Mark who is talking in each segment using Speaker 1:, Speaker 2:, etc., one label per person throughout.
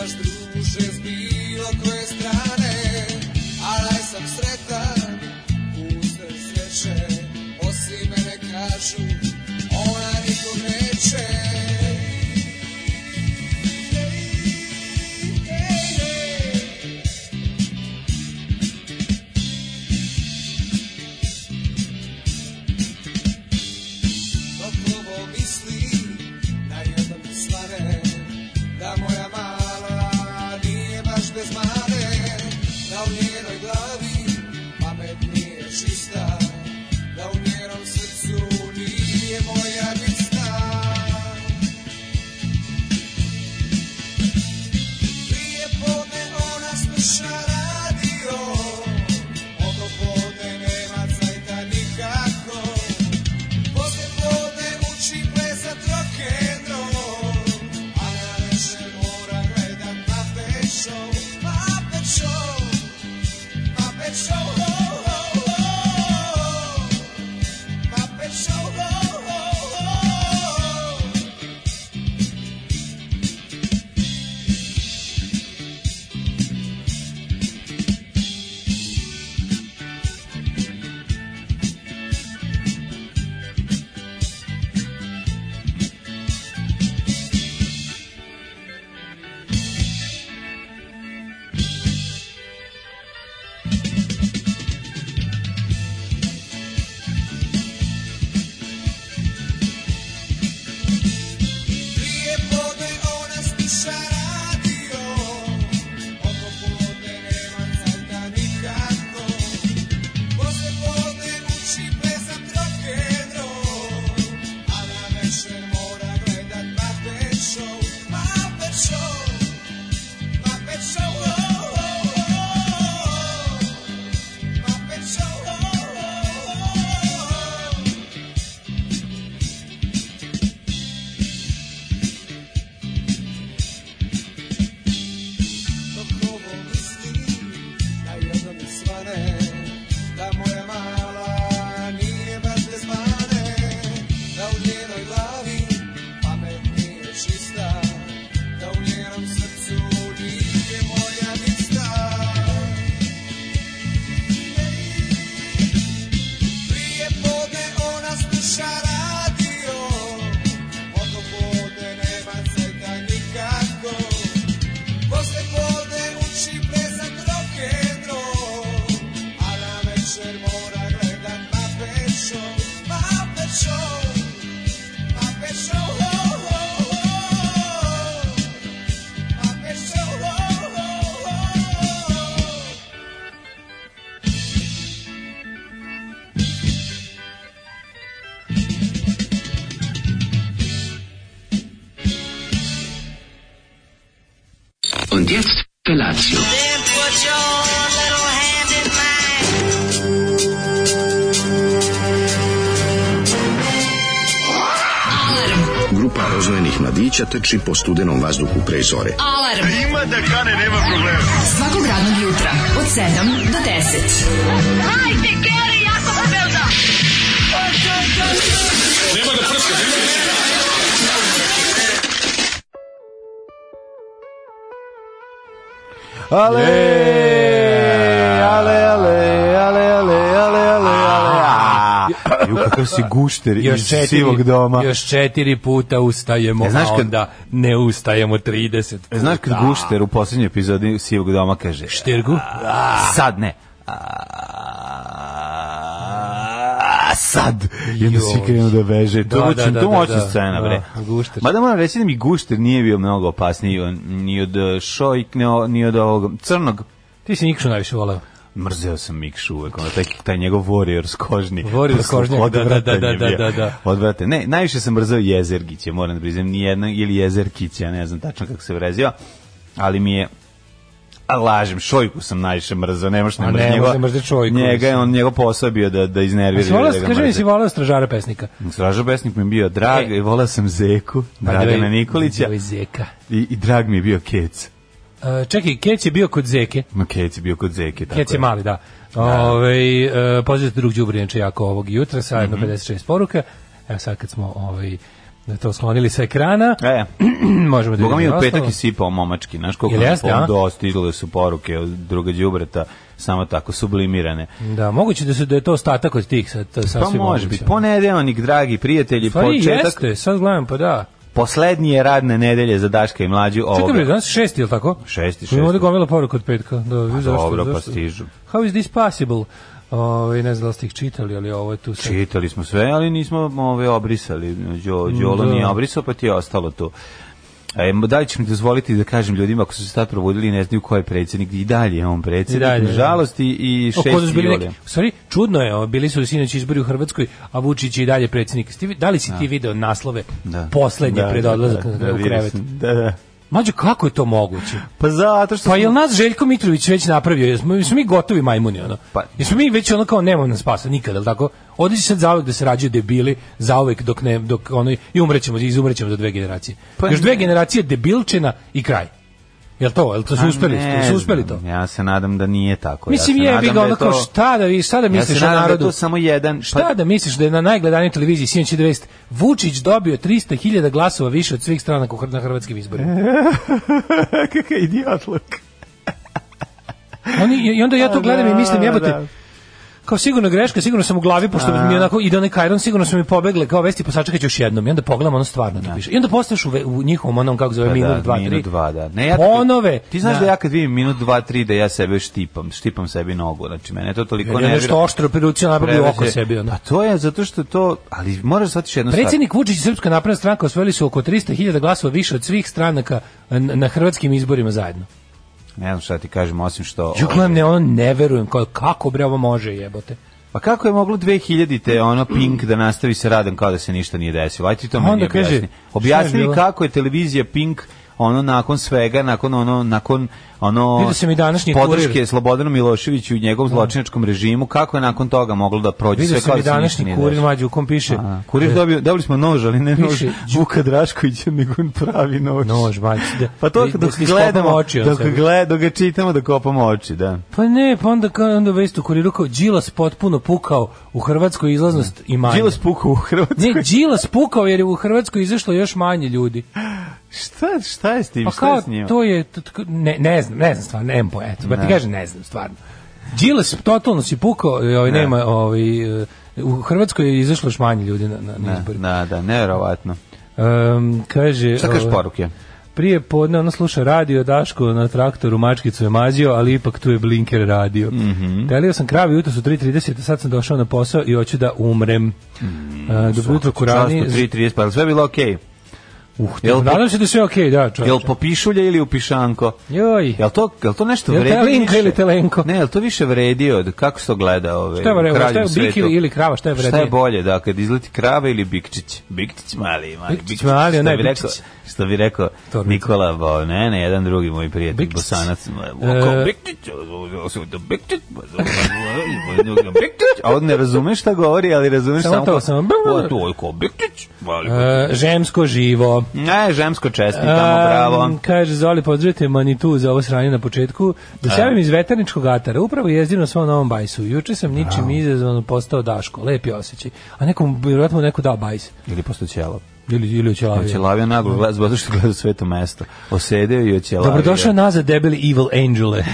Speaker 1: daš duše s bilo koje strane, ali aj sam sretan, usred sreće, osim mene kažu, ona nikog neće. Ej, ej, ej. Dok ovo misli na jedan slare Da moja mala nije baš bez mane Da u njenoj glavi pamet nije čista Da u njenom srcu nije moja lista prije podne ona sluša radio, oko podne nema cajta nikako, posle podne uči plesat rock'n'roll, a na veče mora gledat Muppet Show, Muppet Show, Muppet Show, ho, ho, ho, Muppet Show, ho, ho, ho. Prije podne ona sluša radio, oko podne nema cajta nikako. Posle podne uči plesat rock'n'roll, a na večer mora gledat Muppet Show, Muppet Show, Muppet Show, oh, oh, oh. Muppet Show, oh, oh, oh. dok ovo mislim da jedno mi svane da moja mala nije baš bez mane da u njenoj glavi pamet nije čista da u njenom srcu nije moja mista prije podne ona sluša radio oko podne nema ceta nikako Posle podne uči plesat rock'n'roll, a na večer mora gledat Muppet Show, Muppet Show, Muppet Show, ho, ho, ho, Muppet Show, ho, ho, ho.
Speaker 2: Und jetzt Felatio.
Speaker 3: Then put your little hand in mine.
Speaker 4: Grupa rozvojenih mladića teči po studenom vazduhu pre zore.
Speaker 5: Alarm. Ima da kane, nema problema. Svakog radnog jutra, od 7 do 10. Hajde, Keri, jako belda.
Speaker 6: Ale, ale, ale, ale, ale, ale, ale, ale. a. Ju, kakav si gušter iz
Speaker 7: Ah. Još
Speaker 6: sivog
Speaker 7: četiri,
Speaker 6: doma.
Speaker 7: još četiri puta ustajemo,
Speaker 6: E, znaš
Speaker 7: a
Speaker 6: kad- E,
Speaker 7: onda ne ustajemo 30 puta.
Speaker 6: Znaš kad gušter u poslednjoj epizodi sivog doma kaže...
Speaker 7: Štergu? Ah.
Speaker 6: Sad ne. A, sad. I onda svi
Speaker 7: Joj.
Speaker 6: krenu da veže. To
Speaker 7: Da,
Speaker 6: da,
Speaker 7: da,
Speaker 6: da,
Speaker 7: da,
Speaker 6: to
Speaker 7: da,
Speaker 6: moćna
Speaker 7: da.
Speaker 6: scena,
Speaker 7: Da,
Speaker 6: bre.
Speaker 7: gušter.
Speaker 6: Mada moram reći da mi gušter nije bio mnogo opasniji on- ni od eh, šojk, ni o- ni od ovog crnog.
Speaker 7: Ti si Nikšu najviše voleo.
Speaker 6: Mrzeo sam Mikšu uvek, ono, taj, taj njegov warriors kožni.
Speaker 7: Warriors
Speaker 6: Pa,
Speaker 7: kožnjak, da,
Speaker 6: odvratan
Speaker 7: da,
Speaker 6: je
Speaker 7: da,
Speaker 6: bio.
Speaker 7: da, da.
Speaker 6: Odvratan. Ne, najviše sam mrzeo Jezergića, moram da priznam, ni jedna, ili Jezerkića, ne znam tačno kako se vreziva, ali mi je A lažem, Šojku sam najviše mrzeo, ne možeš
Speaker 7: A
Speaker 6: ne
Speaker 7: ne,
Speaker 6: mrzeo.
Speaker 7: možeš ne mrzeti Šojku,
Speaker 6: Njega je
Speaker 7: mislim.
Speaker 6: on, njegov posao je bio da, da iznervira.
Speaker 7: Jesi voleo,
Speaker 6: da ga
Speaker 7: kaži mi
Speaker 6: mrze.
Speaker 7: si voleo stražara pesnika.
Speaker 6: Stražo Besnik mi je bio drag
Speaker 7: E. Pa
Speaker 6: i volao sam Zeku, Dragana Da, Nikolića
Speaker 7: Ovo je Zeka.
Speaker 6: i, i drag mi je bio Kec.
Speaker 7: E, čekaj, Keć je bio kod Zeke.
Speaker 6: Ma Kec je bio kod Zeke. tako
Speaker 7: Kec je mali, da. Ove,
Speaker 6: Mhm.
Speaker 7: e, pozdravite drug Đubrijanče jako ovog jutra sa jedno 56 poruka. Evo sad kad smo ovaj da to sklonili sa ekrana.
Speaker 6: E,
Speaker 7: Možemo da
Speaker 6: Boga mi je
Speaker 7: vidimo
Speaker 6: u petak
Speaker 7: ostalo.
Speaker 6: i sipao momački, znaš koliko
Speaker 7: Jel
Speaker 6: mi je
Speaker 7: jeste, a?
Speaker 6: do stigle su poruke od druga đubreta samo tako sublimirane.
Speaker 7: Da, moguće da su da je to ostatak od tih sad, to
Speaker 6: Pa
Speaker 7: sasvim
Speaker 6: može biti. Ponedeljnik, dragi prijatelji,
Speaker 7: Stvari
Speaker 6: početak
Speaker 7: jeste, sad gledam, pa da.
Speaker 6: poslednje radne nedelje za Daška i mlađu
Speaker 7: Čekaj, da? bre,
Speaker 6: ovoga.
Speaker 7: danas je šesti, je li tako?
Speaker 6: Šesti,
Speaker 7: Imamo ovde
Speaker 6: šesti.
Speaker 7: gomila poruka od petka. Da, vi zašto,
Speaker 6: dobro, pa
Speaker 7: zašto?
Speaker 6: stižu.
Speaker 7: How is this possible? Ove, ne znam da li ste ih čitali, ali ovo je tu sad.
Speaker 6: Čitali smo sve, ali nismo ove obrisali. Đo, Đolo
Speaker 7: Da.
Speaker 6: nije obrisao, pa ti je ostalo tu. E, da li će mi dozvoliti da kažem ljudima ako su se sad probudili i ne znaju ko je predsjednik i dalje je on predsjednik,
Speaker 7: I dalje, da.
Speaker 6: nažalost i- i
Speaker 7: O, kod nas
Speaker 6: 6.
Speaker 7: bili
Speaker 6: juli.
Speaker 7: neki- u stvari, čudno je, ovo, bili su sinoć izbori u Hrvatskoj, a Vučić je i dalje predsjednik. Jesi ti vi- Da li si ti video naslove
Speaker 6: Da.
Speaker 7: poslednje pred odlazak na- u
Speaker 6: vidio
Speaker 7: krevet?
Speaker 6: sam. Da, da.
Speaker 7: Mađo, kako je to moguće?
Speaker 6: Pa zato što
Speaker 7: Pa
Speaker 6: smo-
Speaker 7: jel nas Željko Mitrović već napravio? Jesmo, jesmo mi gotovi majmuni, ono?
Speaker 6: Pa-
Speaker 7: Jesmo mi već ono kao nemamo nas spasa nikada, jel tako? Ovdje će sad zauvek da se rađaju debili, zauvek dok ne, dok ono, i umrećemo, i izumrećemo za dve generacije.
Speaker 6: Pa
Speaker 7: Još dve
Speaker 6: ne.
Speaker 7: generacije debilčina i kraj. Jel to? Jel to su
Speaker 6: A
Speaker 7: uspeli?
Speaker 6: ne
Speaker 7: Jel su uspeli to?
Speaker 6: znam, Ja se nadam da nije tako.
Speaker 7: Mislim,
Speaker 6: ja se
Speaker 7: jebi
Speaker 6: nadam da
Speaker 7: ga,
Speaker 6: je
Speaker 7: ono kao,
Speaker 6: to-
Speaker 7: šta da vi, šta da
Speaker 6: Ja
Speaker 7: misliš
Speaker 6: se
Speaker 7: o
Speaker 6: nadam da je
Speaker 7: narodu?
Speaker 6: to samo jedan...
Speaker 7: Šta da misliš da je na najgledanijoj televiziji sinoć je da vest Vučić dobio 300.000 glasova više od svih stranaka u Hr- na hrvatskim izborima.
Speaker 6: Kakav idiotluk.
Speaker 7: Oni, I onda ja to gledam i mislim, jebote,
Speaker 6: Da.
Speaker 7: kao sigurno greška, sigurno sam u glavi, pošto mi je onako ide onaj kajron, sigurno su mi pobegle, kao vesti, pa sačekat ću još jednom. I onda pogledam ono stvarno da piše. I onda postaješ u, ve- u njihovom onom, kako zove,
Speaker 6: Pa
Speaker 7: minut,
Speaker 6: da,
Speaker 7: dva,
Speaker 6: minut,
Speaker 7: tri.
Speaker 6: dva, da. Ne, ja,
Speaker 7: Ponove.
Speaker 6: Ti znaš da. ja kad vidim minut, dva, tri, da ja sebe štipam, štipam sebi nogu, znači mene to toliko
Speaker 7: Jer
Speaker 6: ne
Speaker 7: je nešto oštro pa priručio nabavi u oko sebi. Ono.
Speaker 6: Pa to je zato što to, ali moraš shvatiti jednu stvar.
Speaker 7: Predsjednik Vučić i Srpska napredna stranka osvojili su oko 300.000 glasova više od svih stranaka na, na hrvatskim izborima zajedno.
Speaker 6: Ne znam šta ti kažem, osim što...
Speaker 7: Ja gledam, ne, ono, ne verujem, kao, kako bre ovo može jebote.
Speaker 6: Pa kako je moglo 2000-te ono Pink da nastavi sa radom kao da se ništa nije desilo? Ajde ti to
Speaker 7: A
Speaker 6: meni
Speaker 7: onda kaže,
Speaker 6: objasni.
Speaker 7: šta
Speaker 6: Objasni
Speaker 7: je
Speaker 6: mi
Speaker 7: bilo?
Speaker 6: kako je televizija Pink ono nakon svega, nakon ono nakon ono
Speaker 7: Vidio sam i današnji
Speaker 6: podrške
Speaker 7: kurir. Da.
Speaker 6: Slobodanu Miloševiću i njegovom zločinačkom režimu, kako je nakon toga moglo da prođe sve
Speaker 7: Vidio
Speaker 6: kao
Speaker 7: sam
Speaker 6: da
Speaker 7: i
Speaker 6: se ništa
Speaker 7: današnji
Speaker 6: nije
Speaker 7: kurir
Speaker 6: desilo?
Speaker 7: mlađi u kom piše
Speaker 6: A, Kurir dobio, dobili smo nož, ali ne nož
Speaker 7: Piše,
Speaker 6: Vuka Draškovića, nego on pravi nož.
Speaker 7: nož, majci, da,
Speaker 6: Pa to
Speaker 7: da- da
Speaker 6: dok
Speaker 7: si iskopamo
Speaker 6: gledamo,
Speaker 7: oči od
Speaker 6: dok,
Speaker 7: sebe.
Speaker 6: gled, dok ga čitamo, da kopamo oči, da.
Speaker 7: Pa ne, pa onda, ka- onda vest u kuriru kao Đilas potpuno pukao u Hrvatskoj izlaznost i manje.
Speaker 6: Đilas puka u Hrvatskoj.
Speaker 7: Ne, Đilas pukao jer je u Hrvatskoj izašlo još manje ljudi.
Speaker 6: Šta, šta je s tim?
Speaker 7: Pa
Speaker 6: šta
Speaker 7: kao,
Speaker 6: je s njima?
Speaker 7: to je, to- to- ne, ne znam, ne znam stvarno, nemam poeta, pa ti kažem ne znam stvarno. Đilas totalno si pukao, i ovaj,
Speaker 6: Ne.
Speaker 7: nema, ovaj, e, u Hrvatskoj je izašlo još manje ljudi na, na, na izbore.
Speaker 6: Da, da, nevjerovatno.
Speaker 7: Em, kaže,
Speaker 6: Šta kažeš
Speaker 7: ovaj,
Speaker 6: poruke?
Speaker 7: Prije podne ono sluša radio, Daško na traktoru mačkicu je mazio, ali ipak tu je blinker radio.
Speaker 6: Mhm.
Speaker 7: Telio sam kravi jutros u 3.30, a sad sam došao na posao i hoću da umrem. E, dobro jutro, kurani.
Speaker 6: Mm, Časno 3.30, pa je li sve bilo okej?
Speaker 7: Uh,
Speaker 6: Jel po-
Speaker 7: nadam se da je sve okej, da, čovječe.
Speaker 6: Jel po pišulje ili u pišanko?
Speaker 7: Joj.
Speaker 6: Jel to, jel to nešto
Speaker 7: Jel
Speaker 6: vredi
Speaker 7: telinka
Speaker 6: više?
Speaker 7: ili telenko?
Speaker 6: Ne, jel to više vredi od kako se to gleda ove,
Speaker 7: Šta je vredi,
Speaker 6: u kraljem
Speaker 7: šta je bik
Speaker 6: svetu?
Speaker 7: ili- ili krava, šta je
Speaker 6: Šta je
Speaker 7: vrednije?
Speaker 6: bolje, da, kad izleti krava ili bikčić? Bikčić mali, mali,
Speaker 7: Bikčić mali,
Speaker 6: što
Speaker 7: onaj
Speaker 6: bi rekao,
Speaker 7: bikčić.
Speaker 6: što bi rekao
Speaker 7: Torbica.
Speaker 6: Nikola Bo, ne, ne, jedan drugi moj prijatelj,
Speaker 7: Bikčić.
Speaker 6: bosanac,
Speaker 7: E.
Speaker 6: oko bikčić, osobito da bikčić, pa bikčić, a on ne razume šta govori, ali razumeš
Speaker 7: Samo
Speaker 6: samo
Speaker 7: to,
Speaker 6: kao,
Speaker 7: samo-
Speaker 6: o, to je ko bikčić, mali,
Speaker 7: E, žemsko živo.
Speaker 6: Ne, žemsko čestitamo, bravo.
Speaker 7: Em, kaže Zoli, pozdravite Manitu za ovo sranje na početku. Da se javim iz veterničkog atara, upravo jezdim na svom novom bajsu. Juče sam ničim izazvan postao Daško, lepi osjećaj. A nekom, vjerojatno mu neko dao bajs.
Speaker 6: Ili posto ćelo.
Speaker 7: Ili, ili
Speaker 6: Oće
Speaker 7: oćelavio.
Speaker 6: Oćelavio naglo, gleda- zato što gleda u sveto mesto. Osedeo i oćelavio.
Speaker 7: Dobrodošao nazad debeli Evil Angele.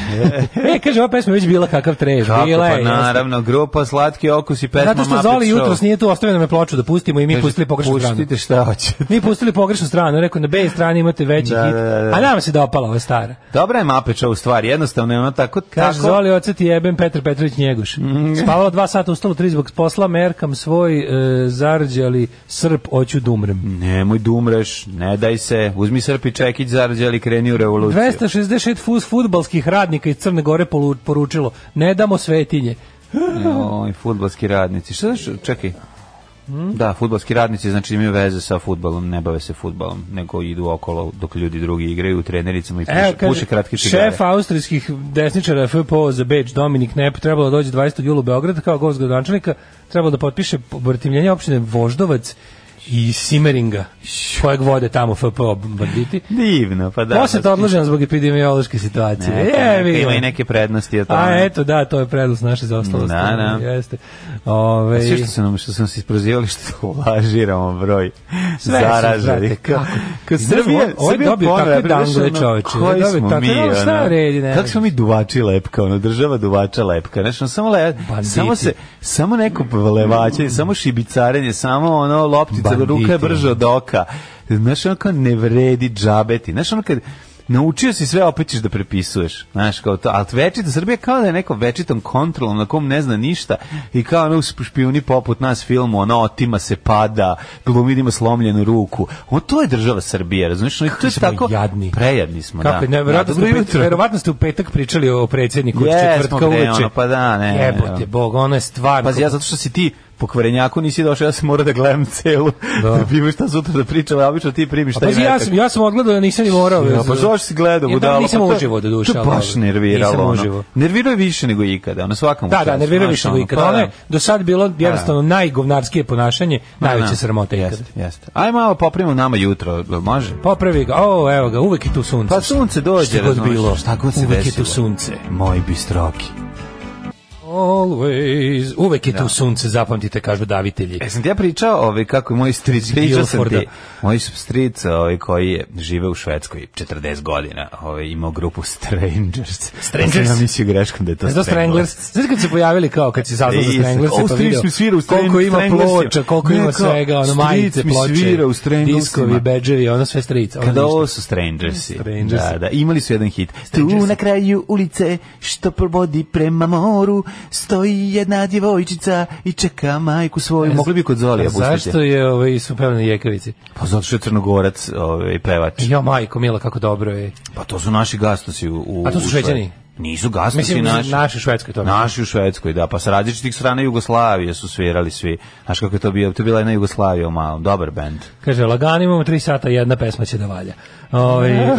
Speaker 7: e, kaže, ova pesma je već bila kakav treš.
Speaker 6: Kako,
Speaker 7: bila
Speaker 6: pa
Speaker 7: je, E, jeste.
Speaker 6: naravno, grupa Slatki okus i pesma
Speaker 7: Zato što
Speaker 6: Muppet
Speaker 7: Zoli
Speaker 6: Show.
Speaker 7: jutros nije tu, ostavio nam je ploču da pustimo i mi
Speaker 6: Kaže,
Speaker 7: pustili pogrešnu stranu.
Speaker 6: Pustite šta hoćete.
Speaker 7: Mi pustili pogrešnu stranu, rekao na B strani imate veći
Speaker 6: Da,
Speaker 7: hit.
Speaker 6: da, da, da.
Speaker 7: A nam se dopala ova stara.
Speaker 6: Dobra je Muppet Show stvar, jednostavno je ono tako...
Speaker 7: Kaže,
Speaker 6: tako,
Speaker 7: Zoli, oce ti jebem Petar Petrović Njeguš.
Speaker 6: Mm.
Speaker 7: Spavala dva sata, ustalo tri zbog posla, merkam svoj e, zarđali srp, oću da umrem.
Speaker 6: Nemoj da umreš, ne daj se, uzmi srpi čekić, zarađali, kreni u revoluciju.
Speaker 7: 266 fus futbalskih radnika iz Crne Gore polu- poručilo, ne damo svetinje.
Speaker 6: Oj, futbalski radnici. Šta znaš, čekaj. Da, futbalski radnici znači imaju veze sa futbalom, ne bave se futbalom, nego idu okolo dok ljudi drugi igraju u trenericama i puše,
Speaker 7: Evo, E, kaže,
Speaker 6: puše kratke cigare.
Speaker 7: šef austrijskih desničara FPO za Beč, Dominik Nep, trebalo da dođe 20. jula u Beograd kao gost gradonačelnika, trebalo da potpiše protivljenje opštine Voždovac i Simeringa, kojeg vode tamo FPO banditi.
Speaker 6: Divno, pa da.
Speaker 7: Posle to odloženo zbog epidemiološke situacije.
Speaker 6: Ne,
Speaker 7: je,
Speaker 6: neka
Speaker 7: vidim.
Speaker 6: ima i neke prednosti od
Speaker 7: A
Speaker 6: toga.
Speaker 7: eto, da, to je prednost naše zaostalosti.
Speaker 6: Da, da.
Speaker 7: Jeste. Ove,
Speaker 6: Sve što su nam što su nas isprozivali što lažiramo broj
Speaker 7: Sve su, brate,
Speaker 6: zaraženih.
Speaker 7: kako?
Speaker 6: Kad
Speaker 7: I znaš,
Speaker 6: Srbija,
Speaker 7: ovaj- ovaj
Speaker 6: Srbija
Speaker 7: dobio
Speaker 6: ponovo
Speaker 7: takve
Speaker 6: prešla
Speaker 7: dangle,
Speaker 6: na
Speaker 7: čoveče.
Speaker 6: koji
Speaker 7: Ovaj dobio
Speaker 6: smo
Speaker 7: takve-
Speaker 6: mi,
Speaker 7: ono, šta
Speaker 6: ono,
Speaker 7: redi, ne
Speaker 6: Kako
Speaker 7: znam.
Speaker 6: smo mi duvači lepka, ono država duvača lepka. Znači, ono, samo le,
Speaker 7: Banditi.
Speaker 6: samo se samo neko levaćenje, samo šibicarenje, samo ono loptica,
Speaker 7: Banditi.
Speaker 6: ruka je brža od oka. Znaš, ono kao ne vredi džabeti. Znaš, ono kad naučio si sve, opet ćeš da prepisuješ. Znaš, kao to. Ali večito, Srbija kao da je neko večitom kontrolom na kom ne zna ništa i kao ono sp- špijuni poput nas filmu, ono, otima se pada, glumi da ima slomljenu ruku. Ono, to je država Srbija, razumiješ? Ono, to je
Speaker 7: smo
Speaker 6: tako...
Speaker 7: jadni.
Speaker 6: Prejadni smo,
Speaker 7: Kako,
Speaker 6: da.
Speaker 7: ne, verovatno,
Speaker 6: Da, dobro
Speaker 7: ste, u pet-
Speaker 6: jutro.
Speaker 7: verovatno ste u petak pričali o predsjedniku od
Speaker 6: Jesmo,
Speaker 7: četvrtka
Speaker 6: bre,
Speaker 7: uveče.
Speaker 6: ono, pa da, ne, ne,
Speaker 7: Jebote,
Speaker 6: ne.
Speaker 7: bog, ono je stvarno.
Speaker 6: Pazi, ja zato što si ti pokvarenjaku nisi došao, ja sam morao da gledam celu, da,
Speaker 7: Da.
Speaker 6: bi imaš šta sutra da pričam, a obično ti primiš
Speaker 7: A
Speaker 6: taj
Speaker 7: pazi, ja
Speaker 6: metak.
Speaker 7: sam, ja sam odgledao, ja nisam ni morao.
Speaker 6: Ja, pa zašto si gledao
Speaker 7: Ja, da,
Speaker 6: budalo? Pa
Speaker 7: nisam
Speaker 6: to je-
Speaker 7: uživo, doduše,
Speaker 6: To je
Speaker 7: ali
Speaker 6: baš
Speaker 7: dobro.
Speaker 6: nerviralo.
Speaker 7: Nisam
Speaker 6: ono.
Speaker 7: uživo.
Speaker 6: Nervirao je više nego ikada, na svakom
Speaker 7: Da, da, nervirao više nego
Speaker 6: pa
Speaker 7: ikada. Ono je do sad bilo
Speaker 6: Da.
Speaker 7: jednostavno najgovnarskije ponašanje, najveće sramote ikada.
Speaker 6: Jeste, jeste. Aj malo popravimo nama jutro, jel može?
Speaker 7: Popravi ga, o, evo ga, uvek je tu sunce.
Speaker 6: Pa sunce dođe,
Speaker 7: Šta god
Speaker 6: razumeš,
Speaker 7: bilo,
Speaker 6: šta god se
Speaker 7: uvek je
Speaker 6: desilo.
Speaker 7: tu sunce.
Speaker 6: Moj bistroki.
Speaker 7: Always, uvek je tu sunce, zapamtite, kažu davitelji.
Speaker 6: Da. E, sam ti ja pričao, ovaj, kako je moj stric, pričao sam ti, moj stric ovaj, koji je žive u Švedskoj 40 godina, ovaj, imao grupu Strangers. Ja
Speaker 7: Strangers?
Speaker 6: sam mislio greškom da je to
Speaker 7: Znaš da Stranglers, znaš kad su se pojavili kao kad si saznao za Stranglers,
Speaker 6: O,
Speaker 7: pa
Speaker 6: Stric
Speaker 7: vidio
Speaker 6: mi svira u Strang-
Speaker 7: koliko ima
Speaker 6: Stranglersima.
Speaker 7: ploča, koliko
Speaker 6: Ne,
Speaker 7: ima
Speaker 6: kao,
Speaker 7: svega, ono
Speaker 6: Stric
Speaker 7: majice,
Speaker 6: mi
Speaker 7: ploče,
Speaker 6: svira u Stranglesima.
Speaker 7: diskovi, bedževi, ono sve strica. ono
Speaker 6: Kada
Speaker 7: Pa ništa.
Speaker 6: ovo su Strangersi.
Speaker 7: Strangersi.
Speaker 6: Da, da, imali su jedan hit. Tu na kraju ulice, što provodi prema moru, stoji jedna djevojčica i čeka majku svoju. Mogli bi kod Zolija pustiti.
Speaker 7: E, Pa Zašto je ovaj, su pevali na jekavici?
Speaker 6: Pa zato što je Crnogorac ovaj, pevač.
Speaker 7: Jo, majko, mila, kako dobro je.
Speaker 6: Pa to su naši gastosi u, u
Speaker 7: A to su
Speaker 6: u Švedskoj.
Speaker 7: Šveđani?
Speaker 6: Nisu gastosi
Speaker 7: Mislim,
Speaker 6: naši.
Speaker 7: naši švedski to.
Speaker 6: Naši u Švedskoj, da, pa sa različitih strana Jugoslavije su svirali svi. Znaš kako je to bio? To je bila jedna Jugoslavija u malom, dobar bend.
Speaker 7: Kaže, lagano imamo 3 sata, jedna pesma će da valja. Ovaj, em,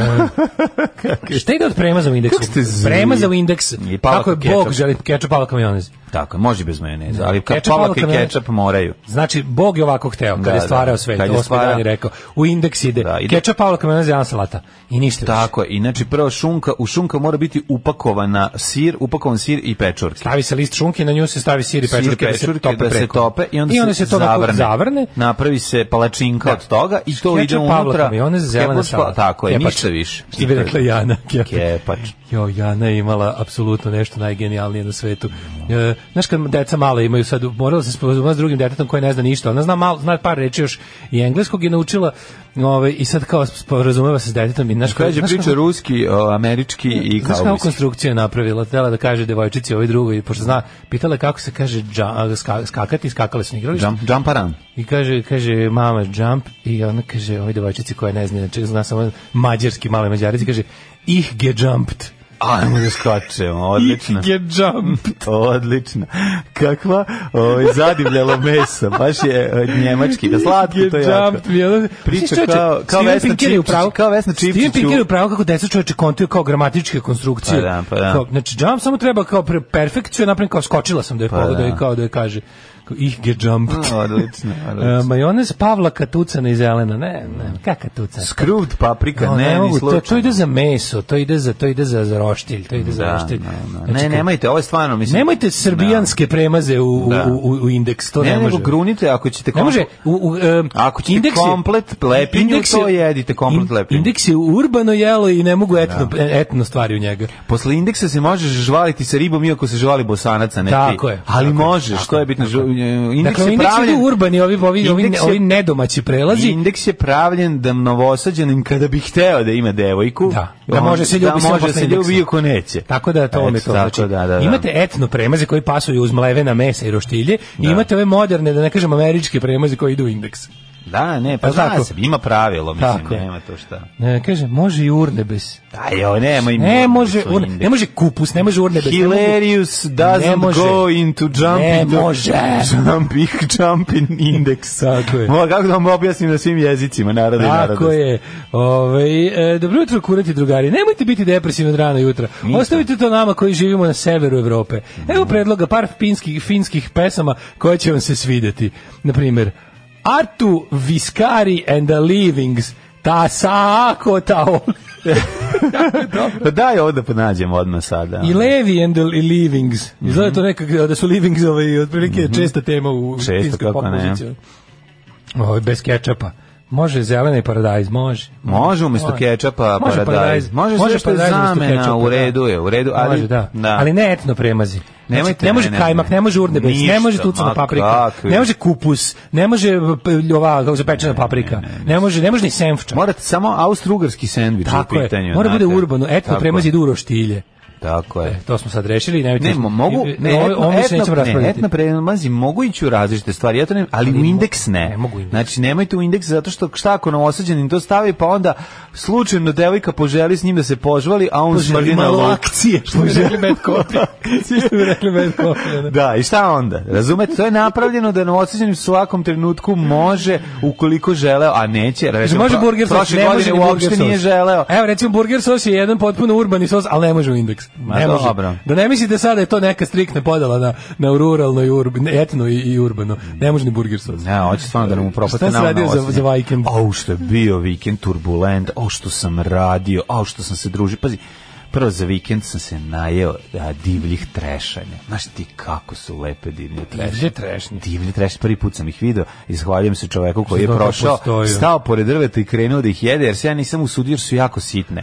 Speaker 7: šta ide od prema za u indeksu?
Speaker 6: Kako ste zli.
Speaker 7: Prema za u indeks.
Speaker 6: I palaka
Speaker 7: Kako je
Speaker 6: kečap.
Speaker 7: Bog želi kečap, pala kamionez.
Speaker 6: Tako, je, može bez majoneza, ali ka,
Speaker 7: Kečap,
Speaker 6: polak i
Speaker 7: ali kad ne-
Speaker 6: kečap moraju.
Speaker 7: Znači, Bog je ovako hteo, kad
Speaker 6: Da,
Speaker 7: je
Speaker 6: da.
Speaker 7: stvarao sve,
Speaker 6: Kad je stvarao-
Speaker 7: to stvarao... dan je rekao. U indeks ide,
Speaker 6: Da,
Speaker 7: da,
Speaker 6: ide-
Speaker 7: ide. kečap, pala kamionez, jedan salata. I ništa više.
Speaker 6: Tako je, i znači prvo šunka, u šunka mora biti upakovana sir, upakovan sir i pečurke.
Speaker 7: Stavi se list šunke, na nju se stavi sir i
Speaker 6: Sir,
Speaker 7: pečurke, da se tope
Speaker 6: da se
Speaker 7: preko.
Speaker 6: tope i onda,
Speaker 7: se, to ovako
Speaker 6: zavrne.
Speaker 7: zavrne.
Speaker 6: Napravi se palačinka
Speaker 7: Da.
Speaker 6: od toga i to
Speaker 7: Kečap,
Speaker 6: ide
Speaker 7: pavlaka,
Speaker 6: unutra.
Speaker 7: majonez, zelena
Speaker 6: Kepač, pa-
Speaker 7: salata.
Speaker 6: Tako je,
Speaker 7: Kepač.
Speaker 6: ništa više.
Speaker 7: Što bi rekla Jana. Kepač.
Speaker 6: Kepač.
Speaker 7: Jo, Jana je imala apsolutno nešto najgenijalnije na svetu. E, znaš kad deca mala imaju sad, morala se sporazumati s drugim detetom koje ne zna ništa. Ona zna, malo, zna par reči još i engleskog je naučila ovaj, i sad kao sporazumeva se s detetom. I, znaš, kao-
Speaker 6: Kređe
Speaker 7: znaš
Speaker 6: priča
Speaker 7: kako-
Speaker 6: ruski, o, američki i
Speaker 7: Znaš kako
Speaker 6: kaubojski.
Speaker 7: konstrukciju je napravila? Htela da kaže devojčici ovoj drugoj, pošto zna, pitala je kako se kaže dža, ska, skakati, skakale su na igralištu.
Speaker 6: Jump, jump around.
Speaker 7: I kaže, kaže mama jump i ona kaže ovoj devojčici koja ne zna, znači zna samo mađarski male mađarici, kaže ih ge jumped.
Speaker 6: Ajmo da skačemo, odlično.
Speaker 7: Ih ge jumped.
Speaker 6: Odlično. Kakva ovaj, zadivljalo meso, baš je od njemački, da slatko to je jako.
Speaker 7: Jumped, mi je ono-
Speaker 6: Priča
Speaker 7: Mislim, čoveče,
Speaker 6: kao- kao
Speaker 7: Steven
Speaker 6: Vesna
Speaker 7: Pinker je u
Speaker 6: Čipčić-
Speaker 7: pravu-
Speaker 6: kao Vesna Čipčić
Speaker 7: Steven
Speaker 6: u-
Speaker 7: Pinker je u pravu kako deca čoveče kontuju kao gramatičke konstrukcije.
Speaker 6: Pa da, pa da.
Speaker 7: Kao, znači, jump samo treba kao pre, perfekciju, napravim kao skočila sam da je pogleda
Speaker 6: da.
Speaker 7: i kao da je kaže kao, ih ge jumped.
Speaker 6: Odlično,
Speaker 7: E,
Speaker 6: odlično.
Speaker 7: majonez Pavla katucana i zelena. Ne, ne, kaka tucana?
Speaker 6: Screwed paprika,
Speaker 7: No,
Speaker 6: ne,
Speaker 7: ne,
Speaker 6: ni
Speaker 7: mogu, to,
Speaker 6: slučajno.
Speaker 7: to ide za meso, to ide za to ide za, za roštilj, to ide za
Speaker 6: Da,
Speaker 7: roštilj.
Speaker 6: da, da.
Speaker 7: Znači,
Speaker 6: Ne,
Speaker 7: kad-
Speaker 6: nemojte, ovo je stvarno, mislim.
Speaker 7: Nemojte srbijanske premaze u,
Speaker 6: Da.
Speaker 7: u, u, u indeks, to ne,
Speaker 6: Ne, nego
Speaker 7: može.
Speaker 6: grunite ako ćete
Speaker 7: Ne može. U, u, em,
Speaker 6: Ako ćete
Speaker 7: indeks je-
Speaker 6: komplet lepinju,
Speaker 7: indeks
Speaker 6: to jedite komplet lepinju. Da.
Speaker 7: Indeks je urbano jelo i ne mogu etno, etno stvari u njega.
Speaker 6: Posle indeksa se možeš žvaliti sa ribom iako se žvali bosanaca, ne ti.
Speaker 7: Tako je.
Speaker 6: Ali
Speaker 7: Tako je,
Speaker 6: možeš,
Speaker 7: tako
Speaker 6: to je
Speaker 7: je,
Speaker 6: bitno.
Speaker 7: tako
Speaker 6: Žu- Indeks
Speaker 7: dakle,
Speaker 6: je
Speaker 7: indeks
Speaker 6: pravljen-
Speaker 7: idu urbani, ovi, ovi, ovi,
Speaker 6: Indeks je-
Speaker 7: ovi nedomaći prelazi.
Speaker 6: Indeks je pravljen da novosađanim kada bi hteo da ima devojku,
Speaker 7: Da, da može se ljubi
Speaker 6: da
Speaker 7: samo
Speaker 6: može
Speaker 7: posle
Speaker 6: se ljubi
Speaker 7: indeksa.
Speaker 6: iako neće.
Speaker 7: Tako da to vam je
Speaker 6: Eto,
Speaker 7: to.
Speaker 6: tako
Speaker 7: Znači,
Speaker 6: da, da, da.
Speaker 7: Imate etno premaze koji pasuju uz mlevena mesa i roštilje i imate ove moderne, da ne kažem američke premaze koji idu u indeks.
Speaker 6: Da, ne, pa
Speaker 7: Pa
Speaker 6: zna
Speaker 7: tako.
Speaker 6: se, ima pravilo, mislim,
Speaker 7: Tako je.
Speaker 6: nema to šta.
Speaker 7: Ne, kaže, može i urnebes.
Speaker 6: Aj, ovo nema im.
Speaker 7: Ne može, urne, ne može kupus, ne može urnebes. Da ne mogu-
Speaker 6: Hilarious
Speaker 7: Ne
Speaker 6: doesn't
Speaker 7: može.
Speaker 6: go into jump
Speaker 7: Ne
Speaker 6: into
Speaker 7: može.
Speaker 6: jump, jump in index.
Speaker 7: Tako je.
Speaker 6: Mo, kako da vam objasnim na svim jezicima, narode i narode.
Speaker 7: Tako je. Ovaj, e, dobro jutro, kurati drugari. Nemojte biti depresivni od rana jutra. Ostavite to nama koji živimo na severu Evrope. Evo predloga par finskih, finskih pesama koje će vam se svideti. Na primjer, Artu Viscari and the Livings. Ta saako ta ol-
Speaker 6: Pa daj ovo da ponađem odmah sada.
Speaker 7: I Levi and the Livings.
Speaker 6: Mhm.
Speaker 7: Izgleda to nekak, da su Livings ovaj, otprilike česta tema u
Speaker 6: Često,
Speaker 7: finskoj
Speaker 6: kako
Speaker 7: pop
Speaker 6: ne.
Speaker 7: muzici. Ovaj, bez kečapa. Može zelena i paradajz, može.
Speaker 6: Može umjesto kečapa
Speaker 7: Može
Speaker 6: paradajz. Može sve što je
Speaker 7: paradajz umjesto
Speaker 6: zamena,
Speaker 7: kečapa, da.
Speaker 6: u redu je, u redu, ali...
Speaker 7: Može, da. Ali ne etno premazi. Znači,
Speaker 6: Nemojte,
Speaker 7: ne može
Speaker 6: ne, ne,
Speaker 7: kajmak,
Speaker 6: ne.
Speaker 7: ne može urnebes, ne
Speaker 6: Ništa,
Speaker 7: može tucana
Speaker 6: ma
Speaker 7: paprika,
Speaker 6: kakvi.
Speaker 7: ne može kupus, ne može p- ova kako se pečena paprika, ne može, ne može ni senfča.
Speaker 6: Morate samo austrougarski sendvič u
Speaker 7: Tako je.
Speaker 6: pitanju.
Speaker 7: Mora da
Speaker 6: znate.
Speaker 7: bude urbano, etno
Speaker 6: Tako
Speaker 7: premazi
Speaker 6: je,
Speaker 7: ide u roštilje.
Speaker 6: Tako je.
Speaker 7: To smo sad rešili, nemojte.
Speaker 6: Ne, mo- mogu, ne,
Speaker 7: ovo,
Speaker 6: etno,
Speaker 7: ovo više nećemo
Speaker 6: etno, ne,
Speaker 7: raspravljati.
Speaker 6: etno premazi mogu ići u različite stvari, ja to ne, ali, u
Speaker 7: mo-
Speaker 6: indeks ne.
Speaker 7: ne mogu u indeks.
Speaker 6: Znači, nemojte u indeks zato što šta ako novosađanin to stavi, pa onda slučajno devojka poželi s njim da se požvali, a on smrdi na luk.
Speaker 7: što bi rekli bad copy. Svi što bi rekli bad copy. ono.
Speaker 6: Da, i šta onda? Razumete, to je napravljeno da novosađanin u svakom trenutku može, ukoliko želeo, a neće.
Speaker 7: Kaže,
Speaker 6: Recimo,
Speaker 7: može
Speaker 6: pro-
Speaker 7: burger sos,
Speaker 6: prošle
Speaker 7: ne može
Speaker 6: godine
Speaker 7: ni burger E,
Speaker 6: uopšte
Speaker 7: sos.
Speaker 6: nije želeo.
Speaker 7: Evo, recimo, burger sos je jedan potpuno urbani sos, ali ne može u indeks.
Speaker 6: Ma,
Speaker 7: ne može.
Speaker 6: dobro.
Speaker 7: Da ne mislite sada da je to neka striktna podala na, na ruralno i urbano, etno i, i urbano. Ne može ni burger sos.
Speaker 6: Ne, hoće stvarno da nam upropaste
Speaker 7: Šta si
Speaker 6: na
Speaker 7: radio za-
Speaker 6: novosađanin.
Speaker 7: za vikend?
Speaker 6: Au, što je bio vikend turbulent, au, što sam radio, au, što sam se družio. Pazi, prvo za vikend sam se najeo a, divljih trešanja. Znaš ti kako su lepe divlje trešnje?
Speaker 7: Divlje trešnje.
Speaker 6: Divlje trešnje, prvi put sam ih video i zahvaljujem se čoveku koji je
Speaker 7: Što to
Speaker 6: prošao,
Speaker 7: postoji?
Speaker 6: stao pored drveta i krenuo da ih jede, jer se ja nisam usudio jer su jako sitne.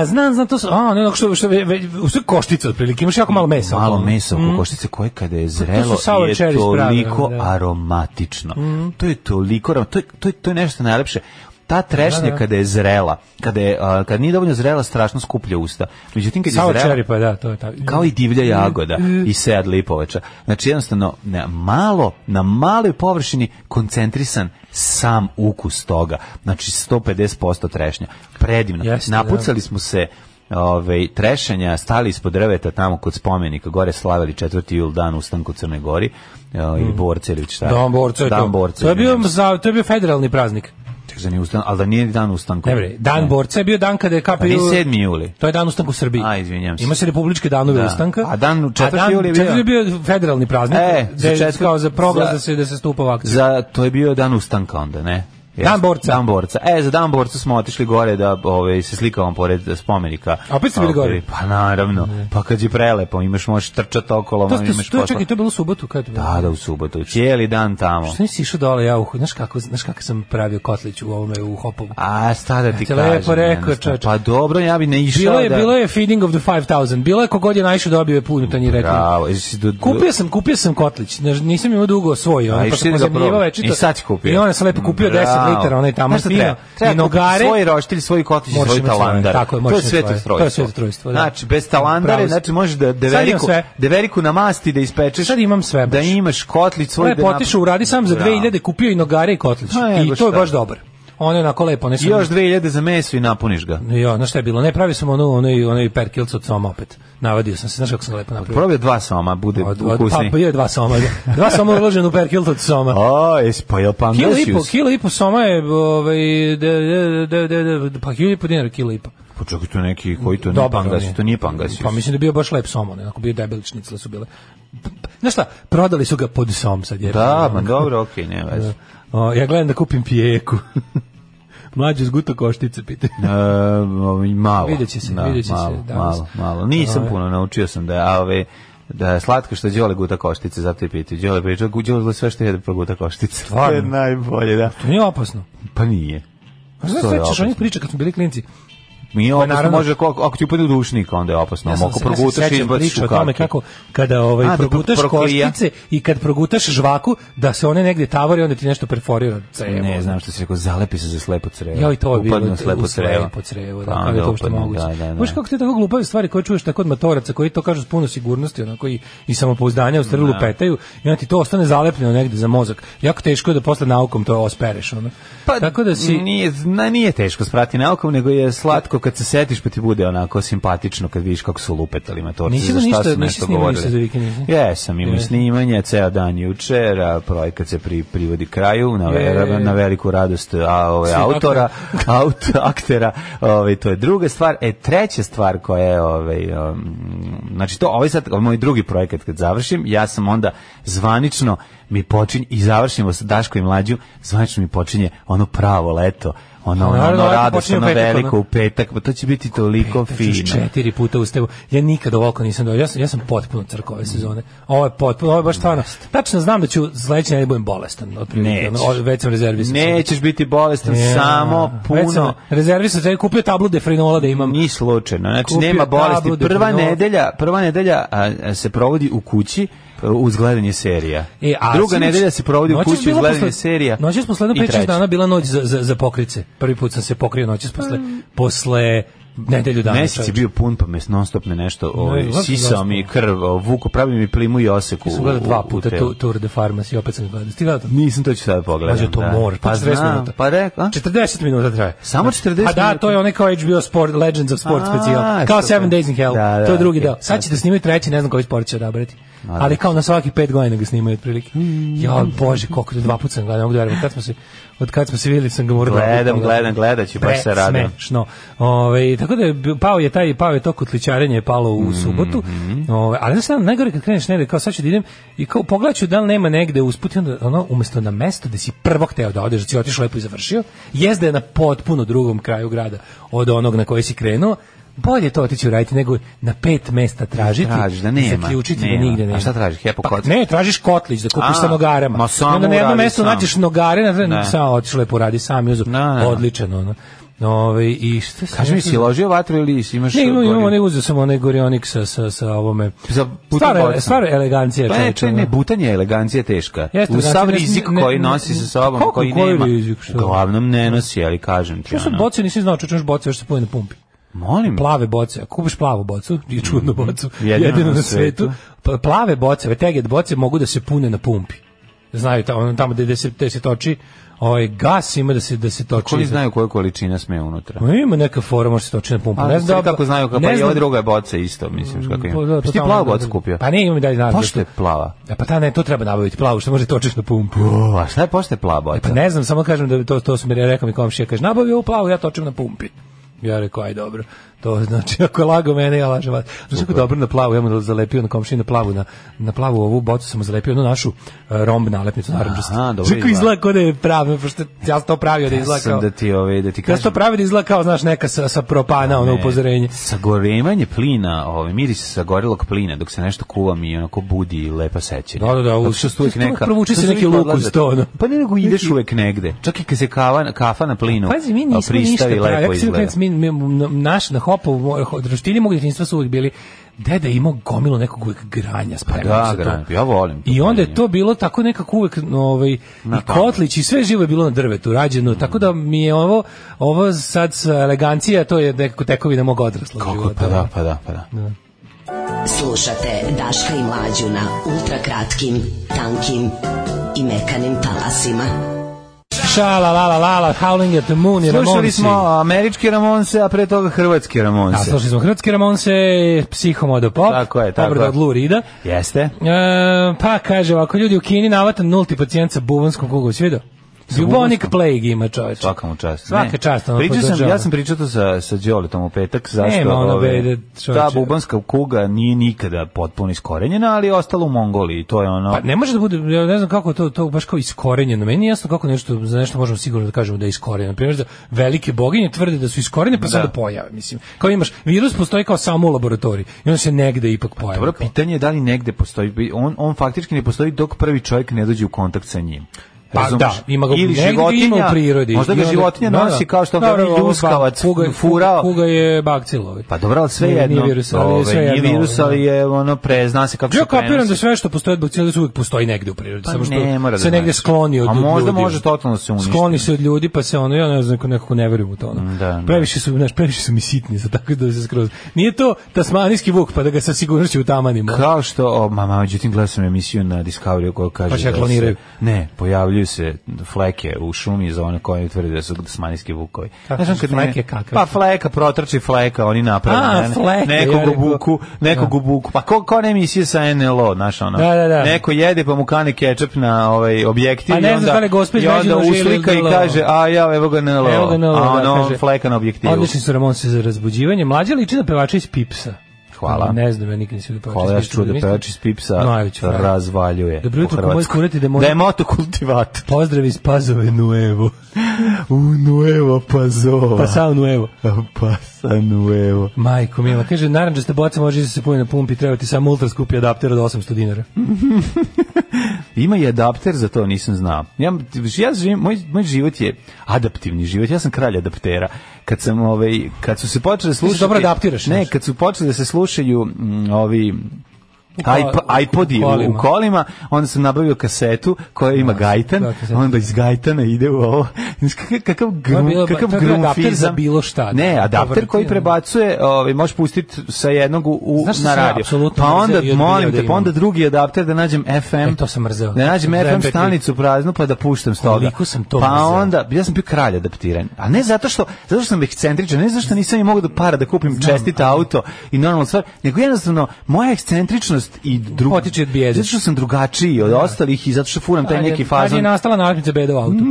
Speaker 7: A, znam, znam, to su, a, ne, ono što, što, ve, ve, u sve koštice otprilike, imaš jako malo mesa.
Speaker 6: malo
Speaker 7: ono. Mm.
Speaker 6: mesa oko koštice koje kada je zrelo
Speaker 7: sour
Speaker 6: je
Speaker 7: cherries pravi,
Speaker 6: toliko
Speaker 7: da. Mm.
Speaker 6: aromatično. To je toliko arom- to je, to je, to je nešto najlepše. Ta trešnja
Speaker 7: Da, da.
Speaker 6: kada je zrela, kada je a, kad nije dovoljno zrela, strašno skuplja usta. Međutim kad je
Speaker 7: Sour
Speaker 6: zrela,
Speaker 7: cherry, pa da, to je tako.
Speaker 6: kao i divlja
Speaker 7: Mm.
Speaker 6: jagoda i sead lipovača. Znači jednostavno na malo, na maloj površini koncentrisan sam ukus toga. Znači 150% trešnja. Predivno.
Speaker 7: Jeste, da.
Speaker 6: Napucali smo se Ove, trešanja, stali ispod drveta tamo kod spomenika, gore slavili četvrti jul dan ustanku Crne Gori e, ili borce ili šta je.
Speaker 7: Mm. Dan borca je
Speaker 6: dan
Speaker 7: to.
Speaker 6: borca
Speaker 7: to, je
Speaker 6: ili
Speaker 7: bio,
Speaker 6: nešto.
Speaker 7: za, to je bio federalni praznik.
Speaker 6: Čekaj, za nije ustan- ali da nije dan ustanka
Speaker 7: Ne bre, dan borca je bio dan kada je KPU...
Speaker 6: Pa nije 7. juli.
Speaker 7: To je dan ustanka u Srbiji.
Speaker 6: A, izvinjam se.
Speaker 7: Ima se republičke danove
Speaker 6: Da.
Speaker 7: ustanka.
Speaker 6: A dan u četvrti
Speaker 7: A dan
Speaker 6: juli je bio?
Speaker 7: četvrti federalni praznik.
Speaker 6: E,
Speaker 7: gde
Speaker 6: za
Speaker 7: je
Speaker 6: četvrt-
Speaker 7: kao za proglas
Speaker 6: za-
Speaker 7: da se, da se stupa u akciju.
Speaker 6: Za, to je bio dan ustanka onda, ne? Jeste.
Speaker 7: Dan borca.
Speaker 6: Dan borca. E, za dan borca smo otišli gore da ove, se slikavamo pored spomenika.
Speaker 7: A opet ste bili
Speaker 6: Ove,
Speaker 7: gore?
Speaker 6: Pa naravno. Pa kad je prelepo, imaš, možeš trčati okolo,
Speaker 7: to,
Speaker 6: ma,
Speaker 7: ste,
Speaker 6: imaš
Speaker 7: to, je,
Speaker 6: posla.
Speaker 7: čekaj, to je bilo u subotu, kada je to bilo?
Speaker 6: Da, da, u subotu. Cijeli dan tamo.
Speaker 7: Što nisi išao dole ja u... Znaš kako, znaš kako sam pravio kotlić u ovome, u hopovu?
Speaker 6: A, šta da ti
Speaker 7: Ti
Speaker 6: kažem?
Speaker 7: lepo rekao,
Speaker 6: jednostavno.
Speaker 7: čoveče.
Speaker 6: Pa dobro, ja bi ne išao
Speaker 7: Bilo je,
Speaker 6: da...
Speaker 7: bilo je feeding of the 5000. Bilo je kogod je naišao dobio je puno tanjire.
Speaker 6: Bravo. jesi do- do-
Speaker 7: Kupio sam, kupio sam kotlić. Ne- Nisam imao dugo svoj, on pa
Speaker 6: išli
Speaker 7: sam
Speaker 6: ga
Speaker 7: pozemljivao
Speaker 6: probati.
Speaker 7: večito.
Speaker 6: da I sad si kupio.
Speaker 7: I on sam lepo kupio 10
Speaker 6: Bravo.
Speaker 7: litara, onaj tamo
Speaker 6: Znaš šta treba?
Speaker 7: fino.
Speaker 6: Treba
Speaker 7: I
Speaker 6: kupiti
Speaker 7: nogare.
Speaker 6: svoj roštilj, svoj kotić, i
Speaker 7: Moraš
Speaker 6: svoj
Speaker 7: imati svoje,
Speaker 6: talandar.
Speaker 7: tako je, moraš
Speaker 6: to je
Speaker 7: imati
Speaker 6: sveto
Speaker 7: svoje.
Speaker 6: trojstvo.
Speaker 7: To je sveto trojstvo, da.
Speaker 6: Znači, bez
Speaker 7: Pravo
Speaker 6: talandare,
Speaker 7: si.
Speaker 6: znači možeš da
Speaker 7: imam
Speaker 6: deveriku,
Speaker 7: sve.
Speaker 6: deveriku namasti, da ispečeš.
Speaker 7: Sad imam sve baš.
Speaker 6: Da imaš kotlić svoj.
Speaker 7: Lepo
Speaker 6: da nap-
Speaker 7: otišao, uradi sam za
Speaker 6: Bravo.
Speaker 7: 2000, kupio i nogare i kotlić.
Speaker 6: Pa, evo
Speaker 7: I to je
Speaker 6: šta.
Speaker 7: baš dobar. Ono je onako lepo, ne
Speaker 6: I
Speaker 7: sam...
Speaker 6: još 2000 za meso i napuniš ga.
Speaker 7: Jo, znaš šta je bilo? Ne, pravi sam ono, onaj, onaj perkilc od soma opet. Navadio sam se, znaš kako sam ga lepo napravio.
Speaker 6: Probaj da dva soma, bude
Speaker 7: Od- od-
Speaker 6: ukusni.
Speaker 7: Pa, je dva soma. da. Dva soma uložen u perkilt od soma.
Speaker 6: O, jesi pa pojel
Speaker 7: Kilo i po,
Speaker 6: pandasius?
Speaker 7: kilo i po soma je, ovaj, de, de, de, de, de, pa kilo i po dinara, kilo i po.
Speaker 6: Pa čekaj, to neki, koji to nije
Speaker 7: Dobar on
Speaker 6: pangasius,
Speaker 7: je.
Speaker 6: to nije pangasius.
Speaker 7: Pa mislim da je bio baš lep som, onako bio debeli šnicle su bile. P- p- Znaš šta, prodali su ga pod som sad. Jer,
Speaker 6: Da, ma dobro, okej, ne veze.
Speaker 7: O, ja gledam da kupim pijeku. Mlađe zguto koštice, pite.
Speaker 6: E, ovaj, malo.
Speaker 7: Vidjet će se,
Speaker 6: da,
Speaker 7: vidjet će se
Speaker 6: malo,
Speaker 7: danas.
Speaker 6: Malo, malo. Nisam
Speaker 7: Ovaj.
Speaker 6: puno naučio sam da je, a ove, da je slatko što Đole guta koštice, zato i pitaju. Đole priča, gu- Đole sve što jede proguta koštice.
Speaker 7: Stvarno?
Speaker 6: To je najbolje, da.
Speaker 7: To nije opasno.
Speaker 6: Pa nije.
Speaker 7: A Pa znaš,
Speaker 6: To je
Speaker 7: sećaš onih
Speaker 6: opasno.
Speaker 7: priča kad smo bili klinci?
Speaker 6: Nije opasno,
Speaker 7: Pa naravno-
Speaker 6: može, ako, ako ti upade u dušnik, onda je opasno. Ja ako
Speaker 7: se- se
Speaker 6: progutaš i
Speaker 7: sećam
Speaker 6: izbaciš
Speaker 7: priče
Speaker 6: u
Speaker 7: o tome
Speaker 6: kaki.
Speaker 7: kako kada ovaj
Speaker 6: A, da
Speaker 7: progutaš
Speaker 6: pro- proklija.
Speaker 7: koštice i kad progutaš žvaku da se one negde tavore onda ti nešto perforira cevo.
Speaker 6: Ne znam što si rekao, zalepi se za slepo crevo.
Speaker 7: Ja i to je bilo
Speaker 6: Da, Upadne na slepo
Speaker 7: u
Speaker 6: crevo.
Speaker 7: slepo crevo, da,
Speaker 6: Pa
Speaker 7: kao je to što
Speaker 6: upadne,
Speaker 7: moguće.
Speaker 6: Da, da, da.
Speaker 7: Možeš kako ti tako glupave stvari koje čuješ tako od matoraca koji to kažu s puno sigurnosti, onako i, i samopouzdanja u strelu
Speaker 6: Da.
Speaker 7: petaju i onda ti to ostane zalepljeno negde za mozak. Jako teško je da posle naukom to ospereš. Ono.
Speaker 6: Pa,
Speaker 7: tako da si...
Speaker 6: Nije, na, nije teško sprati naukom, nego je slatko kad se setiš pa ti bude onako simpatično kad vidiš kako su lupetali motorci.
Speaker 7: Nisi
Speaker 6: za
Speaker 7: za
Speaker 6: šta
Speaker 7: ništa-
Speaker 6: su
Speaker 7: nisi
Speaker 6: nešto
Speaker 7: snimali
Speaker 6: govorili.
Speaker 7: se za vikend, nisi?
Speaker 6: Jesam, imao
Speaker 7: Je.
Speaker 6: snimanje, ceo dan jučer, a projekat se pri, privodi kraju, na,
Speaker 7: Je.
Speaker 6: ver- na veliku radost a, ove,
Speaker 7: Svih
Speaker 6: autora, aut, aktera, ove, to je druga stvar. E, treća stvar koja je, ove, ovaj um, znači to, ovaj sad, ovaj moj drugi projekat kad završim, ja sam onda zvanično mi počinje i završimo sa Daško i mlađu, zvanično mi počinje ono pravo leto. Ono, ono,
Speaker 7: Pa Naravno,
Speaker 6: ono
Speaker 7: leto
Speaker 6: radost,
Speaker 7: počinje u
Speaker 6: ono
Speaker 7: petak,
Speaker 6: veliko
Speaker 7: ono.
Speaker 6: u petak, pa to će biti toliko
Speaker 7: Znači,
Speaker 6: fino.
Speaker 7: četiri puta ustavu. Ja nikad ovako nisam dođao. Ja sam, ja sam potpuno crko ove sezone. Ovo je potpuno, ovo je baš stvarno. Tačno znam da ću sledeće nedelje budem bolestan. Otprilike,
Speaker 6: Nećeš.
Speaker 7: ono, o, već sam rezervisan.
Speaker 6: Nećeš biti bolestan,
Speaker 7: Ja.
Speaker 6: samo
Speaker 7: Već sam
Speaker 6: puno
Speaker 7: rezervisan, sam kupio tablu defrinola da imam.
Speaker 6: Ni slučajno, znači
Speaker 7: Kupio
Speaker 6: nema bolesti.
Speaker 7: tablu,
Speaker 6: Prva
Speaker 7: definol.
Speaker 6: nedelja, prva nedelja a, a, se provodi u kući a, uz gledanje serija.
Speaker 7: E, a
Speaker 6: Druga
Speaker 7: sinoć-
Speaker 6: nedelja se provodi u
Speaker 7: noćas
Speaker 6: kući uz
Speaker 7: bila
Speaker 6: gledanje
Speaker 7: posle-
Speaker 6: serija.
Speaker 7: Noćas posle
Speaker 6: I
Speaker 7: 5-6
Speaker 6: treća.
Speaker 7: dana bila noć za, za, za pokrice. Prvi put sam se pokrio noćas posle, posle nedelju dana.
Speaker 6: Mesec je
Speaker 7: čoveče.
Speaker 6: bio pun, pa me non stop me nešto ovaj,
Speaker 7: Ne, baš
Speaker 6: sisao
Speaker 7: zaspao.
Speaker 6: mi je krv, o, vuko, pravi mi plimu i oseku.
Speaker 7: Sam gledao
Speaker 6: u-
Speaker 7: dva
Speaker 6: u
Speaker 7: puta
Speaker 6: telu.
Speaker 7: tu, Tour de Pharmacy, opet sam gledao. Ti gledao to?
Speaker 6: Nisam to ću sada pogledati.
Speaker 7: Mađo, to more,
Speaker 6: Pa
Speaker 7: 40
Speaker 6: znam,
Speaker 7: minuta.
Speaker 6: pa rek, a?
Speaker 7: 40 minuta traje.
Speaker 6: Samo 40
Speaker 7: A da, to je
Speaker 6: minuta.
Speaker 7: onaj kao HBO Sport, Legends of Sport
Speaker 6: A,
Speaker 7: specijal. Kao
Speaker 6: super.
Speaker 7: Seven Days in Hell.
Speaker 6: Da, da,
Speaker 7: to je drugi
Speaker 6: ok.
Speaker 7: deo. Sad ćete snimati treći, ne znam koji sport će odabrati.
Speaker 6: da.
Speaker 7: Ali kao na svaki pet godina ga snimaju otprilike.
Speaker 6: Mm.
Speaker 7: Ja, bože, koliko to dva puta sam gledao, ne mogu da verujem. Od kad smo se od kad smo se videli sam ga morao da-
Speaker 6: Gledam, gledam, gledaću, baš se radim.
Speaker 7: Presmešno. Ovaj tako da je bi- pao je taj pao je to kotličarenje je palo u subotu.
Speaker 6: Mhm.
Speaker 7: Ovaj ali znači najgore kad kreneš negde kao sad ću da idem i kao pogledaću da li nema negde usput i onda ono umesto na mesto gde si prvo hteo da odeš, da si otišao lepo i završio, jezda je na potpuno drugom kraju grada od onog na koji si krenuo. Bolje to otići uraditi nego na pet mesta tražiti.
Speaker 6: Tražiš da
Speaker 7: i
Speaker 6: nema,
Speaker 7: Zaključiti
Speaker 6: nema.
Speaker 7: da nigde
Speaker 6: A
Speaker 7: nema.
Speaker 6: šta tražiš, Hepo
Speaker 7: Pa
Speaker 6: kocku?
Speaker 7: Ne, tražiš kotlić da kupiš
Speaker 6: A,
Speaker 7: sa nogarama.
Speaker 6: ma
Speaker 7: I onda
Speaker 6: samo
Speaker 7: na jednom
Speaker 6: uradi
Speaker 7: mestu
Speaker 6: sam.
Speaker 7: nađeš nogare,
Speaker 6: Da.
Speaker 7: na, sam otišao lepo radi sam, juzo.
Speaker 6: Da, da, da.
Speaker 7: Odličan ono. Ove, i šta sam
Speaker 6: Kaži mi,
Speaker 7: još
Speaker 6: si ložio vatru ili si imaš...
Speaker 7: Ne, imam,
Speaker 6: gorivo?
Speaker 7: imam, onaj uzeo sam onaj gorionik sa, sa, sa ovome.
Speaker 6: Za putu
Speaker 7: Stvar,
Speaker 6: bocom.
Speaker 7: stvar elegancija.
Speaker 6: Pa ne,
Speaker 7: čoveče,
Speaker 6: čaj,
Speaker 7: ono.
Speaker 6: ne, butanje je elegancija teška.
Speaker 7: Jeste,
Speaker 6: U sav
Speaker 7: znači, ne-
Speaker 6: rizik
Speaker 7: ne-
Speaker 6: koji
Speaker 7: ne-
Speaker 6: nosi sa sobom,
Speaker 7: Kako,
Speaker 6: koji
Speaker 7: koji
Speaker 6: nema.
Speaker 7: rizik, što?
Speaker 6: Uglavnom ne nosi, ali kažem ti.
Speaker 7: Što su
Speaker 6: ono.
Speaker 7: boce, nisam znao, čoče, još boce još se pojene na pumpi.
Speaker 6: Molim.
Speaker 7: Plave boce, ako kupiš plavu bocu, i čudnu bocu, Mm, jedino, na svetu, pa plave boce, ove teget boce mogu da se pune na pumpi. Znaju, ta- ono tamo gde se, gde se toči, ovaj, gas ima da se, da se toči.
Speaker 6: Koji pa znaju koja količina sme unutra?
Speaker 7: Ma Ima neka fora, može se toči na pumpu.
Speaker 6: Pa,
Speaker 7: ne Pa znam da,
Speaker 6: kako znaju, kako,
Speaker 7: ne
Speaker 6: pa i
Speaker 7: znam-
Speaker 6: ova druga je boca isto, mislim, kako
Speaker 7: Pa
Speaker 6: ima.
Speaker 7: da,
Speaker 6: Pa,
Speaker 7: to
Speaker 6: ti
Speaker 7: tamo
Speaker 6: plavu
Speaker 7: ne-
Speaker 6: bocu kupio?
Speaker 7: Pa ne, imam i dalje nagradu.
Speaker 6: Pošto je plava?
Speaker 7: E pa ta ne, to treba nabaviti plavu, što može da točiš na pumpu.
Speaker 6: O, a šta je pošto je plava boca?
Speaker 7: Pa ne znam, samo kažem da to to su mi re- rekao mi komšija, kaže nabavi ovu plavu, ja točim na pumpi. Ja rekao, aj dobro. To znači ako je lago mene, ja lažem vas. Znači kako je dobro na plavu, ja mu zalepio na komšiji na plavu, na, na plavu ovu bocu sam mu zalepio onu našu e, romb nalepnicu narančastu.
Speaker 6: Aha, dobro
Speaker 7: Znači kako
Speaker 6: izgleda.
Speaker 7: izgleda kao da je pravno, pošto ja sam to pravio da
Speaker 6: Ja
Speaker 7: izgleda
Speaker 6: sam
Speaker 7: kao...
Speaker 6: da ti, ove, da ti
Speaker 7: Ja sam to
Speaker 6: kažem.
Speaker 7: pravio da izgleda kao, znaš, neka sa, sa propana, ono
Speaker 6: Ne.
Speaker 7: upozorenje.
Speaker 6: E, Sagorevanje plina, ovaj miris sagorelog plina dok se nešto kuva mi onako budi lepa sećanja.
Speaker 7: Da, da, da,
Speaker 6: Zato
Speaker 7: u-
Speaker 6: što su uvijek
Speaker 7: to- to
Speaker 6: neka.
Speaker 7: provuče
Speaker 6: to
Speaker 7: se
Speaker 6: su
Speaker 7: neki
Speaker 6: uvijek
Speaker 7: luk uz
Speaker 6: odlazak.
Speaker 7: to, ono.
Speaker 6: Pa ne nego ideš uvek negde. Čak i kad se kava, kafa na plinu.
Speaker 7: Pa Pazi, mi
Speaker 6: a,
Speaker 7: nismo ništa
Speaker 6: pristavi,
Speaker 7: pravi.
Speaker 6: lepo
Speaker 7: Ja sam
Speaker 6: izgleda. Pa
Speaker 7: klinac, mi, mi, na- naš na hopu, moj- ho- roštilji mog djetinjstva su uvijek bili deda je imao gomilu nekog uvijek granja spremnog
Speaker 6: da,
Speaker 7: za pa to.
Speaker 6: granja, ja volim to
Speaker 7: I onda je
Speaker 6: granje.
Speaker 7: to bilo tako nekako uvijek ovaj, i kotlić i sve živo je bilo na drvetu rađeno,
Speaker 6: Mm.
Speaker 7: tako da mi je ovo ovo sad sa elegancija, to je nekako tekovina mog odraslog
Speaker 6: Kako,
Speaker 7: života.
Speaker 6: pa da, pa da, pa da.
Speaker 5: Slušate Daška i Mlađu na ultrakratkim, tankim i mekanim talasima.
Speaker 7: Šala, la, la, la, la, Howling at the Moon i
Speaker 6: Slušali
Speaker 7: Ramonsi. Da,
Speaker 6: smo američke Ramonse, a pre toga hrvatske
Speaker 7: A,
Speaker 6: Ramonse.
Speaker 7: slušali smo Hrvatski Ramonse, Psihomodo Pop,
Speaker 6: Tako je, tako
Speaker 7: obrada
Speaker 6: je.
Speaker 7: od Lou Reeda.
Speaker 6: Jeste?
Speaker 7: E, pa kaže ovako, ljudi u Kini navatan nulti pacijent sa buvanskom kugom, svi vidio? Bubonic
Speaker 6: buvanskom?
Speaker 7: plague ima čoveč.
Speaker 6: Svaka mu čast.
Speaker 7: Svaka
Speaker 6: Ne.
Speaker 7: čast, ono,
Speaker 6: Pričao sam,
Speaker 7: podržavam.
Speaker 6: ja sam pričao to sa, sa Đoletom u petak, zašto
Speaker 7: Nema ono
Speaker 6: ove,
Speaker 7: bede,
Speaker 6: ta
Speaker 7: čovječe.
Speaker 6: bubanska kuga nije nikada potpuno iskorenjena, ali je ostala u Mongoliji, to je ono...
Speaker 7: Pa ne može da bude, ja ne znam kako je to, to baš kao iskorenjeno. Meni nije jasno kako nešto, za nešto možemo sigurno da kažemo da je iskorenjeno. Primjer, da velike boginje tvrde da su iskorenjene, pa
Speaker 6: Da.
Speaker 7: sad da pojave. Mislim, kao imaš, virus postoji kao samo u laboratoriji i on se negde ipak pojavi.
Speaker 6: Pa Dobro,
Speaker 7: kao.
Speaker 6: pitanje je da li negde postoji, bi- on, on faktički ne postoji dok prvi čovjek ne dođe u kontakt sa njim.
Speaker 7: Pa
Speaker 6: Razumeš?
Speaker 7: da, ima ga
Speaker 6: Ili
Speaker 7: negde ima
Speaker 6: životinja,
Speaker 7: u prirodi.
Speaker 6: Možda
Speaker 7: I
Speaker 6: ga
Speaker 7: onda-
Speaker 6: životinja
Speaker 7: da, da.
Speaker 6: nosi kao što ga
Speaker 7: Dobro, ovo,
Speaker 6: ljuskavac
Speaker 7: kuga je-
Speaker 6: furao.
Speaker 7: Kuga je bakcilovi.
Speaker 6: Pa dobro, ali sve
Speaker 7: Nije-
Speaker 6: jedno.
Speaker 7: Nije virus, ali je
Speaker 6: Ove,
Speaker 7: sve jedno. da.
Speaker 6: Nije virus, ali je ono, pre, zna se kako
Speaker 7: Ja
Speaker 6: se prenosi.
Speaker 7: kapiram da sve što postoji od bakcijalica uvijek postoji negde u prirodi,
Speaker 6: Pa
Speaker 7: samo što
Speaker 6: ne mora da
Speaker 7: se negde
Speaker 6: znači.
Speaker 7: skloni od
Speaker 6: A
Speaker 7: ljudi.
Speaker 6: možda može totalno da se uništi.
Speaker 7: Skloni se od ljudi, pa se ono, ja ne znam, nekako ne verujem u to. Ono.
Speaker 6: da, da.
Speaker 7: Previše su, znaš, previše su mi sitni za tako da se skroz... Nije to tasmanijski vuk, pa da ga sa sigurnošću utamanimo.
Speaker 6: Kao što, o, ma, ma, međutim, gledao sam emisiju na Discovery koja kaže...
Speaker 7: Pa se
Speaker 6: da se-
Speaker 7: kloniraju.
Speaker 6: ne, pojavljuju se fleke u šumi za one koje tvrde da su tasmanijski vukovi.
Speaker 7: Kakve
Speaker 6: Znaš,
Speaker 7: su
Speaker 6: kad ne-
Speaker 7: fleke, kakve
Speaker 6: Pa
Speaker 7: su?
Speaker 6: fleka, protrči fleka, oni naprave.
Speaker 7: A,
Speaker 6: ne, ne,
Speaker 7: fleke, ja
Speaker 6: Nekog
Speaker 7: rekao.
Speaker 6: obuku, nekog
Speaker 7: Da.
Speaker 6: obuku. Pa ko, ko ne emisije sa NLO, znaš, ono.
Speaker 7: Da, da, da.
Speaker 6: Neko jede pa mu kane kečap na ovaj objektiv.
Speaker 7: Pa ne
Speaker 6: i
Speaker 7: znaš
Speaker 6: onda-
Speaker 7: da li je gospođa
Speaker 6: I onda
Speaker 7: Đađina želi
Speaker 6: uslika i
Speaker 7: NLO.
Speaker 6: kaže, a ja, evo ga NLO.
Speaker 7: Evo ga na
Speaker 6: A
Speaker 7: ovo, da,
Speaker 6: ono,
Speaker 7: kaže.
Speaker 6: fleka na objektivu.
Speaker 7: Odlični su Ramon se za razbuđivanje. Mlađa liči na pevača iz Pipsa.
Speaker 6: Hvala.
Speaker 7: Ne znam, ja nikad nisam vidio
Speaker 6: Hvala, ja
Speaker 7: pevačić iz
Speaker 6: čuo da
Speaker 7: Pipsa.
Speaker 6: pevač iz Pipsa
Speaker 7: Najveći frajer.
Speaker 6: razvaljuje.
Speaker 7: Dobro
Speaker 6: po
Speaker 7: jutro, ko može
Speaker 6: Hrvatskoj.
Speaker 7: kurati da je moj-
Speaker 6: Da je motokultivator.
Speaker 7: Pozdrav iz Pazove Nuevo.
Speaker 6: U nuevo
Speaker 7: pa
Speaker 6: pazova.
Speaker 7: Pasao Nuevo.
Speaker 6: Pa Pasa nuevo.
Speaker 7: Majko mila, kaže, naranđasta boca može da se puni na pumpi, treba ti samo ultra skupi adapter od 800 dinara.
Speaker 6: Mm. Ima i adapter za to, nisam znao. Ja, ja živim, moj, moj život je adaptivni život, ja sam kralj adaptera. Kad sam, ovaj, kad su se počeli slušati...
Speaker 7: dobro adaptiraš,
Speaker 6: Ne,
Speaker 7: znaš.
Speaker 6: kad su počeli da se slušaju mm, ovi
Speaker 7: ko-
Speaker 6: iP- iPodi
Speaker 7: u
Speaker 6: u,
Speaker 7: kolima.
Speaker 6: u kolima, onda sam nabavio kasetu koja ima gajtan,
Speaker 7: da, kasetu.
Speaker 6: onda iz gajtana ide u ovo. Znaš, kakav, kakav,
Speaker 7: je
Speaker 6: grum,
Speaker 7: bilo-
Speaker 6: kakav
Speaker 7: to je bio adapter
Speaker 6: grumfizam.
Speaker 7: za bilo šta, da.
Speaker 6: Ne, adapter
Speaker 7: Dobar,
Speaker 6: koji
Speaker 7: ti,
Speaker 6: prebacuje, ovaj, možeš pustiti sa jednog u, u-
Speaker 7: Znaš šta
Speaker 6: na
Speaker 7: sam ja
Speaker 6: radio.
Speaker 7: apsolutno
Speaker 6: Pa
Speaker 7: mrzeo i
Speaker 6: onda,
Speaker 7: odbijao
Speaker 6: molim
Speaker 7: da
Speaker 6: te, pa
Speaker 7: imam?
Speaker 6: onda drugi adapter da nađem FM.
Speaker 7: E, to sam mrzeo.
Speaker 6: Da nađem
Speaker 7: To sam
Speaker 6: FM
Speaker 7: mrzeo.
Speaker 6: stanicu praznu pa da puštam s toga.
Speaker 7: Koliko sam to
Speaker 6: Pa
Speaker 7: mrzeo.
Speaker 6: onda, ja sam bio kralj adaptiran. A ne zato što, zato što sam ekscentričan, ne zato što nisam i mogao da para da kupim čestit auto i normalno stvar, nego jednostavno moja ekscentričnost i drugo.
Speaker 7: Potiče od bijede.
Speaker 6: Zato što sam drugačiji od ostalih i zato što furam taj
Speaker 7: Kad je-
Speaker 6: neki
Speaker 7: Kad je
Speaker 6: fazon.
Speaker 7: nastala nažmica beda u autu.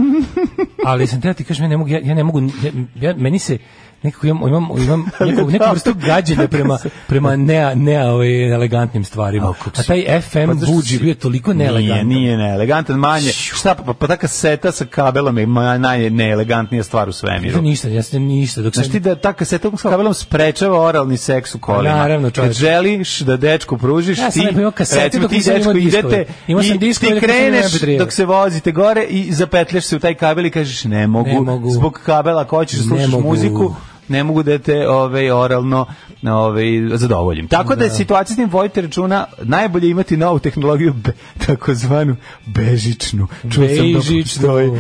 Speaker 7: Ali sam teo ti kažem, ja ne mogu, ja, ja ne mogu, ja, ja, meni se nekako imam, imam, imam neku, neku vrstu gađenja prema, prema ne, ne ovaj, elegantnim stvarima.
Speaker 6: Au, kako
Speaker 7: A
Speaker 6: si-
Speaker 7: taj FM
Speaker 6: zato što
Speaker 7: buđi
Speaker 6: si-
Speaker 7: bio toliko
Speaker 6: Nije,
Speaker 7: neelegantan.
Speaker 6: nije neelegantan, manje. Šta, pa, pa ta kaseta sa kabelom je ma- najneelegantnija stvar u svemiru.
Speaker 7: Ja ništa, ja sam ništa. Dok
Speaker 6: Znaš
Speaker 7: sam-
Speaker 6: ti da ta kaseta s kabelom sprečava oralni seks u kolima.
Speaker 7: Pa Naravno,
Speaker 6: Kad
Speaker 7: čoveče.
Speaker 6: želiš da dečku pružiš,
Speaker 7: Ja sam
Speaker 6: ti,
Speaker 7: lepo imao kasete dok
Speaker 6: ti
Speaker 7: nisam
Speaker 6: dečko
Speaker 7: imao diskove.
Speaker 6: idete
Speaker 7: Imao sam
Speaker 6: i
Speaker 7: diskove
Speaker 6: ti
Speaker 7: dok nisam imao
Speaker 6: kreneš
Speaker 7: MP3.
Speaker 6: dok se vozite gore i zapetljaš se u taj kabel i kažeš ne mogu,
Speaker 7: Ne mogu.
Speaker 6: zbog kabela ako hoćeš da
Speaker 7: Ne
Speaker 6: slušaš
Speaker 7: mogu.
Speaker 6: muziku, ne mogu da te ovaj, oralno ovaj, zadovoljim. Tako da, je situacija s tim vojte računa, najbolje je imati novu tehnologiju, be, takozvanu bežičnu. Čuo sam da
Speaker 7: Bežičnu.
Speaker 6: postoji.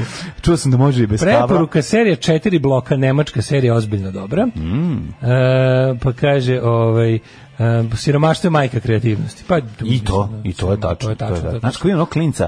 Speaker 6: Čuo sam da može i bez kabla.
Speaker 7: Preporuka serija četiri bloka, nemačka serija ozbiljno dobra.
Speaker 6: Mm.
Speaker 7: E, pa kaže, ovaj, e, siromaštvo je majka kreativnosti. Pa,
Speaker 6: I to, i to je tačno.
Speaker 7: To je tačno. to je tačno.
Speaker 6: Znaš, kao je ono klinca,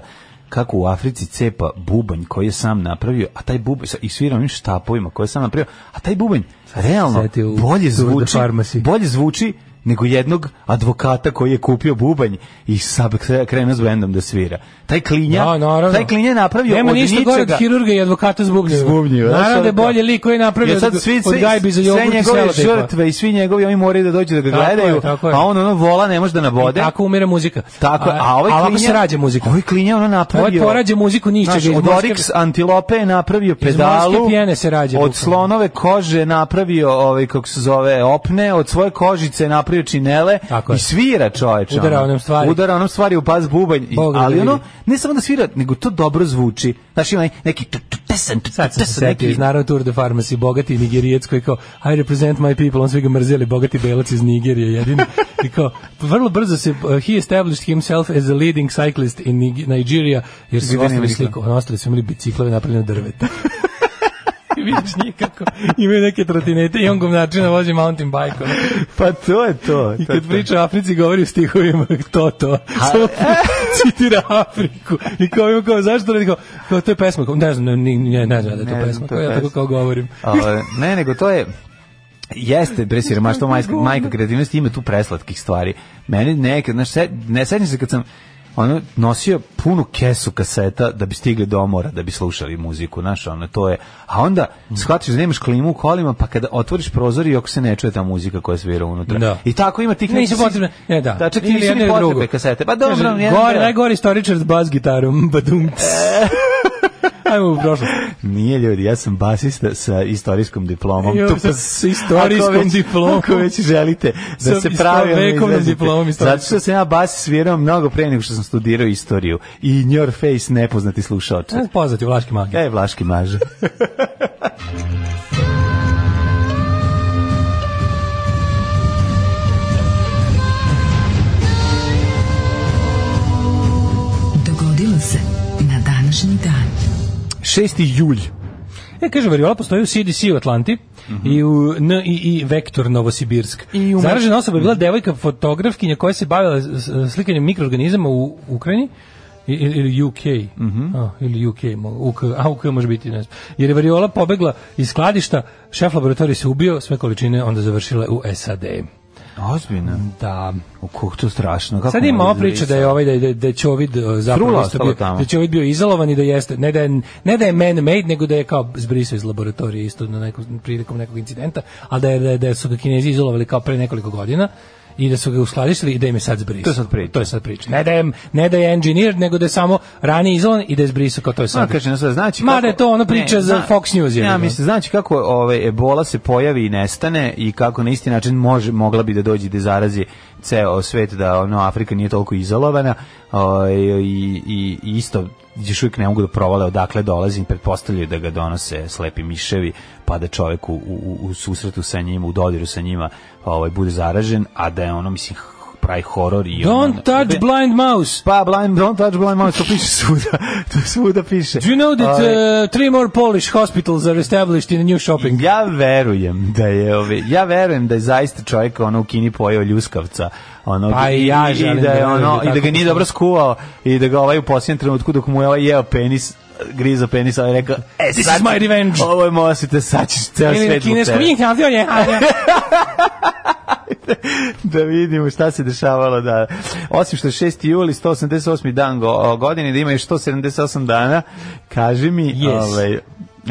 Speaker 6: kako u Africi cepa bubanj koji je sam napravio, a taj bubanj, sa- i svira onim štapovima koje je sam napravio, a taj bubanj realno
Speaker 7: setio u
Speaker 6: bolje
Speaker 7: Tour de
Speaker 6: zvuči,
Speaker 7: Pharmacy.
Speaker 6: bolje zvuči nego jednog advokata koji je kupio bubanj i sad krenuo s bendom da svira. Taj klinja,
Speaker 7: Da, naravno.
Speaker 6: taj klinja je napravio
Speaker 7: Nema
Speaker 6: od
Speaker 7: ništa
Speaker 6: ničega.
Speaker 7: gore od hirurga i advokata s bubnjevima.
Speaker 6: Zbubnjiva, znaš,
Speaker 7: Naravno da je
Speaker 6: ono kao-
Speaker 7: bolje lik koji je napravio
Speaker 6: Jer
Speaker 7: od,
Speaker 6: sad svi,
Speaker 7: od gajbi za
Speaker 6: sve
Speaker 7: jogurt i
Speaker 6: njegove
Speaker 7: selotejpa.
Speaker 6: žrtve i svi njegovi, oni moraju da dođu da ga
Speaker 7: Tako je,
Speaker 6: gledaju,
Speaker 7: tako je.
Speaker 6: a on ono vola ne može da nabode.
Speaker 7: I tako umire muzika.
Speaker 6: Tako, a, ovaj
Speaker 7: a
Speaker 6: klinja...
Speaker 7: ovako se rađa muzika.
Speaker 6: Ovaj klinja ono napravio...
Speaker 7: Ovaj porađa muziku ničega,
Speaker 6: Znaš,
Speaker 7: iz
Speaker 6: od
Speaker 7: morske-
Speaker 6: Oryx antilope je napravio pedalu.
Speaker 7: morske pjene se rađa, bukvalno.
Speaker 6: Od slonove kože je napravio, ovaj, kako se zove, opne, od svoje kožice je napravio činele
Speaker 7: Tako
Speaker 6: i
Speaker 7: je.
Speaker 6: svira čoveče.
Speaker 7: Udara
Speaker 6: ono.
Speaker 7: onom stvari.
Speaker 6: Udara onom stvari u pas bubanj. I-
Speaker 7: Bog ga
Speaker 6: ali
Speaker 7: vidi.
Speaker 6: ono, ne samo da svira, nego to dobro zvuči. Znaš, ima neki... tu- tu- tesan, tu-
Speaker 7: Sad sam se
Speaker 6: tesan,
Speaker 7: setio
Speaker 6: neki-
Speaker 7: iz Naravno Tour de Pharmacy, bogati nigerijac koji kao I represent my people, on svi ga mrzeli, bogati belac iz Nigerije jedini. I kao, vrlo brzo se, uh, he established himself as a leading cyclist in Nig- Nigeria, jer su
Speaker 6: Gde nema
Speaker 7: ostali
Speaker 6: nikla.
Speaker 7: sliku, ostali su imali biciklove napravljene od drveta. I vidiš nikako, imaju neke trotinete i on gumnačina vozi mountain bike.
Speaker 6: Pa to je to.
Speaker 7: I
Speaker 6: to je
Speaker 7: kad
Speaker 6: to.
Speaker 7: priča o Africi, govori u stihovima to, to. Samo citira Afriku. I kao ima kao, zašto radi? Kao, kao, to je pesma. Kao, ne znam, ne, ne, ne znam da je
Speaker 6: Ne
Speaker 7: to
Speaker 6: znam,
Speaker 7: pesma.
Speaker 6: to
Speaker 7: Kao,
Speaker 6: je
Speaker 7: ja tako
Speaker 6: pesma. Znači,
Speaker 7: kao govorim.
Speaker 6: A, Ovaj, ne, nego to je jeste bre siromaštvo majka, majka kreativnosti ima tu preslatkih stvari. Meni nekad, znaš, se, ne sećam se kad sam ono, nosio punu kesu kaseta da bi stigli do omora, da bi slušali muziku, znaš, ono, to je. A onda
Speaker 7: Mm.
Speaker 6: shvatiš da nemaš klimu u kolima, pa kada otvoriš prozor i ako se ne čuje ta muzika koja svira unutra.
Speaker 7: Da.
Speaker 6: I tako ima tih
Speaker 7: Nisu
Speaker 6: nekih-
Speaker 7: potrebne, ne da.
Speaker 6: Da, čak i
Speaker 7: Ili
Speaker 6: nisu
Speaker 7: jedno
Speaker 6: ni
Speaker 7: ili
Speaker 6: potrebe
Speaker 7: drugo.
Speaker 6: kasete. Pa dobro,
Speaker 7: Kaže,
Speaker 6: jedan
Speaker 7: gore,
Speaker 6: deo.
Speaker 7: najgori istoričar s bas gitarom, badum. ts.
Speaker 6: E.
Speaker 7: Ajmo u prošlost.
Speaker 6: Nije ljudi, ja sam basista sa istorijskom diplomom.
Speaker 7: Jo,
Speaker 6: Tu
Speaker 7: sa-
Speaker 6: pa-
Speaker 7: sa istorijskom
Speaker 6: ako već-
Speaker 7: diplomom.
Speaker 6: Ako već želite da
Speaker 7: Sa
Speaker 6: se
Speaker 7: isto-
Speaker 6: pravilno
Speaker 7: vekovnom
Speaker 6: izrazite.
Speaker 7: diplomom istorijskom.
Speaker 6: Zato što sam ja bas svirao mnogo pre nego što sam studirao istoriju. I in your face nepoznati slušaoče.
Speaker 7: Ajmo Pozvati u Vlaški magij.
Speaker 6: E, Vlaški maže.
Speaker 8: Dogodilo se na današnji dan.
Speaker 6: 6. julj.
Speaker 7: E, kaže, variola postoji u CDC u Atlanti i u N i, I Vektor Novosibirsk.
Speaker 6: I u-
Speaker 7: Zaražena osoba je bila devojka fotografkinja koja se bavila s- s- slikanjem mikroorganizama u Ukrajini i- ili ili UK.
Speaker 6: Mhm.
Speaker 7: A, ili UK, mo- UK, a UK može biti, ne znam. Jer je variola pobegla iz skladišta, šef laboratorija se ubio, sve količine onda završile u SAD.
Speaker 6: Ozbiljno.
Speaker 7: Da.
Speaker 6: U kuh, to strašno. Kako
Speaker 7: Sad ima
Speaker 6: mogu
Speaker 7: ova priča da je ovaj da je, da je- da je Ćovid e,
Speaker 6: Trula
Speaker 7: zapravo isto
Speaker 6: ostala
Speaker 7: bio,
Speaker 6: tamo.
Speaker 7: da je Ćovid bio izolovan i da jeste ne da je, ne da je man made nego da je kao zbrisao iz laboratorije isto na nekom prilikom nekog incidenta, ali da je da, je- da su ga Kinezi izolovali kao pre nekoliko godina i da su ga uskladištili i da im je sad zbrisao.
Speaker 6: To je sad priča.
Speaker 7: To je sad priča. Ne da je, ne da je engineer, nego da je samo ranije izlan i da je zbrisao kao to je sad.
Speaker 6: Ma, kaže, no, sad, znači
Speaker 7: Mada je to ono priča za Fox News, je li,
Speaker 6: Ja
Speaker 7: no?
Speaker 6: mislim, znači kako ove, ebola se pojavi i nestane i kako na isti način može, mogla bi da dođe i da zarazi ceo svet da ono, Afrika nije toliko izolovana o, i, i, i isto još uvijek ne mogu da provale odakle dolazim, pretpostavljaju da ga donose slepi miševi, pa da čovek u, u, u susretu sa njim, u dodiru sa njima ovaj, bude zaražen, a da je ono, mislim, pravi horor i ono-
Speaker 7: Don't touch blind mouse.
Speaker 6: pa blind don't touch blind mouse to piše svuda to svuda piše
Speaker 7: Do you know that
Speaker 6: Ovaj,
Speaker 7: uh, three more Polish hospitals are established in a new shopping?
Speaker 6: Ja verujem da je ove, ja verujem da je zaista čovjek ono u Kini pojeo ljuskavca. Ono,
Speaker 7: Pa i ja želim
Speaker 6: i da,
Speaker 7: da
Speaker 6: je
Speaker 7: verujem da
Speaker 6: ono, i da ga
Speaker 7: tako
Speaker 6: nije
Speaker 7: postoji.
Speaker 6: dobro skuvao i da ga ovaj u posljednjem trenutku dok mu je ovaj jeo penis grizo penis, ovaj rekao, e,
Speaker 7: This
Speaker 6: sad,
Speaker 7: is my revenge."
Speaker 6: Ovo je moja sita, sad ćeš ceo
Speaker 7: Ili na
Speaker 6: svet zbog
Speaker 7: kineskom
Speaker 6: tebe.
Speaker 7: "Ih, nazio je, a ja."
Speaker 6: da vidimo šta se dešavalo da osim što je 6. juli 188. dan go, godine da ima još 178 dana kaži mi
Speaker 7: Yes.
Speaker 6: ovaj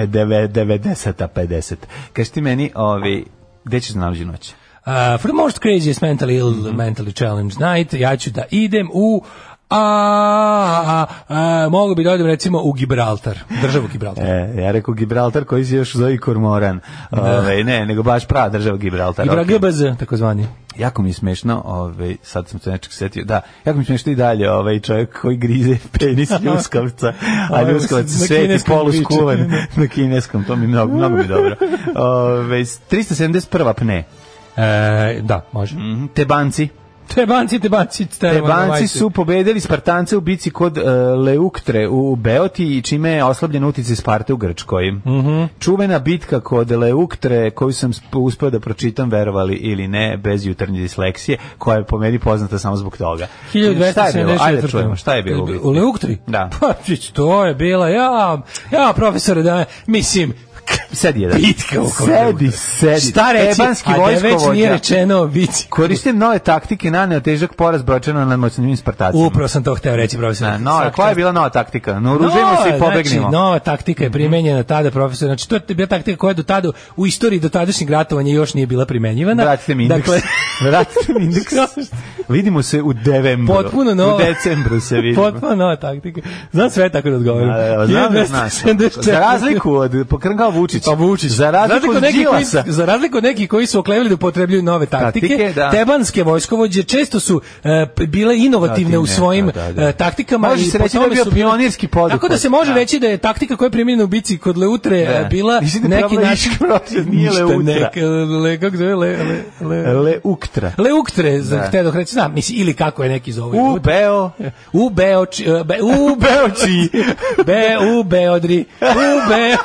Speaker 6: deve- 90 50 kaži ti meni ovaj gde ćeš na nalođu noć
Speaker 7: Uh, for the most craziest mentally ill,
Speaker 6: Mhm.
Speaker 7: mentally challenged night, ja ću da idem u a, a, a, mogu bi da odem recimo u Gibraltar, državu Gibraltar.
Speaker 6: E, ja rekao Gibraltar koji se još zove i Kormoran. Ove, ne, nego baš prava država Gibraltar.
Speaker 7: Gibra GBZ, takozvani.
Speaker 6: Jako mi je smešno, ove, sad sam se nečeg setio, da, jako mi je smešno i dalje ovaj čovjek koji grize penis ljuskavca, a
Speaker 7: Ovaj,
Speaker 6: ljuskavac
Speaker 7: na
Speaker 6: je sveti
Speaker 7: kineskom
Speaker 6: poluskuvan na kineskom, to mi mnogo, mnogo mi je dobro. Ovaj, Ove, 371. pne,
Speaker 7: E, da, može.
Speaker 6: Mhm, tebanci,
Speaker 7: Tebanci, tebanci, tebanci.
Speaker 6: Tebanci su pobedili Spartance u bici kod e, Leuktre u Beoti i čime je oslabljen utjecaj Sparte u Grčkoj.
Speaker 7: Mhm.
Speaker 6: Čuvena bitka kod Leuktre koju sam sp- uspeo da pročitam, verovali ili ne, bez jutarnje disleksije, koja je po meni poznata samo zbog toga. Šta je bilo? Ajde da čujemo, šta je bilo u bitci?
Speaker 7: U Leuktri?
Speaker 6: Da.
Speaker 7: Pa, čić, to je bila, ja, ja, profesore, da, mislim,
Speaker 6: Sedi jedan.
Speaker 7: bitka u kojoj
Speaker 6: Sedi,
Speaker 7: Leuktri.
Speaker 6: sedi.
Speaker 7: Šta reći,
Speaker 6: Tebanski
Speaker 7: a da je već
Speaker 6: vojskovođa.
Speaker 7: nije rečeno o bici.
Speaker 6: Koriste nove taktike, naneo težak poraz bročeno nad moćnim Spartacima.
Speaker 7: Upravo sam to hteo reći, profesor.
Speaker 6: Da, nova, koja je bila nova taktika? Naoružajmo se i pobegnimo.
Speaker 7: Znači, nova taktika je primenjena tada, profesor. Znači, to je bila taktika koja do tada, u istoriji do tadašnjeg ratovanja još nije bila primenjivana.
Speaker 6: Vratite mi indeks.
Speaker 7: Dakle,
Speaker 6: Vratite mi indeks. Vidimo se u devembru.
Speaker 7: Potpuno nova.
Speaker 6: U decembru se vidimo.
Speaker 7: potpuno nova taktika. Znam sve tako da odgovorim.
Speaker 6: Da, da, da, znam da znaš.
Speaker 7: 1974.
Speaker 6: Za razliku od pokrngao Vučić.
Speaker 7: Pa Vučić.
Speaker 6: Za razliku od
Speaker 7: nekih koji,
Speaker 6: Đilasa.
Speaker 7: za razliku od nekih koji su oklevili da upotrebljuju nove taktike,
Speaker 6: Taktike, da.
Speaker 7: tebanske vojskovođe često su e, p- bile inovativne
Speaker 6: Da, ti
Speaker 7: u
Speaker 6: ne,
Speaker 7: svojim
Speaker 6: da, da, da.
Speaker 7: e, taktikama.
Speaker 6: Može
Speaker 7: i
Speaker 6: se
Speaker 7: po
Speaker 6: reći da je
Speaker 7: tome
Speaker 6: bio
Speaker 7: su bile-
Speaker 6: pionirski poduhvat.
Speaker 7: Tako da se može
Speaker 6: Da.
Speaker 7: reći da je taktika koja je primijenjena u bici kod Leutre
Speaker 6: Da.
Speaker 7: e, bila
Speaker 6: Mislim da je
Speaker 7: neki
Speaker 6: probala
Speaker 7: način...
Speaker 6: iskra, protiv, nije
Speaker 7: Ništa,
Speaker 6: Leutra.
Speaker 7: neka, le, kako zove, le, le, le,
Speaker 6: Leuktra.
Speaker 7: Leuktre, za
Speaker 6: Da.
Speaker 7: hteo dok reći, znam, mislim, ili kako je neki zove.
Speaker 6: U Beo.
Speaker 7: U Beoči, e, be, u
Speaker 6: Beoči.
Speaker 7: Be, u Beodri, u Be,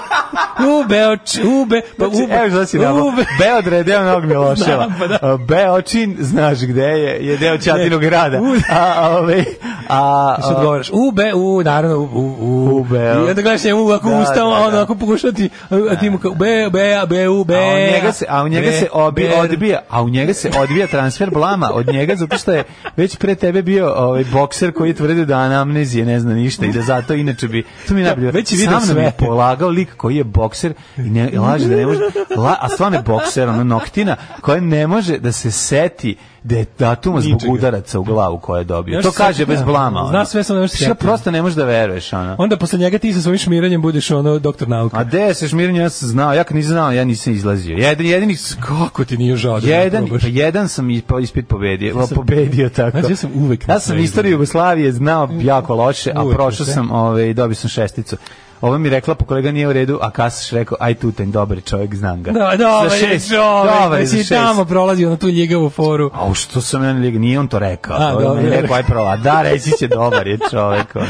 Speaker 7: u Beoč, u Be, pa u
Speaker 6: Znači, Evo što si
Speaker 7: u
Speaker 6: namo.
Speaker 7: Be-
Speaker 6: Beodre je deo Novog Miloševa.
Speaker 7: Znam, pa da.
Speaker 6: A Beočin, znaš gde je, je deo Čatinog grada.
Speaker 7: U-
Speaker 6: A, a, ove, a,
Speaker 7: Šta odgovaraš? U be, u, naravno, u, u, u.
Speaker 6: U Beo.
Speaker 7: I onda gledaš njemu ako
Speaker 6: Da,
Speaker 7: da, ustao,
Speaker 6: da,
Speaker 7: a on
Speaker 6: da.
Speaker 7: ako pokušao ti, a ti mu kao, be, be, a, be, u, be.
Speaker 6: a u njega se a u njega
Speaker 7: be,
Speaker 6: se obi,
Speaker 7: ber.
Speaker 6: odbija a u njega se odbija transfer blama od njega zato što je već pre tebe bio ovaj bokser koji je tvrdio da anamnezije ne zna ništa i da zato inače bi to mi je najbolje
Speaker 7: Da, već je
Speaker 6: Sa
Speaker 7: video
Speaker 6: mnom je
Speaker 7: sve.
Speaker 6: polagao lik koji je bokser i ne i laže da ne može la, a stvarno je bokser ono noktina koja ne može da se seti da je datuma zbog
Speaker 7: Ničega.
Speaker 6: udaraca u glavu koja je dobio
Speaker 7: Još
Speaker 6: to
Speaker 7: se
Speaker 6: kaže
Speaker 7: seti,
Speaker 6: bez
Speaker 7: da.
Speaker 6: blama
Speaker 7: Zna
Speaker 6: ono.
Speaker 7: sve, samo ne može se
Speaker 6: Šta
Speaker 7: seti.
Speaker 6: prosto ne možeš da veruješ ono
Speaker 7: Onda posle njega ti sa svojim šmiranjem budeš ono doktor nauka.
Speaker 6: A de se šmirenje, ja sam znao, ja kad nisam znao, ja nisam izlazio. Jedan, jedini
Speaker 7: Kako ti nije žao da ne
Speaker 6: Jedan,
Speaker 7: probaš?
Speaker 6: pa jedan sam isp- ispit pobedio, pobedio tako.
Speaker 7: Znači, Pa ja sam uvek na
Speaker 6: Ja sam
Speaker 7: sve
Speaker 6: istoriju Jugoslavije znao jako loše, a
Speaker 7: Uvek na
Speaker 6: prošao
Speaker 7: sve.
Speaker 6: sam ove, i dobio sam šesticu. Ovo mi je rekla, pa kolega nije u redu, a Kasiš rekao, aj tutanj, dobar čovjek, znam ga.
Speaker 7: Da, da,
Speaker 6: za šest, dobar je za šest.
Speaker 7: tamo prolazio na tu ljigavu foru.
Speaker 6: A u što sam ja ne lig, nije on to rekao.
Speaker 7: A,
Speaker 6: A, dobro,
Speaker 7: dobro.
Speaker 6: mi je rekao, aj prava. Da, reći će, dobar je čovjek. ono.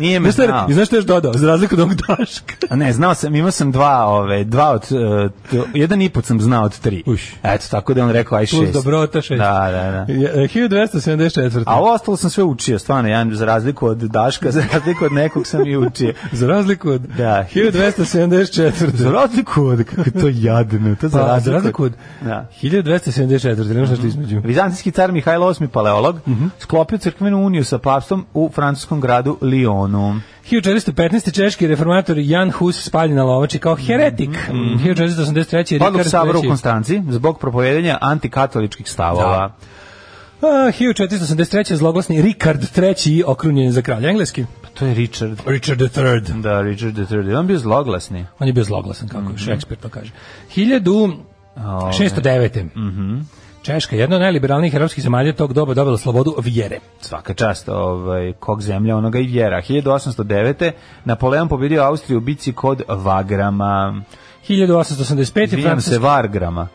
Speaker 6: Nije me
Speaker 7: Znaš šta,
Speaker 6: znao.
Speaker 7: I znaš šta još dodao? Za razliku od ovog Daška.
Speaker 6: A Ne, znao sam, imao sam dva, ove, dva od, e, t- jedan i pod sam znao od tri.
Speaker 7: Uš.
Speaker 6: Eto, tako da je on rekao, aj šest.
Speaker 7: Plus dobrota šest.
Speaker 6: Da, da, da.
Speaker 7: Je- e, 1274.
Speaker 6: A ovo ostalo sam sve učio, stvarno, ja za razliku od Daška, za razliku od nekog sam i učio.
Speaker 7: Za razliku od...
Speaker 6: Da.
Speaker 7: 1274.
Speaker 6: Za razliku od, kako je to jadno, to za
Speaker 7: Pa, za
Speaker 6: razliku,
Speaker 7: razliku od...
Speaker 6: Da. Mhm.
Speaker 7: 1274. Ili nešto između.
Speaker 6: Vizantijski car Mihajlo VIII paleolog
Speaker 7: Mhm.
Speaker 6: sklopio crkvenu uniju sa papstom u francuskom gradu Lyonu.
Speaker 7: 1415. češki reformator Jan Hus spaljen na lovači kao heretik. Mhm. 1483.
Speaker 6: Odlog
Speaker 7: Rikard
Speaker 6: sabora Mhm. u
Speaker 7: III. Da.
Speaker 6: Konstanci zbog propovedanja antikatoličkih stavova.
Speaker 7: A, 1483. zloglasni Richard III. okrunjen za kralja engleski.
Speaker 6: To je Richard.
Speaker 7: Pa Richard III.
Speaker 6: Da, Richard III. On bio zloglasni.
Speaker 7: On je bio zloglasan,
Speaker 6: Mhm.
Speaker 7: kako mm -hmm. Šekspir to kaže. 1609. Mm
Speaker 6: Mhm.
Speaker 7: -hmm. Češka, jedna od najliberalnijih evropskih zemalja tog doba dobila slobodu vjere.
Speaker 6: Svaka čast, ovaj, kog zemlja onoga i vjera. 1809. Napoleon pobedio Austriju u bici kod Vagrama.
Speaker 7: 1885. je
Speaker 6: Izvinjam se,
Speaker 7: francuski...
Speaker 6: Vargrama.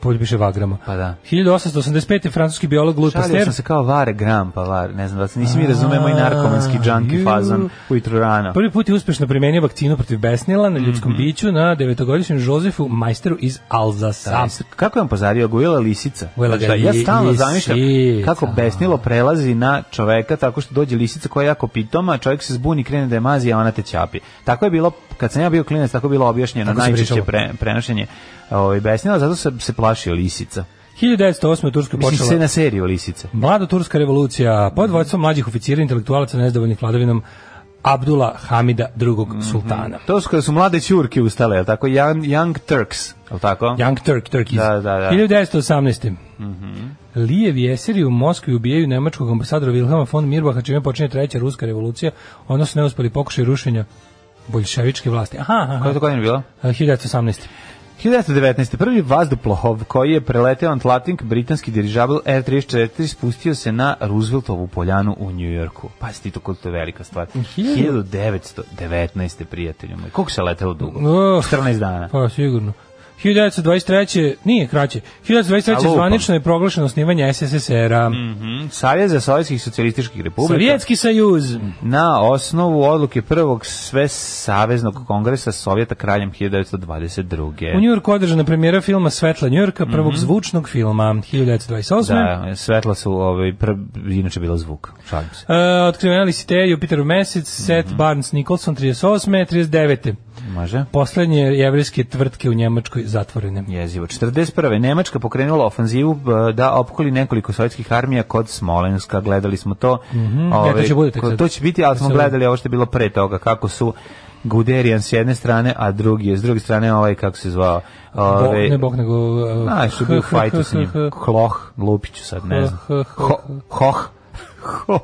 Speaker 7: Polje piše Vagrama.
Speaker 6: Pa da.
Speaker 7: 1885. je francuski biolog Louis
Speaker 6: Šalio
Speaker 7: Pasteur.
Speaker 6: sam Pa se kao Vargram, pa var, ne znam da se nisi mi razumemo i narkomanski džanki
Speaker 7: ju.
Speaker 6: fazan ujutro rano.
Speaker 7: Prvi put je uspešno primenio vakcinu protiv besnila na
Speaker 6: Mhm.
Speaker 7: ljudskom biću na devetogodišnjem Jozefu Majsteru iz Alzasa.
Speaker 6: E, Kako je on pozario Gujela lisica?
Speaker 7: Gojela
Speaker 6: Znaš da, ja
Speaker 7: li-
Speaker 6: stalno
Speaker 7: Pa- lisica.
Speaker 6: zamišljam kako besnilo prelazi na čoveka tako što dođe lisica koja je jako pitoma, čovjek se zbuni, krene da je mazi, a ona te ćapi. Tako je bilo, kad sam ja bio klinac, tako je bilo objašnjeno,
Speaker 7: Tako se
Speaker 6: najčešće
Speaker 7: pričalo.
Speaker 6: pre, prenošenje ovaj, besnila, zato se, se plašio lisica.
Speaker 7: 1908. u Turskoj
Speaker 6: Mislim se
Speaker 7: počela
Speaker 6: na seriju lisice.
Speaker 7: mlada turska revolucija pod vojstvom mlađih oficira i intelektualaca nezadovoljnih vladavinom Abdula Hamida II.
Speaker 6: Mhm.
Speaker 7: sultana.
Speaker 6: To su kada su mlade ćurke ustale, je li tako? Young, young Turks, je li tako?
Speaker 7: Young Turk, Turkies.
Speaker 6: Da, da, Mhm. da.
Speaker 7: 1918. Lijev jeseri u Moskvi ubijaju nemačkog ambasadora Wilhelma von Mirbaha, čime počinje treća ruska revolucija, odnosno neuspeli pokušaj rušenja boljševičke vlasti. Aha,
Speaker 6: Koja
Speaker 7: aha,
Speaker 6: je to
Speaker 7: aha.
Speaker 6: godina bila?
Speaker 7: A, 1918.
Speaker 6: 1919. Prvi vazduplov koji je preleteo Atlantik, britanski dirižabl R-34 spustio se na Rooseveltovu poljanu u Njujorku. Pazite ti to koliko to je velika stvar. 1919. prijatelju moj. Koliko se letelo dugo?
Speaker 7: Uh,
Speaker 6: 14 dana.
Speaker 7: Pa, sigurno. 1923. nije kraće. 1923.
Speaker 6: Alupam.
Speaker 7: zvanično je proglašeno osnivanje SSSR-a.
Speaker 6: Mhm. Savjez za Sovjetskih socijalističkih republika
Speaker 7: Sovjetski sajuz.
Speaker 6: Mm, na osnovu odluke prvog sve saveznog kongresa Sovjeta kraljem 1922.
Speaker 7: U Njurku održana premijera filma Svetla Njurka, prvog zvučnog filma 1928.
Speaker 6: Mhm. Da, svetla su, ovaj, prv, inače bila zvuk. Šalim se.
Speaker 7: Uh, otkrivena Lisiteja, Jupiterov mesec, Seth
Speaker 6: Mhm.
Speaker 7: Barnes Nicholson, 38. 39.
Speaker 6: Može?
Speaker 7: Poslednje jevrijske tvrtke u Njemačkoj zatvorene.
Speaker 6: Jezivo. 41. Nemačka pokrenula ofanzivu b- da opkoli nekoliko sovjetskih armija kod Smolenska. Gledali smo to. Ovaj,
Speaker 7: Ne, Mhm, to će bude tek
Speaker 6: ko-
Speaker 7: sad. Da
Speaker 6: to će biti, ali smo
Speaker 7: Sad.
Speaker 6: gledali ovo što je bilo pre toga, kako su Guderian s jedne strane, a drugi je s druge strane ovaj, kako se zvao,
Speaker 7: Bo,
Speaker 6: ovaj,
Speaker 7: ne bok, nego... uh,
Speaker 6: znaš, što je bio u
Speaker 7: h- h-
Speaker 6: fajtu s
Speaker 7: h-
Speaker 6: njim.
Speaker 7: h-
Speaker 6: Hloh, Lupiću sad, ne znam.
Speaker 7: H- h- h-
Speaker 6: Ho- Hoh. Hoh.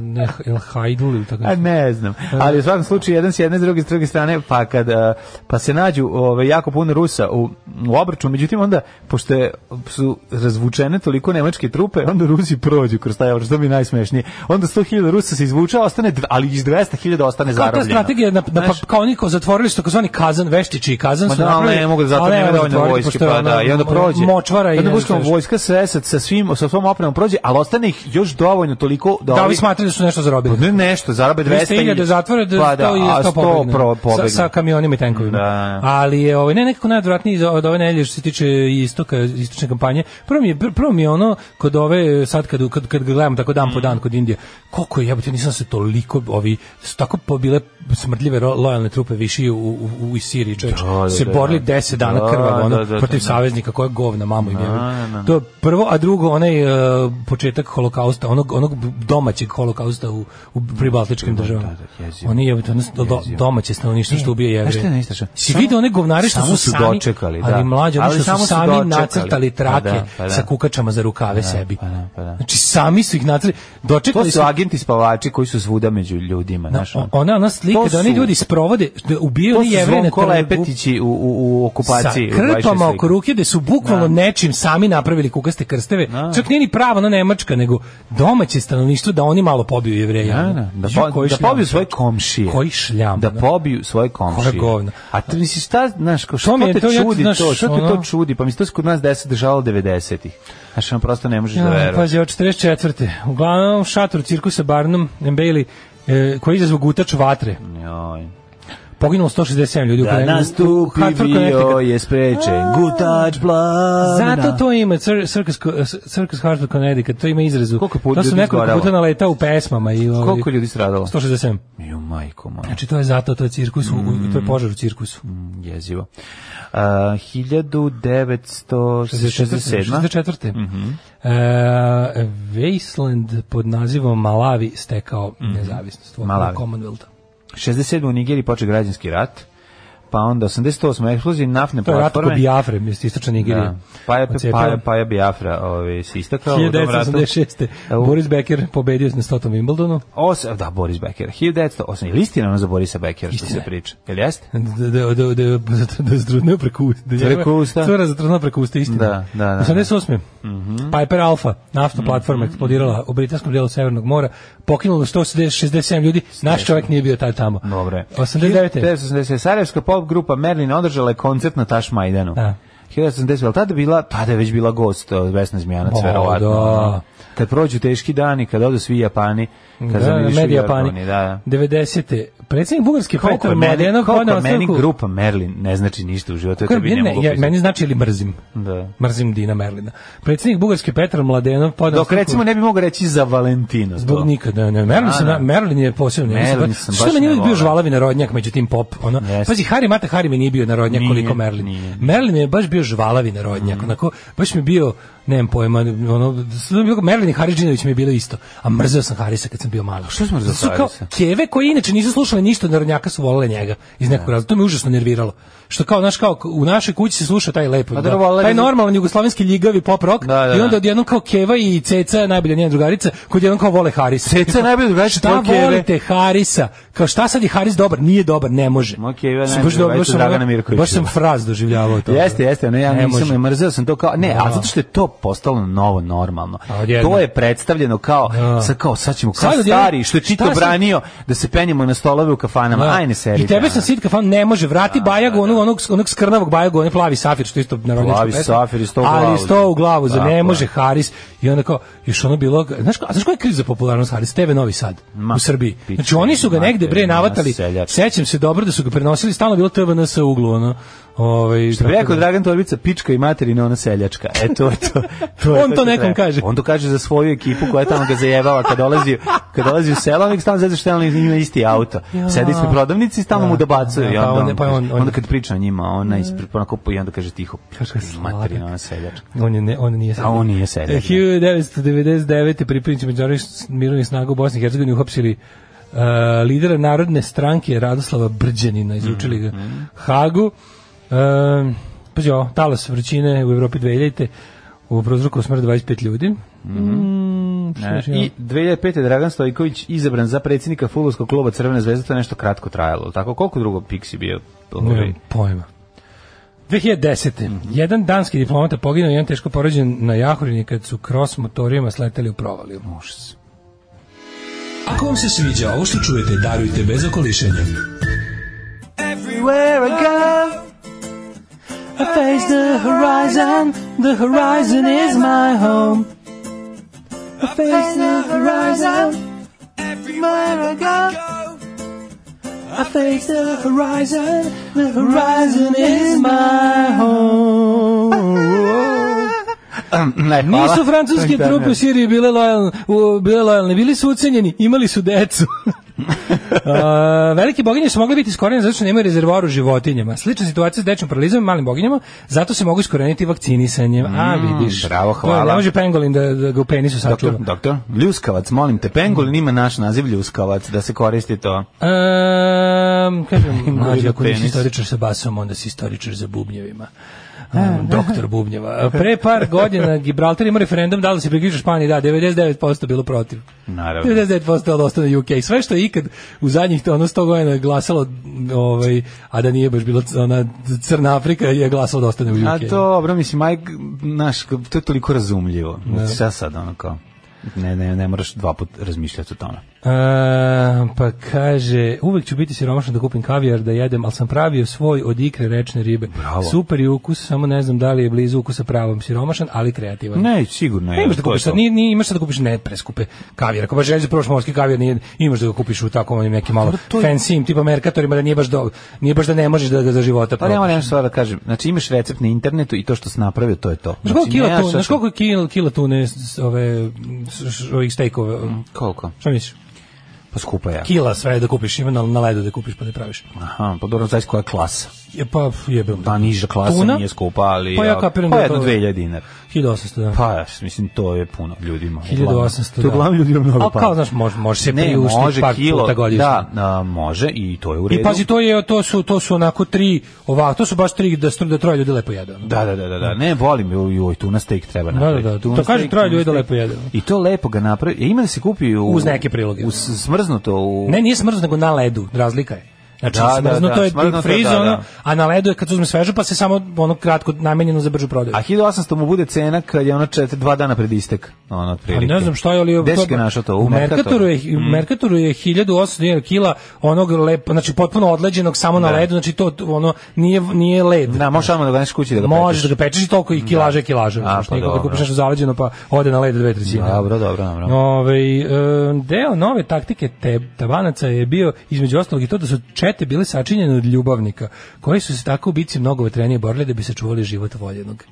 Speaker 7: Ne, El Hajdul ili tako
Speaker 6: A Pa ne znam. Ali u svakom slučaju jedan s jedne, s druge, s druge strane, pa kad a, pa se nađu ove, jako puno Rusa u, u obraču, međutim onda, pošto je, su razvučene toliko nemačke trupe, onda Rusi prođu kroz taj obrač, što mi je najsmešnije. Onda 100.000 Rusa se izvuče, a ostane, dv- ali iz 200.000 ostane
Speaker 7: Kao ta
Speaker 6: zarobljeno.
Speaker 7: strategija, na, na, pa,
Speaker 6: Znaš,
Speaker 7: kao niko zatvorili su takozvani kazan, veštiči i kazan
Speaker 6: Ma
Speaker 7: su
Speaker 6: da, ali ne mogu da zato
Speaker 7: ali
Speaker 6: nema
Speaker 7: mogu
Speaker 6: dovoljno
Speaker 7: zatvoriti,
Speaker 6: vojske,
Speaker 7: pošto je
Speaker 6: pa
Speaker 7: ono,
Speaker 6: da, i onda
Speaker 7: mo-
Speaker 6: prođe.
Speaker 7: Močvara i
Speaker 6: onda
Speaker 7: ne
Speaker 6: buškom
Speaker 7: znam šta još.
Speaker 6: vojska sve sa, sa svim, sa svom opremom prođe, ali ostane ih još dovoljno toliko da
Speaker 7: Da
Speaker 6: ovi-
Speaker 7: li smatrali da su nešto zarobili?
Speaker 6: Ne, nešto, zarabe 200
Speaker 7: 200.000 zatvore, da,
Speaker 6: Pa
Speaker 7: 100 i
Speaker 6: a
Speaker 7: 100 pobegne.
Speaker 6: pro-
Speaker 7: Sa,
Speaker 6: pobegne.
Speaker 7: sa kamionima i tenkovima.
Speaker 6: Da.
Speaker 7: Ali je ovaj, ne nekako najodvratniji za- od ove nedelje što se tiče istoka, istočne kampanje. Prvo mi je, pr- prvo mi je ono kod ove, sad kad, kad, kad ga gledam tako dan po
Speaker 6: Mm.
Speaker 7: dan kod Indije, koliko je, jebote, nisam se toliko, ovi, su tako po- bile smrdljive ro- lojalne trupe viši u, u, u iz Siriji, čovječ.
Speaker 6: Da, da,
Speaker 7: se
Speaker 6: da.
Speaker 7: borili 10 dana
Speaker 6: Da,
Speaker 7: krvavo, ono,
Speaker 6: da, da,
Speaker 7: protiv
Speaker 6: da.
Speaker 7: saveznika, koja govna, mamu im je.
Speaker 6: Da, da, da.
Speaker 7: To je prvo, a drugo, onaj e, početak holokausta, onog, onog domaćeg holokausta u, u pribaltičkim državama.
Speaker 6: da, jezivo.
Speaker 7: Oni je to nas- do, do- domaće stanovništvo što ubije jevreje.
Speaker 6: znaš šta je najstrašnije?
Speaker 7: Si
Speaker 6: Samo-
Speaker 7: vidio one govnare što
Speaker 6: samo
Speaker 7: su,
Speaker 6: su
Speaker 7: sami,
Speaker 6: dočekali, da.
Speaker 7: ali mlađe, oni
Speaker 6: Ali
Speaker 7: što
Speaker 6: samo
Speaker 7: su
Speaker 6: su
Speaker 7: sami
Speaker 6: dočekali.
Speaker 7: nacrtali
Speaker 6: Pa
Speaker 7: trake
Speaker 6: da, pa da.
Speaker 7: sa kukačama za rukave sebi.
Speaker 6: pa da, pa da.
Speaker 7: Znači, sami su ih nacrtali.
Speaker 6: To
Speaker 7: Dočekali
Speaker 6: su
Speaker 7: su
Speaker 6: agenti spavači koji su svuda među ljudima,
Speaker 7: na,
Speaker 6: znaš. ono.
Speaker 7: ona, ona slika
Speaker 6: To
Speaker 7: da oni
Speaker 6: su-
Speaker 7: ljudi sprovode, da ubijaju
Speaker 6: To
Speaker 7: oni
Speaker 6: su
Speaker 7: jevreje na
Speaker 6: Zvonko
Speaker 7: trgu
Speaker 6: Lepetići u, u, u
Speaker 7: sa
Speaker 6: okupaciji. u 26
Speaker 7: krpama
Speaker 6: slika.
Speaker 7: oko ruke da su bukvalno nečim sami napravili kukaste krsteve.
Speaker 6: Da.
Speaker 7: Čak nije ni prava na Nemačka, nego domaće stanovništvo da oni malo pobiju jevreja.
Speaker 6: Da, da, da,
Speaker 7: Ju,
Speaker 6: po-
Speaker 7: koji
Speaker 6: da
Speaker 7: šljam,
Speaker 6: pobiju svoje
Speaker 7: čovječe.
Speaker 6: komšije.
Speaker 7: Koji šljam.
Speaker 6: Da
Speaker 7: ono.
Speaker 6: pobiju svoje komšije.
Speaker 7: Koje govno.
Speaker 6: A ti misliš, šta, znaš, kao, što
Speaker 7: mi je
Speaker 6: te
Speaker 7: to, ja ti,
Speaker 6: čudi
Speaker 7: znaš,
Speaker 6: to? Što te
Speaker 7: ono-
Speaker 6: to čudi? Pa mi se to se kod nas desi držalo 90-ih. Znaš, ono prosto ne možeš da
Speaker 7: Ja,
Speaker 6: veruješ.
Speaker 7: pazi, od 44. Uglavnom, šator cirkusa Barnum and Bailey, e, koji je izazvao gutač vatre.
Speaker 6: Joj.
Speaker 7: Poginulo 167 ljudi. u
Speaker 6: Da
Speaker 7: Connecticut-
Speaker 6: nastupi
Speaker 7: Hartford,
Speaker 6: bio
Speaker 7: Connecticut.
Speaker 6: je sprečen. Gutač plamena.
Speaker 7: Zato to ima Cir- Circus, Circus Hartford Connecticut, to ima izrazu.
Speaker 6: Koliko puta
Speaker 7: to su
Speaker 6: ljudi
Speaker 7: nekoliko
Speaker 6: izgorelo?
Speaker 7: puta naletao u pesmama. I, ovaj,
Speaker 6: Koliko je ljudi stradalo?
Speaker 7: 167.
Speaker 6: Ju, majko moja.
Speaker 7: Znači to je zato, to je cirkus, u- u- to
Speaker 6: Mm.
Speaker 7: je požar u cirkusu.
Speaker 6: Jezivo. Uh, 1967.
Speaker 7: 64.
Speaker 6: Mhm.
Speaker 7: Mm E, Wasteland pod nazivom Malavi stekao nezavisnost.
Speaker 6: Mhm. Malawi.
Speaker 7: Commonwealtha.
Speaker 6: 67. u Nigeriji počeo građanski rat, pa onda 88. eksplozija naftne
Speaker 7: To je rat oko
Speaker 6: platforme.
Speaker 7: Bijafre, mjesto istočne Nigerije.
Speaker 6: Da. Pa je,
Speaker 7: Odsjepila.
Speaker 6: pa je, pa je Biafra ovaj, se istakao u tom ratu.
Speaker 7: 1986.
Speaker 6: Evo,
Speaker 7: Boris Becker pobedio na 100. Wimbledonu.
Speaker 6: Os, da, Boris Becker. 1908. Je li istina ono za Borisa Beckera što se
Speaker 7: Istina je.
Speaker 6: priča? Je li jeste?
Speaker 7: Da, da, da, da, da je zatrudneo preko usta. Da njegova-
Speaker 6: Preko usta.
Speaker 7: Cura zatrudneo preko usta, istina.
Speaker 6: Da, da, da. Mhm.
Speaker 7: 88. Piper Alpha, naftna platforma eksplodirala u britanskom dijelu Severnog mora, pokinulo 167 ljudi, naš čovjek nije bio taj tamo.
Speaker 6: Dobro je.
Speaker 7: 89.
Speaker 6: 1980. Sarajevska pop grupa Merlin održala je koncert na Taš Majdanu.
Speaker 7: Da.
Speaker 6: 1980. Ali tada, je bila, tada je već bila gost od Vesna Zmijanac,
Speaker 7: O,
Speaker 6: verovatno.
Speaker 7: da.
Speaker 6: Kad prođu teški dani, kad odu svi Japani, kad
Speaker 7: Da,
Speaker 6: zamirišu
Speaker 7: medija
Speaker 6: Japani,
Speaker 7: pani.
Speaker 6: Da, da.
Speaker 7: 90. Predsjednik Bugarske
Speaker 6: Koliko
Speaker 7: Petar
Speaker 6: je meni,
Speaker 7: Mladenov
Speaker 6: koliko
Speaker 7: podneo
Speaker 6: je meni
Speaker 7: ostavku.
Speaker 6: grupa Merlin ne znači ništa u životu, ja
Speaker 7: Kako
Speaker 6: tebi ne
Speaker 7: meni-
Speaker 6: mogu
Speaker 7: ja-
Speaker 6: opisati.
Speaker 7: meni znači ili mrzim.
Speaker 6: Da.
Speaker 7: Mrzim Dina Merlina. Predsjednik Bugarske Petar Mladenov podneo
Speaker 6: Dok
Speaker 7: ostavku-
Speaker 6: recimo ne bi mogu reći za Valentino.
Speaker 7: Zbog
Speaker 6: to.
Speaker 7: nikada, ne, Merlin,
Speaker 6: Da,
Speaker 7: sam,
Speaker 6: da.
Speaker 7: Merlin je posebno.
Speaker 6: Merlin
Speaker 7: Merlin
Speaker 6: sam
Speaker 7: sam
Speaker 6: baš
Speaker 7: Što meni
Speaker 6: ne
Speaker 7: uvijek bio
Speaker 6: volim.
Speaker 7: žvalavi narodnjak među tim pop, ono.
Speaker 6: Jeste.
Speaker 7: Pazi, Harry Mata Harry mi nije bio narodnjak
Speaker 6: Nije,
Speaker 7: koliko Merlin.
Speaker 6: nije. Mm.
Speaker 7: Merlin je baš bio žvalavi narodnjak, onako, baš mi je bio, nemam pojma, ono, Merlin i Harry Džinović mi je bilo isto, a mrzeo sam Harisa kad sam bio malo.
Speaker 6: Što si mrzeo Harrisa?
Speaker 7: Keve koje inače nisu slušale ništa od narodnjaka su volele njega, iz
Speaker 6: Da.
Speaker 7: nekog razloga, to me užasno nerviralo. Što kao, znaš, kao, u našoj kući se sluša taj lepo,
Speaker 6: Pa
Speaker 7: da,
Speaker 6: dobro, volele
Speaker 7: taj
Speaker 6: bi-
Speaker 7: normalan jugoslovenski ljigavi pop rock,
Speaker 6: Da, da,
Speaker 7: i
Speaker 6: da.
Speaker 7: onda odjednom kao Keva i Ceca, najbolja njena drugarica, kod jednom kao vole Harisa.
Speaker 6: Ceca je najbolja drugarica
Speaker 7: Šta
Speaker 6: tvoje Keve.
Speaker 7: volite Harisa? Kao šta sad je Haris dobar? Nije dobar, ne može.
Speaker 6: Ma, Keva je najbolja
Speaker 7: Sam baš dobro-
Speaker 6: drugarica
Speaker 7: baš sam ono-
Speaker 6: Dragana Mirkovića.
Speaker 7: Baš sam fraz doživljavao to.
Speaker 6: Jeste, jeste, ne, ja
Speaker 7: Ne
Speaker 6: nisam,
Speaker 7: može.
Speaker 6: ne mrzeo sam to kao, ne,
Speaker 7: Da.
Speaker 6: ali zato što je to postalo novo normalno.
Speaker 7: A, odjednom.
Speaker 6: To je predstavljeno kao,
Speaker 7: Da.
Speaker 6: sad kao, sad ćemo kao
Speaker 7: Sad odjednom,
Speaker 6: stari, što je Čito
Speaker 7: šta sam-
Speaker 6: branio, da se penjemo na stolove u kafanama,
Speaker 7: Da.
Speaker 6: aj ne seri.
Speaker 7: I tebe sam sitka fan ne može
Speaker 6: Da,
Speaker 7: vrati Bajagu onog onog onog skrnavog Bajagu onaj plavi safir što je isto narodnjačka
Speaker 6: Plavi
Speaker 7: pesma.
Speaker 6: safir i sto u glavu.
Speaker 7: Ali sto u glavu za
Speaker 6: Tako je.
Speaker 7: ne može Haris i onda kao još ono bilo znaš ko, a znaš ko je kriv za popularnost Haris TV Novi Sad
Speaker 6: Ma,
Speaker 7: u Srbiji.
Speaker 6: piče,
Speaker 7: Znači oni su ga negde bre
Speaker 6: materina,
Speaker 7: navatali.
Speaker 6: seljak.
Speaker 7: Sećam se dobro da su ga prenosili stalno je bilo TVNS u uglu ono. Ovaj
Speaker 6: Što bi rekao Dragan Torbica, pička i materina, ona seljačka. E, to je to. to je
Speaker 7: On to
Speaker 6: što treba.
Speaker 7: nekom kaže.
Speaker 6: On to kaže za svoju ekipu koja je tamo ga zajevala kad dolazi, kad dolazi u selo, on ih stalno zezde što on ima isti auto.
Speaker 7: Ja.
Speaker 6: Sedi ispred prodavnice i stalno
Speaker 7: Da,
Speaker 6: mu dobacuju.
Speaker 7: da,
Speaker 6: i
Speaker 7: pa
Speaker 6: onda,
Speaker 7: on-
Speaker 6: on,
Speaker 7: pa
Speaker 6: kaže-
Speaker 7: on- on-
Speaker 6: onda kad priča o njima, ona ispred, onako, i onda kaže tiho, pička
Speaker 7: Kaže,
Speaker 6: i materina, ona seljačka.
Speaker 7: On je ne, on nije seljak.
Speaker 6: A on nije seljak,
Speaker 7: E,
Speaker 6: da.
Speaker 7: 1999. pripadnici međunarodnih s- mirovnih snaga u Bosni i Hercegovini uhapsili uh, lidera narodne stranke Radoslava Brđanina, izručili ga Hagu. Um, Pazi ovo, talas vrućine u Evropi 2000. U prozroku smrt 25 ljudi. Mm, što još imamo?
Speaker 6: E, I 2005. je Dragan Stojković izabran za predsjednika futbolskog kluba Crvena zvezda, to je nešto kratko trajalo, jel tako? Koliko drugo Pixi bio? Ovaj,
Speaker 7: Nemam pojma. Mhm. 2010. Jedan danski diplomata poginuo, jedan teško porađen na Jahorini kad su kros motorima sleteli u provaliju. Ako vam se sviđa ovo što čujete, darujte bez okolišenja.
Speaker 6: Everywhere I go,
Speaker 7: I face the horizon, the horizon is my home. I face the horizon, everywhere I go. I face the horizon, the horizon is my home.
Speaker 6: Ne, hvala.
Speaker 7: Nisu francuske
Speaker 6: Da, ne.
Speaker 7: trupe u Siriji bile lojalne, u, bile lojalne, bili su ucenjeni, imali su decu. A, velike boginje su mogle biti iskorenjene zato što nemaju rezervoar u životinjama. Slična situacija s dečnim paralizom i malim boginjama, zato se mogu iskoreniti vakcinisanjem. A vidiš.
Speaker 6: Mm, bravo,
Speaker 7: To
Speaker 6: hvala.
Speaker 7: Ne može pengolin da, da ga u penisu sačuva.
Speaker 6: Doktor, doktor, ljuskavac, molim te, pengolin ima naš naziv ljuskavac, da se koristi to.
Speaker 7: Um, kažem, mlađi, ako
Speaker 6: penis.
Speaker 7: nisi istoričar sa basom, onda si istoričar za bubnjevima. Um, doktor Bubnjeva. Pre par godina Gibraltar ima referendum da li se priključuje Španiji, da, 99% bilo protiv.
Speaker 6: Naravno.
Speaker 7: 99% da ostane UK. Sve što je ikad u zadnjih ono 100 godina glasalo, ovaj, a da nije baš bilo c- ona Crna Afrika je glasalo da ostane u UK.
Speaker 6: A to, dobro, mislim, Mike, naš, to je toliko razumljivo.
Speaker 7: Da.
Speaker 6: Šta sad, ono kao, ne, ne, ne moraš dva put razmišljati o tome.
Speaker 7: A, E, pa kaže, uvek ću biti siromašan da kupim kavijar da jedem, ali sam pravio svoj od ikre rečne ribe.
Speaker 6: Bravo.
Speaker 7: Super je ukus, samo ne znam da li je blizu ukusa pravom siromašan, ali kreativan.
Speaker 6: Ne, sigurno je.
Speaker 7: Ne imaš da
Speaker 6: to je
Speaker 7: kupiš,
Speaker 6: to.
Speaker 7: sad, nije, nije, imaš sad da kupiš ne preskupe kavijer. Ako baš želiš da probaš morski kavijer, nije, imaš da ga kupiš u takvom onim nekim
Speaker 6: Pa
Speaker 7: malo fancy, tipa merkatorima, da nije baš, do, nije baš da ne možeš da ga za života
Speaker 6: Pa nema
Speaker 7: probaš.
Speaker 6: nešto stvar da kažem. Znači imaš recept na internetu i to što si napravio, to je to.
Speaker 7: Znaš
Speaker 6: Znači, nemaš
Speaker 7: koliko, kila tune, znaš
Speaker 6: što-
Speaker 7: koliko je kila, kila tune s- ove, s- s- ovih stejkova?
Speaker 6: Koliko?
Speaker 7: Šta misliš?
Speaker 6: Pa skupa ja.
Speaker 7: Kila sve da kupiš, ima na, na ledu da kupiš pa da praviš.
Speaker 6: Aha, pa dobro, znaš koja je klasa.
Speaker 7: Je, pa jebem.
Speaker 6: Pa niža klasa
Speaker 7: Tuna?
Speaker 6: nije skupa, ali...
Speaker 7: Pa ja
Speaker 6: ako-
Speaker 7: kapiram
Speaker 6: pa
Speaker 7: da
Speaker 6: jedno
Speaker 7: to-
Speaker 6: 2000 dinara.
Speaker 7: 1800, da.
Speaker 6: Pa, ja mislim, to je puno ljudima. uglavnom.
Speaker 7: 1800,
Speaker 6: To je
Speaker 7: da.
Speaker 6: uglavnom ljudima mnogo
Speaker 7: A kao, znaš, može- može se
Speaker 6: Ne,
Speaker 7: priuštiti
Speaker 6: može
Speaker 7: par puta godišnje.
Speaker 6: Da, a, može i to je u redu.
Speaker 7: I pazi, to, je, to, su, to su onako tri, ovako, to su baš tri, da, stru- da troje ljudi lepo jedu. ono.
Speaker 6: Da, da, da, da, da. Ne, volim, joj, joj, tuna steak treba
Speaker 7: da,
Speaker 6: napraviti.
Speaker 7: da.
Speaker 6: Tuna
Speaker 7: To kažem,
Speaker 6: steak,
Speaker 7: troje
Speaker 6: tuna
Speaker 7: ljudi
Speaker 6: steak.
Speaker 7: lepo jedu.
Speaker 6: I to lepo ga napravi. E, Ima da se kupi u...
Speaker 7: Uz neke priloge.
Speaker 6: U s- smrznuto u...
Speaker 7: Ne, nije smrzno, nego na ledu, razlika je. Znači,
Speaker 6: Da, da,
Speaker 7: smrzno
Speaker 6: da,
Speaker 7: to je
Speaker 6: smrznuto,
Speaker 7: deep freeze,
Speaker 6: da, da.
Speaker 7: ono, a na ledu je kad se uzme svežu, pa se samo ono kratko namenjeno za bržu prodaju.
Speaker 6: A 1800 mu bude cena kad je ono čet, dva dana pred istek. Ono,
Speaker 7: A
Speaker 6: otprilike.
Speaker 7: ne znam šta je, ali...
Speaker 6: Gde si ga našao to? U Merkatoru? Mhm.
Speaker 7: Merkatoru je, u Merkatoru je 1800 dinara kila onog lepo, znači potpuno odleđenog samo na
Speaker 6: Da.
Speaker 7: ledu, znači to ono nije, nije led.
Speaker 6: Da, možeš samo da ga neš kući da ga
Speaker 7: Možeš da
Speaker 6: pečeš.
Speaker 7: ga pečeš i toliko i kilaže je kilaže.
Speaker 6: A,
Speaker 7: Znači,
Speaker 6: pa
Speaker 7: nikako da
Speaker 6: dobro.
Speaker 7: kupiš nešto zaleđeno pa ode na led dve trećine.
Speaker 6: Dobro, dobro, dobro.
Speaker 7: Ove, e, deo nove taktike te, tabanaca je bio između ostalog i to da su čete bile sačinjene od ljubavnika, koji su se tako u bici mnogo vetrenije borili da bi se čuvali život voljenog.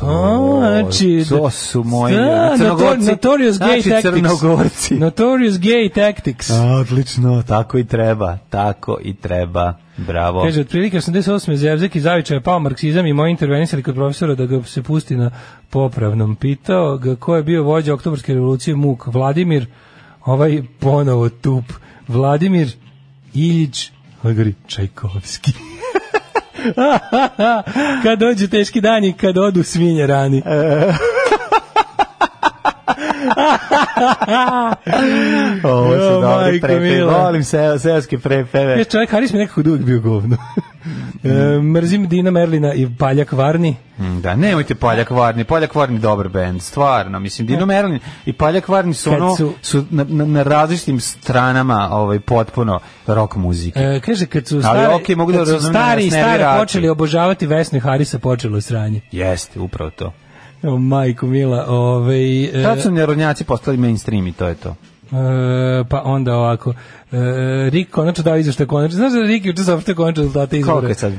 Speaker 6: To-
Speaker 7: znači,
Speaker 6: to su moji uh,
Speaker 7: da,
Speaker 6: crnogorci.
Speaker 7: notor- notorious gay
Speaker 6: Znači,
Speaker 7: tactics.
Speaker 6: crnogorci.
Speaker 7: Notorious gay tactics.
Speaker 6: A, Odlično, tako i treba, tako i treba. Bravo.
Speaker 7: Kaže, otprilike 88. Zevzek i Zaviča je pao marksizam i moji intervenisali kod profesora da ga se pusti na popravnom. Pitao ga ko je bio vođa oktobarske revolucije Muk. Vladimir, ovaj ponovo tup. Vladimir Iljić, ovaj gori, Čajkovski. kad dođu teški dani, kad odu svinje rani.
Speaker 6: Ovo su
Speaker 7: Jo,
Speaker 6: dobri
Speaker 7: majko
Speaker 6: prepeve.
Speaker 7: mila.
Speaker 6: Volim se, seoske prepeve.
Speaker 7: Kaže, čovjek Haris mi je nekako da uvijek bio govno. e, mrzim Dina Merlina i Paljak Varni.
Speaker 6: Mm, Da, nemojte Paljak Varni, Paljak Varni je dobar bend, stvarno, mislim, Dino Merlin i Paljak Varni su
Speaker 7: Da. Kad
Speaker 6: ono,
Speaker 7: su-
Speaker 6: su na, na, na različitim stranama ovaj, potpuno rock muzike.
Speaker 7: E, kaže kad su
Speaker 6: Ali
Speaker 7: stari,
Speaker 6: okej, mogu da
Speaker 7: kad su
Speaker 6: razumem da
Speaker 7: stari i
Speaker 6: nas
Speaker 7: stare
Speaker 6: nervira
Speaker 7: počeli
Speaker 6: Arči.
Speaker 7: obožavati Vesnu i Harisa počelo je sranje.
Speaker 6: Jeste, upravo to.
Speaker 7: O, majko mila, ovaj e,
Speaker 6: Tad su nerodnjaci postali mainstream i to je to.
Speaker 7: e, pa onda ovako. E, Rik konačno dao izveštaj konačno. Znaš da je Rik juče saopštio konačno rezultate
Speaker 6: Koliko
Speaker 7: izbora?
Speaker 6: je sad?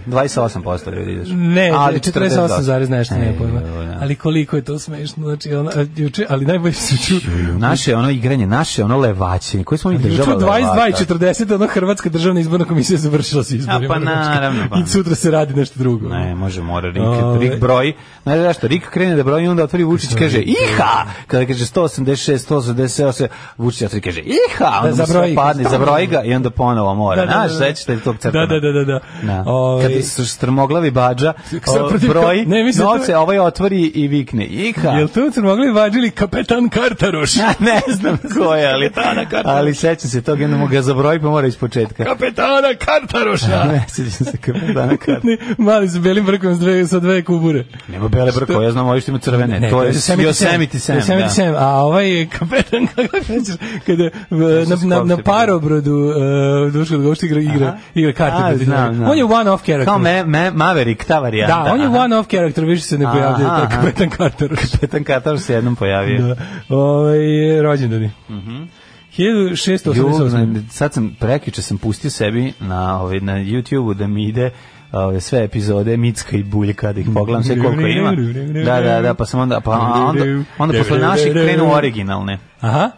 Speaker 6: 28% ljudi ideš.
Speaker 7: Ne, ali
Speaker 6: 48
Speaker 7: 48 zarez nešto,
Speaker 6: E,
Speaker 7: ne pojma.
Speaker 6: joj, ja.
Speaker 7: Ali koliko je to smešno, znači ona juče, ali najbolje se ču.
Speaker 6: Naše ono igranje, naše ono levaćenje, koje smo mi
Speaker 7: Juče
Speaker 6: država
Speaker 7: u 22 i 40 ono Hrvatska državna izborna komisija završila se izborima. znači,
Speaker 6: pa naravno, pa.
Speaker 7: I sutra se radi nešto drugo.
Speaker 6: Ne, može, mora Rik,
Speaker 7: Ove.
Speaker 6: Rik broj. Znaš zašto, Rik krene da broji i onda otvori Vučić i kaže iha! Kada kaže 186, 187, Vučić otvori i kaže iha! Onda mu
Speaker 7: Da, zabroji
Speaker 6: sve
Speaker 7: ga.
Speaker 6: padne, zabroji ga i onda ponovo mora.
Speaker 7: Da, da, da,
Speaker 6: Znaš,
Speaker 7: da.
Speaker 6: sećaš te tog crtana?
Speaker 7: Da, da, da, da.
Speaker 6: Da.
Speaker 7: Ovaj,
Speaker 6: Kad su strmoglavi bađa,
Speaker 7: Sad
Speaker 6: o,
Speaker 7: protiv-
Speaker 6: broj
Speaker 7: ne, mislim da to-
Speaker 6: novce, ovaj otvori i vikne iha!
Speaker 7: Jel tu su mogli vađili kapetan Kartaroš?
Speaker 6: ne znam ko je, ali, ali sećam se tog, jednom ga zabroji pa mora iz početka.
Speaker 7: kapetana Kartaroša!
Speaker 6: Ne, sećam se kapetana Karta.
Speaker 7: Ne, Mali sa belim brkom sa dve, sa dve kubure.
Speaker 6: Nema bele brko, ja znam ovo što ima crvene. to je Yosemite Sam.
Speaker 7: Yosemite
Speaker 6: da.
Speaker 7: Sam, a ovaj je kapetan kako ćeš, kada e, na, na, na parobrodu uh, Duško Gošti igra, igra,
Speaker 6: Aha.
Speaker 7: igra karte.
Speaker 6: A,
Speaker 7: protiv
Speaker 6: znam,
Speaker 7: njega.
Speaker 6: znam.
Speaker 7: On je one off character.
Speaker 6: Kao me, me, Maverick, ta varijanta.
Speaker 7: Da, on je
Speaker 6: aha.
Speaker 7: one off character, više se ne
Speaker 6: Aha,
Speaker 7: pojavljuje taj
Speaker 6: aha.
Speaker 7: kapetan Kartaroš.
Speaker 6: Petan Katar se jednom pojavio.
Speaker 7: Da. Ovaj, rođendani. Mhm. 1688. da
Speaker 6: Ju, sad sam, prekjuče sam pustio sebi na, ovaj, na YouTube-u da mi ide ove, sve epizode Micka i Buljka, da ih pogledam sve koliko ima. Da, da, da, pa sam onda, pa onda, onda posle naših krenu originalne.
Speaker 7: Aha.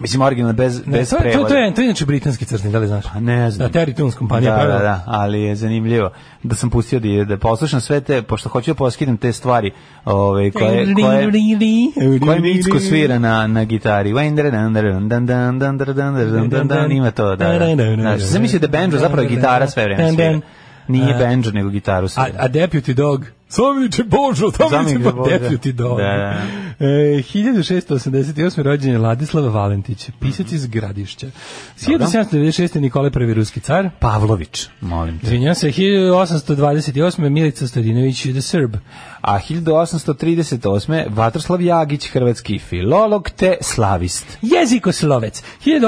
Speaker 6: Mislim, originalne bez,
Speaker 7: Ne,
Speaker 6: bez
Speaker 7: to, je- to, je-
Speaker 6: prevoda.
Speaker 7: to je to je inače britanski crni, da li znaš?
Speaker 6: Pa ne znam.
Speaker 7: Da, Terry Toons kompanija
Speaker 6: da, da,
Speaker 7: pravila.
Speaker 6: da, ali je zanimljivo da sam pustio da, da poslušam sve te, pošto hoću da poskidam te stvari ove, koje, koje, koje Micko svira na, na gitari. Ima to, da, da. Znači, sam mislio da banjo zapravo je gitara sve vreme svira. Nije banjo, nego gitaru
Speaker 7: A,
Speaker 6: svira.
Speaker 7: a Deputy Dog. Samniče Božo, samniče
Speaker 6: Zamjeniče
Speaker 7: pa
Speaker 6: Božo.
Speaker 7: Deputy Dog.
Speaker 6: Da, da,
Speaker 7: E, 1688. rođen je Ladislava Valentić,
Speaker 6: Mhm.
Speaker 7: pisac iz Gradišća. 1796. Nikole I. ruski car.
Speaker 6: Pavlović, molim te.
Speaker 7: Izvinjam se, 1828. Milica Stojinović the Srb.
Speaker 6: A 1838. Vatroslav Jagić, hrvatski filolog te slavist.
Speaker 7: Jezikoslovec.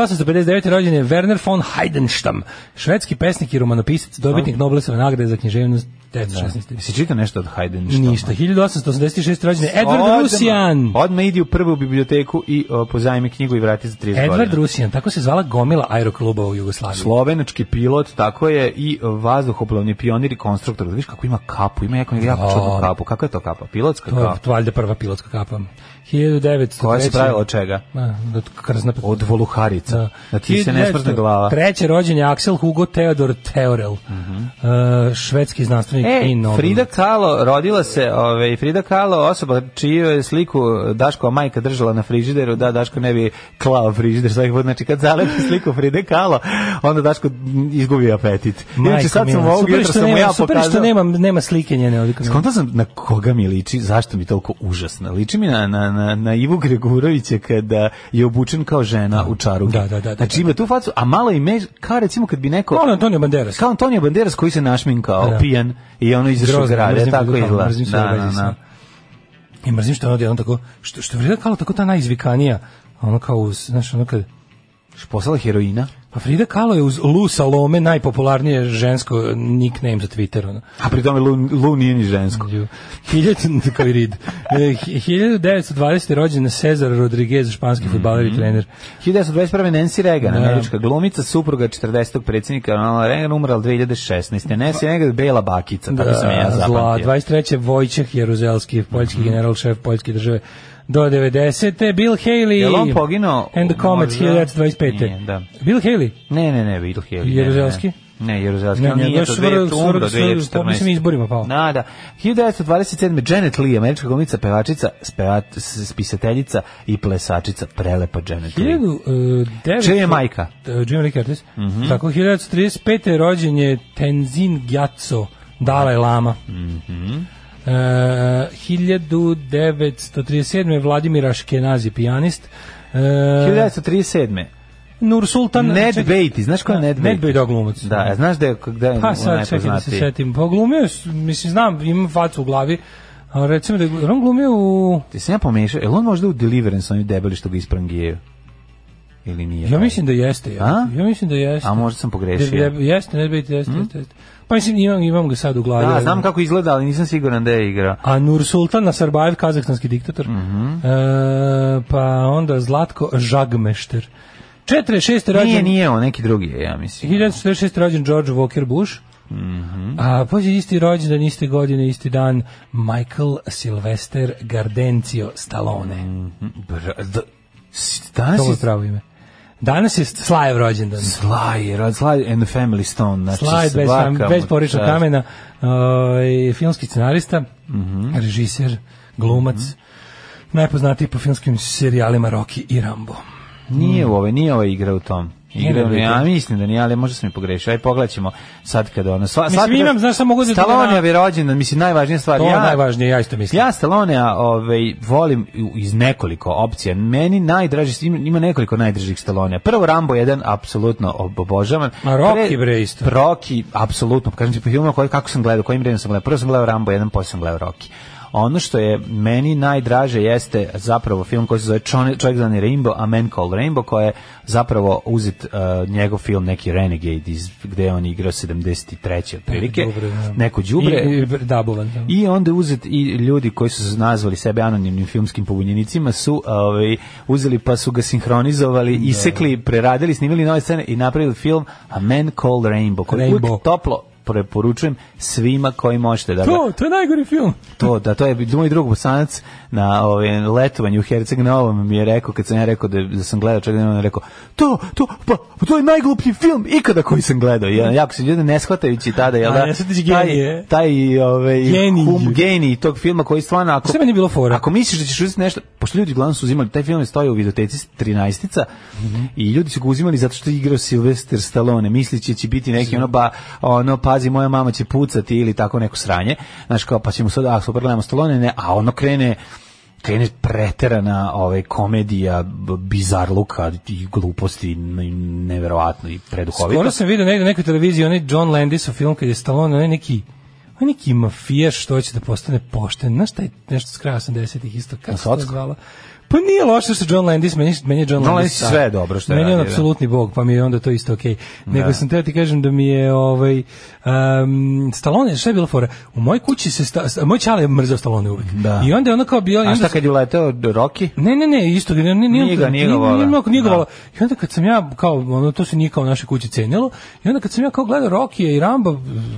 Speaker 7: 1859. rođen je Werner von
Speaker 6: Da.
Speaker 7: Heidenstam, švedski pesnik i romanopisac, dobitnik Nobelove nagrade za književnost 1916.
Speaker 6: Jesi čitao nešto od Heidenstamm.
Speaker 7: Ništa, 1886. rođen je
Speaker 6: da. Odmah-
Speaker 7: Edward Rusijan.
Speaker 6: Odmah idi u prvu biblioteku i o, pozajmi knjigu i vrati za 30
Speaker 7: Edward
Speaker 6: godina.
Speaker 7: Rusijan, tako se zvala gomila aerokluba u Jugoslaviji.
Speaker 6: Slovenački pilot, tako je, i o, vazduhoplovni pionir i konstruktor. Viš kako ima kapu, ima jako, jako čudnu
Speaker 7: Da.
Speaker 6: kapu. Kako je to kapa? Pilotska
Speaker 7: To je
Speaker 6: kapa.
Speaker 7: valjda prva pilotska kapa. 1903.
Speaker 6: Koja se pravila od čega?
Speaker 7: Ma, da t- krzna pe-
Speaker 6: Od voluharica. Da, ti se ne smrzne
Speaker 7: 1900.
Speaker 6: glava. Mhm.
Speaker 7: Treće rođen je Axel Hugo Theodor Theorel, e, švedski znanstvenik i
Speaker 6: E,
Speaker 7: Nobel.
Speaker 6: Frida Kahlo, rodila se, ovaj Frida Kahlo, osoba čiju je sliku Daškova majka držala na frižideru, da Daško ne bi klao frižider svaki put, znači kad zalepi sliku Fride Kahlo, onda Daško izgubi apetit. Inače sad sam
Speaker 7: mila,
Speaker 6: ovog
Speaker 7: super
Speaker 6: jutra
Speaker 7: što
Speaker 6: sam mu
Speaker 7: nema-
Speaker 6: ja
Speaker 7: super što
Speaker 6: pokazao.
Speaker 7: nema, nema slike njene ovdje.
Speaker 6: Skonto sam da na koga mi liči, zašto mi toliko užasna. Liči mi na, na, na, na Ivu Gregurovića kada je obučen kao žena u čarugi.
Speaker 7: Da, da, da, da.
Speaker 6: Znači ima tu facu, a malo i mež, kao recimo kad bi neko...
Speaker 7: Molim Antonio Banderas.
Speaker 6: Kao Antonio Banderas koji se našminkao,
Speaker 7: Da.
Speaker 6: pijan i ono izašao iz
Speaker 7: Grozno,
Speaker 6: grada,
Speaker 7: mrzim
Speaker 6: tako
Speaker 7: Frida Kahlo,
Speaker 6: izgleda.
Speaker 7: mrzim sve
Speaker 6: Da,
Speaker 7: veze
Speaker 6: da,
Speaker 7: s
Speaker 6: da.
Speaker 7: njom. I mrzim što je ovdje on tako, što, što Frida Kahlo tako ta najizvikanija, ono kao, uz, znaš, ono kad,
Speaker 6: Poslala heroina.
Speaker 7: Pa Frida Kahlo je uz Lu Salome najpopularnije žensko nickname za Twitter. Ono.
Speaker 6: A pri tome Lu, Lu nije ni
Speaker 7: Mm.
Speaker 6: žensko.
Speaker 7: Hiljad, kao i Reed. E, 1920. rođen je Cezar Rodriguez, španski
Speaker 6: Mhm.
Speaker 7: fudbaler i trener.
Speaker 6: 1921. Nancy Reagan,
Speaker 7: Da.
Speaker 6: američka glumica, supruga 40. predsjednika Ronalda Reagan, umrala 2016. Nancy Reagan, bela bakica,
Speaker 7: Da,
Speaker 6: tako sam je ja
Speaker 7: zla,
Speaker 6: Da, zapamtio. Mhm.
Speaker 7: 23. Vojčeh Jeruzelski, poljski general šef poljske države. Do 90. Bill Haley.
Speaker 6: Jel on poginuo?
Speaker 7: And the Comets,
Speaker 6: Možda?
Speaker 7: 1925.
Speaker 6: Nije, da.
Speaker 7: Bill Haley.
Speaker 6: Ne, ne, ne, Bill Haley. ne, ne, ne.
Speaker 7: Jeruzelski?
Speaker 6: Ne, Jeruzelski,
Speaker 7: Ne,
Speaker 6: on
Speaker 7: ne,
Speaker 6: nije
Speaker 7: baš
Speaker 6: to
Speaker 7: svr-
Speaker 6: 2000, umro
Speaker 7: svr- svr-
Speaker 6: 2014.
Speaker 7: mislim, izborima pao.
Speaker 6: Da, da. 1927. Janet Lee, američka glumica, pevačica, speva, s- spisateljica i plesačica, prelepa Janet Lee.
Speaker 7: e, 1900...
Speaker 6: Čija je majka?
Speaker 7: E, Jim Lee Curtis.
Speaker 6: Mhm.
Speaker 7: Tako, 1935. je rođen je Tenzin Gyatso, Dalaj Lama. Mm
Speaker 6: Mhm.
Speaker 7: e, 1937. je Vladimir Aškenazi, pijanist. E,
Speaker 6: 1937.
Speaker 7: Nursultan...
Speaker 6: Ned
Speaker 7: čekaj,
Speaker 6: Beatty, znaš ko je Ned Beatty?
Speaker 7: Ned Beatty, da, glumac.
Speaker 6: Da, a znaš da je, da je
Speaker 7: Pa sad, čekaj da se
Speaker 6: najpoznatiji?
Speaker 7: setim. Pa glumio je, s- mislim, znam, imam facu u glavi, a recimo da je gl- on glumio u...
Speaker 6: Ti sam ja pomešao, je li on možda u Deliverance, oni debeli što ga isprangijaju? Ili nije?
Speaker 7: Ja mislim da jeste, ja.
Speaker 6: A?
Speaker 7: Ja mislim da jeste.
Speaker 6: A možda sam pogrešio.
Speaker 7: Da- da- Jeste, Ned Beatty, jeste, jeste, jeste. Pa mislim, imam, imam ga sad u glavi.
Speaker 6: Mhm. Da,
Speaker 7: ali-
Speaker 6: znam kako izgleda, ali nisam siguran da je igrao.
Speaker 7: A Nursultan Nazarbajev, kazahstanski diktator. E, pa onda Zlatko Žagmešter. 46. rođen...
Speaker 6: Nije, nije on, neki drugi je, ja mislim.
Speaker 7: 1946. rođen George Walker Bush. A pođe isti rođendan, iste godine, isti dan Michael Sylvester Gardencio Stallone.
Speaker 6: Mhm. Bra, da, s- danas
Speaker 7: To
Speaker 6: je
Speaker 7: je pravo ime. Danas je Slajev rođendan.
Speaker 6: Sly, Rod Sly and the Family Stone. Znači, Da.
Speaker 7: Slajd bez,
Speaker 6: svaka mu
Speaker 7: bez poričnog
Speaker 6: čast.
Speaker 7: kamena, ovaj, filmski scenarista,
Speaker 6: Mhm.
Speaker 7: režiser, glumac, najpoznatiji po filmskim serijalima Rocky i Rambo.
Speaker 6: Nije u ove, nije ova igra u tom. Igra,
Speaker 7: Mm. Nije
Speaker 6: u-
Speaker 7: da je
Speaker 6: ja
Speaker 7: to.
Speaker 6: mislim da nije, ali možda sam i pogrešio. Aj pogledat ćemo sad kada ono... Sva,
Speaker 7: Mislim, imam, znaš, samo mogu da-
Speaker 6: Stallone je rođendan, mislim, najvažnija stvar.
Speaker 7: To je
Speaker 6: ja,
Speaker 7: najvažnije, ja isto mislim.
Speaker 6: Ja Stallonea ovaj, volim u- iz nekoliko opcija. Meni najdraži, ima ima nekoliko najdražih Stallonea. Prvo Rambo jedan, apsolutno ob- obožavan.
Speaker 7: A Rocky, bre, isto.
Speaker 6: Rocky, apsolutno. Kažem ti po filmu koji, kako sam gledao, kojim redom sam gledao. Prvo sam gledao Rambo jedan, posle sam gledao Rocky. Ono što je meni najdraže jeste zapravo film koji se zove Čone- Čovjek zvani Rainbow, a Man Called Rainbow, koji je zapravo uzet eh, njegov film neki Renegade, iz, gde je on igrao 73. otprilike.
Speaker 7: Đubre, da.
Speaker 6: Neko đubre.
Speaker 7: I, i dabovan. da.
Speaker 6: I onda uzet i ljudi koji su nazvali sebe anonimnim filmskim pobunjenicima su ovaj, uzeli pa su ga sinhronizovali, isekli, preradili, snimili nove scene i napravili film A Man Called Rainbow, koji uvijek
Speaker 7: Rainbow.
Speaker 6: toplo preporučujem svima koji možete da ga-
Speaker 7: To, to je najgori film.
Speaker 6: to da to je moj drug bosanac na ovaj letovanju u Herceg Novom mi je rekao kad sam ja rekao da, da sam gledao čega on je rekao to to pa to je najgluplji film ikada koji sam gledao ja jako se ljudi ne shvatajući tada jel
Speaker 7: A,
Speaker 6: da
Speaker 7: ne shvatajući
Speaker 6: taj
Speaker 7: genije.
Speaker 6: taj ovaj
Speaker 7: Genij.
Speaker 6: hum genij tog filma koji stvarno ako
Speaker 7: Sve meni je bilo fora.
Speaker 6: ako misliš da ćeš uzeti nešto pošto ljudi uglavnom su uzimali taj film je stojao u videoteci 13ica i ljudi su ga uzimali zato što je igrao Sylvester Stallone misleći da će biti neki ono ba ono pazi moja mama će pucati ili tako neko sranje znaš kao pa ćemo sad a super gledamo Stallone ne a ono krene krene preterana ovaj komedija b- bizarluka i gluposti n- neverovatno i preduhovito
Speaker 7: Skoro sam vidio negdje na nekoj televiziji onaj John Landisov film kad je Stallone, onaj neki onaj neki mafijaš što hoće da postane pošten. Znaš taj nešto s kraja 80-ih isto, kako se to
Speaker 6: Sotsko?
Speaker 7: zvala? Pa nije loše što John Landis, meni, meni je John
Speaker 6: John
Speaker 7: Landis
Speaker 6: Landis sve je dobro što
Speaker 7: Meni je on
Speaker 6: radi, da.
Speaker 7: apsolutni bog, pa mi je onda to isto okej. Nego sam teo ti kažem da mi je ovaj, um, Stallone, šta je bilo fora? U mojoj kući se, sta, sta- moj čale je mrzao Stallone uvijek.
Speaker 6: Da.
Speaker 7: I onda je ono kao bio... i
Speaker 6: A
Speaker 7: onda
Speaker 6: šta kad je uleteo Rocky?
Speaker 7: Ne, ne, ne, isto, ne, ne, ne,
Speaker 6: Nije ga, nije ga voleo.
Speaker 7: nije ga
Speaker 6: Da.
Speaker 7: voleo. I onda kad sam ja, kao, ono, to se nije kao u našoj kući cenilo, i onda kad sam ja kao gledao Rokija i Ramba,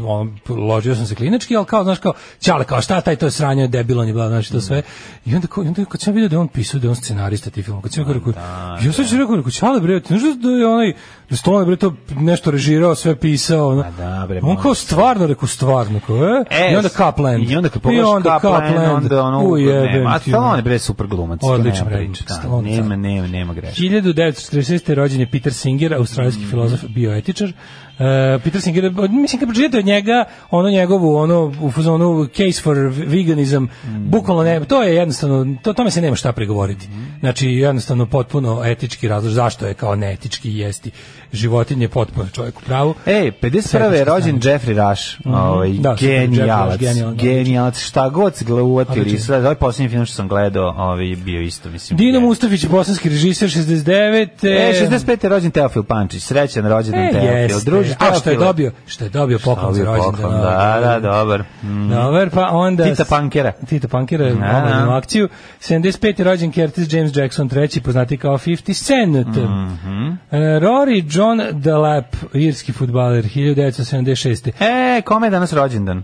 Speaker 7: ono, ložio sam se klinički, ali kao, znaš, kao, čale, kao, šta taj, to je sranje, debilan je, bla, znaš, to sve. I onda, kao, i onda kad sam vidio da je on pisao, da je on scenarista tih filmova, kad sam
Speaker 6: Pa
Speaker 7: ja rekao,
Speaker 6: da,
Speaker 7: ja sam ću rekao, rekao, čale, bre, ti znaš da je onaj, da Stone, bre, to nešto režirao, sve pisao, ono.
Speaker 6: da, bre,
Speaker 7: on kao
Speaker 6: može.
Speaker 7: stvarno, rekao, stvarno, kao, e,
Speaker 6: E,
Speaker 7: i onda Kaplan.
Speaker 6: I onda kad pogledaš Kaplan, onda ono... nema. A Stallone je bre super glumac. to
Speaker 7: Odličan
Speaker 6: nema
Speaker 7: bre,
Speaker 6: priče, da,
Speaker 7: Stallone,
Speaker 6: Nema,
Speaker 7: da.
Speaker 6: nema, nema greške.
Speaker 7: 1946. rođen je Peter Singer,
Speaker 6: Mhm.
Speaker 7: australijski filozof, bioetičar. E, Peter Singer, od- mislim kad pročitate od njega, ono njegovu, ono, u fazonu case for veganism,
Speaker 6: Mhm.
Speaker 7: bukvalno ne, to je jednostavno, to, tome se nema šta pregovoriti. Znači, jednostavno potpuno etički razlog, zašto je kao neetički jesti životinje, potpuno je čovjek u pravu.
Speaker 6: Ej, 51. je
Speaker 7: Središta
Speaker 6: E, rođen Jeffrey Rush, ovaj,
Speaker 7: Da, super, Jeffrey Rush,
Speaker 6: genijalac,
Speaker 7: genijalan. da,
Speaker 6: genijalac, šta god se gluvatili,
Speaker 7: Odličan.
Speaker 6: sve, ovaj posljednji film što sam gledao, ovaj, je bio isto, mislim.
Speaker 7: Dino
Speaker 6: genijalan.
Speaker 7: Mustafić, bosanski režiser, 69.
Speaker 6: E, 65. je rođen Teofil Pančić, srećan rođendan
Speaker 7: E,
Speaker 6: Teofil.
Speaker 7: jeste.
Speaker 6: Druži,
Speaker 7: A što je
Speaker 6: Teofile.
Speaker 7: dobio? Što je dobio poklon za
Speaker 6: Dobio
Speaker 7: rođendan?
Speaker 6: poklon, da, da, dobar. Mm.
Speaker 7: Dobar, pa onda...
Speaker 6: Tita Pankera.
Speaker 7: Tita Pankera, omladinu akciju. 75. je rođen Curtis James Jackson, treći, poznati kao 50 Cent. E, Rory John Delap, irski futbaler, 1976.
Speaker 6: E, kome je danas rođendan?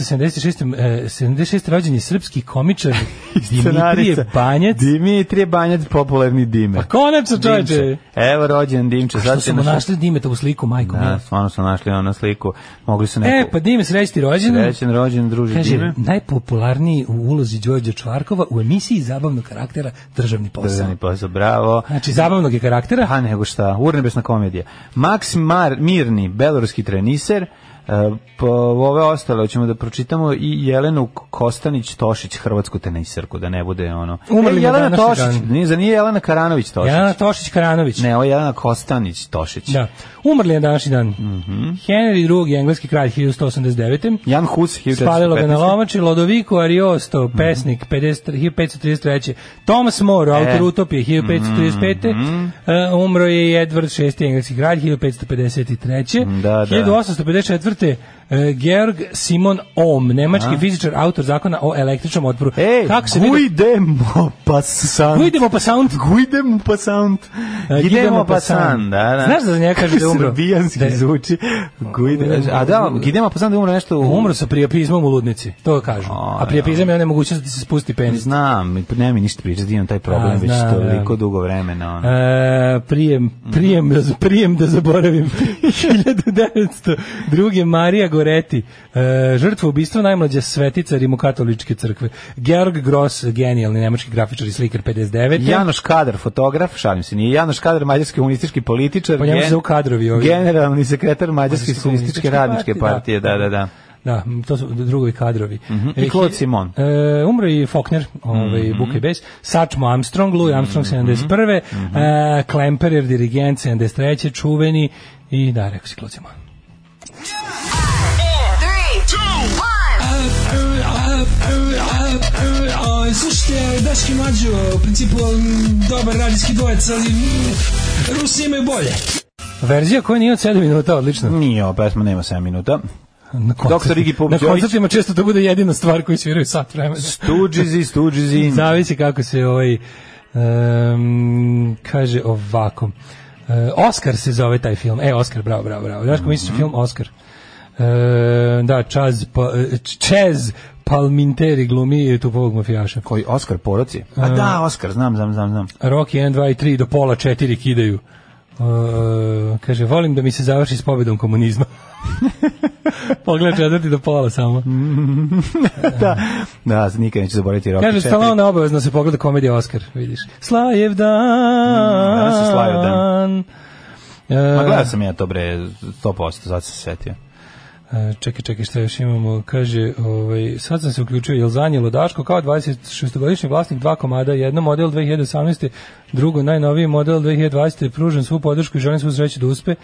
Speaker 7: 1976. E, 76. rođen je srpski komičar
Speaker 6: Scenarica.
Speaker 7: Dimitrije Banjac.
Speaker 6: Dimitrije Banjac, popularni Dime.
Speaker 7: Pa konačno, čovječe!
Speaker 6: Dimče. Evo rođen Dimče.
Speaker 7: Što
Speaker 6: Sad se
Speaker 7: smo našli Dimetovu sliku, majko
Speaker 6: Da,
Speaker 7: mila.
Speaker 6: stvarno smo našli ono sliku. Mogli su
Speaker 7: E,
Speaker 6: neko...
Speaker 7: pa Dime, sreći ti rođendan.
Speaker 6: Srećan rođen, druži
Speaker 7: Kaže,
Speaker 6: Dime.
Speaker 7: najpopularniji u ulozi Đorđa Čvarkova u emisiji zabavnog karaktera Državni posao.
Speaker 6: Državni posao, bravo.
Speaker 7: Znači, zabavnog je karaktera.
Speaker 6: Ha, nego šta, urnebesna komedija. Max Mar, Mirni, beloruski treniser, e, po ove ostale hoćemo da pročitamo i Jelenu Kostanić Tošić, hrvatsku teniserku, da ne bude ono.
Speaker 7: Umrli
Speaker 6: E,
Speaker 7: na
Speaker 6: Jelena
Speaker 7: današnji
Speaker 6: Tošić,
Speaker 7: dan.
Speaker 6: nije, za nije Jelena Karanović Tošić.
Speaker 7: Jelena Tošić Karanović.
Speaker 6: Ne, ovo je Jelena Kostanić Tošić.
Speaker 7: Da. Umrli je na današnji dan.
Speaker 6: Mhm.
Speaker 7: Henry II, engleski kralj 1189.
Speaker 6: Jan Hus, 1415.
Speaker 7: Spalilo ga na lomači, Lodovico Ariosto,
Speaker 6: Mhm.
Speaker 7: pesnik 50 1533. Thomas More, autor
Speaker 6: E. Mhm.
Speaker 7: Utopije 1535. E, umro je i Edward VI, engleski kralj 1553.
Speaker 6: Da, da.
Speaker 7: 1854. e, Georg Simon Ohm, nemački fizičar, autor zakona o električnom otporu.
Speaker 6: E,
Speaker 7: Kako se vidi?
Speaker 6: Guidemo Passant.
Speaker 7: Guidemo pa sound.
Speaker 6: Guidemo Passant.
Speaker 7: E,
Speaker 6: Guidemo
Speaker 7: Guidemo
Speaker 6: Passant,
Speaker 7: Passant.
Speaker 6: da, da.
Speaker 7: Znaš da za njega kaže da je umro?
Speaker 6: Srbijanski
Speaker 7: Da je-
Speaker 6: zvuči. Guide- A da, Guidemo Passant da je umro nešto... u-
Speaker 7: Umro sa prijapizmom u ludnici, to kažu. A prijapizam je nemogućnost da ti se spusti penis.
Speaker 6: Znam, ne mi ništa pričati, imam taj
Speaker 7: A,
Speaker 6: problem već
Speaker 7: znam,
Speaker 6: toliko
Speaker 7: da.
Speaker 6: dugo vremena. Ono.
Speaker 7: E, prijem, prijem, da, prijem da zaboravim. 1902. Marija Goreti, e, žrtva ubistva najmlađa svetica Rimokatoličke crkve. Georg Gross, genijalni nemački grafičar i slikar 59.
Speaker 6: Janoš Kadar, fotograf, šalim se, nije Janoš Kadar, mađarski unistički političar,
Speaker 7: Pa njemu se zovu kadrovi ovi.
Speaker 6: generalni sekretar mađarske
Speaker 7: Mađarske
Speaker 6: sunističke
Speaker 7: komunističke
Speaker 6: radničke partije,
Speaker 7: partije,
Speaker 6: da, da, da.
Speaker 7: Da, to su drugovi kadrovi.
Speaker 6: I
Speaker 7: E,
Speaker 6: Claude
Speaker 7: hi-
Speaker 6: Simon. Mhm.
Speaker 7: E, umro je i Faulkner, ovaj, Buka i Bes, Sačmo Armstrong, Louis Armstrong 71.
Speaker 6: Mhm.
Speaker 7: e, Klemperer, dirigent 73. Čuveni i da, rekao si Claude Simon.
Speaker 1: Slušajte, Daški Mađo, u principu um, dobar radijski dvojec, ali mm, Rusi imaju bolje.
Speaker 7: Verzija koja nije od 7 minuta, odlično.
Speaker 6: Nije, ova pesma nema 7 minuta.
Speaker 7: Na
Speaker 6: Doktor Iggy Pop
Speaker 7: Na
Speaker 6: Đorić.
Speaker 7: koncertima često to bude jedina stvar koju sviraju sat vremena.
Speaker 6: Stuđizi, stuđizi.
Speaker 7: Zavisi kako se ovaj em, kaže ovako. E, Oscar se zove taj film. E, Oscar, bravo, bravo, bravo. Znaš ko misliš na film Oscar? E, da, Čaz, pa, Čez Palminteri glumi tupovog mafijaša.
Speaker 6: Koji Oskar Poroci? A da, Oskar, znam, znam, znam, znam.
Speaker 7: Rocky 1, 2 i 3 do pola 4 kidaju. E, kaže, volim da mi se završi s pobedom komunizma. Pogled četvrti do pola samo.
Speaker 6: Da, da, nikad neću zaboraviti Rocky
Speaker 7: Kaže,
Speaker 6: 4.
Speaker 7: Stallone obavezno se pogleda komedija Oscar, vidiš. Slajev dan.
Speaker 6: danas je Mm, Slajev
Speaker 7: E,
Speaker 6: Ma gledao sam ja to bre, 100%, zato sam se setio.
Speaker 7: e, čekaj, čekaj, šta još imamo? Kaže, ovaj, sad sam se uključio, jel zanjelo Daško kao 26-godišnji vlasnik dva komada, jedno model 2018. Drugo, najnoviji model 2020. Pružen svu podršku i želim svu sreću da uspe.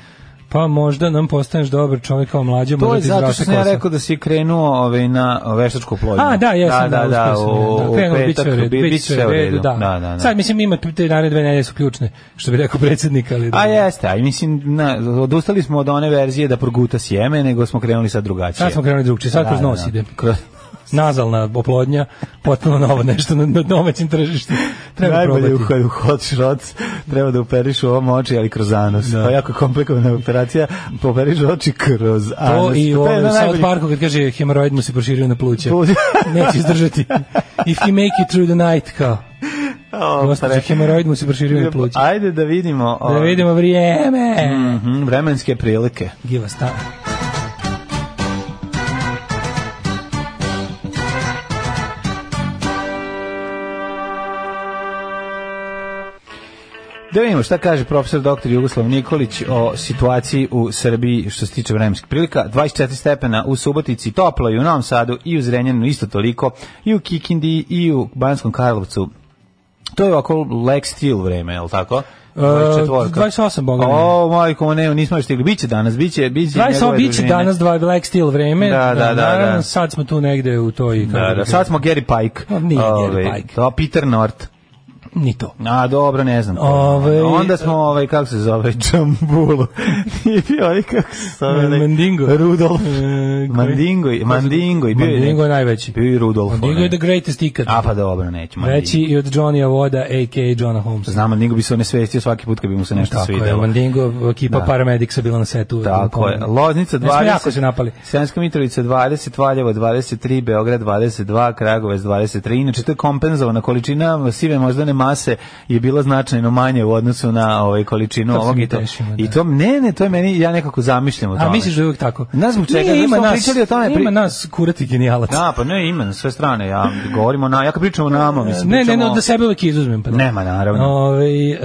Speaker 7: Pa možda nam postaneš dobar čovjek kao mlađe,
Speaker 6: To
Speaker 7: možda
Speaker 6: je
Speaker 7: ti
Speaker 6: zato što
Speaker 7: izraste
Speaker 6: sam ja
Speaker 7: kosa.
Speaker 6: rekao da si krenuo ovaj, na veštačku plodnju.
Speaker 7: A, da, jesam,
Speaker 6: da, da, da,
Speaker 7: uspio sam,
Speaker 6: u,
Speaker 7: da.
Speaker 6: u
Speaker 7: Krenulo, bit će
Speaker 6: petak,
Speaker 7: u redu,
Speaker 6: bi-
Speaker 7: bit
Speaker 6: bit
Speaker 7: će u redu, da.
Speaker 6: da, da, da.
Speaker 7: Sad, mislim, ima te naredne dve nedelje su ključne, što bi rekao predsjednik, ali... da.
Speaker 6: A
Speaker 7: dobro.
Speaker 6: jeste, a mislim, na, odustali smo od one verzije da proguta sjeme, nego smo krenuli sad drugačije. Da,
Speaker 7: Sad smo krenuli drugčije, sad kroz nos ide.
Speaker 6: Kroz-
Speaker 7: Nazalna oplodnja, potpuno novo nešto na, na domaćem tržištu. Treba
Speaker 6: Najbolje
Speaker 7: probati.
Speaker 6: u kojoj u hot shot treba da uperiš u ovom oči, ali kroz anus. Da. To je jako komplikovana operacija, poperiš oči kroz anus.
Speaker 7: To i ovaj
Speaker 6: Da, je
Speaker 7: pa- u ovom
Speaker 6: jedna
Speaker 7: South
Speaker 6: najboljih-
Speaker 7: Parku kad kaže hemoroid mu se proširio na pluća.
Speaker 6: Pluća.
Speaker 7: Neće izdržati. If you make it through the night, kao.
Speaker 6: O,
Speaker 7: Gospođo,
Speaker 6: pre-
Speaker 7: hemoroid mu se proširio na pluća.
Speaker 6: Ajde da vidimo.
Speaker 7: Da
Speaker 6: o,
Speaker 7: vidimo vrijeme.
Speaker 6: mhm, vremenske prilike.
Speaker 7: Give us time.
Speaker 6: Da vidimo šta kaže profesor dr. Jugoslav Nikolić o situaciji u Srbiji što se tiče vremenskih prilika. 24 stepena u Subotici, toplo i u Novom Sadu i u Zrenjaninu isto toliko i u Kikindi i u Banskom Karlovcu. To je ovako Lex Steel vreme, je li tako?
Speaker 7: E,
Speaker 6: 24.
Speaker 7: 28 boga mi.
Speaker 6: O, majko, ne, nismo još stigli. Biće danas, biće, biće. njegove
Speaker 7: 28 biće
Speaker 6: dužine.
Speaker 7: danas dva Black Steel vreme.
Speaker 6: Da, da, da,
Speaker 7: Naravno,
Speaker 6: da.
Speaker 7: sad smo tu negde u toj... kako
Speaker 6: Da, da, sad smo Gary Pike.
Speaker 7: Pa nije Gary
Speaker 6: Ovaj,
Speaker 7: Pike.
Speaker 6: To, Peter North.
Speaker 7: Ni to.
Speaker 6: A, dobro, ne znam.
Speaker 7: Ovaj,
Speaker 6: Onda smo, ovaj, kako se zove, Džambulu. I bio ovaj, kako se zove, onaj-
Speaker 7: Mandingo.
Speaker 6: Rudolf.
Speaker 7: E, koji-
Speaker 6: Mandingo, i- Mandingo. i bio je
Speaker 7: Mandingo
Speaker 6: neki-
Speaker 7: je najveći.
Speaker 6: Bio je i Rudolf.
Speaker 7: Mandingo
Speaker 6: onaj.
Speaker 7: je the greatest ikad.
Speaker 6: A, pa dobro, neću. Mandingo.
Speaker 7: Veći i od Johnny Voda, a.k.a. Johna Holmesa.
Speaker 6: Znam, Mandingo bi se onesvestio svaki put kad bi mu se nešto
Speaker 7: Tako je,
Speaker 6: svidelo.
Speaker 7: Mandingo, ekipa
Speaker 6: Da.
Speaker 7: da. Paramedicsa bila na setu.
Speaker 6: Tako je. Loznica
Speaker 7: Ne smo
Speaker 6: 20.
Speaker 7: jako se napali.
Speaker 6: Sremska Mitrovica 20, Valjevo 23, Beograd 22, Kragovec 23. Inače, to je kompenzovana količina sive moždane mase je bila značajno manje u odnosu na ovaj, količinu
Speaker 7: To se
Speaker 6: ovog.
Speaker 7: mi
Speaker 6: I to,
Speaker 7: tešimo, da.
Speaker 6: I to, ne, ne, to je meni, ja nekako zamišljam o tome.
Speaker 7: A misliš da je uvijek tako?
Speaker 6: Znaš zbog čega?
Speaker 7: Nije,
Speaker 6: Znaš,
Speaker 7: ima
Speaker 6: smo
Speaker 7: nas,
Speaker 6: pričali o tome pri-
Speaker 7: ima nas kurati genijalac.
Speaker 6: Da, pa ne, ima na sve strane. Ja govorimo na, ja kad pričam o nama, mislim,
Speaker 7: ne, ne,
Speaker 6: pričamo...
Speaker 7: ne, da sebe uvijek izuzmem. Pa da.
Speaker 6: Nema, naravno.
Speaker 7: Ovaj,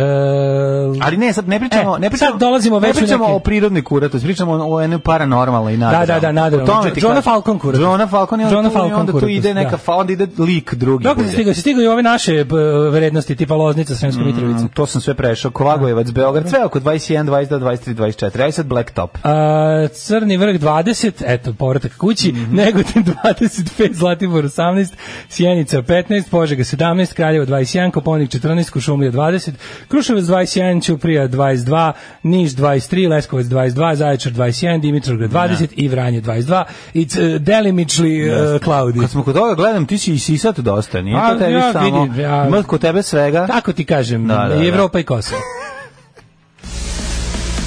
Speaker 7: e,
Speaker 6: Ali ne, sad ne pričamo,
Speaker 7: E,
Speaker 6: ne pričamo,
Speaker 7: sad dolazimo
Speaker 6: ne
Speaker 7: već u
Speaker 6: pričamo
Speaker 7: neke-
Speaker 6: o prirodnoj kuratosti, pričamo o, o jednoj paranormalnoj i nadrealnoj.
Speaker 7: da, da, nadrealnoj.
Speaker 6: O tome ti
Speaker 7: John
Speaker 6: kažem.
Speaker 7: Falcon kuratos.
Speaker 6: John Falcon i onda,
Speaker 7: John
Speaker 6: tu, i
Speaker 7: Falcon
Speaker 6: onda tu
Speaker 7: kuratos,
Speaker 6: ide neka,
Speaker 7: da.
Speaker 6: fa, onda ide lik drugi.
Speaker 7: Dok se
Speaker 6: bude.
Speaker 7: stigao, se stigao i ove naše b, vrednosti, tipa Loznica, Sremska Mitrovica.
Speaker 6: Mm, To sam sve prešao.
Speaker 7: Da.
Speaker 6: Kovagojevac, Beograd, sve oko 21, 22, 23, 24. Aj sad Blacktop.
Speaker 7: A, crni vrh 20, eto, povratak kući,
Speaker 6: Mm-hmm.
Speaker 7: Negotin 25, Zlatibor 18, Sjenica 15, Požega 17, Kraljevo 21, Koponik 14, Kušumlija 20, Kruševac 21, Ćuprija 22, Niš 23, Leskovac 22, Zaječar 21,
Speaker 6: Da.
Speaker 7: Dimitrovgrad 20 i Vranje 22 i c- delimičli e, Klaudi.
Speaker 6: Kad smo kod toga gledam, ti si i sisat dosta, nije
Speaker 7: A,
Speaker 6: to tebi
Speaker 7: Pa, ja
Speaker 6: samo.
Speaker 7: vidim, ja-
Speaker 6: Ima kod tebe svega.
Speaker 7: Tako ti kažem,
Speaker 6: Da, da, da.
Speaker 7: Evropa i Kosovo.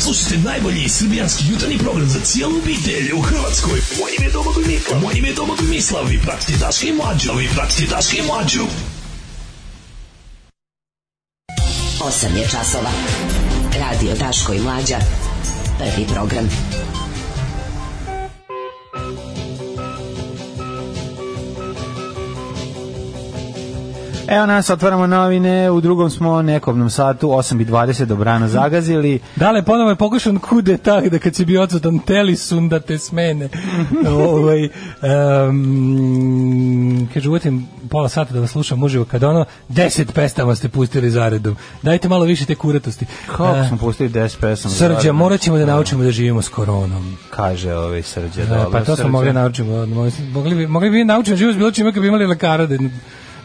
Speaker 9: Slušajte najbolji srbijanski jutarnji program za cijelu obitelj u Hrvatskoj. Moje ime je Domagoj Mikla. Moje ime je Domagoj Mislav. Vi pratite Daška i Mlađu. Vi pratite Daška i Mlađu.
Speaker 8: 8 je časova. Radio Daško i Mlađa. Prvi program.
Speaker 6: Evo nas, otvaramo novine, u drugom smo nekobnom satu, 8.20 dobrana zagazili.
Speaker 7: Dale, ponovo je pokušan kudeta da kad si bio odsutan telisun da te smene. ovaj, um, kaže, uvotim pola sata da vas slušam uživo kad ono deset pestama ste pustili zaredom. Dajte malo više te kuratosti.
Speaker 6: Kako
Speaker 7: E,
Speaker 6: smo pustili 10 pesama?
Speaker 7: Srđa,
Speaker 6: zajedno?
Speaker 7: morat ćemo da naučimo da živimo s koronom.
Speaker 6: Kaže ovaj Srđa,
Speaker 7: E,
Speaker 6: dobro.
Speaker 7: pa to
Speaker 6: Srđa.
Speaker 7: smo mogli naučimo. Mogli bi, mogli bi naučiti da živimo s bilo čime kad bi imali lekara da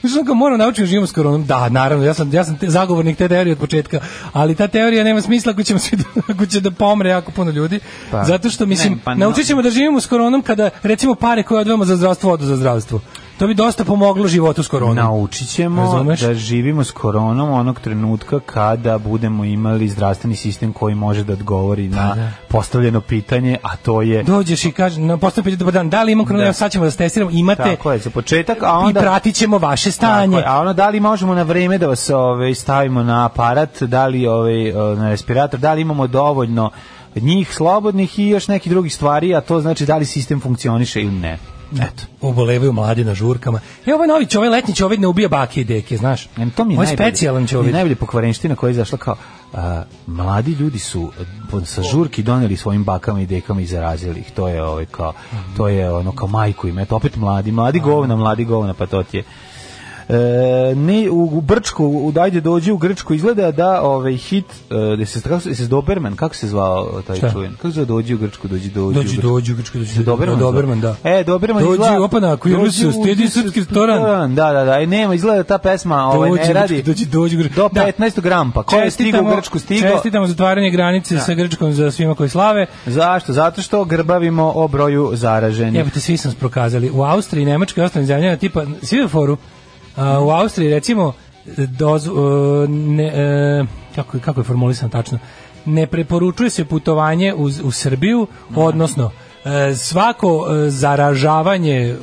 Speaker 7: Mislim da kao moram naučiti da živimo s koronom. Da, naravno, ja sam, ja sam te, zagovornik te teorije od početka, ali ta teorija nema smisla ako, ćemo svi, da- ako će da pomre jako puno ljudi.
Speaker 6: Pa,
Speaker 7: Zato što, mislim,
Speaker 6: ne, pa no.
Speaker 7: naučit ćemo da živimo s koronom kada, recimo, pare koje odvojamo za zdravstvo, odu za zdravstvo. To bi dosta pomoglo životu s koronom.
Speaker 6: Naučit ćemo
Speaker 7: Razumeš?
Speaker 6: da živimo s koronom onog trenutka kada budemo imali zdravstveni sistem koji može da odgovori
Speaker 7: Pa
Speaker 6: na postavljeno pitanje, a to je...
Speaker 7: Dođeš i kaže, na postavljam pitanje, dobar dan, da li imam koronu,
Speaker 6: Da.
Speaker 7: Evo, sad ćemo da se testiramo, imate,
Speaker 6: Tako je, za početak, a
Speaker 7: i
Speaker 6: onda...
Speaker 7: pratit ćemo vaše
Speaker 6: Tako
Speaker 7: stanje.
Speaker 6: je, a ono da li možemo na vreme da vas ove, stavimo na aparat, da li ove, na respirator, da li imamo dovoljno njih slobodnih i još nekih drugih stvari, a to znači da li sistem funkcioniše ili ne. Eto.
Speaker 7: obolevaju mladi na žurkama. E, ovaj novi čovjek, letnji čovjek ne ubija bake i deke, znaš.
Speaker 6: Em, to mi je
Speaker 7: Ovo je
Speaker 6: najbolje.
Speaker 7: specijalan
Speaker 6: Mi je
Speaker 7: čovjek.
Speaker 6: najbolje pokvarenština koja je izašla kao a, mladi ljudi su pod- sa žurki doneli svojim bakama i dekama i zarazili ih. To je ovaj kao to je ono kao majku im. Eto opet mladi, mladi govna, mladi govna, pa to ti je. E, ne, u, u Brčku, u Dajde dođi u Grčku izgleda da ovaj hit e, da se kako se se Doberman, kako se zvao e, taj
Speaker 7: Šta?
Speaker 6: čuven? Kako se zvao dođi u Grčku, dođi dođi. u
Speaker 7: Dođi,
Speaker 6: Grčku?
Speaker 7: dođi, grčko, dođi.
Speaker 6: Se Doberman. zvao?
Speaker 7: Doberman, da.
Speaker 6: E, Doberman
Speaker 7: Dođi,
Speaker 6: izgleda.
Speaker 7: opana, ako je
Speaker 6: Dođi
Speaker 7: Rusija,
Speaker 6: u
Speaker 7: stidi srpski restoran.
Speaker 6: Da, da, da. I nema, izgleda da ta pesma ovaj,
Speaker 7: Dođi,
Speaker 6: ne
Speaker 7: Grčko,
Speaker 6: radi.
Speaker 7: dođi, dođi, Grčko.
Speaker 6: Do
Speaker 7: Da.
Speaker 6: 15 grampa. Ko je stigao u Grčku stigao? Da.
Speaker 7: Čestitamo zatvaranje granice sa Grčkom za svima koji slave.
Speaker 6: Zašto? Zato što grbavimo o broju zaraženih.
Speaker 7: Jebote, svi smo prokazali. U Austriji, Nemačkoj i ostalim zemljama, tipa, svi u foru, a, u Austriji, recimo, dozu, e, ne, e, kako, kako je formulisano tačno, ne preporučuje se putovanje uz, u Srbiju, odnosno, e, svako e, zaražavanje e,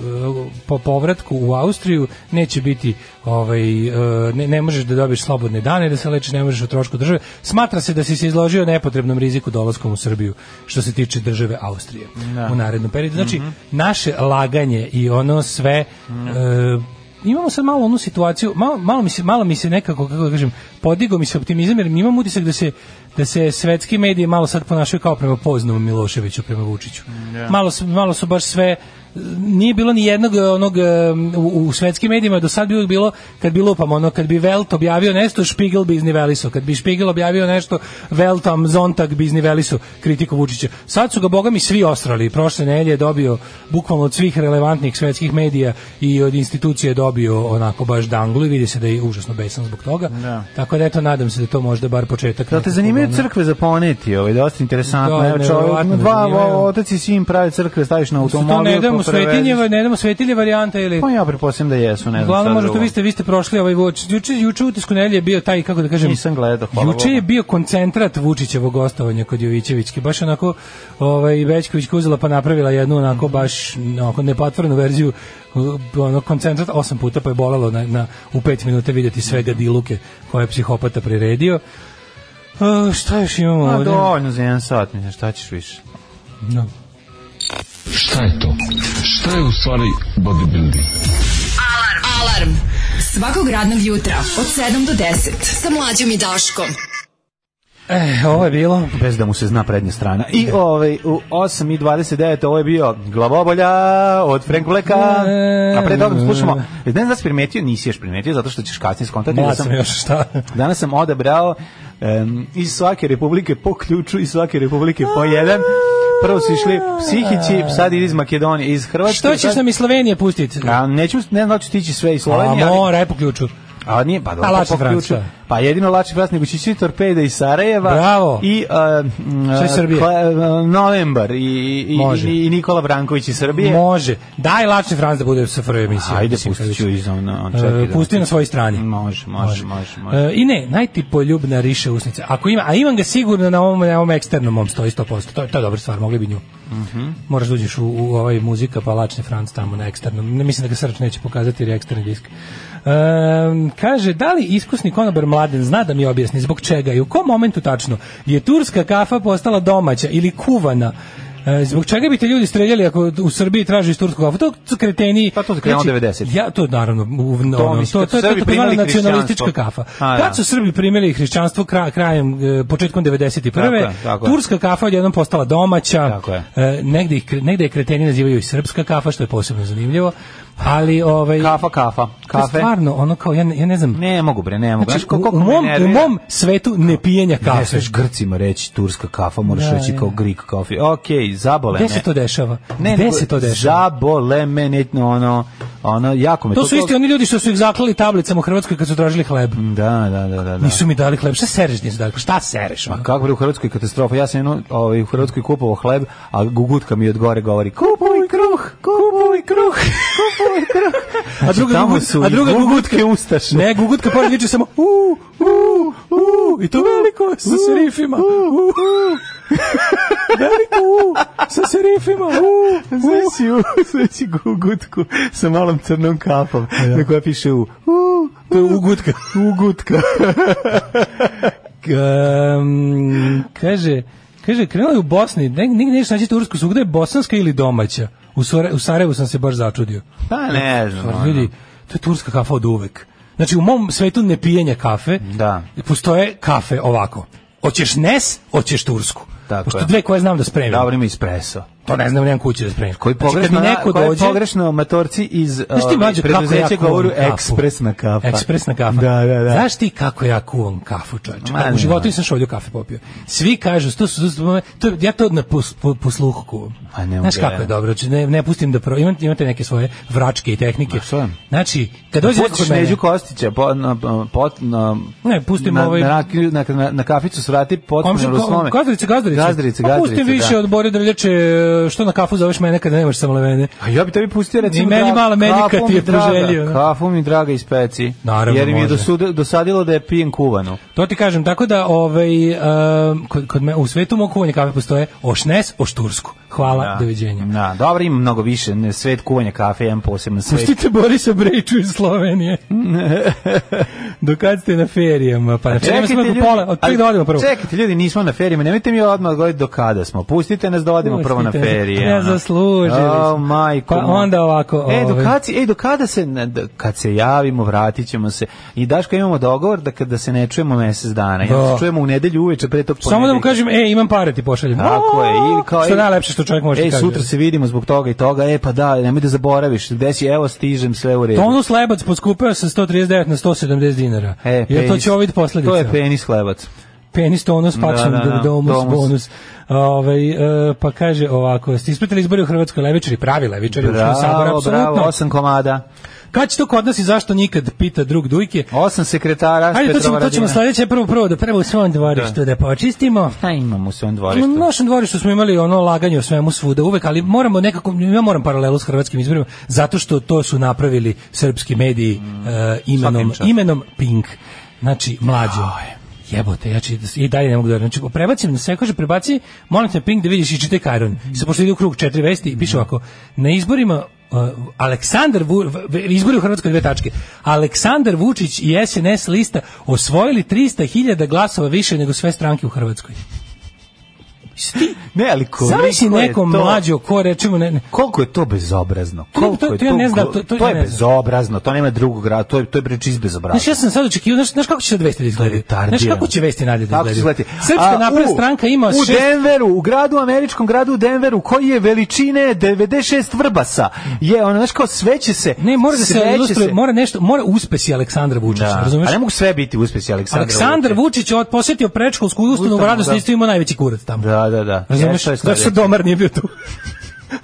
Speaker 7: po povratku u Austriju neće biti ovaj e, ne, ne možeš da dobiješ slobodne dane da se leči ne možeš o trošku države smatra se da si se izložio nepotrebnom riziku dolaskom u Srbiju što se tiče države Austrije u narednom periodu znači naše laganje i ono sve e, imamo sad malo onu situaciju malo, malo mi se malo mi se nekako kako da kažem podigao mi se optimizam jer imam utisak da se da se svetski mediji malo sad ponašaju kao prema poznom Miloševiću prema Vučiću malo su, malo su baš sve nije bilo ni jednog e, onog e, u, u svetskim medijima je do sad bi uvijek bilo kad bi lupam ono kad bi Welt objavio nešto Spiegel bi izniveliso kad bi Spiegel objavio nešto Veltam Zontag bi izniveliso kritiku Vučića sad su ga boga mi svi ostrali prošle nedelje je dobio bukvalno od svih relevantnih svetskih medija i od institucije je dobio onako baš danglu i vidi se da je užasno besan zbog toga tako da eto nadam se da je to možda bar početak
Speaker 6: Da te
Speaker 7: nekog
Speaker 6: zanimaju
Speaker 7: ono-
Speaker 6: crkve za poneti, ovaj dosta interesantno.
Speaker 7: Da,
Speaker 6: Evo čovjek,
Speaker 7: nevjerovatno
Speaker 6: dva
Speaker 7: zanimaju.
Speaker 6: o- otac i sin prave crkve, staviš na
Speaker 7: da Su to
Speaker 6: automobil,
Speaker 7: ne damo
Speaker 6: pa prevezeš.
Speaker 7: svetinje, ne damo svetilje varijanta ili
Speaker 6: Pa ja pretpostavljam da jesu, ne znam.
Speaker 7: Uglavnom
Speaker 6: šta
Speaker 7: možda to
Speaker 6: drugo.
Speaker 7: vi ste vi ste prošli ovaj voč. Juče juče u utisku nedelje je bio taj kako da kažem
Speaker 6: Nisam gledao, hvala
Speaker 7: Juče je
Speaker 6: Bogu.
Speaker 7: bio koncentrat Vučićevog gostovanja kod Jovićevićke. Baš onako ovaj Bećković uzela pa napravila jednu onako baš onako nepatvornu verziju uh, ono koncentrat osam puta pa je bolelo na, na u 5 minuta vidjeti sve gadiluke koje je psihopata priredio. Uh, šta još imamo
Speaker 6: Pa
Speaker 7: ovdje?
Speaker 6: dovoljno za jedan sat, mislim, šta ćeš više?
Speaker 7: Da.
Speaker 9: Šta je to? Šta je u stvari bodybuilding?
Speaker 5: Alarm. Alarm. Svakog radnog jutra od 7 do 10 sa mlađom i Daškom.
Speaker 7: E, ovo je bilo.
Speaker 6: Bez da mu se zna prednja strana. I
Speaker 7: Da.
Speaker 6: ovaj, u 8.29 ovo je bio Glavobolja od Frank Blacka. A pre toga slušamo, ne znam da si primetio, nisi još primetio, zato što ćeš kasnije skontati. da
Speaker 7: Mlad
Speaker 6: sam-
Speaker 7: sam još šta.
Speaker 6: Danas sam odabrao em, iz svake republike po ključu, iz svake republike po jedan. Prvo su išli psihići, sad ide iz Makedonije, iz Hrvatske.
Speaker 7: Što ćeš
Speaker 6: sad-
Speaker 7: nam iz Slovenije pustiti?
Speaker 6: A, neću, ne znam da ću tići sve iz
Speaker 7: A
Speaker 6: Slovenije, ali...
Speaker 7: mora, aj po ključu.
Speaker 6: A nije, pa
Speaker 7: A
Speaker 6: dobro,
Speaker 7: Lači
Speaker 6: po ključu.
Speaker 7: Franca.
Speaker 6: Pa jedino Lači Franc, nego će ići Torpeda iz Sarajeva.
Speaker 7: Bravo.
Speaker 6: I, uh,
Speaker 7: Sve iz Srbije.
Speaker 6: Novembar i, i,
Speaker 7: Može.
Speaker 6: i, i Nikola Branković iz Srbije.
Speaker 7: Može. Daj Lačni Franc da bude sa prve emisije.
Speaker 6: Ajde, pustit ću iz on, on čekaj. da-
Speaker 7: E, pusti na svojoj strani.
Speaker 6: Može, može, može. može.
Speaker 7: E, I ne, najtipoljubna riše usnica. Ako ima, a imam ga sigurno na ovom, na ovom eksternom mom stoji 100%. To, je- to je dobra stvar, mogli bi nju.
Speaker 6: Mhm.
Speaker 7: Moraš da uđeš u, u ovaj muzika, pa Lačni Franc tamo na eksternom. Ne mislim da ga srč neće pokazati jer je eksterni disk. E, kaže, da li iskusni konobar mladen zna da mi objasni zbog čega i u kom momentu tačno je turska kafa postala domaća ili kuvana E, zbog čega bi te ljudi streljali ako u Srbiji tražiš tursku kafu? To su kreteni. Znači,
Speaker 6: Pa to se krenulo 90-ih.
Speaker 7: Ja to naravno u, ono,
Speaker 6: To
Speaker 7: to,
Speaker 6: mislim,
Speaker 7: to,
Speaker 6: kad su
Speaker 7: to, to,
Speaker 6: Srbi
Speaker 7: je primala
Speaker 6: primili
Speaker 7: nacionalistička
Speaker 6: hrišćanstvo.
Speaker 7: kafa.
Speaker 6: A, da.
Speaker 7: Kad su Srbi primili hrišćanstvo kra, krajem e, početkom 91.
Speaker 6: Tako je, tako je.
Speaker 7: turska kafa je jednom postala domaća.
Speaker 6: Tako je.
Speaker 7: E, negde, ih kre- negde je kreteni nazivaju i srpska kafa što je posebno zanimljivo. Ali ovaj
Speaker 6: Kafa, kafa,
Speaker 7: to je
Speaker 6: kafe.
Speaker 7: Stvarno, ono kao ja, ne- ja ne znam.
Speaker 6: Ne mogu bre, ne mogu.
Speaker 7: Znači,
Speaker 6: Znaš
Speaker 7: u,
Speaker 6: koliko
Speaker 7: u
Speaker 6: me
Speaker 7: mom, u
Speaker 6: nervira?
Speaker 7: mom svetu ne pijenja
Speaker 6: Ne
Speaker 7: kafe.
Speaker 6: smeš Grcima reći turska kafa, moraš
Speaker 7: Da,
Speaker 6: reći
Speaker 7: da.
Speaker 6: kao Greek coffee. Okej, zabole me.
Speaker 7: Gde se to dešava?
Speaker 6: Ne,
Speaker 7: Gde
Speaker 6: nego
Speaker 7: se to dešava?
Speaker 6: Zabole me, ne, ono, ono, jako me
Speaker 7: To su isti oni ljudi što su ih zaklali tablicama u Hrvatskoj kad su tražili hleb.
Speaker 6: Da, da, da, da. da.
Speaker 7: Nisu mi dali hleb. Šta sereš nisu dali? Pa Šta sereš? ono?
Speaker 6: Ma Pa kako bre u Hrvatskoj katastrofa. Ja sam jedno, ovaj, u Hrvatskoj kupovao hleb, a gugutka mi od gore govori kupuj kruh, kupuj kruh, kupuj kruh.
Speaker 7: A druga,
Speaker 6: tamo
Speaker 7: gugut,
Speaker 6: su
Speaker 7: a
Speaker 6: i
Speaker 7: druga
Speaker 6: gugutke
Speaker 7: gugutka
Speaker 6: ustaše.
Speaker 7: Ne, gugutka pored viče samo u, u, u, i to veliko sa serifima. U, u. Veliko u, sa serifima. U, u.
Speaker 6: Sveći, u, sveći gugutku sa malom crnom kapom na koja piše u. u
Speaker 7: To je ugutka.
Speaker 6: ugutka.
Speaker 7: Um, kaže, kaže, krenula je u Bosni, ne, nigde nećeš naći tursku su, gde je bosanska ili domaća? U, Sara- u Sarajevu sam se baš začudio.
Speaker 6: Pa ne znam.
Speaker 7: Stvarno,
Speaker 6: ono.
Speaker 7: ljudi, to je turska kafa od uvek. Znači, u mom svetu ne pijenja kafe,
Speaker 6: Da.
Speaker 7: postoje kafe ovako. Hoćeš nes, hoćeš tursku.
Speaker 6: Tako
Speaker 7: Pošto
Speaker 6: je.
Speaker 7: dve koje znam da spremim.
Speaker 6: Dobro ima espresso.
Speaker 7: to ne znam, nemam kuće da spremim.
Speaker 6: Koji pogrešno,
Speaker 7: znači, kad mi neko
Speaker 6: koji
Speaker 7: dođe,
Speaker 6: pogrešno matorci iz
Speaker 7: Znaš ti
Speaker 6: ovaj,
Speaker 7: mlađe kako ja
Speaker 6: preduzeća
Speaker 7: kuvam
Speaker 6: govoru
Speaker 7: kafu?
Speaker 6: ekspresna kafa.
Speaker 7: Ekspresna kafa.
Speaker 6: Da, da, da.
Speaker 7: Znaš ti kako ja kuvam kafu, čovječe?
Speaker 6: Ma,
Speaker 7: Kako U
Speaker 6: ne.
Speaker 7: životu nisam šolju kafe popio. Svi kažu, to su, to su- to- ja to na pos, po, po sluhu kuvam.
Speaker 6: Ma, Pa ne mogu
Speaker 7: Znaš kako
Speaker 6: ja.
Speaker 7: je dobro, znači, ne, ne pustim da pro, imam, imate neke svoje vračke i tehnike.
Speaker 6: Ma, šta? Pa
Speaker 7: Znači, kad dođe neko
Speaker 6: Pustiš
Speaker 7: kod mene-
Speaker 6: Neđu Kostića po, na, pot, na,
Speaker 7: Ne, pustim
Speaker 6: na,
Speaker 7: ovaj-
Speaker 6: na, rakiju- na, na, na kaficu svrati potpuno
Speaker 7: Komšin, ko,
Speaker 6: Ruslome.
Speaker 7: gazdarice, gazdarice.
Speaker 6: Gazdarice,
Speaker 7: Pa
Speaker 6: gazdarice,
Speaker 7: pustim više
Speaker 6: da.
Speaker 7: od Bore Drljače, e, što na kafu zoveš mene kad nemaš samolevene.
Speaker 6: A ja bi tebi pustio recimo...
Speaker 7: I meni
Speaker 6: drag-
Speaker 7: mala medika
Speaker 6: kafu
Speaker 7: ti je
Speaker 6: mi draga,
Speaker 7: poželio.
Speaker 6: Kafu mi draga iz peci.
Speaker 7: Naravno,
Speaker 6: Jer mi je
Speaker 7: može.
Speaker 6: dosude- dosadilo da je pijen kuvanu.
Speaker 7: To ti kažem, tako da ovaj, em, kod, kod me, u svetu mog kuvanja kafe postoje ošnes, oštursku. Hvala, doviđenja.
Speaker 6: Da, dobro, ima mnogo više. Ne, svet kuvanja kafe, jedan posebno svet.
Speaker 7: Pustite Borisa Brejču iz Slovenije.
Speaker 6: Mm.
Speaker 7: Dokad ste na ferijama? Pa na ferijama smo do pola, od prvih da odemo prvo.
Speaker 6: Čekajte, ljudi, nismo na ferijama, nemojte mi odmah govoriti do kada smo. Pustite nas da odemo prvo na
Speaker 7: Pustite nas,
Speaker 6: ferije.
Speaker 7: ne
Speaker 6: ono.
Speaker 7: zaslužili smo.
Speaker 6: O, majko.
Speaker 7: Pa
Speaker 6: moja.
Speaker 7: onda ovako,
Speaker 6: E, do
Speaker 7: ovaj.
Speaker 6: kad, si- e, do kada se, ne, da- kad se javimo, vratit ćemo se. I Daško, imamo dogovor da kada se ne čujemo mesec dana. Ja
Speaker 7: Da.
Speaker 6: se čujemo u nedelju uveče pre tog
Speaker 7: Samo da mu
Speaker 6: ponedeljka.
Speaker 7: kažem, e, imam pare ti pošaljem.
Speaker 6: Tako je, ili kao
Speaker 7: Što je
Speaker 6: ej,
Speaker 7: najlepše što čovjek može
Speaker 6: Ej,
Speaker 7: ti
Speaker 6: E,
Speaker 7: kaže.
Speaker 6: sutra se vidimo zbog toga i toga. E pa da, nemoj da zaboraviš. Gde si? Evo stižem, sve u redu.
Speaker 7: Tonus lebac poskupeo sa 139 na 170 dinara.
Speaker 6: E,
Speaker 7: Jer to
Speaker 6: penis.
Speaker 7: će ovid posledica.
Speaker 6: To je penis hlebac.
Speaker 7: penis tonus, pačan,
Speaker 6: Da, da, da,
Speaker 7: domus,
Speaker 6: domus.
Speaker 7: bonus. Ovaj, e, pa kaže ovako, ste ispratili izbori u Hrvatskoj levičari, pravi levičari, u Uškom saboru,
Speaker 6: Bravo, bravo,
Speaker 7: apsolutno.
Speaker 6: osam komada.
Speaker 7: Kad će to kod nas i zašto nikad, pita drug Dujke.
Speaker 6: Osam sekretara
Speaker 7: Ajde, to ćemo, to ćemo
Speaker 6: Petrovaradina.
Speaker 7: sledeće prvo, prvo da prvo u svom dvorištu da, počistimo.
Speaker 6: Šta imamo u svom
Speaker 7: U
Speaker 6: dvorištu?
Speaker 7: našem dvorištu smo imali ono laganje o svemu svuda uvek, ali moramo nekako, ja moram paralelu s hrvatskim izborima, zato što to su napravili srpski mediji e, imenom,
Speaker 6: svaka im čast.
Speaker 7: imenom Pink. Znači, mlađo. Jebote, ja ću, i dalje ne mogu da verujem. Znači, prebacim na sve, kaže, prebaci, molim te na Pink da vidiš i čitaj Kajron. I se pošto ide u krug četiri vesti i piše ovako, na izborima e, Aleksandar Vu, v- v- izbori u Hrvatskoj dve tačke. Aleksandar Vučić i SNS lista osvojili 300.000 glasova više nego sve stranke u Hrvatskoj. Sti,
Speaker 6: Ne, ali koliko
Speaker 7: Zamisli
Speaker 6: je
Speaker 7: neko
Speaker 6: to-
Speaker 7: mlađo ko rečemo ne, ne.
Speaker 6: Koliko je to bezobrazno? Koliko
Speaker 7: to-
Speaker 6: je
Speaker 7: to ja ne znam,
Speaker 6: glu-
Speaker 7: to- to ja
Speaker 6: je
Speaker 7: ne znam.
Speaker 6: bezobrazno, to nema drugog grada, to je to je breč iz
Speaker 7: Znaš,
Speaker 6: bezobrazno.
Speaker 7: ja sam sad očekivao, znaš, znaš kako će sad vesti da izgledaju?
Speaker 6: Retardiran.
Speaker 7: Znaš kako će vesti nadalje da
Speaker 6: Kako će
Speaker 7: izgledaju?
Speaker 6: izgledati?
Speaker 7: Srpska
Speaker 6: A,
Speaker 7: napredna
Speaker 6: u-
Speaker 7: stranka ima
Speaker 6: U
Speaker 7: šest...
Speaker 6: Denveru, u gradu, američkom gradu Denveru, koji je veličine 96 vrbasa. Je, ono, znaš kao, sve će se...
Speaker 7: Ne, mora da se
Speaker 6: sve će
Speaker 7: ilustruje, mora nešto, mora uspesi Aleksandra Vučića,
Speaker 6: Da.
Speaker 7: razumeš?
Speaker 6: A ne mogu sve biti uspesi Aleksandra
Speaker 7: Aleksandar
Speaker 6: Vučića.
Speaker 7: Vučić je od- posjetio predškolsku ustanovu u
Speaker 6: Ustanovu,
Speaker 7: Radosti,
Speaker 6: da.
Speaker 7: isto imao najveći kurac tamo.
Speaker 6: Da, da, da.
Speaker 7: Razumeš?
Speaker 6: Jeste,
Speaker 7: Da što domar nije bio tu.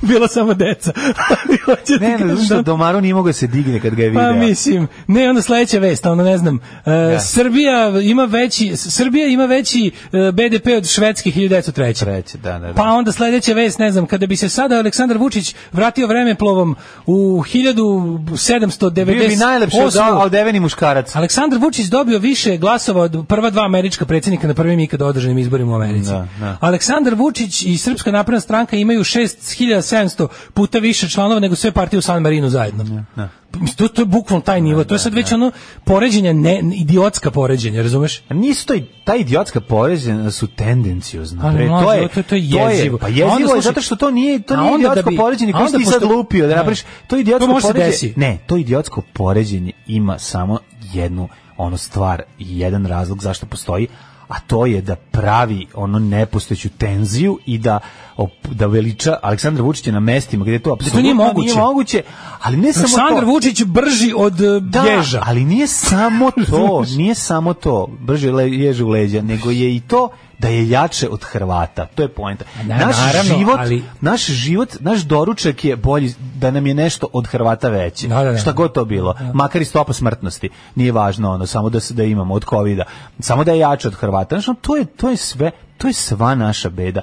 Speaker 7: Bilo samo deca. Ali hoću ti
Speaker 6: Ne, ne,
Speaker 7: kažem
Speaker 6: zato što
Speaker 7: da-
Speaker 6: Domaru nije mogao da se digne kad ga je
Speaker 7: Pa
Speaker 6: vidio.
Speaker 7: mislim, ne, onda sledeća vest, onda ne znam. E,
Speaker 6: Da.
Speaker 7: Srbija ima veći Srbija ima veći e, BDP od Švedske 1903.
Speaker 6: Treće, da, da, da.
Speaker 7: Pa onda sledeća vest, ne znam, kada bi se sada Aleksandar Vučić vratio vremeplovom u 1798.
Speaker 6: Bio bi najlepši od, od deveni muškarac.
Speaker 7: Aleksandar Vučić dobio više glasova od prva dva američka predsjednika na prvim ikada održanim izborima u Americi.
Speaker 6: Da, da.
Speaker 7: Aleksandar Vučić i Srpska napredna stranka imaju 6700 puta više članova nego sve partije u San Marinu zajedno.
Speaker 6: da.
Speaker 7: Pa, Mislim, To, to je bukvalno taj nivo. to je sad već ono poređenje, ne, idiotska poređenja, razumeš?
Speaker 6: A Nisu to i ta idiotska poređenja su tendencijozna.
Speaker 7: Ali
Speaker 6: Pre,
Speaker 7: Pa mlađe,
Speaker 6: to je
Speaker 7: to- to je jezivo.
Speaker 6: Pa
Speaker 7: A
Speaker 6: jezivo
Speaker 7: onda,
Speaker 6: je
Speaker 7: slušaj,
Speaker 6: zato što to nije to
Speaker 7: a
Speaker 6: nije
Speaker 7: onda da
Speaker 6: idiotsko
Speaker 7: bi-
Speaker 6: poređenje
Speaker 7: a
Speaker 6: koje
Speaker 7: onda
Speaker 6: si ti sad
Speaker 7: posto-
Speaker 6: lupio da
Speaker 7: Ne.
Speaker 6: napraviš. To
Speaker 7: To
Speaker 6: idiotsko
Speaker 7: može se
Speaker 6: poređenje.
Speaker 7: desi.
Speaker 6: Ne, to idiotsko poređenje ima samo jednu onu stvar i jedan razlog zašto postoji a to je da pravi ono nepostojeću tenziju i da op- da veliča Aleksandra Vučića na mestima gdje to apsolutno
Speaker 7: Da nije moguće.
Speaker 6: ali ne samo
Speaker 7: Aleksandar
Speaker 6: to.
Speaker 7: Vučić brži od e,
Speaker 6: Da,
Speaker 7: ježa.
Speaker 6: ali nije samo to, nije samo to, brže le, ježe u leđa, nego je i to da je jače od Hrvata. To je poenta.
Speaker 7: Na-
Speaker 6: naš
Speaker 7: da, naravno,
Speaker 6: život,
Speaker 7: ali-
Speaker 6: naš život, naš doručak je bolji da nam je nešto od Hrvata veći.
Speaker 7: Da, da, da.
Speaker 6: Šta god to bilo, makar i stopa smrtnosti. Nije važno ono, samo da se da imamo od kovida, samo da je jače od Hrvata. Znači, to je to je sve, to je sva naša beda.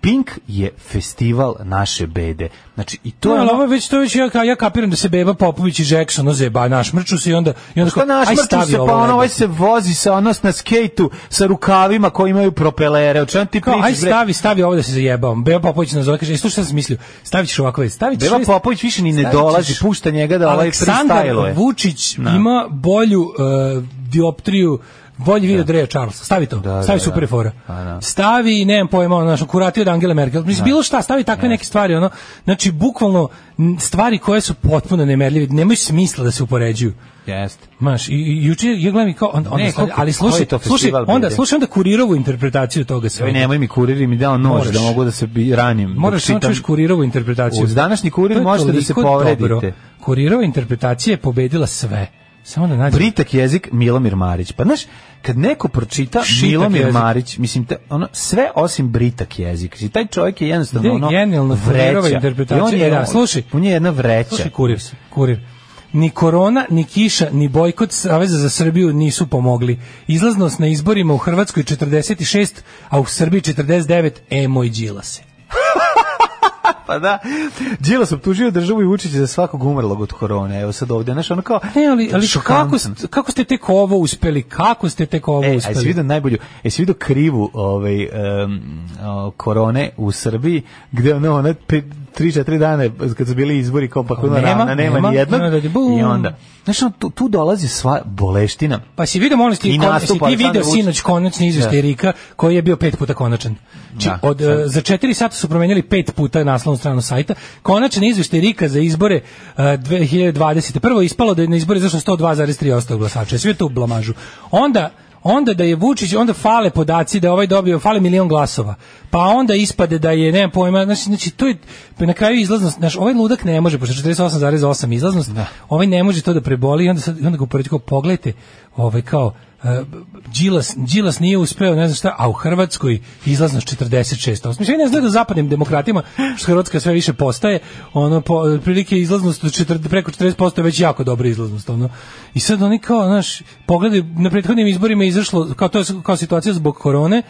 Speaker 6: Pink je festival naše bede. Znači, i to
Speaker 7: To
Speaker 6: je
Speaker 7: je
Speaker 6: ono-
Speaker 7: Da, ovo je već to je već ja ka- ja kapiram da se Beba Popović i Jackson ozeba naš mrču se i onda i onda
Speaker 6: Pa Šta
Speaker 7: kao,
Speaker 6: naš
Speaker 7: aj
Speaker 6: mrču
Speaker 7: stavi
Speaker 6: se,
Speaker 7: ovo
Speaker 6: pa ono,
Speaker 7: lebo.
Speaker 6: ovaj se vozi sa onos na skejtu, sa rukavima koji imaju propelere, o čemu ti
Speaker 7: Kao, aj
Speaker 6: pričaš, bre?
Speaker 7: stavi, stavi ovo da se zajebam. Beba Popović nas zove, kaže, "E, slušaj šta sam mislio, stavit ćeš ovako, već, stavit ćeš...
Speaker 6: Beba
Speaker 7: šest-
Speaker 6: Popović više ni ne
Speaker 7: stavit ćeš-
Speaker 6: dolazi, pušta njega da ovaj Da.
Speaker 7: Aleksandar
Speaker 6: freestyle je.
Speaker 7: Vučić
Speaker 6: Da.
Speaker 7: ima bolju e, uh, dioptriju Bolji video Dreja Charlesa. Stavi to.
Speaker 6: Da,
Speaker 7: stavi
Speaker 6: da,
Speaker 7: super
Speaker 6: da.
Speaker 7: fora.
Speaker 6: A, da.
Speaker 7: Stavi, nemam pojma, ono, znaš, kurati od Angele Merkel. Mislim, bilo šta, stavi takve neke stvari, ono, znači, bukvalno, n- stvari koje su potpuno nemerljive, nemaju smisla da se upoređuju.
Speaker 6: Jeste.
Speaker 7: Maš, i, i juče ja gledam i kao on, onda,
Speaker 6: Ne,
Speaker 7: stvari-
Speaker 6: koliko-
Speaker 7: ali
Speaker 6: koji
Speaker 7: slušaj,
Speaker 6: to
Speaker 7: slušaj,
Speaker 6: festival
Speaker 7: onda
Speaker 6: bude?
Speaker 7: slušaj onda kurirovu interpretaciju toga
Speaker 6: Evo,
Speaker 7: svega.
Speaker 6: nemoj mi kurir i mi dao nož
Speaker 7: Moraš.
Speaker 6: da mogu da se bi, ranim. dok
Speaker 7: Moraš samo
Speaker 6: čitam.
Speaker 7: čuješ kurirovu interpretaciju.
Speaker 6: Uz današnji kurir
Speaker 7: To je
Speaker 6: možete da se
Speaker 7: toliko
Speaker 6: povredite.
Speaker 7: dobro. Kurirova interpretacija je pobedila sve. Samo da nađem.
Speaker 6: Britak jezik Milomir Marić. Pa znaš, kad neko pročita
Speaker 7: Šitak
Speaker 6: Milomir
Speaker 7: jezik.
Speaker 6: Marić, mislim, te, ono, sve osim Britak jezik. Znači, taj čovjek je jednostavno
Speaker 7: Da,
Speaker 6: ono,
Speaker 7: genijalna Furierova
Speaker 6: vreća.
Speaker 7: interpretacija,
Speaker 6: I on je,
Speaker 7: da, slušaj.
Speaker 6: on je jedna vreća.
Speaker 7: Slušaj, kurir, si, kurir. Ni korona, ni kiša, ni bojkot Saveza za Srbiju nisu pomogli. Izlaznost na izborima u Hrvatskoj 46, a u Srbiji 49, e moj džila se.
Speaker 6: Pa da, Đilas optužio državu i Vučića za svakog umrlog od korone. Evo sad ovdje, znaš, ono kao...
Speaker 7: Ne, ali, ali
Speaker 6: šokantan.
Speaker 7: kako, ste, kako ste tek ovo uspeli? Kako ste tek ovo
Speaker 6: E, a jesi
Speaker 7: uspeli?
Speaker 6: vidio najbolju, jesi vidio krivu ovaj, em, o, korone u Srbiji, gde ono, ono, pe, tri, četiri dana kad su bili izbori, kao pa kuna
Speaker 7: Nema,
Speaker 6: ravna, nema,
Speaker 7: nema,
Speaker 6: ni jednog,
Speaker 7: nema da ti bum.
Speaker 6: i onda, znaš, ono, tu, tu dolazi sva boleština.
Speaker 7: Pa si vidio, molim ti,
Speaker 6: I
Speaker 7: kon, si
Speaker 6: nastup
Speaker 7: ti
Speaker 6: Aleksandra
Speaker 7: vidio
Speaker 6: Vučića.
Speaker 7: sinoć konačni izveštaj
Speaker 6: Da.
Speaker 7: Rika, koji je bio pet puta konačan. Či,
Speaker 6: Da,
Speaker 7: od, e,
Speaker 6: sad.
Speaker 7: za četiri sata su promenjali pet puta naslovnu stranu sajta. Konačan izveštaj Rika za izbore e, 2020. Prvo je ispalo da je na izbore zašlo 102,3% glasača. Sve to u blamažu. Onda onda da je Vučić, onda fale podaci da je ovaj dobio, fale milion glasova. Pa onda ispade da je, nemam pojma, znači, znači to je, pa na kraju izlaznost, znaš, ovaj ludak ne može, pošto je 48,8 izlaznost, ovaj ne može to da preboli i onda, sad, i onda ga uporedi kao, pogledajte, ovaj kao, e, Đilas, Đilas nije uspeo, ne znam šta, a u Hrvatskoj izlaznost 46%. Mislim, ja ne znam da u zapadnim demokratima, što Hrvatska sve više postaje, ono, po, prilike izlaznost od 40, preko 40% je već jako dobra izlaznost. Ono. I sad oni kao, znaš, pogledaj, na prethodnim izborima je izašlo, kao, to je, kao situacija zbog korone,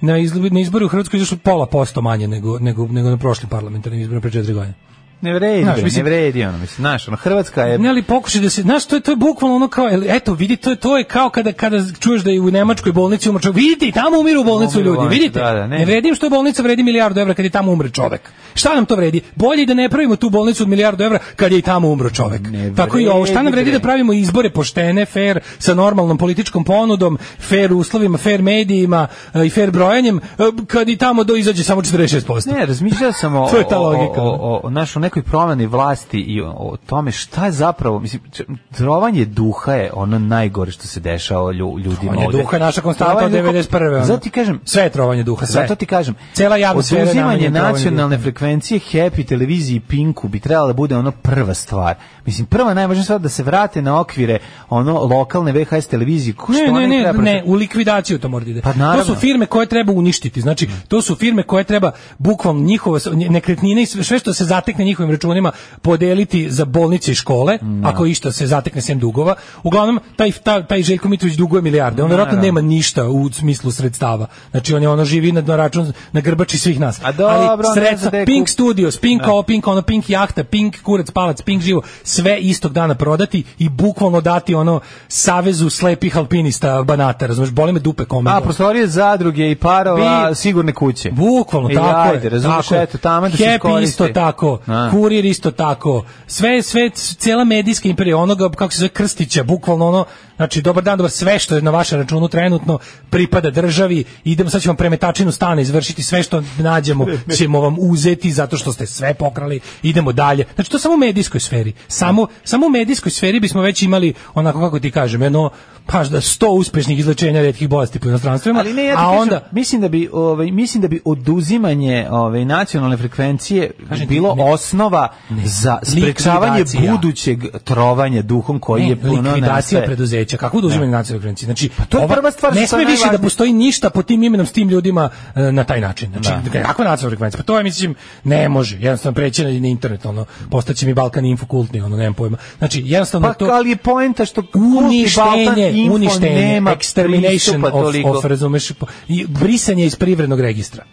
Speaker 7: na, izl, na izbori u Hrvatskoj je izašlo pola posto manje nego, nego, nego na prošlim parlamentarnim izborima pre četiri godine.
Speaker 6: Ne vredi,
Speaker 7: Znaš,
Speaker 6: bre,
Speaker 7: mislim-
Speaker 6: ne vredi, ono, mislim, znaš, ono, Hrvatska je...
Speaker 7: Ne, ali pokušaj da se, znaš, to je, to je bukvalno ono kao, el- eto, vidi, to je, to je kao kada, kada čuješ da je u nemačkoj bolnici umre čovjek, vidite, i tamo umiru u bolnicu
Speaker 6: Umiru u
Speaker 7: ljudi,
Speaker 6: bolnici,
Speaker 7: vidite,
Speaker 6: da, da, ne.
Speaker 7: ne. vredim što je bolnica vredi milijardu evra kad je tamo umre čovjek. Šta nam to vredi? Bolje da ne pravimo tu bolnicu od milijardu evra kad je i tamo umro čovjek.
Speaker 6: Ne
Speaker 7: Tako i ovo, šta nam
Speaker 6: vredi,
Speaker 7: vredi da
Speaker 6: bre.
Speaker 7: pravimo izbore poštene, fair, sa normalnom političkom ponudom, fair uslovima, fair medijima e, i fair brojanjem, e, kad i tamo do izađe samo 46%.
Speaker 6: Ne, razmišljao sam o,
Speaker 7: To je ta
Speaker 6: o- o-
Speaker 7: logika. da.
Speaker 6: o, o, o, naš, o nekoj promeni vlasti i o, o tome šta je zapravo, mislim, č- trovanje duha je ono najgore što se dešava lju, ljudima
Speaker 7: Trovanje
Speaker 6: ovde.
Speaker 7: duha je naša konstanta od
Speaker 6: Trovanje duha-
Speaker 7: 91. ono.
Speaker 6: Zato ti kažem,
Speaker 7: Sve je trovanje duha, sve.
Speaker 6: Zato ti kažem,
Speaker 7: Cela javna sfera je
Speaker 6: oduzimanje
Speaker 7: namenjena trovanju
Speaker 6: nacionalne
Speaker 7: duha.
Speaker 6: frekvencije Happy televiziji Pinku bi trebala da bude ono prva stvar. Mislim, prva najvažnija stvar da se vrate na okvire ono lokalne VHS televizije. Ko što ona
Speaker 7: Ne, ne,
Speaker 6: treba prosto-
Speaker 7: ne, ne, u likvidaciju to mora da ide.
Speaker 6: Pa naravno. Mm.
Speaker 7: To su firme koje treba uništiti. Znači, to su firme koje treba bukvalno njihove s- nje- nekretnine i sve sve što se zatekne njihovim računima podeliti za bolnice i škole,
Speaker 6: Mm, da.
Speaker 7: ako išta se zatekne sem dugova. Uglavnom taj ta, taj Željko Mitrović duguje milijarde. On verovatno
Speaker 6: Naravno.
Speaker 7: nema ništa u smislu sredstava. Znači on je ono živi na, na račun na grbači svih nas.
Speaker 6: A dobro,
Speaker 7: Ali
Speaker 6: ne znam
Speaker 7: sredstva
Speaker 6: da je
Speaker 7: Pink
Speaker 6: kup-
Speaker 7: Studios, Pink ovo, Pink ono, Pink jahta, Pink kurac, palac, Pink živo, sve istog dana prodati i bukvalno dati ono savezu slepih alpinista Banata, razumeš, boli me dupe kome.
Speaker 6: A
Speaker 7: boli.
Speaker 6: prostorije zadruge i parova
Speaker 7: Bi-
Speaker 6: sigurne kuće.
Speaker 7: Bukvalno,
Speaker 6: I
Speaker 7: tako
Speaker 6: E, ajde,
Speaker 7: je.
Speaker 6: razumeš,
Speaker 7: tako je.
Speaker 6: eto, tamo da se
Speaker 7: Happy
Speaker 6: iskoristi.
Speaker 7: isto tako,
Speaker 6: A.
Speaker 7: Kurir isto tako, sve, sve, cijela medijska imperija, onoga, kako se zove, Krstića, bukvalno ono, znači, dobar dan, dobar, sve što je na vašem računu trenutno pripada državi, idemo, sad ćemo premetačinu stana izvršiti, sve što nađemo ćemo vam uzeti zato što ste sve pokrali, idemo dalje. Znači, to samo u medijskoj sferi. Samo, samo u medijskoj sferi bismo već imali, onako kako ti kažem, jedno, pa da 100 uspešnih izlečenja retkih bolesti po inostranstvima,
Speaker 6: Ali ne, ja ti
Speaker 7: a
Speaker 6: kažem,
Speaker 7: onda...
Speaker 6: mislim da bi ovaj mislim da bi oduzimanje ovaj nacionalne frekvencije
Speaker 7: Kažem ti,
Speaker 6: bilo
Speaker 7: ne.
Speaker 6: osnova za sprečavanje
Speaker 7: Likvidacija.
Speaker 6: budućeg trovanja duhom koji
Speaker 7: Ne,
Speaker 6: je ono
Speaker 7: Pa
Speaker 6: E,
Speaker 7: likvidacija
Speaker 6: nastaje. Pa
Speaker 7: preduzeća, kako da uzimanje nacionalne frekvencije. Znači,
Speaker 6: to je prva stvar
Speaker 7: ne
Speaker 6: što
Speaker 7: sme
Speaker 6: je
Speaker 7: više da
Speaker 6: najvažnije.
Speaker 7: postoji ništa pod tim imenom s tim ljudima e, na taj način. Znači, da. kakva nacionalna frekvencija? Pa to je, mislim, ne može. Jednostavno preći na, na internet, ono, postaće mi Balkan Info kultni, ono, nemam pojma. Znači, jednostavno
Speaker 6: Pa
Speaker 7: to...
Speaker 6: ali je poenta što
Speaker 7: uništenje,
Speaker 6: Balkan Info
Speaker 7: uništenje,
Speaker 6: nema
Speaker 7: extermination
Speaker 6: pristupa
Speaker 7: of,
Speaker 6: toliko.
Speaker 7: of, razumeš, po- i brisanje iz privrednog registra.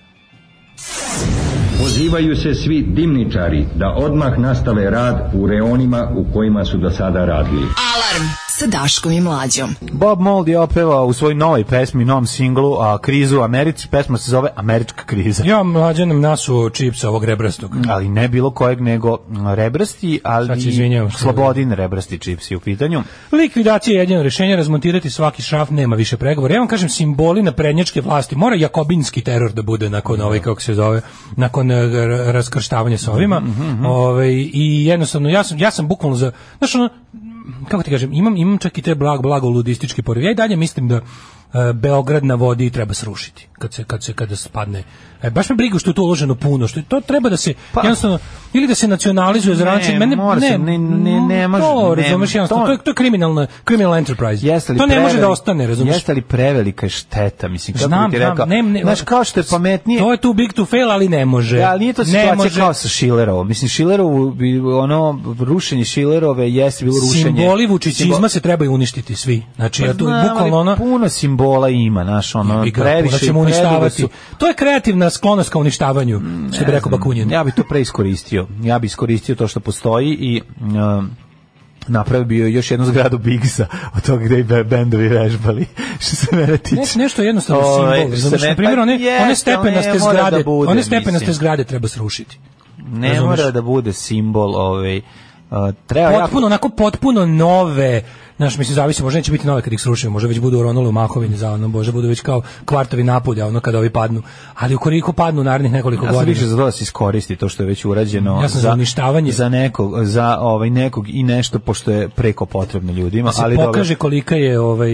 Speaker 10: Pozivaju se svi dimničari da odmah nastave rad u reonima u kojima su do sada radili.
Speaker 8: Alarm
Speaker 10: sa Daškom i Mlađom.
Speaker 6: Bob Mold je opevao u svojoj novoj pesmi, novom singlu, a krizu u Americi, pesma se zove Američka kriza.
Speaker 7: Ja mlađe nam nasu čips ovog rebrastog.
Speaker 6: Ali ne bilo kojeg nego rebrasti,
Speaker 7: Sad se
Speaker 6: ali
Speaker 7: izvinjavam što-
Speaker 6: slobodin rebrasti čips je u pitanju.
Speaker 7: Likvidacija je jedino rješenje, razmontirati svaki šraf, nema više pregovora. Ja vam kažem, simboli na prednjačke vlasti, mora jakobinski teror da bude nakon ovaj, kako se zove, nakon e, r- raskrštavanja s ovima.
Speaker 6: Mhm,
Speaker 7: Ovaj, I jednostavno, ja sam, ja sam bukvalno za, znaš ono, kako ti kažem, imam, imam čak i te blag, blago ludističke porive. Ja i dalje mislim da e, Beograd na vodi treba srušiti kad se kad se kada spadne. E, baš me briga što je to uloženo puno, što je to treba da se
Speaker 6: Pa-
Speaker 7: jednostavno ili da se nacionalizuje za
Speaker 6: Ne,
Speaker 7: ranče, mene
Speaker 6: mora se, ne- ne- ne može,
Speaker 7: to,
Speaker 6: ne-
Speaker 7: razumeš, jednostavno,
Speaker 6: to-
Speaker 7: to je to je kriminalna criminal enterprise.
Speaker 6: Jeste li
Speaker 7: to ne može da
Speaker 6: preveli-
Speaker 7: ostane, razumeš?
Speaker 6: Jeste li prevelika je šteta, mislim, kako
Speaker 7: Znam,
Speaker 6: bi ti
Speaker 7: znam,
Speaker 6: rekao.
Speaker 7: ne, ne,
Speaker 6: Znaš, kao što je pametnije,
Speaker 7: To je tu big to fail, ali ne može.
Speaker 6: Da, ali nije to
Speaker 7: ne
Speaker 6: situacija
Speaker 7: može.
Speaker 6: kao sa Šilerovom. Mislim, Šilerovu, bi- ono, rušenje Šilerove jeste bilo rušenje.
Speaker 7: Simboli vučićizma
Speaker 6: Simbo-
Speaker 7: se trebaju uništiti svi. Znači, ja tu
Speaker 6: Znam, ali
Speaker 7: bukvalno ono...
Speaker 6: Puno simbola ima, znaš, ono,
Speaker 7: bi ga-
Speaker 6: previše.
Speaker 7: da
Speaker 6: i
Speaker 7: ćemo
Speaker 6: predugo
Speaker 7: uništavati.
Speaker 6: su- Mm,
Speaker 7: To je kreativna sklonost ka uništavanju, što bi rekao Bakunin.
Speaker 6: Ja bi to preiskoristio. Ja bi iskoristio to što postoji i... um, napravio bi još jednu zgradu Bigsa od toga gde bi bendovi vežbali što se mene tiče.
Speaker 7: Ne, nešto je jednostavno
Speaker 6: Ovaj,
Speaker 7: simbol.
Speaker 6: što
Speaker 7: razumeš?
Speaker 6: ne-
Speaker 7: na primjer,
Speaker 6: pa
Speaker 7: one,
Speaker 6: jeste,
Speaker 7: one
Speaker 6: ali
Speaker 7: stepenaste
Speaker 6: ne mora da
Speaker 7: zgrade,
Speaker 6: bude,
Speaker 7: one stepenaste
Speaker 6: mislim.
Speaker 7: zgrade treba srušiti.
Speaker 6: Ne
Speaker 7: Razumeš?
Speaker 6: mora da bude simbol ovaj uh, treba jako-
Speaker 7: potpuno onako potpuno nove Znaš, mislim, zavisi, možda neće biti nove kad ih srušimo, možda već budu ronule u mahovini za ono, možda budu već kao kvartovi napolja, ono, kada ovi padnu. Ali ukoliko padnu u narednih nekoliko
Speaker 6: Ja sam
Speaker 7: godina,
Speaker 6: više za to da se iskoristi to što je već urađeno
Speaker 7: Ja sam za uništavanje.
Speaker 6: za nekog za ovaj nekog i nešto pošto je preko potrebno ljudima,
Speaker 7: da se
Speaker 6: ali
Speaker 7: pokaže kolika je ovaj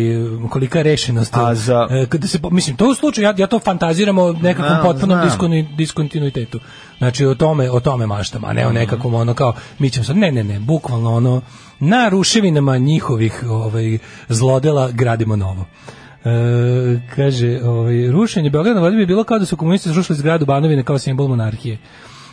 Speaker 7: kolika je rešenost.
Speaker 6: A za-
Speaker 7: E, kada se po- mislim to je u slučaju ja, ja to fantaziramo o nekakvom
Speaker 6: Znam,
Speaker 7: potpunom
Speaker 6: znam.
Speaker 7: diskoni- diskontinuitetu. Znači o tome o tome maštam, a ne o nekakvom ono kao mi ćemo sad ne ne ne, bukvalno ono na ruševinama njihovih ovaj zlodela gradimo novo. E, kaže, ovaj, rušenje Beograda na vodi bi bilo kao da su komunisti srušili zgradu Banovine kao simbol monarhije.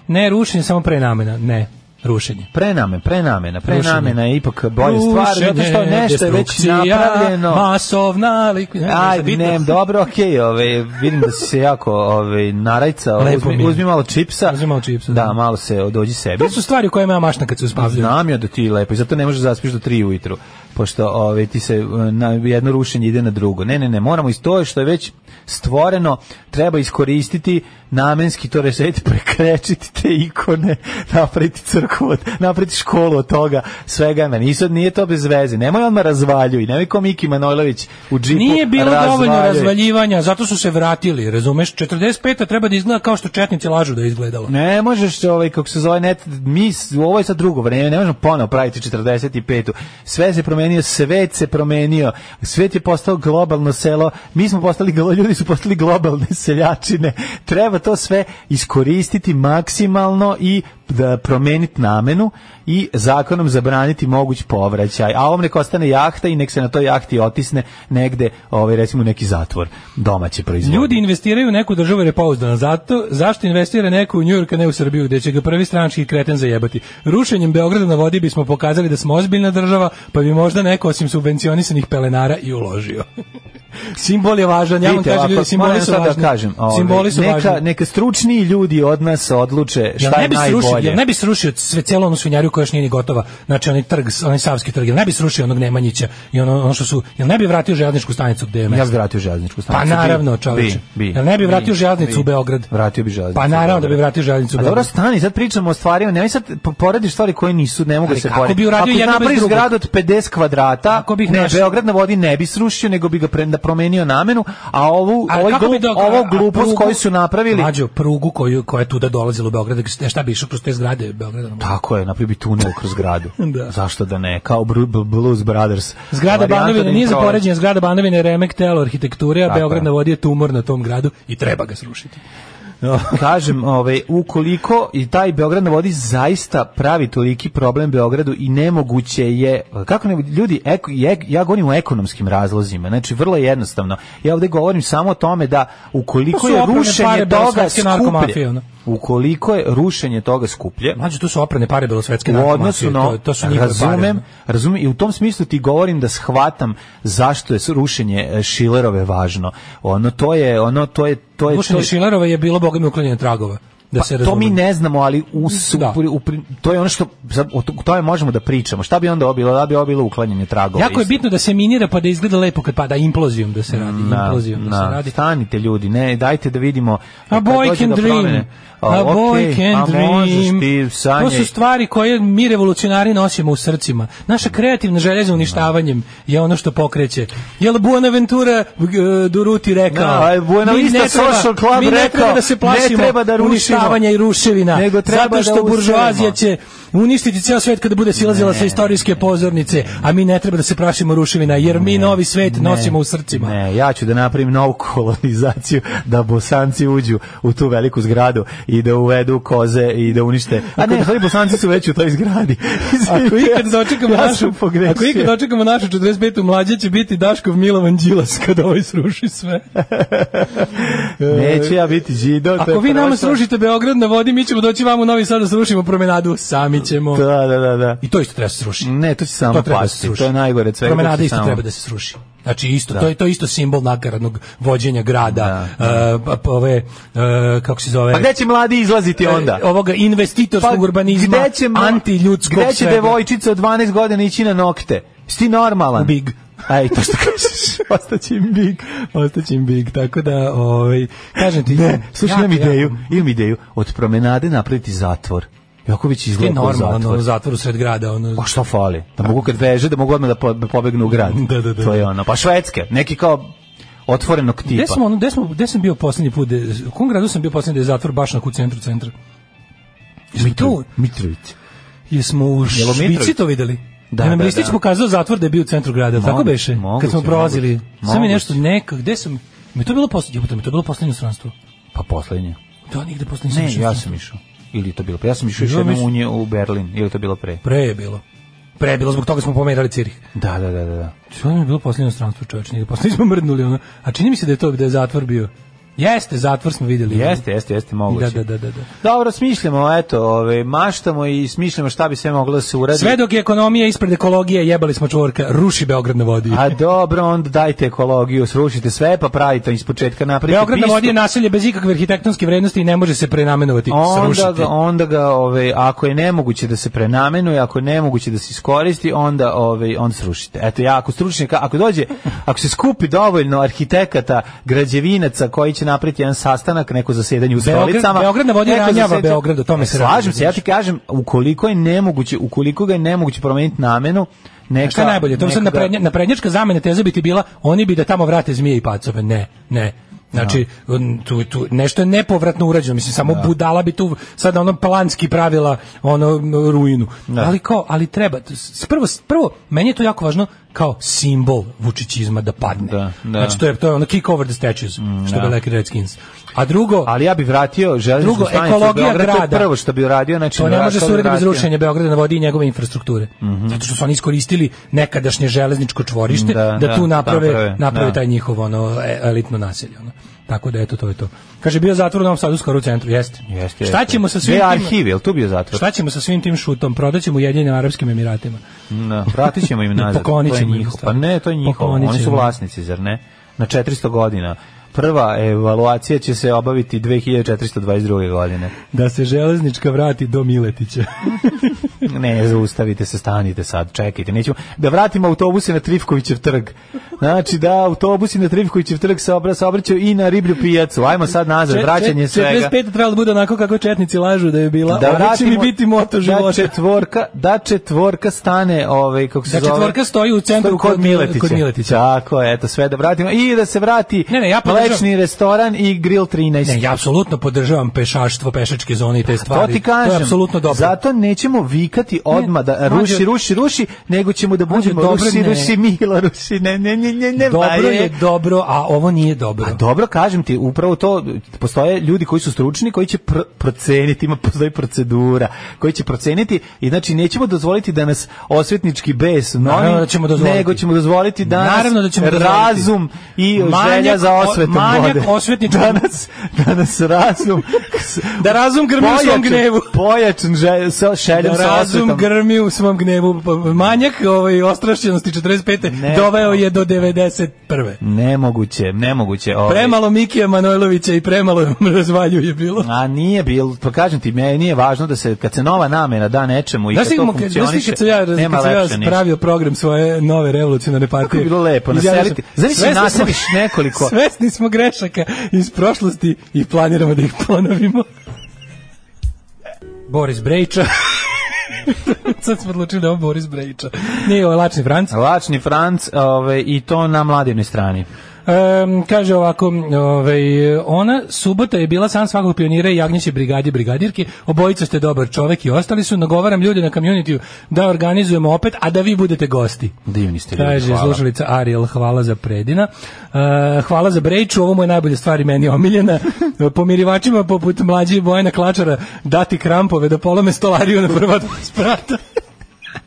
Speaker 7: Ne, rušenje samo prenamena, ne, rušenje.
Speaker 6: prename, prenamena,
Speaker 7: Rušenje.
Speaker 6: prenamena je ipak bolja stvar, zato što
Speaker 7: Rušenje,
Speaker 6: nešto je već
Speaker 7: destrukcija,
Speaker 6: napravljeno.
Speaker 7: Masovna likvidacija.
Speaker 6: Aj, ne, dobro, okej, ovaj, vidim da si se jako ovaj, narajcao,
Speaker 7: Lepo mi
Speaker 6: uzmi,
Speaker 7: je.
Speaker 6: uzmi malo čipsa.
Speaker 7: Uzmi malo čipsa,
Speaker 6: Da,
Speaker 7: da.
Speaker 6: malo se dođi sebi.
Speaker 7: To su stvari u kojima ja mašna kad se uspavljam.
Speaker 6: Znam ja da ti lepo i zato ne možeš da zaspiš do 3 ujutru, pošto ove, ti se e, na jedno rušenje ide na drugo. Ne, ne, ne, moramo iz to što je već stvoreno, treba iskoristiti namenski to reset, prekrečiti te ikone, napraviti crkvu, od- napraviti školu od toga, svega na nisu, nije to bez veze. Nemoj odmah razvaljuj, nemoj ko Miki Manojlović u džipu
Speaker 7: Nije bilo dovoljno
Speaker 6: razvaljuj.
Speaker 7: razvaljivanja, zato su se vratili, razumeš? 45. treba da izgleda kao što četnici lažu da je izgledalo.
Speaker 6: Ne možeš ovaj kako se zove net mi s- ovo je sad drugo vreme, ne možemo ponovo praviti 45. Sve se promenio, svet se promenio. Svet je postao globalno selo. Mi smo postali glo- ljudi su postali globalne seljačine. Treba to sve iskoristiti maksimalno i da promeniti namenu i zakonom zabraniti moguć povraćaj. A ovom nek ostane jahta i nek se na toj jahti otisne negde, ovaj recimo u neki zatvor domaće proizvodnje.
Speaker 7: Ljudi investiraju u neku državu jer je pouzdana. Zato, zašto investira neko u Njujork, a ne u Srbiju, gdje će ga prvi stranački kreten zajebati? Rušenjem Beograda na vodi bismo pokazali da smo ozbiljna država, pa bi možda neko osim subvencionisanih pelenara i uložio. simbol je važan, ja vam
Speaker 6: Vidite,
Speaker 7: kažem,
Speaker 6: ovako,
Speaker 7: ljudi, simboli
Speaker 6: moram
Speaker 7: su
Speaker 6: sad
Speaker 7: važni.
Speaker 6: Da kažem, ovaj,
Speaker 7: simboli su
Speaker 6: neka,
Speaker 7: važni.
Speaker 6: Neka stručniji ljudi od nas odluče
Speaker 7: Jel
Speaker 6: šta
Speaker 7: ne
Speaker 6: je
Speaker 7: bi srušio,
Speaker 6: najbolje.
Speaker 7: jel ne bi srušio sve celo onu svinjariju koja još nije ni gotova. Znači onaj trg, onaj savski trg, jel ne bi srušio onog Nemanjića i ono, ono što su, jel ne bi vratio željezničku stanicu gdje je
Speaker 6: Ja
Speaker 7: mesto?
Speaker 6: bih vratio železničku
Speaker 7: Pa
Speaker 6: stanicu.
Speaker 7: naravno,
Speaker 6: Bi,
Speaker 7: čoveče.
Speaker 6: bi,
Speaker 7: Jel ne bi vratio željeznicu
Speaker 6: bi.
Speaker 7: u Beograd?
Speaker 6: Vratio bi železnicu.
Speaker 7: Pa
Speaker 6: u
Speaker 7: naravno da
Speaker 6: Beograd.
Speaker 7: bi vratio željeznicu u
Speaker 6: A dobro,
Speaker 7: Beograd.
Speaker 6: stani, sad pričamo o stvarima, nemoj sad po- porediš stvari koje nisu, ne mogu da
Speaker 7: Ali
Speaker 6: se
Speaker 7: kako
Speaker 6: porediti.
Speaker 7: bi uradio
Speaker 6: Ako
Speaker 7: jedno bez
Speaker 6: napraviš
Speaker 7: drugog?
Speaker 6: zgradu od 50 kvadrata,
Speaker 7: Kako bih
Speaker 6: ne,
Speaker 7: našao?
Speaker 6: Beograd na vodi ne bi srušio, nego bi ga pre- da promenio namenu, a ovu,
Speaker 7: Ali
Speaker 6: ovaj
Speaker 7: kako bi
Speaker 6: glup-
Speaker 7: dok-
Speaker 6: ovo
Speaker 7: a
Speaker 6: glupost
Speaker 7: prugu-
Speaker 6: koju su napravili,
Speaker 7: Mlađo, prugu koju, koja je tuda dolazila u Beograd, šta bi išao kroz te zgrade Beograda?
Speaker 6: Tako je, napravi bi tunel kroz gradu.
Speaker 7: Da.
Speaker 6: Zašto da ne? Kao Bru- Bl- Blues Brothers.
Speaker 7: Zgrada
Speaker 6: Varijanta da
Speaker 7: Banovine
Speaker 6: im
Speaker 7: nije za
Speaker 6: prolazi.
Speaker 7: poređenje, zgrada Banovine je remek telo arhitekture, a
Speaker 6: Tako je.
Speaker 7: Beograd na vodi je tumor na tom gradu i treba ga srušiti.
Speaker 6: Kažem, ovaj, ukoliko i taj Beograd na vodi zaista pravi toliki problem Beogradu i nemoguće je, kako ne, ljudi, eko, je- ja govorim o ekonomskim razlozima, znači vrlo jednostavno. Ja ovdje govorim samo o tome da ukoliko
Speaker 7: To su
Speaker 6: je
Speaker 7: oprane
Speaker 6: rušenje
Speaker 7: pare
Speaker 6: toga
Speaker 7: belosvetske narkomafije,
Speaker 6: skuplje,
Speaker 7: ono.
Speaker 6: ukoliko je rušenje toga skuplje,
Speaker 7: Mlađo, tu su oprane pare belosvetske
Speaker 6: u
Speaker 7: narkomafije,
Speaker 6: odnosu na
Speaker 7: to, to su njihove pare,
Speaker 6: razumem,
Speaker 7: ono.
Speaker 6: razumem i u tom smislu ti govorim da shvatam zašto je rušenje e, Šilerove važno. Ono to je ono to je to je to
Speaker 7: Slušanje
Speaker 6: je-
Speaker 7: Šilerova je bilo bogami uklanjanje tragova. Da se
Speaker 6: pa, to mi
Speaker 7: razumemo.
Speaker 6: ne znamo, ali u, su-
Speaker 7: Da.
Speaker 6: u pri- to je ono što sad o to- o tome možemo da pričamo. Šta bi onda ovo bilo? Da bi ovo bilo uklanjanje tragova.
Speaker 7: Jako je
Speaker 6: isto.
Speaker 7: bitno da se minira pa da izgleda lepo kad pada implozijom da se radi,
Speaker 6: Da,
Speaker 7: implozijom da,
Speaker 6: da.
Speaker 7: se radi.
Speaker 6: Stanite ljudi, ne, dajte da vidimo.
Speaker 7: A
Speaker 6: kad
Speaker 7: boy
Speaker 6: dođe
Speaker 7: can
Speaker 6: do promene.
Speaker 7: dream.
Speaker 6: A,
Speaker 7: A boy
Speaker 6: okej,
Speaker 7: can
Speaker 6: a možeš
Speaker 7: dream.
Speaker 6: ti,
Speaker 7: To
Speaker 6: sanjaj.
Speaker 7: su stvari koje mi revolucionari nosimo u srcima. Naša kreativna želja za uništavanjem je ono što pokreće. Jel Buenaventura g- Duruti rekao?
Speaker 6: Da, a Buena
Speaker 7: mi
Speaker 6: Vista
Speaker 7: ne treba-
Speaker 6: Social Club
Speaker 7: mi ne treba
Speaker 6: rekao,
Speaker 7: da se
Speaker 6: ne
Speaker 7: plašimo
Speaker 6: treba da rušimo,
Speaker 7: uništavanja i ruševina.
Speaker 6: nego treba
Speaker 7: zato što
Speaker 6: da usevamo.
Speaker 7: buržoazija će uništiti ceo svet kada bude silazila sa istorijske pozornice, a mi ne treba da se plašimo ruševina, jer mi novi svet nosimo u srcima.
Speaker 6: Ne, ja ću da napravim novu kolonizaciju, da bosanci uđu u tu veliku zgradu i da uvedu koze i da unište. A ne, ali bosanci su već u toj zgradi.
Speaker 7: Ako ikad dočekamo
Speaker 6: ja
Speaker 7: našu,
Speaker 6: sam pogrešio.
Speaker 7: ako ikad dočekamo našu 45. mlađe će biti Daškov Milovan Đilas kad ovaj sruši sve. E,
Speaker 6: Neće ja biti žido. to je
Speaker 7: Ako vi nama
Speaker 6: prošlo.
Speaker 7: srušite Beograd na vodi, mi ćemo doći vam u Novi Sad da srušimo promenadu, sami ćemo.
Speaker 6: Da, da, da, da.
Speaker 7: I to isto treba se srušiti.
Speaker 6: Ne, to će samo
Speaker 7: to treba da se
Speaker 6: pasti.
Speaker 7: sruši.
Speaker 6: To je najgore od svega. to
Speaker 7: Promenada
Speaker 6: će
Speaker 7: isto
Speaker 6: samo- Da.
Speaker 7: treba da se sruši. Znači isto, to je to je isto simbol nakaradnog vođenja grada. e, pa- pa ove e, kako se zove?
Speaker 6: Pa gde će mladi izlaziti onda? Pa
Speaker 7: e, pa, ovoga investitorskog urbanizma,
Speaker 6: gde će, mla-
Speaker 7: antiljudskog
Speaker 6: Gde će
Speaker 7: svega.
Speaker 6: devojčica od 12 godina ići na nokte? Sti normalan.
Speaker 7: Big.
Speaker 6: Aj, to što kažeš.
Speaker 7: Ostaće im big, ostaće im big, tako da, ovaj, kažem ti...
Speaker 6: Ne, slušaj,
Speaker 7: jako,
Speaker 6: imam ideju,
Speaker 7: jako-
Speaker 6: imam ideju. Od promenade napraviti zatvor. Joković
Speaker 7: Ti je
Speaker 6: izgleda kao
Speaker 7: normalno,
Speaker 6: zatvor.
Speaker 7: ono, zatvor u sred grada, ono...
Speaker 6: Pa šta fali? Da mogu kad veže, da mogu odmah da po- da pobegnu u grad.
Speaker 7: Da, da, da.
Speaker 6: To je ono. Pa švedske, neki kao otvorenog tipa.
Speaker 7: Gde smo, ono, gde smo, gde sam bio poslednji put, gde, u kom gradu sam bio poslednji da je zatvor baš na u centru centra? Jesmo to,
Speaker 6: Mitrović.
Speaker 7: jesmo u
Speaker 6: Jel u
Speaker 7: Švici
Speaker 6: Mitrovici?
Speaker 7: to videli?
Speaker 6: Da,
Speaker 7: Da, nam
Speaker 6: da,
Speaker 7: Ristić
Speaker 6: da.
Speaker 7: pokazao zatvor da je bio u centru grada, tako
Speaker 6: Moguće,
Speaker 7: beše?
Speaker 6: moguće,
Speaker 7: kad smo prolazili,
Speaker 6: moguće.
Speaker 7: sam je nešto neka, gde sam, mi to bilo poslednje, jebote, mi to bilo poslednje stranstvo.
Speaker 6: Pa poslednje.
Speaker 7: Da, nigde poslednje
Speaker 6: Ne, ja sam išao. Ili je to bilo pre? Ja sam išao još
Speaker 7: Ja
Speaker 6: jednom
Speaker 7: mislim-
Speaker 6: u nje u Berlin. Ili je to bilo pre?
Speaker 7: Pre je bilo. Pre je bilo, zbog toga smo pomerali Cirih.
Speaker 6: Da, da, da, da. da.
Speaker 7: To nam je bilo posljednje stranstvo čoveč, nije posljednje smo mrdnuli ono. A čini mi se da je to gde je zatvor bio. Jeste, zatvor smo videli.
Speaker 6: Da, Jeste, jeste, jeste, moguće.
Speaker 7: Da, da, da, da, da.
Speaker 6: Dobro, smišljamo, eto, ove, maštamo i smišljamo šta bi sve moglo da se uradi.
Speaker 7: Sve dok je ekonomija ispred ekologije, jebali smo čvorka, ruši Beograd na vodi.
Speaker 6: A dobro, onda dajte ekologiju, srušite sve, pa pravite iz početka napravite
Speaker 7: Beograd na
Speaker 6: pistu.
Speaker 7: vodi je naselje bez ikakve arhitektonske vrednosti i ne može se prenamenovati,
Speaker 6: Onda da,
Speaker 7: srušiti.
Speaker 6: ga, onda ga ove, ako je nemoguće da se prenamenuje, ako je nemoguće da se iskoristi, onda ove, onda srušite. Eto ja, ako stručnjaka, ako dođe, ako se skupi dovoljno arhitekata, građevinaca koji će napraviti jedan sastanak, neko zasedanje u
Speaker 7: Beograd-
Speaker 6: stolicama.
Speaker 7: Beograd na vodi
Speaker 6: neko
Speaker 7: ranjava
Speaker 6: zasedanje-
Speaker 7: Beograd, o tome se radi,
Speaker 6: Slažem se, ja ti kažem, ukoliko je nemoguće, ukoliko ga je nemoguće promeniti namenu, neka... da-
Speaker 7: Šta je najbolje? To bi sad
Speaker 6: nekoga-
Speaker 7: naprednja, naprednjačka zamena teza bi ti bila, oni bi da tamo vrate zmije i pacove. Ne, ne. Znači,
Speaker 6: Da.
Speaker 7: n- tu, tu, nešto je nepovratno urađeno, mislim, samo budala bi tu sad ono planski pravila ono m, ruinu.
Speaker 6: Da.
Speaker 7: Ali kao, ali treba, t- s- prvo, s- prvo, meni je to jako važno kao simbol Vučićizma da padne.
Speaker 6: Da, da. Mm,
Speaker 7: Znači, to je, to je ono kick over the statues, što bi rekli Redskins. A drugo,
Speaker 6: Ali ja bih vratio železničku
Speaker 7: Drugo,
Speaker 6: stanicu u
Speaker 7: ekologija
Speaker 6: Beograd, to je
Speaker 7: grada.
Speaker 6: prvo što bi uradio, znači
Speaker 7: To ne može
Speaker 6: vratio
Speaker 7: se
Speaker 6: bi
Speaker 7: urediti bez
Speaker 6: vratio.
Speaker 7: rušenja Beograda na vodi i njegove infrastrukture.
Speaker 6: Mhm.
Speaker 7: Zato što su oni iskoristili nekadašnje železničko čvorište
Speaker 6: Da,
Speaker 7: da,
Speaker 6: da,
Speaker 7: tu naprave,
Speaker 6: naprave,
Speaker 7: naprave,
Speaker 6: da.
Speaker 7: taj njihov ono, e- elitno naselje. Ono. Tako da eto, to je to. Kaže, bio zatvor u Novom Sadu skoro u centru. Jeste.
Speaker 6: Jeste,
Speaker 7: Šta
Speaker 6: jeste.
Speaker 7: ćemo sa svim
Speaker 6: Gde je
Speaker 7: tim...
Speaker 6: arhiv, jel tu bio zatvor?
Speaker 7: Šta ćemo sa svim tim šutom? Prodaćemo Ujedinjenim Arapskim Emiratima.
Speaker 6: Da, vratit ćemo im nazad.
Speaker 7: Poklonit
Speaker 6: to je
Speaker 7: ćemo im
Speaker 6: njihovo.
Speaker 7: stvar.
Speaker 6: Pa ne, to je njihovo.
Speaker 7: Poklonit
Speaker 6: Oni su
Speaker 7: ćemo im.
Speaker 6: vlasnici, zar ne? Na 400 godina. Prva evaluacija će se obaviti 2422. godine.
Speaker 7: Da se železnička vrati do Miletića.
Speaker 6: Ne, zaustavite se, stanite sad, čekajte. Nećemo, da vratimo autobuse na Trivkovićev trg. Znači, da autobusi na Trivkovićev trg se obra, saobraćaju i na Riblju pijacu. Ajmo sad nazad, vraćanje svega.
Speaker 7: 45 trebalo da bude onako kako četnici lažu da je bila.
Speaker 6: Da
Speaker 7: Da će mi
Speaker 6: vratimo-
Speaker 7: biti moto
Speaker 6: da
Speaker 7: života.
Speaker 6: četvorka, da četvorka stane, ovaj kako se
Speaker 7: Da
Speaker 6: zove.
Speaker 7: četvorka stoji u centru
Speaker 6: kod,
Speaker 7: kod-
Speaker 6: Miletića.
Speaker 7: kod Miletića.
Speaker 6: Tako je, eto sve da vratimo i da se vrati
Speaker 7: Ne, ne, ja podržavam-
Speaker 6: mlečni restoran i grill 13.
Speaker 7: Ne, ja apsolutno podržavam pešaštvo, pešačke zone i te
Speaker 6: Pa, To
Speaker 7: stvari.
Speaker 6: ti kažem.
Speaker 7: To je apsolutno dobro.
Speaker 6: Zato nećemo vikati odma da
Speaker 7: mlađe-
Speaker 6: ruši, ruši, ruši, nego ćemo da
Speaker 7: Mlađe,
Speaker 6: budemo
Speaker 7: dobro
Speaker 6: ruši,
Speaker 7: ne.
Speaker 6: ruši, milo, ruši, ne, ne, ne, ne, ne,
Speaker 7: dobro
Speaker 6: Maje.
Speaker 7: je dobro, a ovo nije dobro.
Speaker 6: A dobro, kažem ti, upravo to, postoje ljudi koji su stručni, koji će pr proceniti, ima postoji procedura, koji će proceniti i znači nećemo dozvoliti da nas osvetnički bes novi,
Speaker 7: Naravno da ćemo dozvoliti.
Speaker 6: nego ćemo dozvoliti da nas
Speaker 7: Naravno da ćemo dozvoliti.
Speaker 6: razum i želja za
Speaker 7: o-
Speaker 6: osvetom pitam
Speaker 7: Manjak
Speaker 6: vode. Da
Speaker 7: osvetničkog-
Speaker 6: Danas, danas razum...
Speaker 7: Da razum grmi u svom
Speaker 6: pojačan-
Speaker 7: gnevu.
Speaker 6: Pojačan žel, sa, šeljom
Speaker 7: Da
Speaker 6: sa
Speaker 7: razum
Speaker 6: osvetom.
Speaker 7: grmi u svom gnevu. Pa Manjak ovaj, ostrašćenosti 45.
Speaker 6: Ne.
Speaker 7: doveo je do 91.
Speaker 6: Nemoguće, nemoguće. Ovaj.
Speaker 7: Premalo Mikija Manojlovića i premalo razvalju je bilo.
Speaker 6: A nije bilo, pa kažem ti, meni nije važno da se, kad se nova namena da nečemu i
Speaker 7: Znaš
Speaker 6: kad
Speaker 7: ti
Speaker 6: to
Speaker 7: kad, znaš ti
Speaker 6: funkcioniše,
Speaker 7: kad sam ja, raz-
Speaker 6: nema
Speaker 7: kad sam ja
Speaker 6: lepše ništa.
Speaker 7: pravio program svoje nove revolucionarne partije.
Speaker 6: Kako bi bilo lepo,
Speaker 7: izjavio sam,
Speaker 6: naseliti. Zamisli,
Speaker 7: svesni smo-
Speaker 6: naseliš nekoliko.
Speaker 7: Svesni smo grešaka iz prošlosti i planiramo da ih ponovimo. Boris Brejča. Sad smo odlučili da je ovo Boris Brejča. Nije ovo lačni Franc.
Speaker 6: Lačni Franc ovaj, i to na mladinoj strani.
Speaker 7: Em, kaže ovako, ovaj, ona subota je bila san svakog pionira i jagnjeće brigadi brigadirke, obojica ste dobar čovek i ostali su, nagovaram ljude na community da organizujemo opet, a da vi budete gosti.
Speaker 6: Divni ste ljudi,
Speaker 7: Kaže
Speaker 6: hvala.
Speaker 7: slušalica Ariel, hvala za predina. E, hvala za brejču, ovo mu je najbolja stvar i meni omiljena. Pomirivačima poput mlađe Bojana Klačara dati krampove da polome stolariju na prva dva sprata.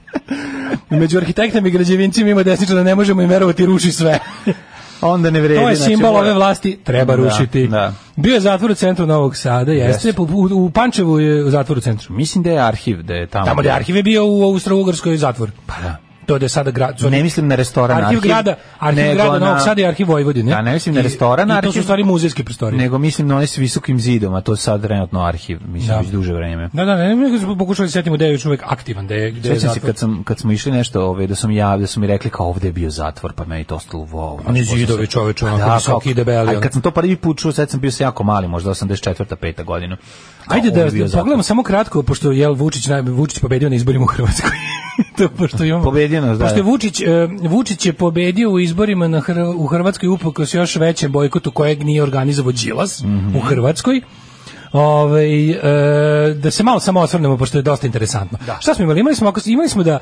Speaker 7: Među arhitektima i građevincima ima desničar da ne možemo im verovati ruši sve.
Speaker 6: Onda ne vredi.
Speaker 7: To je
Speaker 6: znači,
Speaker 7: simbol
Speaker 6: mora-
Speaker 7: ove vlasti, treba
Speaker 6: Da,
Speaker 7: rušiti.
Speaker 6: da.
Speaker 7: Bio je zatvor u centru Novog Sada, jeste,
Speaker 6: Jeste.
Speaker 7: u, u Pančevu je u zatvoru u centru.
Speaker 6: Mislim da je arhiv, da je tamo.
Speaker 7: Tamo gde je arhiv je bio u Austro-Ugrskoj zatvor.
Speaker 6: Pa da.
Speaker 7: To gde je sada grad.
Speaker 6: Ne mislim na restoran
Speaker 7: arhiv,
Speaker 6: arhiv,
Speaker 7: grada, arhiv
Speaker 6: nego
Speaker 7: grada
Speaker 6: na-
Speaker 7: Novog Sada i arhiv Vojvodine.
Speaker 6: Da, ne mislim na
Speaker 7: I-
Speaker 6: restoran
Speaker 7: I, to su
Speaker 6: arhiv.
Speaker 7: u stvari muzejske prostorije.
Speaker 6: Nego mislim na onaj s visokim zidom, a to je sad trenutno arhiv, mislim
Speaker 7: Da.
Speaker 6: već duže vreme.
Speaker 7: Da, da, ne, ne, ne, pokušali se setimo da je još uvek aktivan, da je, da je
Speaker 6: Sjećam se
Speaker 7: zatvor.
Speaker 6: kad, sam, kad smo išli nešto, ovaj, da sam ja, da su mi rekli kao ovde je bio zatvor, pa meni to ostalo wow.
Speaker 7: Oni
Speaker 6: znaš,
Speaker 7: zidovi,
Speaker 6: posle-
Speaker 7: čoveče,
Speaker 6: A
Speaker 7: onako visoki
Speaker 6: kao-
Speaker 7: i debeli,
Speaker 6: A kad sam to prvi put čuo, sad sam bio se jako mali, možda 84. 5. godina. Kao,
Speaker 7: Ajde
Speaker 6: ovo
Speaker 7: da,
Speaker 6: je bio
Speaker 7: da pogledamo samo kratko, pošto je Vučić, naj, Vučić pobedio na izborima u Hrvatskoj. to pošto imamo...
Speaker 6: Pobedio nas, da,
Speaker 7: Pošto je
Speaker 6: da.
Speaker 7: Vučić, e, Vučić je pobedio u izborima na Hr u Hrvatskoj uprkos još većem bojkotu kojeg nije organizovao Đilas u Hrvatskoj. Ovaj e, da se malo samo osvrnemo pošto je dosta interesantno. Šta smo imali? Imali smo ako imali smo da e,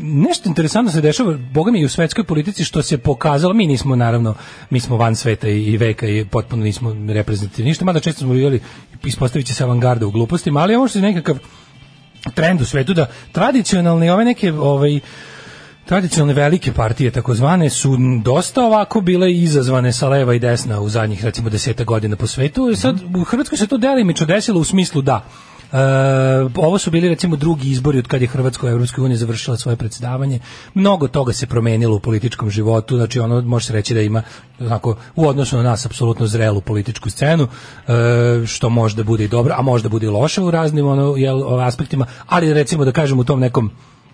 Speaker 7: nešto interesantno se dešava bogami i u svetskoj politici što se pokazalo, mi nismo naravno, mi smo van sveta i, i veka i potpuno nismo reprezentativni. Ništa, mada često smo bili ispostaviće se avangarda u glupostima, ali ovo što je nekakav trend u svetu da tradicionalne ove neke ovaj tradicionalne velike partije takozvane su m, dosta ovako bile izazvane sa leva i desna u zadnjih recimo deseta godina po svetu i sad u Hrvatskoj se to delimično desilo u smislu da e, ovo su bili recimo drugi izbori od kad je Hrvatska u Evropskoj uniji završila svoje predsjedavanje. Mnogo toga se promenilo u političkom životu, znači ono može se reći da ima onako, u odnosu na nas apsolutno zrelu političku scenu, e, što možda bude i dobro, a možda bude i loše u raznim ono, jel, aspektima, ali recimo da kažem u tom nekom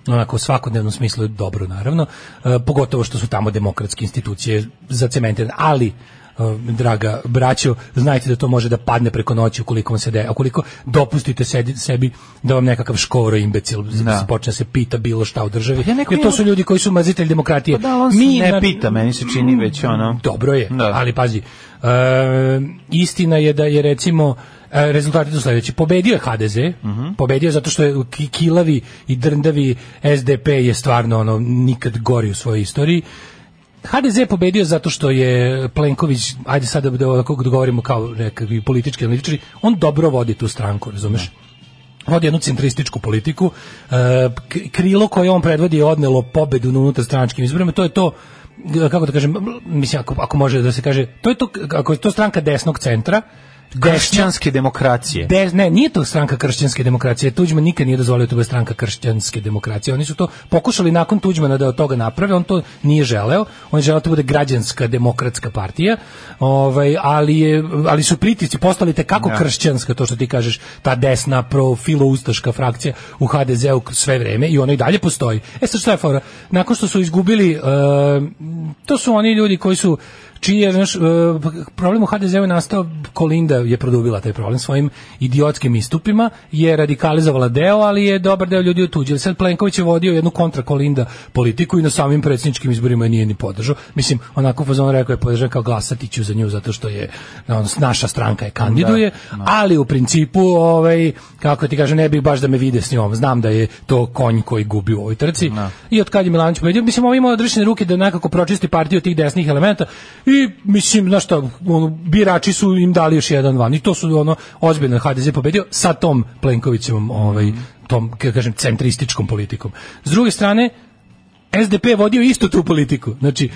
Speaker 7: onako u svakodnevnom smislu je dobro naravno, E, pogotovo što su tamo demokratske institucije zacementirane, ali e, draga braćo, znajte da to može da padne preko noći ukoliko vam se de, ukoliko dopustite sedi, sebi da vam nekakav škoro imbecil da. počne se pita bilo šta u državi.
Speaker 6: Pa ja neko
Speaker 7: jer to
Speaker 6: imam-
Speaker 7: su ljudi koji su mazitelji demokratije.
Speaker 6: Pa da, ali on se ne
Speaker 7: na- Mm,
Speaker 6: pita, meni se čini već ono.
Speaker 7: dobro je,
Speaker 6: Da.
Speaker 7: ali pazi, e, istina je da je recimo e, rezultati su sledeći. Pobedio je HDZ,
Speaker 6: Mhm.
Speaker 7: pobedio je zato što je ki- kilavi i drndavi SDP je stvarno ono nikad gori u svojoj istoriji. HDZ je pobedio zato što je Plenković, ajde sada da ovako govorimo kao nekakvi politički analitičari, on dobro vodi tu stranku, razumeš? vodi jednu centrističku politiku. E, k- krilo koje on predvodi je odnelo pobedu na unutarstranačkim izborima. To je to g- kako da kažem, m- mislim ako, ako može da se kaže, to je to k- ako je to stranka desnog centra, desna,
Speaker 6: Kršćanske demokracije.
Speaker 7: Des, ne, nije to stranka kršćanske demokracije. Tuđman nikad nije dozvolio da to bude stranka kršćanske demokracije. Oni su to pokušali nakon Tuđmana da od toga naprave, on to nije želeo. On je želeo da to bude građanska demokratska partija. Ovaj, ali, je, ali su pritisci postali te kako kršćanska, to što ti kažeš, ta desna profiloustaška frakcija u HDZ-u sve vreme i ona i dalje postoji. E sad šta je fora? Nakon što su izgubili, e, to su oni ljudi koji su čiji je znaš, e, problem u HDZ-u je nastao, Kolinda je produbila taj problem svojim idiotskim istupima, je radikalizovala deo, ali je dobar deo ljudi otuđio. Sad Plenković je vodio jednu kontra Kolinda politiku i na samim predsjedničkim izborima je nije ni podržao. Mislim, onako u fazonu rekao je podržao kao glasati ću za nju zato što je ono, naša stranka je kandiduje, ali u principu, ovaj, kako ti kažem, ne bih baš da me vide s njom. Znam da je to konj koji gubi u ovoj trci. I od kad je Milanović pobedio, mislim, ovo ima odrešene ruke da nekako pročisti partiju tih desnih elementa i mislim, znaš šta, ono, birači su im dali još jedan van i to su ono ozbiljno je HDZ pobedio sa tom Plenkovićevom ovaj, tom, kako kažem, centrističkom politikom. S druge strane, SDP je vodio istu tu politiku. Znači,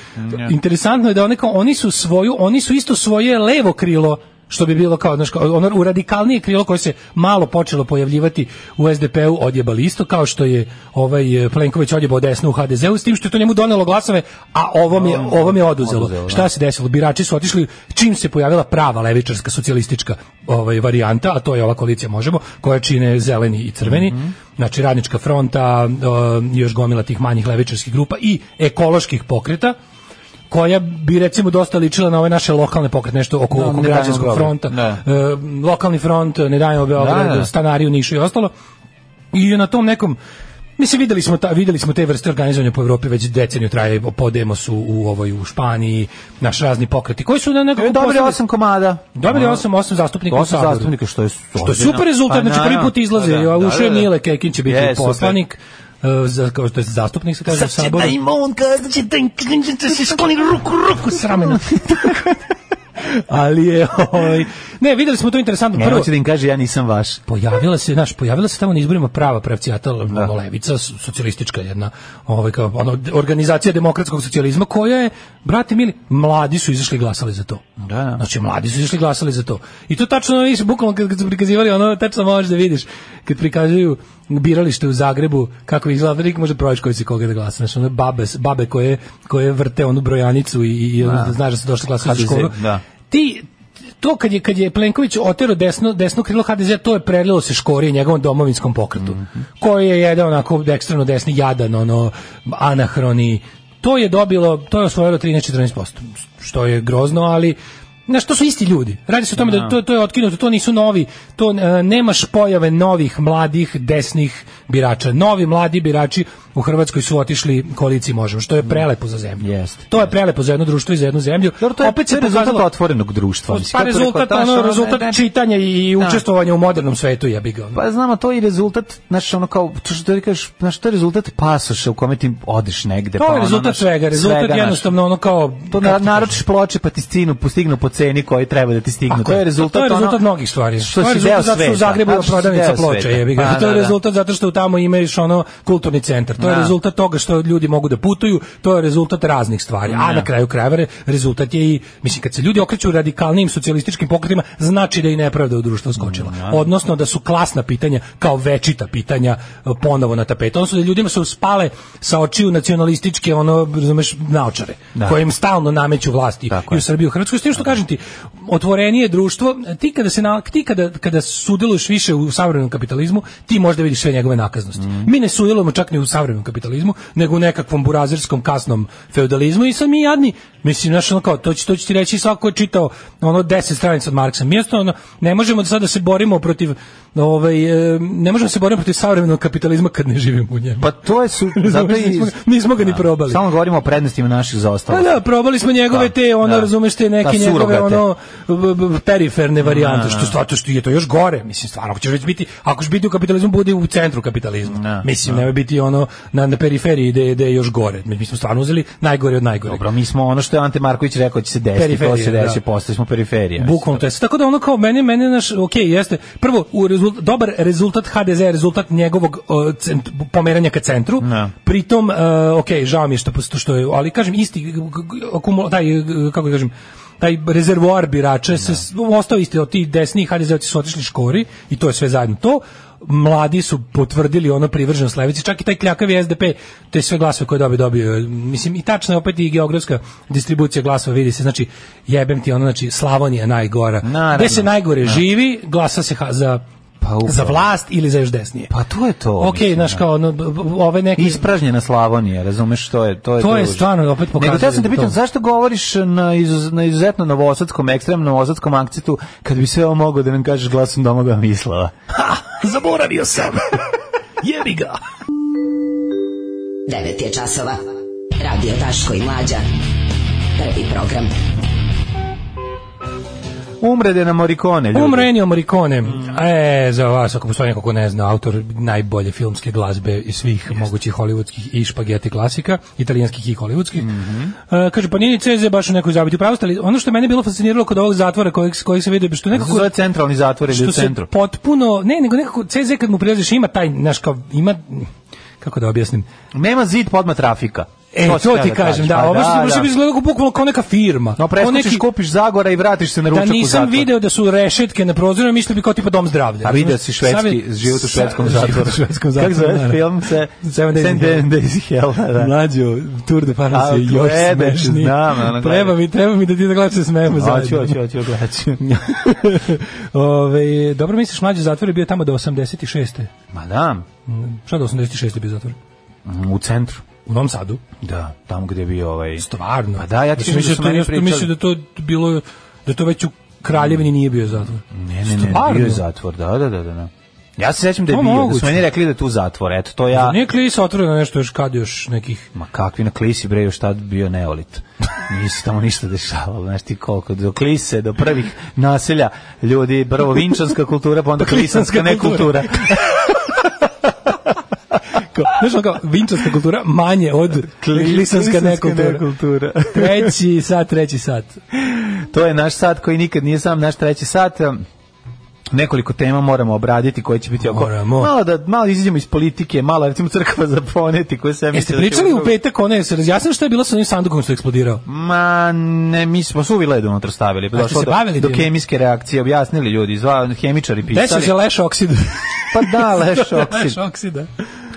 Speaker 7: interesantno je da oni, kao, oni su svoju, oni su isto svoje levo krilo što bi bilo kao, znaš, kao ono u radikalnije krilo koje se malo počelo pojavljivati u SDP-u odjebali isto, kao što je ovaj eh, Plenković odjebao desno u HDZ-u, s tim što je to njemu donelo glasove, a ovom je, ovom je oduzelo.
Speaker 6: da.
Speaker 7: Šta se desilo? Birači su otišli, čim se pojavila prava levičarska socijalistička ovaj, varijanta, a to je ova koalicija Možemo, koja čine zeleni i crveni,
Speaker 6: Mhm.
Speaker 7: znači radnička fronta, eh, još gomila tih manjih levičarskih grupa i ekoloških pokreta, koja bi recimo dosta ličila na ove naše lokalne pokret, nešto oko, oko
Speaker 6: Da, Ne dajemo
Speaker 7: građanskog
Speaker 6: Beograd.
Speaker 7: fronta,
Speaker 6: Da.
Speaker 7: e, lokalni front, e, ne dajemo Beograd,
Speaker 6: Da, da.
Speaker 7: stanari u Nišu i ostalo. I na tom nekom Mislim, videli smo, ta, videli smo te vrste organizovanja po Evropi već deceniju traje, podemo su u ovoj u Španiji, naš razni pokreti, koji su na nekako...
Speaker 6: Dobili
Speaker 7: postali-
Speaker 6: E, osam komada.
Speaker 7: Dobili
Speaker 6: Ono,
Speaker 7: osam, osam zastupnika u
Speaker 6: osam
Speaker 7: Saboru.
Speaker 6: zastupnika, Pa što je
Speaker 7: Što je super rezultat, znači prvi put izlaze, da, da, ušao je Mile Kekin će biti
Speaker 6: Je, super.
Speaker 7: poslanik, e, za, kao što je zastupnik se kaže u Saboru.
Speaker 6: on, kada će da im, kada se skloni ruku, ruku.
Speaker 7: sramena. Ali je, ovaj, ne, videli smo to interesantno.
Speaker 6: Ne,
Speaker 7: Prvo,
Speaker 6: hoće da im kaže, ja nisam vaš.
Speaker 7: pojavila se, znaš, pojavila se tamo na izborima prava pravcijata
Speaker 6: Da.
Speaker 7: ono, levica, s- socijalistička jedna, ovaj, kao, ono, organizacija demokratskog socijalizma koja je, brate mili, mladi su izašli i glasali za to.
Speaker 6: da.
Speaker 7: Znači, mladi su izašli i glasali za to. I to tačno, ono, vidiš, bukvalno kad, kad su prikazivali, ono, tačno možeš da vidiš, kad prikazuju biralište u Zagrebu, kako izgleda, velik može proći koji si koga da glasa. Znači, ono, babe, s- babe koje, koje vrte onu brojanicu i, i ono, da. znaš da su došli glasati za
Speaker 6: HDZ,
Speaker 7: školu.
Speaker 6: da.
Speaker 7: Ti, to kad je, kad je Plenković otero desno, desno krilo HDZ, to je prelilo se škori njegovom domovinskom pokretu, koji je jedan onako ekstremno desni, jadan, ono, anahroni. To je dobilo, to je osvojilo 13-14%, što je grozno, ali Znaš, to su isti ljudi. Radi se o tome da to, to je otkinuto, to nisu novi, to e, nemaš pojave novih, mladih, desnih birača. Novi, mladi birači u Hrvatskoj su otišli koaliciji Možemo, što je prelepo za zemlju.
Speaker 6: Da. Jeste.
Speaker 7: To je prelepo za jedno društvo i za jednu zemlju.
Speaker 6: Dobro, to je,
Speaker 7: Opet
Speaker 6: to je
Speaker 7: se
Speaker 6: rezultat
Speaker 7: pokazalo-
Speaker 6: otvorenog društva. mislim,
Speaker 7: pa
Speaker 6: kako rekao, da,
Speaker 7: rezultat,
Speaker 6: znaš,
Speaker 7: ono,
Speaker 6: ono,
Speaker 7: rezultat
Speaker 6: ne, ne,
Speaker 7: čitanja i
Speaker 6: Da.
Speaker 7: učestvovanja u modernom svetu, jebi ga. ono.
Speaker 6: Pa znamo, to je i rezultat, znaš, ono kao, to što ti kažeš, znaš, to je rezultat pasoša u kome ti odeš negde.
Speaker 7: To
Speaker 6: pa
Speaker 7: je
Speaker 6: ono,
Speaker 7: rezultat
Speaker 6: znaš,
Speaker 7: svega, rezultat
Speaker 6: svega, znaš.
Speaker 7: jednostavno ono kao...
Speaker 6: To na, naročiš ploče pa ti stignu, postignu po ceni koji treba da ti stignu.
Speaker 7: Ako je rezultat, to je rezultat mnogih stvari.
Speaker 6: Što
Speaker 7: to je
Speaker 6: si deo
Speaker 7: rezultat zato što u
Speaker 6: sveta,
Speaker 7: Zagrebu je
Speaker 6: zato što si
Speaker 7: prodavnica
Speaker 6: deo
Speaker 7: ploča,
Speaker 6: sveta.
Speaker 7: jebi ga.
Speaker 6: Pa,
Speaker 7: to je
Speaker 6: da, da.
Speaker 7: rezultat zato što tamo imaš ono kulturni centar. To je
Speaker 6: Da.
Speaker 7: rezultat toga što ljudi mogu da putuju, to je rezultat raznih stvari. A
Speaker 6: Da.
Speaker 7: na kraju krajeva re- rezultat je i mislim kad se ljudi okreću radikalnim socijalističkim pokretima, znači da i nepravda u društvu skočila. Odnosno da su klasna pitanja kao večita pitanja e, ponovo na tapetu. Odnosno da ljudima su spale sa očiju nacionalističke ono razumeš naočare
Speaker 6: Da.
Speaker 7: koje im stalno nameću vlasti
Speaker 6: Tako
Speaker 7: i u
Speaker 6: je.
Speaker 7: Srbiji i u Hrvatskoj. S tim što kažem ti, otvorenije društvo, ti kada, se na, ti kada, kada sudeluješ više u savremenom kapitalizmu, ti možda vidiš sve njegove nakaznosti.
Speaker 6: Mhm.
Speaker 7: Mi ne sudelujemo čak ni u savremenom kapitalizmu, nego u nekakvom burazerskom kasnom feudalizmu i sad mi jadni, mislim, znaš, ono kao, to će, to će ti reći svako ko je čitao ono 10 stranica od Marksa. Mi jednostavno ne možemo sad da se borimo protiv ovaj, e, ne možemo se boriti protiv savremenog kapitalizma kad ne živimo u njemu.
Speaker 6: Pa to je su... zato i- Da.
Speaker 7: Nismo ga- nismo ga ni probali.
Speaker 6: Samo govorimo o prednostima naših zaostalosti.
Speaker 7: Pa da, probali smo njegove
Speaker 6: Da,
Speaker 7: te, ono,
Speaker 6: da.
Speaker 7: razumeš te neke
Speaker 6: Ta
Speaker 7: njegove,
Speaker 6: surogate.
Speaker 7: ono, b- b- periferne varijante,
Speaker 6: da.
Speaker 7: što stvarno što je to još gore, mislim, stvarno, ako ćeš već biti, ako ćeš biti u kapitalizmu, budi u centru kapitalizma.
Speaker 6: Da,
Speaker 7: mislim, nemoj biti ono na, na periferiji gde, gde je još gore. Mi, mi smo stvarno uzeli najgore od najgore.
Speaker 6: Dobro, mi smo ono što je Ante Marković rekao će se desiti, to
Speaker 7: Periferija,
Speaker 6: se desi,
Speaker 7: da.
Speaker 6: postali smo periferija.
Speaker 7: Bukvalno to je. Tako da ono kao meni meni naš ok, jeste. Prvo u rezult, dobar rezultat HDZ je rezultat njegovog uh, cent, pomeranja ka centru.
Speaker 6: Da.
Speaker 7: Pritom uh, ok, žao mi je što posto- što je, ali kažem isti g- g- akumula taj g- kako da kažem taj rezervoar birača se s- ostao isti od tih desnih HDZ-ovci su otišli škori i to je sve zajedno to mladi su potvrdili ono privrženost levici, čak i taj kljakavi SDP, te sve glasove koje dobio dobio. je. Mislim, i tačno je opet i geografska distribucija glasova, vidi se, znači, jebem ti ono, znači, Slavonija najgora.
Speaker 6: Naravno. da.
Speaker 7: Gde se najgore živi, glasa se ha- za,
Speaker 6: Pa upravo.
Speaker 7: za vlast ili za još desnije.
Speaker 6: Pa to je to.
Speaker 7: ok,
Speaker 6: mislim,
Speaker 7: znaš,
Speaker 6: da.
Speaker 7: kao ono, b- b- ove neke...
Speaker 6: Ispražnjena Slavonija, razumeš što je, to je
Speaker 7: To je
Speaker 6: užas.
Speaker 7: stvarno opet pokazuje da
Speaker 6: Nego teo sam te
Speaker 7: to.
Speaker 6: pitam zašto govoriš na izuz, na izuzetno novosadskom, ekstremno novosadskom akcentu kad bi sve ovo mogao da nam kažeš glasom domoga Mislava.
Speaker 9: Zaboravio sam. Jebi ga.
Speaker 8: 9 je časova. Radio Daško i Mlađa. Prvi program.
Speaker 6: Umrede na Morikone, ljudi.
Speaker 7: Umro Ennio Morricone. E, za vas, ako postoji neko ko ne zna, autor najbolje filmske glazbe iz svih mogućih hollywoodskih i špageti klasika, italijanskih i hollywoodskih. E, kaže, pa nije CZ baš u nekoj zabiti pravosti, ali ono što je mene bilo fasciniralo kod ovog zatvora kojeg, kojeg se vidio,
Speaker 6: Kako
Speaker 7: što
Speaker 6: se
Speaker 7: nekako
Speaker 6: zove centralni zatvor ili u
Speaker 7: što se
Speaker 6: centru?
Speaker 7: potpuno, ne, nego nekako CZ kad mu prilaziš ima taj, znaš, kao, ima kako da objasnim.
Speaker 6: Nema zid podma trafika.
Speaker 7: E, to,
Speaker 6: si htela
Speaker 7: ti kažem, da,
Speaker 6: kažeš. Pa
Speaker 7: ovo što može bi
Speaker 6: da.
Speaker 7: izgledalo kao bukvalno kao neka firma.
Speaker 6: No,
Speaker 7: Kao
Speaker 6: preskočiš,
Speaker 7: neki-
Speaker 6: kupiš Zagora i vratiš se na ručak
Speaker 7: da
Speaker 6: u
Speaker 7: nisam
Speaker 6: zatvor.
Speaker 7: video da su rešetke na prozorima, mislio bi kao tipa dom zdravlja.
Speaker 6: A vidio
Speaker 7: Razumeš?
Speaker 6: si švedski,
Speaker 7: Sam je-
Speaker 6: život u švedskom
Speaker 7: Sa-
Speaker 6: zatvoru.
Speaker 7: Život u švedskom zatvoru.
Speaker 6: Kako zove
Speaker 7: naravno.
Speaker 6: film se?
Speaker 7: Seven Days in Hell.
Speaker 6: Seven Days in Hell, da.
Speaker 7: Mlađo, Tour de France
Speaker 6: A,
Speaker 7: je još
Speaker 6: gledam,
Speaker 7: smešniji.
Speaker 6: znam, ono,
Speaker 7: treba,
Speaker 6: gledam.
Speaker 7: mi, treba mi da ti da gledaš se smemo
Speaker 6: Hoću,
Speaker 7: zajedno.
Speaker 6: hoću, hoću, gledaću.
Speaker 7: Ove, dobro misliš, mlađi zatvor je bio tamo do 86.
Speaker 6: Ma da,
Speaker 7: Mm, Šta do 86. je bio zatvor?
Speaker 6: mm, u centru.
Speaker 7: U Novom Sadu?
Speaker 6: Da, tamo gde je bio ovaj...
Speaker 7: Stvarno.
Speaker 6: Pa da, ja ti kažem da
Speaker 7: mislim
Speaker 6: su
Speaker 7: to-
Speaker 6: meni
Speaker 7: ja sam
Speaker 6: pričali.
Speaker 7: Mislim da to bilo, da to već u Kraljevini nije bio zatvor.
Speaker 6: Ne, ne, ne,
Speaker 7: Stvarno?
Speaker 6: bio je zatvor, da, da, da, da. da. Ja se sećam da je
Speaker 7: To
Speaker 6: bio, da
Speaker 7: moguće.
Speaker 6: su meni rekli da je tu zatvor, eto, to ja...
Speaker 7: Nije klisa otvorena nešto još kad još nekih
Speaker 6: Ma kakvi na klisi bre, još tad bio neolit. Nije se tamo ništa dešavalo, znaš ti koliko, do klise, do prvih naselja ljudi, prvo vinčanska kultura, pa onda klisanska nekultura.
Speaker 7: Kao, Znaš ono kao, vinčanska kultura manje od klisanska nekultura.
Speaker 6: nekultura.
Speaker 7: Treći sat, treći sat.
Speaker 6: to je naš sat koji nikad nije sam naš treći sat. em, Nekoliko tema moramo obraditi koje će biti oko...
Speaker 7: Moramo.
Speaker 6: Malo da malo izađemo iz politike, malo recimo crkva za poneti koje da se...
Speaker 7: Jeste pričali u petak, one, se razjasnili šta je bilo sa onim sandukom što je eksplodirao?
Speaker 6: Ma, ne, mi smo suvi led unutra stavili.
Speaker 7: ste
Speaker 6: pa Došlo
Speaker 7: se
Speaker 6: do,
Speaker 7: bavili
Speaker 6: do
Speaker 7: time?
Speaker 6: kemijske reakcije, objasnili ljudi, zva, hemičari pisali.
Speaker 7: Desio se leš oksid.
Speaker 6: Pa da, leš oksid.
Speaker 7: leš oksida.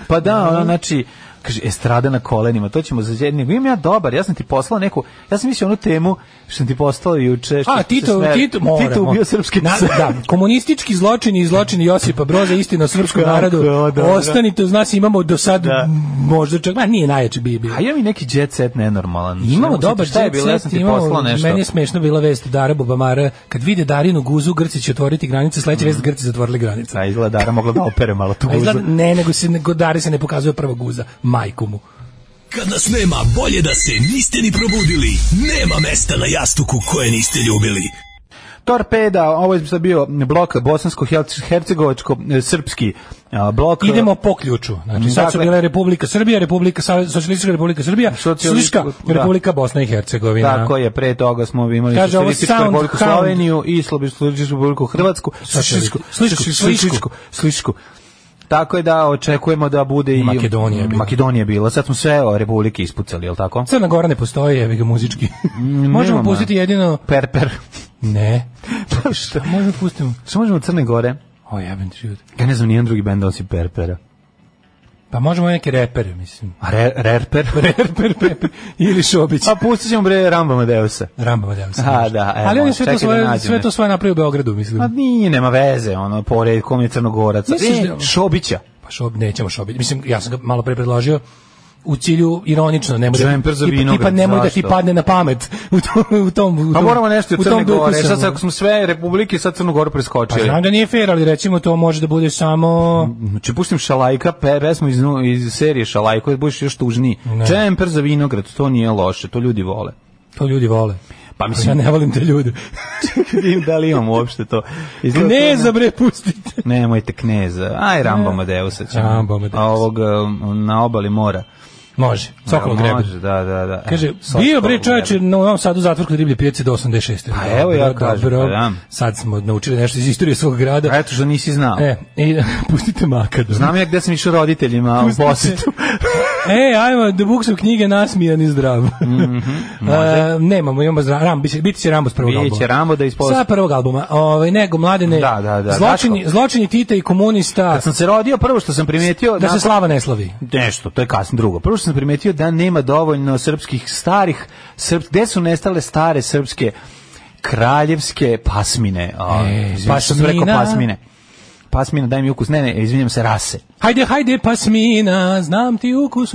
Speaker 6: Pa da,
Speaker 7: Mhm.
Speaker 6: ono, znači, kaže, estrada na kolenima, to ćemo za jednim. Imam ja dobar, ja sam ti poslao neku, ja sam mislio onu temu što sam ti poslao juče. što
Speaker 7: A,
Speaker 6: se
Speaker 7: Tito,
Speaker 6: smeje-
Speaker 7: Tito, moramo.
Speaker 6: Tito ubio srpske
Speaker 7: Na-
Speaker 6: pse.
Speaker 7: Da, komunistički zločini i zločini Josipa Broza, istina o srpskom
Speaker 6: Kako,
Speaker 7: narodu.
Speaker 6: dobro.
Speaker 7: Ostanite uz nas, imamo do sad,
Speaker 6: Da.
Speaker 7: m, možda čak, ma nije najjači bi bio.
Speaker 6: A ja mi neki jet set nenormalan. Ne
Speaker 7: Imamo
Speaker 6: mogu
Speaker 7: dobar
Speaker 6: sjetiti šta je
Speaker 7: jet
Speaker 6: bilo, ja sam
Speaker 7: set,
Speaker 6: ti
Speaker 7: imamo-
Speaker 6: poslao nešto.
Speaker 7: Meni je smešno bila vest Dara Bobamara, kad vide Darinu guzu, Grci će otvoriti granice, sledeća vest Grci zatvorili granice.
Speaker 6: A izgleda Dara mogla da opere malo tu
Speaker 7: A izgleda,
Speaker 6: Mm. guzu.
Speaker 7: ne, nego se nego Dari se ne pokazuje prva guza, majku mu.
Speaker 9: Kad nas nema, bolje da se niste ni probudili. Nema mesta na jastuku koje niste ljubili.
Speaker 6: Torpeda, ovo je sad bio blok bosansko-hercegovačko-srpski blok. e,
Speaker 7: Idemo po ključu. Znači, sad su
Speaker 6: Dakle-
Speaker 7: bile Republika Srbija, Republika Sa- Socijalistička Republika Srbija,
Speaker 6: Socijalistička-
Speaker 7: Socijalistička
Speaker 6: da.
Speaker 7: Republika Bosna i Hercegovina.
Speaker 6: Tako je, pre toga smo imali
Speaker 7: da. Kaže, ovo
Speaker 6: Socijalističku
Speaker 7: sound
Speaker 6: republiku
Speaker 7: hound.
Speaker 6: Sloveniju i Socijalističku republiku Hrvatsku,
Speaker 7: Socijalističku-
Speaker 6: Slišku,
Speaker 7: Slišku,
Speaker 6: Slišku, Slišku. Tako je da očekujemo da bude i
Speaker 7: Makedonija je bila.
Speaker 6: Makedonija je bila. Sad smo sve o republike ispucali, je l' tako?
Speaker 7: Crna Gora ne postoji, evi ga muzički. Možemo
Speaker 6: nemamo.
Speaker 7: pustiti jedino...
Speaker 6: Per per.
Speaker 7: Ne.
Speaker 6: Pa šta?
Speaker 7: Možemo da pustimo...
Speaker 6: Šta možemo od Crne Gore?
Speaker 7: O, jebem ti život.
Speaker 6: Ja ne znam nijedan drugi bend osim per pera.
Speaker 7: Pa možemo neke repere, mislim.
Speaker 6: A re, rerper?
Speaker 7: Reper, reper. Ili Šobić.
Speaker 6: A Pa pustit ćemo bre Ramba Madeusa.
Speaker 7: Ramba Madeusa.
Speaker 6: A,
Speaker 7: može.
Speaker 6: da, evo,
Speaker 7: Ali on je sve
Speaker 6: čekaj
Speaker 7: to svoje,
Speaker 6: da nađem
Speaker 7: sve
Speaker 6: nešto. Pa-
Speaker 7: to svoje napravio u Beogradu, mislim.
Speaker 6: Ma nije, nema veze, ono, pored kom je Crnogoraca.
Speaker 7: Misliš
Speaker 6: E,
Speaker 7: da-
Speaker 6: Šobića.
Speaker 7: Pa šob, nećemo šobiti. Mislim, ja sam ga malo pre predložio u cilju ironično, nemoj da
Speaker 6: Džemper za
Speaker 7: tipa-
Speaker 6: vinograd,
Speaker 7: tipa nemoj da ti
Speaker 6: zašto?
Speaker 7: padne na pamet u tom u tom u
Speaker 6: Pa
Speaker 7: tom,
Speaker 6: moramo nešto i
Speaker 7: u
Speaker 6: od Crne
Speaker 7: tom duhu
Speaker 6: Gore.
Speaker 7: sam.
Speaker 6: Sad ako smo sve republike, sad Crnu Goru
Speaker 7: Pa
Speaker 6: preskočili.
Speaker 7: znam da nije fair, ali recimo to može da bude samo
Speaker 6: Znači, pustim Šalajka, pe, pesmu iz, nu- iz serije Šalajka, da budeš još tužniji.
Speaker 7: Ne.
Speaker 6: Džemper za vinograd, to nije loše, to ljudi vole.
Speaker 7: to ljudi vole.
Speaker 6: Pa
Speaker 7: Ja
Speaker 6: mislim,
Speaker 7: ne volim te ljude.
Speaker 6: vidim da li imam uopšte to. Izgleda to
Speaker 7: ne za bre pustite.
Speaker 6: ne- Nemojte kneza. Aj, Rambo Amadeusa ćemo.
Speaker 7: Rambo Amadeusa.
Speaker 6: A ovog um, na obali mora.
Speaker 7: Može. Sokolov
Speaker 6: Da,
Speaker 7: grebe.
Speaker 6: može, Da, da, da.
Speaker 7: Kaže,
Speaker 6: E, Sokolov
Speaker 7: bio bre čoveče
Speaker 6: grebe.
Speaker 7: na Novom Sadu zatvor kod riblje pijace do 86.
Speaker 6: Pa evo ja kažem, pa da.
Speaker 7: Sad smo naučili nešto iz istorije svog grada.
Speaker 6: A Eto što nisi znao.
Speaker 7: da- E, i, pustite da- makadam.
Speaker 6: Znam ja gde sam išao roditeljima u
Speaker 7: Pustite.
Speaker 6: posetu.
Speaker 7: e, ajmo, da buk su knjige nasmijan i zdrav.
Speaker 6: Mhm,
Speaker 7: E, nemamo, imamo zra, ram, biti, biti će Rambo s prvog
Speaker 6: Biće
Speaker 7: albuma.
Speaker 6: Rambo da ispost-
Speaker 7: Sa prvog albuma. Ovaj, nego, mladene,
Speaker 6: Da, da, da,
Speaker 7: zločini,
Speaker 6: Daško.
Speaker 7: zločini Tita i komunista,
Speaker 6: Kad sam se rodio, prvo što sam primetio...
Speaker 7: da se
Speaker 6: nakon-
Speaker 7: slava ne slavi.
Speaker 6: nešto, to je kasno drugo. Prvo što sam primetio da nema dovoljno srpskih starih, srp, gde su nestale stare srpske kraljevske pasmine? A,
Speaker 7: E,
Speaker 6: izvinite, što sam rekao
Speaker 7: pasmina.
Speaker 6: pasmine? Pasmina, daj mi ukus. Ne, ne, izvinjam se, rase.
Speaker 7: Hajde, hajde, pasmina, znam ti ukus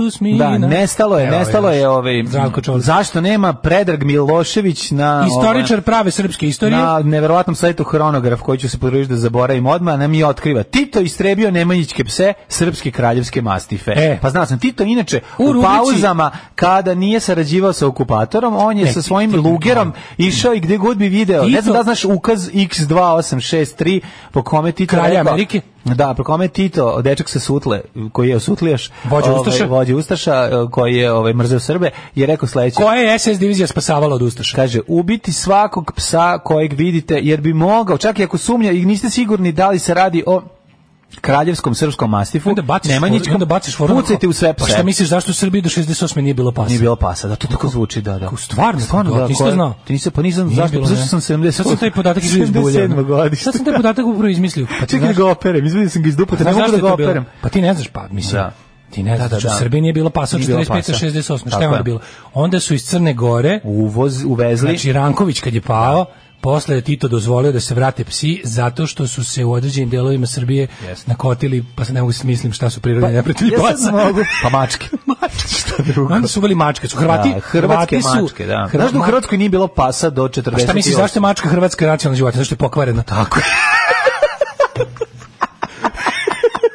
Speaker 6: Da,
Speaker 7: usmina.
Speaker 6: nestalo je,
Speaker 7: Evo,
Speaker 6: nestalo je
Speaker 7: vidiš.
Speaker 6: ovaj
Speaker 7: Zdravko Čolić.
Speaker 6: Zašto nema Predrag Milošević na
Speaker 7: Istoričar prave srpske
Speaker 6: ovaj,
Speaker 7: istorije.
Speaker 6: na neverovatnom sajtu Hronograf koji ću se potruditi da zaboravim odmah, nam je otkriva Tito istrebio Nemanjićke pse, srpske kraljevske mastife.
Speaker 7: E.
Speaker 6: Pa znao sam Tito inače
Speaker 7: U
Speaker 6: u,
Speaker 7: rubrici-
Speaker 6: pauzama kada nije sarađivao sa okupatorom, on je
Speaker 7: Ne,
Speaker 6: sa svojim lugerom išao i gde god bi video.
Speaker 7: Tito-
Speaker 6: Ne znam da li znaš ukaz X2863 po kome Tito
Speaker 7: Kralja
Speaker 6: rekao-
Speaker 7: Amerike?
Speaker 6: Da, po kome je Tito, dečak sa Sutle, koji je osutlijaš,
Speaker 7: Vođa Ustaša?
Speaker 6: ovaj, vođa Ustaša, eh, koji je ovaj, mrzeo Srbe, je rekao sledeće.
Speaker 7: Koja je SS divizija spasavala od Ustaša?
Speaker 6: Kaže, ubiti svakog psa kojeg vidite, jer bi mogao, čak i ako sumnja i niste sigurni da li se radi o kraljevskom srpskom mastifu.
Speaker 7: Onda baciš
Speaker 6: Nemanjićkom,
Speaker 7: foru- onda baciš foru.
Speaker 6: Pucajte u sve pse.
Speaker 7: Pa šta misliš zašto u Srbiji do 68 nije bilo pasa?
Speaker 6: Nije bilo pasa, da to tako zvuči, da, da.
Speaker 7: Kako, stvarno, da,
Speaker 6: da,
Speaker 7: nisi to
Speaker 6: koja-
Speaker 7: znao?
Speaker 6: Ti nisam, pa nisam,
Speaker 7: Nije
Speaker 6: zašto,
Speaker 7: bilo,
Speaker 6: zašto
Speaker 7: ne.
Speaker 6: sam 70...
Speaker 7: Sad sam taj podatak izveo iz bulja.
Speaker 6: 77. godište.
Speaker 7: Sad sam taj podatak upravo izmislio. Pa ti
Speaker 6: Čekaj da
Speaker 7: znaš-
Speaker 6: ga operem, izvedim sam ga iz dupata, ne
Speaker 7: Znaš
Speaker 6: mogu da
Speaker 7: zašto
Speaker 6: ga
Speaker 7: je to bilo?
Speaker 6: operem.
Speaker 7: Pa ti ne znaš, pa mislim.
Speaker 6: Da.
Speaker 7: Ti ne znaš da,
Speaker 6: da, da.
Speaker 7: u Srbiji nije bilo pasa od
Speaker 6: Nije bilo
Speaker 7: 45
Speaker 6: pasa.
Speaker 7: 68. Šta
Speaker 6: Tako
Speaker 7: je onda
Speaker 6: je.
Speaker 7: bilo? Onda su iz Crne Gore,
Speaker 6: Uvoz, uvezli.
Speaker 7: znači Ranković kad je pao, posle je Tito dozvolio da se vrate psi zato što su se u određenim delovima Srbije
Speaker 6: Jeste. Pa,
Speaker 7: nakotili, pa se ne mogu smislim šta su prirodni neprijatelji
Speaker 6: Ja sad
Speaker 7: pasa.
Speaker 6: mogu. Pa mačke. mačke. Šta drugo?
Speaker 7: Onda su uveli mačke, su Hrvati,
Speaker 6: Da, hrvatske
Speaker 7: Hrvati su,
Speaker 6: mačke, da.
Speaker 7: Hrva-
Speaker 6: Znaš da u Hrvatskoj nije bilo pasa do 48.
Speaker 7: A šta misliš, zašto je mačka hrvatska nacionalna životinja? Zašto je pokvarena? Tako je.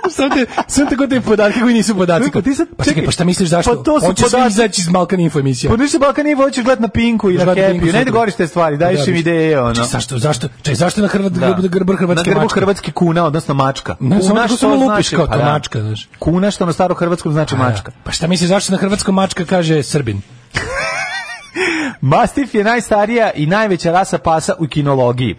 Speaker 7: Sam te, sam te kod te podatke koji nisu podaci.
Speaker 6: Čekaj, ti sad-
Speaker 7: pa čekaj,
Speaker 6: čekaj,
Speaker 7: pa šta misliš zašto?
Speaker 6: pa to su
Speaker 7: Hoćeš li
Speaker 6: podaci.
Speaker 7: izaći iz Balkan Info emisije?
Speaker 6: Pa ništa Balkan nije hoćeš gledat na Pinku i na
Speaker 7: Žvato Pinku
Speaker 6: Kepiju. Ne da
Speaker 7: sutra.
Speaker 6: govoriš te stvari, daješ
Speaker 7: Da,
Speaker 6: im
Speaker 7: da.
Speaker 6: ideje, ono.
Speaker 7: Čekaj, zašto, zašto, čekaj, zašto na Hrvat, da. grb, grb, hrvatske
Speaker 6: na grbu
Speaker 7: mačke?
Speaker 6: hrvatski kuna, odnosno mačka.
Speaker 7: Ne, samo
Speaker 6: Kuna
Speaker 7: tako
Speaker 6: što
Speaker 7: samo lupiš
Speaker 6: znači,
Speaker 7: kao
Speaker 6: pa
Speaker 7: to
Speaker 6: da.
Speaker 7: mačka, znaš.
Speaker 6: Kuna što na staro hrvatskom znači mačka.
Speaker 7: Pa šta misliš zašto na hrvatskom mačka kaže Srbin?
Speaker 6: Mastif je najstarija i najveća rasa pasa u kinologiji.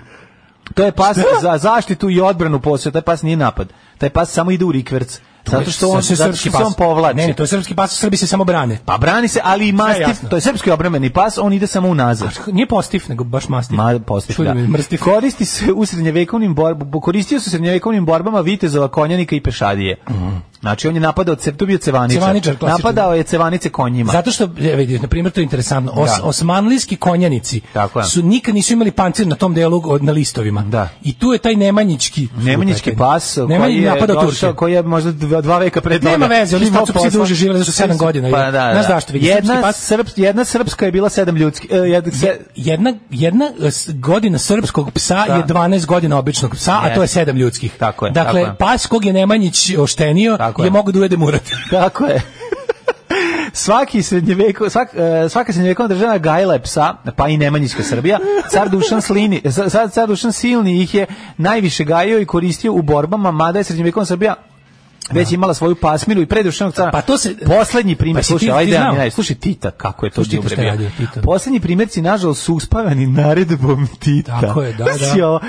Speaker 6: To je pas za zaštitu i odbranu posle, taj pas nije napad. Taj pas samo ide u rikverc. Zato što on,
Speaker 7: Sasvim
Speaker 6: zato što se on povlači.
Speaker 7: Ne, ne, to je srpski pas, Srbi se samo brane.
Speaker 6: Pa brani se, ali i
Speaker 7: Sve je
Speaker 6: mastif,
Speaker 7: jasno.
Speaker 6: to je srpski obrambeni pas, on ide samo unazad.
Speaker 7: Nije postif, nego baš mastif.
Speaker 6: Ma, postif,
Speaker 7: Čudi
Speaker 6: da.
Speaker 7: me, mrstif.
Speaker 6: Koristi se u srednjevekovnim borbama, koristio se u srednjevekovnim borbama vitezova, konjanika i pešadije. Znači, on je napadao, ce- to bio cevaničar.
Speaker 7: Mhm. Cevaničar, klasičan.
Speaker 6: napadao je cevanice konjima.
Speaker 7: Zato što, e, vidi, na primjer, to je interesantno. Os,
Speaker 6: Da.
Speaker 7: Osmanlijski konjanici
Speaker 6: Tako je.
Speaker 7: su nikad nisu imali pancir na tom delu od, na listovima.
Speaker 6: Da.
Speaker 7: I tu je taj nemanjički...
Speaker 6: Nemanjički pas koji
Speaker 7: Nemanjić
Speaker 6: je,
Speaker 7: napada Turke.
Speaker 6: došao, koji je možda dva dva veka pre toga.
Speaker 7: Nema veze, oni
Speaker 6: imao
Speaker 7: sad su psi
Speaker 6: posla.
Speaker 7: duže živjeli, da su sedam godina.
Speaker 6: Pa da, da.
Speaker 7: Znaš zašto, vidi,
Speaker 6: jedna,
Speaker 7: srpski pas-
Speaker 6: srp, jedna srpska je bila sedam ljudski. e, jedna, se,
Speaker 7: Jedna, jedna e, s- godina srpskog psa
Speaker 6: Da.
Speaker 7: je 12 godina običnog psa, a to je
Speaker 6: Jeste.
Speaker 7: sedam ljudskih.
Speaker 6: Tako je,
Speaker 7: Dakle,
Speaker 6: tako je.
Speaker 7: pas kog je Nemanjić oštenio
Speaker 6: Tako
Speaker 7: je
Speaker 6: je.
Speaker 7: mogo da ujede murat.
Speaker 6: Tako je. Svaki srednjeveko, svak, e, svaka srednjevekovna država gajila je psa, pa i Nemanjićka Srbija. Car Dušan, Slini, sa- sa- car Dušan Silni ih je najviše gajio i koristio u borbama, mada je srednjevekovna Srbija već imala svoju pasmiru i pre Dušanog cara.
Speaker 7: Da. Pa to se-
Speaker 6: Poslednji primjer,
Speaker 7: Pa si
Speaker 6: slušaj,
Speaker 7: ti-
Speaker 6: ajde,
Speaker 7: ti
Speaker 6: da mi
Speaker 7: znao?
Speaker 6: naj- slušaj Tita, kako je to
Speaker 7: Slušaj, Tito, šta je radio, Tito.
Speaker 6: Poslednji primjerci, nažalost, su uspavani naredbom Tita.
Speaker 7: Tako je, da, da.
Speaker 6: Znaš, jo,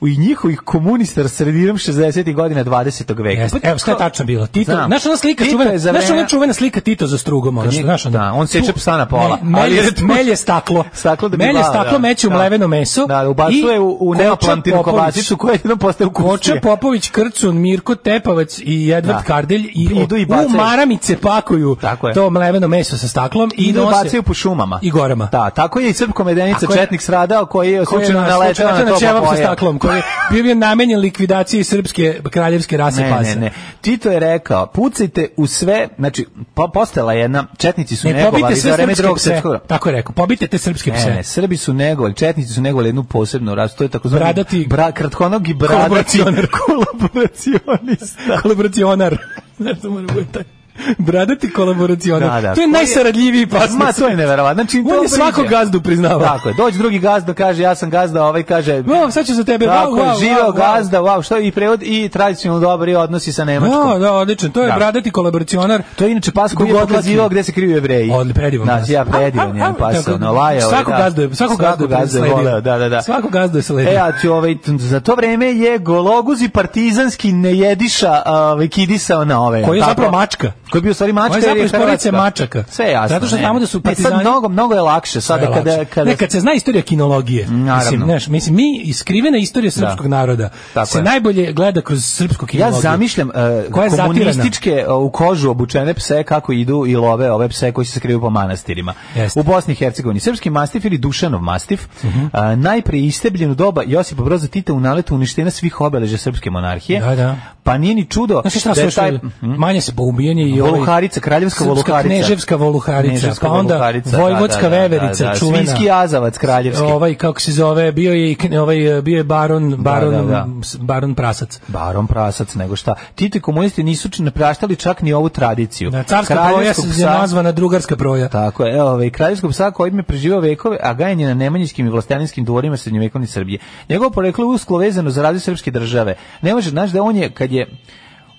Speaker 6: u njihovih komunistar sredinom 60. godina 20. veka.
Speaker 7: Jeste.
Speaker 6: Pa
Speaker 7: Evo, šta je
Speaker 6: to-
Speaker 7: tačno bilo? Tito,
Speaker 6: Znam.
Speaker 7: znaš ona slika
Speaker 6: Tito
Speaker 7: čuvena,
Speaker 6: je za
Speaker 7: znaš ona
Speaker 6: vreme-
Speaker 7: čuvena slika Tito za strugom, ono što, znaš ona.
Speaker 6: Da, on seče
Speaker 7: Tu-
Speaker 6: psa na pola,
Speaker 7: Me- melje-
Speaker 6: ali je to-
Speaker 7: melje staklo.
Speaker 6: Staklo da bi
Speaker 7: melje
Speaker 6: glava,
Speaker 7: staklo
Speaker 6: da.
Speaker 7: meće u
Speaker 6: Da.
Speaker 7: mleveno meso.
Speaker 6: Da, ubacuje u, u
Speaker 7: i
Speaker 6: neoplantinu
Speaker 7: Koča Popović-
Speaker 6: kobasicu koja je jednom postaje
Speaker 7: Koča
Speaker 6: ukusnije.
Speaker 7: Popović, Krcun, Mirko Tepavac i Edvard
Speaker 6: Da.
Speaker 7: Kardelj i,
Speaker 6: Idu i bacaju.
Speaker 7: u maramice pakuju
Speaker 6: Tako je.
Speaker 7: to mleveno meso sa staklom i,
Speaker 6: I da
Speaker 7: nose-
Speaker 6: bacaju po šumama.
Speaker 7: I gorama.
Speaker 6: Da, tako je i Srpko Medenica
Speaker 7: Tako je.
Speaker 6: Četnik sradao koji je
Speaker 7: Koji je
Speaker 6: slučajno naletao na to
Speaker 7: ćevap sa
Speaker 6: pa pojeo.
Speaker 7: staklom, koji je bio, bio namenjen likvidaciji srpske kraljevske rase
Speaker 6: Ne,
Speaker 7: pasa.
Speaker 6: ne, ne. Tito je rekao, pucajte u sve, znači, po, postala je jedna, četnici su
Speaker 7: Ne,
Speaker 6: negovali
Speaker 7: pobite
Speaker 6: za
Speaker 7: sve
Speaker 6: vreme
Speaker 7: srpske
Speaker 6: drugog
Speaker 7: pse.
Speaker 6: srpskog rata.
Speaker 7: Tako je rekao, pobite te srpske pse.
Speaker 6: Ne, ne, Srbi su negovali, četnici su negovali jednu posebnu rasu, to je takozvani
Speaker 7: Bradati-
Speaker 6: bra, kratkonogi bradati
Speaker 7: Kolaboracionar.
Speaker 6: kolaboracionista.
Speaker 7: kolaboracionar. Znaš da mora bude taj bradati kolaboracionar.
Speaker 6: Da, da.
Speaker 7: To je
Speaker 6: Koji je-
Speaker 7: najsaradljiviji pas.
Speaker 6: Ma, to je neverovatno. Znači,
Speaker 7: On
Speaker 6: to
Speaker 7: je svakog
Speaker 6: priđe.
Speaker 7: gazdu priznava.
Speaker 6: Tako je. Dođe drugi gazda, kaže ja sam gazda, a ovaj kaže
Speaker 7: Wow, sad ću za tebe.
Speaker 6: Tako
Speaker 7: wow,
Speaker 6: je,
Speaker 7: wow,
Speaker 6: živeo
Speaker 7: wow, wow.
Speaker 6: gazda, wow, što je i prevod i tradicionalno dobri odnosi sa Nemačkom.
Speaker 7: Da, da, odlično. To je
Speaker 6: Da.
Speaker 7: bradati kolaboracionar.
Speaker 6: To je inače pas koji je
Speaker 7: Dugodlaki.
Speaker 6: pokazivao gde se kriju jevreji.
Speaker 7: Odli predivan.
Speaker 6: Da,
Speaker 7: pas.
Speaker 6: ja predivan
Speaker 7: Au,
Speaker 6: jedan
Speaker 7: au,
Speaker 6: pas,
Speaker 7: tako,
Speaker 6: ono, lajao. je,
Speaker 7: Svako
Speaker 6: da.
Speaker 7: gazdu je, svako gazdu je
Speaker 6: gazdu
Speaker 7: sledio.
Speaker 6: voleo, da, da, da.
Speaker 7: Svako gazdu je sledio.
Speaker 6: E, ja ću ovaj, t- za to vreme je Gologuzi partizanski nejediša ovaj, kidisao na ove.
Speaker 7: Koji je
Speaker 6: tako?
Speaker 7: zapravo mačka.
Speaker 6: Koji je bio u stvari mačka.
Speaker 7: Koji je
Speaker 6: jer
Speaker 7: zapravo iz porodice
Speaker 6: Hrvatska.
Speaker 7: mačaka.
Speaker 6: Sve je jasno.
Speaker 7: Zato što
Speaker 6: ne.
Speaker 7: znamo da su
Speaker 6: E,
Speaker 7: partizani-
Speaker 6: Sad mnogo, mnogo je lakše. Sada
Speaker 7: Najlakše.
Speaker 6: kada, kada,
Speaker 7: ne, kad se zna istorija kinologije, mislim,
Speaker 6: Naravno. Da.
Speaker 7: znaš, mislim, mi iskrivena istorija srpskog naroda
Speaker 6: Tako
Speaker 7: se
Speaker 6: je.
Speaker 7: najbolje gleda kroz srpsku
Speaker 6: Ja
Speaker 7: kinologiju.
Speaker 6: zamišljam uh,
Speaker 7: Koja je zatirana.
Speaker 6: komunističke e, u kožu obučene pse kako idu i love ove pse koji se skriju po manastirima.
Speaker 7: Jeste. Mhm.
Speaker 6: U Bosni i Hercegovini. Srpski mastif ili Dušanov mastif, a, najprije istebljen u doba Josipa Broza Tita u naletu uništena svih obeležja srpske monarhije.
Speaker 7: Da, da.
Speaker 6: Pa nije ni čudo
Speaker 7: Znaš šta
Speaker 6: da
Speaker 7: su
Speaker 6: je
Speaker 7: još
Speaker 6: taj...
Speaker 7: taj... manje se poubijanje i ovaj...
Speaker 6: Voluharica, kraljevska
Speaker 7: Srpska
Speaker 6: voluharica.
Speaker 7: kneževska voluharica,
Speaker 6: Kneževska
Speaker 7: pa onda
Speaker 6: voluharica, da,
Speaker 7: vojvodska veverica, čuvena.
Speaker 6: Svinjski jazavac kraljevski.
Speaker 7: Ovaj kako se zove, bio je i kn- ovaj e, bio je baron baron
Speaker 6: da, da.
Speaker 7: s- baron Prasac.
Speaker 6: Baron prasac, nego šta. Tito i komunisti nisu č- ne praštali čak ni ovu tradiciju.
Speaker 7: Da, carska proja
Speaker 6: Kraljevskog
Speaker 7: se
Speaker 6: psa-
Speaker 7: nazvana drugarska proja.
Speaker 6: Tako je, evo, ovaj, kraljevskog psa kojim je preživao vekove, a gajen je na nemanjičkim i vlastelinskim dvorima srednjevekovne Srbije. Njegovo poreklo je usklo vezano za razvoj srpske države. Ne može, znaš da on je, kad je,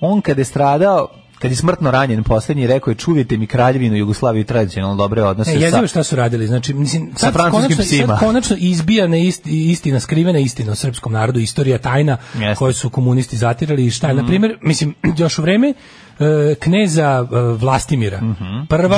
Speaker 6: on kad je stradao, kad je smrtno ranjen poslednji, rekao je čuvajte mi kraljevinu Jugoslaviju i tradicionalno dobre odnose
Speaker 7: Ne, E, jezivo
Speaker 6: sa...
Speaker 7: je šta su radili. Znači, mislim,
Speaker 6: Sa francuskim
Speaker 7: konačno,
Speaker 6: psima.
Speaker 7: Sad konačno izbija na istina, skrivena istina o srpskom narodu, istorija tajna
Speaker 6: Jeste. Mhm.
Speaker 7: koju su komunisti zatirali i šta je. Na primjer, mislim, još u vreme e, kneza e, Vlastimira.
Speaker 6: Mhm.
Speaker 7: Prva...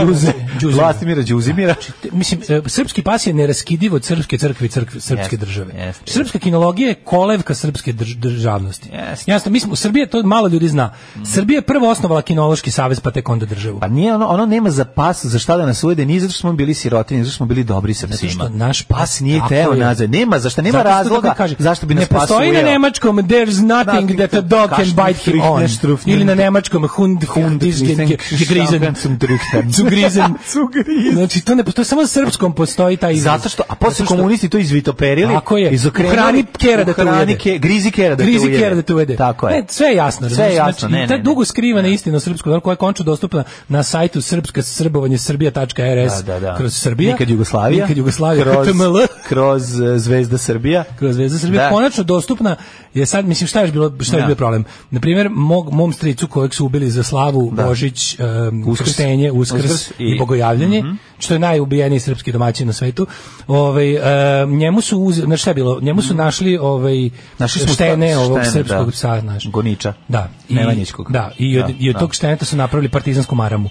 Speaker 7: Đuzima.
Speaker 6: Vlastimira Đuzimira.
Speaker 7: Te- Mislim, e, srpski pas je neraskidiv od srpske crkve i crkve, srpske
Speaker 6: Jeste,
Speaker 7: države.
Speaker 6: jeste.
Speaker 7: Srpska kinologija je kolevka srpske drž- državnosti.
Speaker 6: Jeste. Mhm.
Speaker 7: Jasno, mi smo, Srbija, to malo ljudi zna, Srbija je prvo osnovala kinološki savez, pa tek onda državu.
Speaker 6: Pa nije ono, ono nema za pas, za šta da nas uvede, ni zato što smo bili sirotinji, ni zato što smo bili dobri sa
Speaker 7: Zato
Speaker 6: psima.
Speaker 7: što naš pas
Speaker 6: nije
Speaker 7: tako
Speaker 6: teo
Speaker 7: je.
Speaker 6: nazad. Nema, zašto nema
Speaker 7: Zato što
Speaker 6: razloga
Speaker 7: tako kaže,
Speaker 6: zašto bi nas
Speaker 7: Ne
Speaker 6: pas ujeo.
Speaker 7: postoji na nemačkom there's nothing
Speaker 6: Nothing
Speaker 7: that a dog
Speaker 6: to-
Speaker 7: can bite him on.
Speaker 6: Kaštrich, štruften.
Speaker 7: Ili na nemačkom hund, hund is
Speaker 6: Mislim,
Speaker 7: gegrizen.
Speaker 6: štampen zum drüchten.
Speaker 7: Zugrizen.
Speaker 6: Zugrizen.
Speaker 7: Znači, to ne postoji, samo na srpskom postoji taj izraz.
Speaker 6: Zato što, a posle
Speaker 7: Zato što-
Speaker 6: komunisti to izvitoperili,
Speaker 7: Tako je.
Speaker 6: izokrenuli,
Speaker 7: Uhrani kera da te
Speaker 6: uhrani
Speaker 7: ujede.
Speaker 6: ke- grizi kera da
Speaker 7: Grizi
Speaker 6: te ujede.
Speaker 7: kjera da te ujede.
Speaker 6: Tako je.
Speaker 7: Ne, sve je jasno.
Speaker 6: Sve je
Speaker 7: razumeš?
Speaker 6: jasno,
Speaker 7: Znači,
Speaker 6: ne,
Speaker 7: i ta
Speaker 6: ne, Da. ne.
Speaker 7: dugo skrivena istina o srpskom narodu koja je končno dostupna na sajtu srpska srbovanje srbija.rs
Speaker 6: Da, da, da.
Speaker 7: kroz Srbija.
Speaker 6: Nikad Jugoslavija.
Speaker 7: Nikad Jugoslavija.
Speaker 6: Kroz,
Speaker 7: KTML.
Speaker 6: kroz eh, Zvezda Srbija.
Speaker 7: kroz Zvezda Srbije
Speaker 6: Da.
Speaker 7: konačno dostupna je sad mislim šta je još bilo šta je
Speaker 6: Da.
Speaker 7: bio problem na primjer mog mom stricu kojeg su ubili za slavu
Speaker 6: Da.
Speaker 7: Božić um,
Speaker 6: Uskrs.
Speaker 7: krštenje uskrs,
Speaker 6: Uskrs i- Mhm.
Speaker 7: i, bogojavljanje što je najubijeniji srpski domaćin na svetu ovaj em, njemu su uzeli znači šta je bilo njemu su našli ovaj
Speaker 6: Mhm. Našli smo
Speaker 7: štene
Speaker 6: šta-
Speaker 7: ovog
Speaker 6: štene,
Speaker 7: srpskog
Speaker 6: da.
Speaker 7: psa znaš
Speaker 6: Goniča.
Speaker 7: da
Speaker 6: Nemanjićkog.
Speaker 7: da i od,
Speaker 6: Da,
Speaker 7: i od
Speaker 6: da.
Speaker 7: tog šteneta su napravili partizansku maramu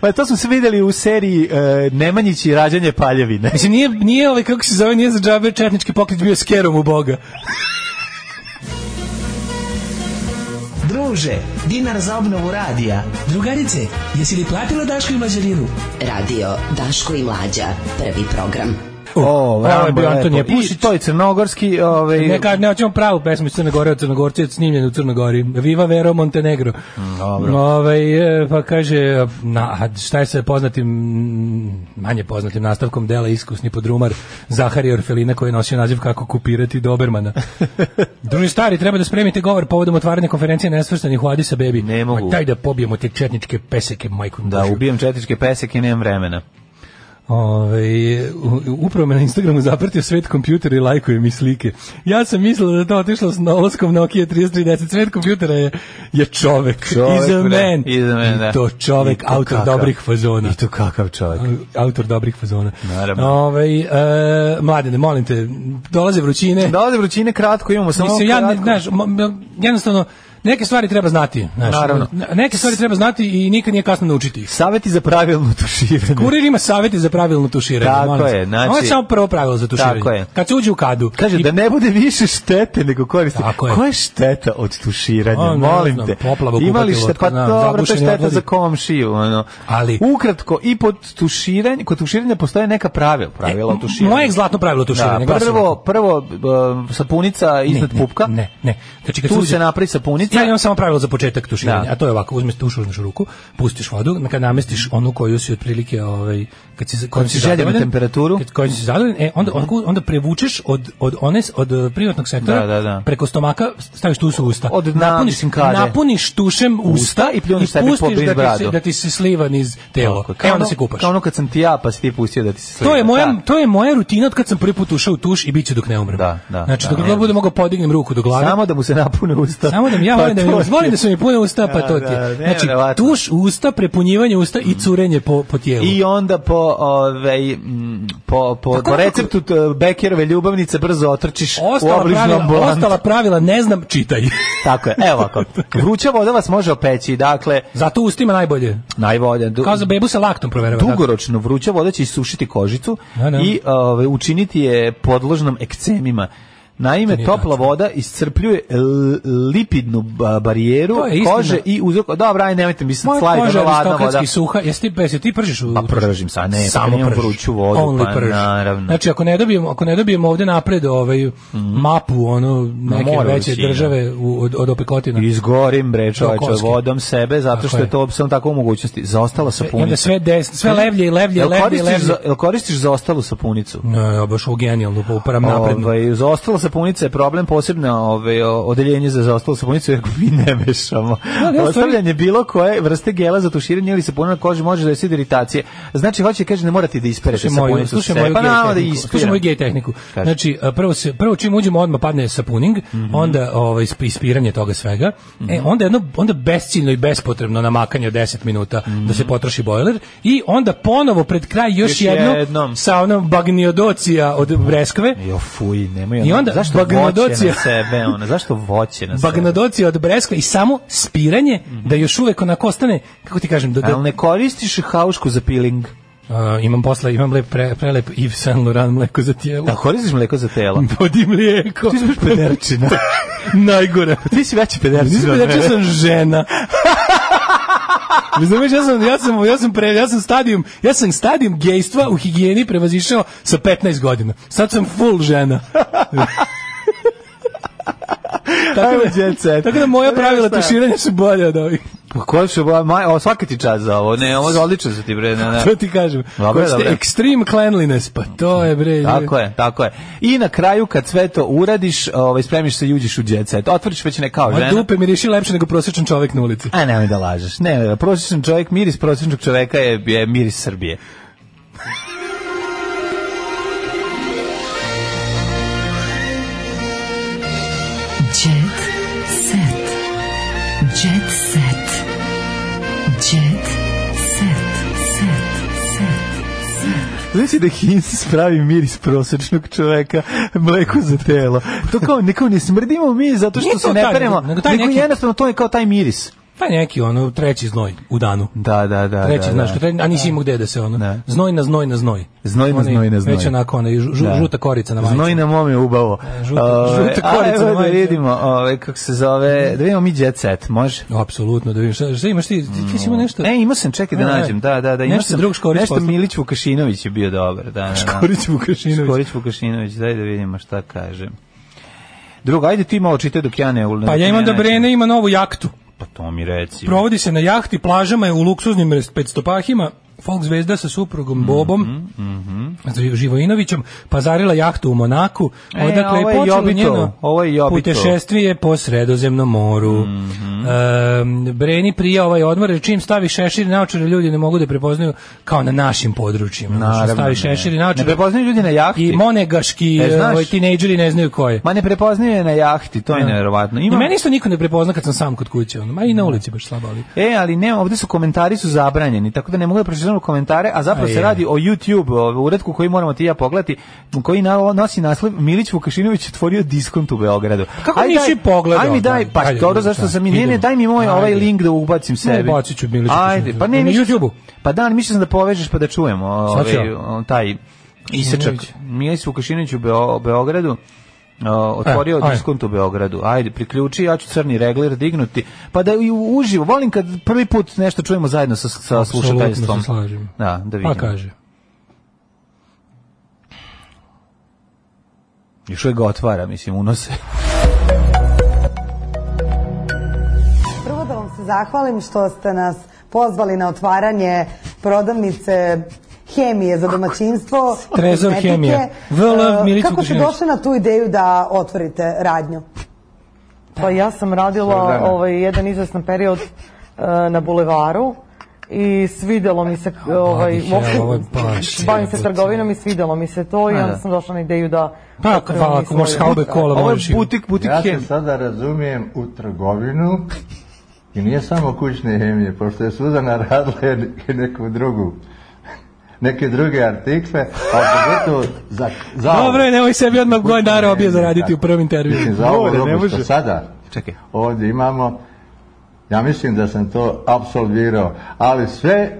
Speaker 6: Pa to smo se videli u seriji eh, Nemanjić i rađanje paljevine.
Speaker 7: Mislim, nije, nije ovaj, kako se zove, nije za džabe četnički pokret bio s kerom u Boga.
Speaker 9: Druže, dinar za obnovu radija. Drugarice, jesi li platila Daško i Mađarinu?
Speaker 8: Radio Daško i Mlađa. Prvi program.
Speaker 6: O,
Speaker 7: ovo je
Speaker 6: lepo.
Speaker 7: bio Ovaj, Antonije
Speaker 6: I
Speaker 7: Pušić.
Speaker 6: to je crnogorski, ovaj
Speaker 7: Ne kaže, ne hoćemo pravu pesmu iz Crne Gore, od Crnogorca je snimljen u Crnoj Gori. Viva Vero Montenegro.
Speaker 6: Mm, dobro.
Speaker 7: Ovaj, e, pa kaže, na, a šta je sa poznatim, manje poznatim nastavkom dela iskusni podrumar Zaharija Orfelina koji je nosio naziv kako kupirati Dobermana. Drugi stari, treba da spremite govor povodom otvaranja konferencije nesvrstanih u Adisa Bebi.
Speaker 6: Ne mogu.
Speaker 7: Ma daj da pobijemo te četničke peseke, majku.
Speaker 6: Da,
Speaker 7: Božju.
Speaker 6: ubijem četničke peseke i nemam vremena.
Speaker 7: Ove, Ovaj, upravo me na Instagramu zapratio svet kompjutera i lajkuje mi slike. Ja sam mislila da je to otišlo s nolaskom Nokia 3310. Svet kompjutera je, je čovek.
Speaker 6: Čovek,
Speaker 7: Is a
Speaker 6: bre,
Speaker 7: man.
Speaker 6: is a man, da.
Speaker 7: I to čovek,
Speaker 6: I to
Speaker 7: autor
Speaker 6: kakav.
Speaker 7: dobrih fazona.
Speaker 6: I to kakav čovjek.
Speaker 7: Da. Autor dobrih fazona.
Speaker 6: Naravno.
Speaker 7: Ove, e, mladine, molim te, dolaze vrućine.
Speaker 6: Da, ovde vrućine kratko imamo, samo
Speaker 7: Mislim, ja ne,
Speaker 6: kratko.
Speaker 7: znaš, mo- mo- jednostavno, neke stvari treba znati. Znaš,
Speaker 6: Naravno.
Speaker 7: Neke stvari treba znati i nikad nije kasno naučiti ih.
Speaker 6: Saveti za pravilno tuširanje.
Speaker 7: Kurir ima savete za pravilno tuširanje.
Speaker 6: Tako
Speaker 7: molim vas.
Speaker 6: je, znači-
Speaker 7: Ovo je samo prvo pravilo za tuširanje.
Speaker 6: Tako je.
Speaker 7: Kad se uđe u kadu.
Speaker 6: Kaže
Speaker 7: i-
Speaker 6: da ne bude više štete nego koristi.
Speaker 7: Tako je.
Speaker 6: Koja je šteta od tuširanja?
Speaker 7: O, ne
Speaker 6: Molim
Speaker 7: znam,
Speaker 6: te.
Speaker 7: poplava u
Speaker 6: Ima li
Speaker 7: kupatilu,
Speaker 6: šteta? Pa
Speaker 7: otkud znam,
Speaker 6: dobro, to je
Speaker 7: zabušeni
Speaker 6: šteta
Speaker 7: odvodi.
Speaker 6: za komšiju. Ono.
Speaker 7: Ali-
Speaker 6: Ukratko, i pod tuširanje, kod tuširanja postoje neka pravila. Pravila o tuširanju.
Speaker 7: E, Moje zlatno pravilo tuširanja.
Speaker 6: Da,
Speaker 7: glasi
Speaker 6: prvo,
Speaker 7: ovako.
Speaker 6: prvo uh, sapunica
Speaker 7: Ne,
Speaker 6: iznad
Speaker 7: ne,
Speaker 6: pupka.
Speaker 7: Ne, ne. Znači, kad
Speaker 6: Tu
Speaker 7: uđe-
Speaker 6: se napravi sapunica.
Speaker 7: Ja imam samo pravilo za početak tuširanja,
Speaker 6: Da.
Speaker 7: a to je ovako, uzmeš tuš, uzmeš u ruku, pustiš vodu, kad namestiš onu koju si otprilike, ovaj, kad si, kojom
Speaker 6: si željan
Speaker 7: zadovoljan,
Speaker 6: temperaturu. Mhm.
Speaker 7: Kad, kojom si zadovoljan, e, onda, onda, onda prevučeš od, od, one, od eh, privatnog sektora,
Speaker 6: Da, da, da.
Speaker 7: preko stomaka, staviš tuš u usta.
Speaker 6: Od dna,
Speaker 7: napuniš,
Speaker 6: mislim, kade.
Speaker 7: napuniš tušem usta,
Speaker 6: Usta i pljuneš sebi po
Speaker 7: pustiš
Speaker 6: bliz
Speaker 7: da ti,
Speaker 6: bradu.
Speaker 7: se, da ti se sliva niz telo.
Speaker 6: Tako je.
Speaker 7: E, onda
Speaker 6: ono-
Speaker 7: se kupaš.
Speaker 6: Kao ono kad sam ti ja, pa si ti pustio da ti se
Speaker 7: To je
Speaker 6: slika.
Speaker 7: moja
Speaker 6: Da.
Speaker 7: to je moja rutina od kad sam prvi put ušao u tuš i biće dok ne umrem.
Speaker 6: Da, da,
Speaker 7: znači
Speaker 6: da,
Speaker 7: dok
Speaker 6: ne.
Speaker 7: god budem mogao podignem ruku do glave.
Speaker 6: Samo da mu se napune usta.
Speaker 7: Samo da mi ja
Speaker 6: Pa
Speaker 7: volim da mi
Speaker 6: to ti je.
Speaker 7: volim da su mi pune usta, pa
Speaker 6: Da,
Speaker 7: to ti.
Speaker 6: da,
Speaker 7: je. Znači,
Speaker 6: nevjerovatno.
Speaker 7: tuš usta, prepunjivanje usta i curenje po, po tijelu.
Speaker 6: I onda po ovaj m, po po,
Speaker 7: Tako
Speaker 6: po
Speaker 7: nekako-
Speaker 6: receptu t- Bekerove ljubavnice brzo otrčiš u
Speaker 7: ostala,
Speaker 6: obližnu
Speaker 7: pravila,
Speaker 6: ambulantu.
Speaker 7: ostala pravila ne znam, čitaj.
Speaker 6: Tako je. Evo ovako. Vruća voda vas može opeći, dakle
Speaker 7: Zato ustima najbolje.
Speaker 6: najbolje. Du,
Speaker 7: Kao za bebu sa laktom proverava. da. tako.
Speaker 6: dugoročno vruća voda će isušiti kožicu
Speaker 7: Da, da.
Speaker 6: i ovaj učiniti je podložnom ekcemima. Naime,
Speaker 7: nije
Speaker 6: topla
Speaker 7: tačno.
Speaker 6: voda iscrpljuje l- lipidnu ba- barijeru
Speaker 7: To je istina.
Speaker 6: kože i uzrok... Dobro, aj nemojte mi sad
Speaker 7: Moja
Speaker 6: slaviti
Speaker 7: koža je
Speaker 6: ono ladna
Speaker 7: aristokratski
Speaker 6: voda.
Speaker 7: suha. Jesi ti, jesi ti pržiš u
Speaker 6: Pa pržim sa, ne,
Speaker 7: Samo
Speaker 6: samo imam
Speaker 7: pržiš.
Speaker 6: vruću vodu,
Speaker 7: Only
Speaker 6: pa
Speaker 7: pržiš.
Speaker 6: naravno. Mhm.
Speaker 7: Znači, ako ne dobijemo, ako ne dobijemo ovde napred ovaj, mapu, ono, neke
Speaker 6: mora
Speaker 7: veće
Speaker 6: vrućina.
Speaker 7: države u, od, od opekotina.
Speaker 6: Izgorim bre čoveče
Speaker 7: Tokovski.
Speaker 6: vodom sebe zato
Speaker 7: Da. Tako
Speaker 6: što je
Speaker 7: je.
Speaker 6: to sam tako u mogućnosti. Zaostala
Speaker 7: I onda
Speaker 6: sapunica.
Speaker 7: sve desno, sve levlje i levlje, i
Speaker 6: Jel
Speaker 7: levlje i
Speaker 6: koristiš,
Speaker 7: levlje.
Speaker 6: za, jel koristiš zaostalu sapunicu?
Speaker 7: Ne, ja baš u genijalnu, pa uparam napredno.
Speaker 6: Ovaj, zaostala sapunica je problem, posebno ove, o- odeljenje za zaostalu sapunicu, jer mi ne mešamo.
Speaker 7: ali Da, ja u stvari-
Speaker 6: Ostavljanje bilo koje vrste gela za tuširanje ili sapuna na koži može da je sid iritacije. Znači, hoće kaže ne morate da isperete
Speaker 7: Slušaj moju,
Speaker 6: sapunicu.
Speaker 7: slušaj
Speaker 6: sa
Speaker 7: moju
Speaker 6: sebe. pa naravno da
Speaker 7: geotehniku. Slušaj
Speaker 6: ispiram.
Speaker 7: moju gej tehniku.
Speaker 6: Kaži.
Speaker 7: Znači, a, prvo, se, prvo čim uđemo odmah padne sapuning,
Speaker 6: Mhm.
Speaker 7: onda ovaj, isp- ispiranje toga svega, e, onda jedno onda besciljno i bespotrebno namakanje od 10 minuta da se potroši bojler i onda ponovo pred kraj još,
Speaker 6: Mhm. Još
Speaker 7: jedno
Speaker 6: jednom.
Speaker 7: sa onom bagniodocija od breskve,
Speaker 6: Jo, fuj, nemoj.
Speaker 7: I
Speaker 6: ono,
Speaker 7: onda
Speaker 6: zašto voće na
Speaker 7: bagnadocija.
Speaker 6: sebe, ona, zašto voće na sebe?
Speaker 7: bagnadocija od breskve i samo spiranje
Speaker 6: Mhm.
Speaker 7: da još uvek onako ostane, kako ti kažem, da, da,
Speaker 6: Ali ne koristiš haušku za peeling?
Speaker 7: a, imam posla, imam lep, pre, prelep Yves Saint Laurent mleko za tijelo.
Speaker 6: Da koristiš mleko za telo?
Speaker 7: Vodi
Speaker 6: Pa.
Speaker 7: mlijeko.
Speaker 6: Ti da. si baš pederčina.
Speaker 7: Najgore. da,
Speaker 6: Ti si veći pederčina.
Speaker 7: Nisam
Speaker 6: od
Speaker 7: pederčina, ja
Speaker 6: mene.
Speaker 7: sam žena. Razumeš, ja sam, ja sam, ja sam, pre, ja sam stadijum, ja sam stadijum gejstva u higijeni prevazišao sa 15 godina. Sad sam full žena. tako,
Speaker 6: Ajmo,
Speaker 7: da,
Speaker 6: jet set.
Speaker 7: tako da moja
Speaker 6: Ajmo,
Speaker 7: pravila
Speaker 6: šta?
Speaker 7: tuširanja su bolje od ovih.
Speaker 6: Pa ko će, ba- maj, o, svaka ti čast za ovo, ne, ovo je odlično za ti, bre, ne, ne.
Speaker 7: To ti kažem.
Speaker 6: Da. Dobro,
Speaker 7: Dobro,
Speaker 6: dobro.
Speaker 7: Extreme cleanliness, pa to je bre.
Speaker 6: Tako je, tako je. I na kraju kad sve to uradiš, ovaj spremiš se i uđeš u jet set. Otvoriš već ne kao
Speaker 7: Moje
Speaker 6: žena.
Speaker 7: dupe miriši lepše nego prosječan čovek na ulici.
Speaker 6: A nemoj da lažeš. Ne, prosječan čovjek, miris prosječnog čovjeka je, je miris Srbije.
Speaker 5: Jet set. Jet set. Jet set. Set.
Speaker 6: Znači da Hins spravi miris prosječnog čovjeka, mleko za telo. To kao, ne, kao ne smrdimo mi zato što
Speaker 7: Nije to
Speaker 6: se ne
Speaker 7: taj,
Speaker 6: peremo.
Speaker 7: nego- nego taj neki-
Speaker 6: jednostavno to je kao taj miris.
Speaker 7: Pa neki ono treći znoj u danu.
Speaker 6: Da, da, da.
Speaker 7: Treći,
Speaker 6: da,
Speaker 7: znaš,
Speaker 6: da.
Speaker 7: kad tre- a nisi imao gde da se ono.
Speaker 6: Da.
Speaker 7: Znoj na znoj na znoj.
Speaker 6: Znoj na
Speaker 7: Onaj-
Speaker 6: znoj na znoj.
Speaker 7: Već onako ona
Speaker 6: Da.
Speaker 7: žuta korica na E, majici.
Speaker 6: Znoj nam ome ubavo.
Speaker 7: žuta-
Speaker 6: Ove,
Speaker 7: žuta
Speaker 6: a
Speaker 7: korica
Speaker 6: evo
Speaker 7: na
Speaker 6: da
Speaker 7: majici.
Speaker 6: vidimo, ove, kako se zove, da vidimo mi jet set, može?
Speaker 7: No, apsolutno, da vidim. Šta, šta imaš ti? Ti, ti si imao nešto?
Speaker 6: E, imao sam, čekaj da
Speaker 7: Ne, ne.
Speaker 6: nađem, da, da, da, imao
Speaker 7: Nešto
Speaker 6: sam,
Speaker 7: drug Škorić
Speaker 6: nešto
Speaker 7: poslao.
Speaker 6: Milić Vukašinović je bio dobar, da, da, da.
Speaker 7: Škorić Vukašinović.
Speaker 6: Škorić Vukašinović, daj da vidimo šta kaže. Drugo, ajde ti malo čitaj dok ja ne...
Speaker 7: Pa ja imam
Speaker 6: ne
Speaker 7: da
Speaker 6: nađem.
Speaker 7: Brene ima novu jaktu.
Speaker 6: Pa to mi reci.
Speaker 7: Provodi se na jahti, plažama je u luksuznim rest- petstopahima. Folk zvezda sa suprugom Bobom,
Speaker 6: Mhm,
Speaker 7: Zvi- Živojinovićem, pazarila jahtu u Monaku,
Speaker 6: E,
Speaker 7: odakle
Speaker 6: ovo
Speaker 7: je
Speaker 6: je
Speaker 7: počelo
Speaker 6: Jobitov,
Speaker 7: njeno
Speaker 6: ovo je Jobitov. Mhm.
Speaker 7: putešestvije po sredozemnom moru. Em, Breni prija ovaj odmor, jer čim stavi šešir i naočare, ljudi ne mogu da prepoznaju kao na našim područjima. Naravno, stavi šešir i
Speaker 6: ne. Ne
Speaker 7: naočare
Speaker 6: prepoznaju ljudi na jahti.
Speaker 7: i monegaški
Speaker 6: E, znaš-
Speaker 7: ovaj, tinejdžeri ne znaju ko je.
Speaker 6: Ma ne prepoznaju je na jahti, to je nevjerovatno.
Speaker 7: Da. I
Speaker 6: Ima...
Speaker 7: meni isto niko ne prepozna kad sam sam kod kuće, ono, ma i na ulici baš slabo, ali...
Speaker 6: E, ali ne, ovdje su komentari su zabranjeni, tako da ne mogu da pročitam komentare, a zapravo
Speaker 7: A
Speaker 6: se
Speaker 7: je.
Speaker 6: radi o YouTube ovaj, uredku koji moramo ti i ja pogledati, koji na- nosi naslov Milić Vukašinović otvorio diskont u Beogradu.
Speaker 7: Pa Kako
Speaker 6: Aj,
Speaker 7: nisi
Speaker 6: daj-
Speaker 7: pogledao?
Speaker 6: Aj mi daj,
Speaker 7: Ajde,
Speaker 6: pa
Speaker 7: ajde,
Speaker 6: dobro,
Speaker 7: idemo,
Speaker 6: zašto
Speaker 7: šta?
Speaker 6: sam mi, ne, ne,
Speaker 7: Idemo.
Speaker 6: daj mi moj ovaj
Speaker 7: Ajde.
Speaker 6: link da ubacim sebi.
Speaker 7: ubacit ću Milić
Speaker 6: Ajde,
Speaker 7: Vukašinović.
Speaker 6: pa ne,
Speaker 7: Na
Speaker 6: mislio-
Speaker 7: YouTubeu?
Speaker 6: Pa da, ali mislio sam da povežeš pa da čujemo
Speaker 7: Sad ću
Speaker 6: ovaj,
Speaker 7: ja.
Speaker 6: on, taj isečak.
Speaker 7: Milić.
Speaker 6: Milić Vukašinović u Beo- Beogradu. o, otvorio
Speaker 7: E, ajde.
Speaker 6: diskont u Beogradu. Ajde, priključi, ja ću crni regler dignuti. Pa da i u- uživo, volim kad prvi put nešto čujemo zajedno sa, sa slušateljstvom.
Speaker 7: Apsolutno se slažem.
Speaker 6: Da, da
Speaker 7: Pa
Speaker 6: vidim.
Speaker 7: kaže.
Speaker 6: Još uvijek ga otvara, mislim, unose.
Speaker 10: Prvo da vam se zahvalim što ste nas pozvali na otvaranje prodavnice hemije za domaćinstvo.
Speaker 7: Trezor
Speaker 10: kozmetike.
Speaker 7: hemije.
Speaker 6: eh,
Speaker 7: VL Milicu
Speaker 10: E, Kako ste
Speaker 7: Vukašinović.
Speaker 10: došli na tu ideju da otvorite radnju?
Speaker 11: Pa ja sam radila ovaj, jedan izvestan period e, na bulevaru i svidelo mi se e, ovaj,
Speaker 7: Mladih,
Speaker 11: uopšte,
Speaker 7: evo, ovo je baš
Speaker 11: bavim se
Speaker 7: jebote.
Speaker 11: trgovinom i svidelo mi se to i
Speaker 6: A, da.
Speaker 11: onda sam došla na ideju da
Speaker 7: Pa, ako,
Speaker 11: otvorim
Speaker 7: pa,
Speaker 11: i
Speaker 7: ako možeš
Speaker 11: svoju-
Speaker 7: haube kola,
Speaker 6: Ovo je
Speaker 7: možeš i-
Speaker 6: butik, butik
Speaker 12: Ja
Speaker 6: hem.
Speaker 12: se sada razumijem u trgovinu i nije samo kućne hemije, pošto je Suzana radila i neku drugu neke druge artikle, a pogotovo za, za
Speaker 7: Dobro je, da- nemoj sebi odmah
Speaker 12: Kućne
Speaker 7: goj dara obje
Speaker 12: hemije,
Speaker 7: zaraditi
Speaker 12: tako.
Speaker 7: u prvom intervju.
Speaker 12: Mislim, za ovu
Speaker 6: More, ne
Speaker 12: robu
Speaker 6: može.
Speaker 12: što sada
Speaker 6: Čekaj.
Speaker 12: ovdje imamo, ja mislim da sam to apsolvirao, ali sve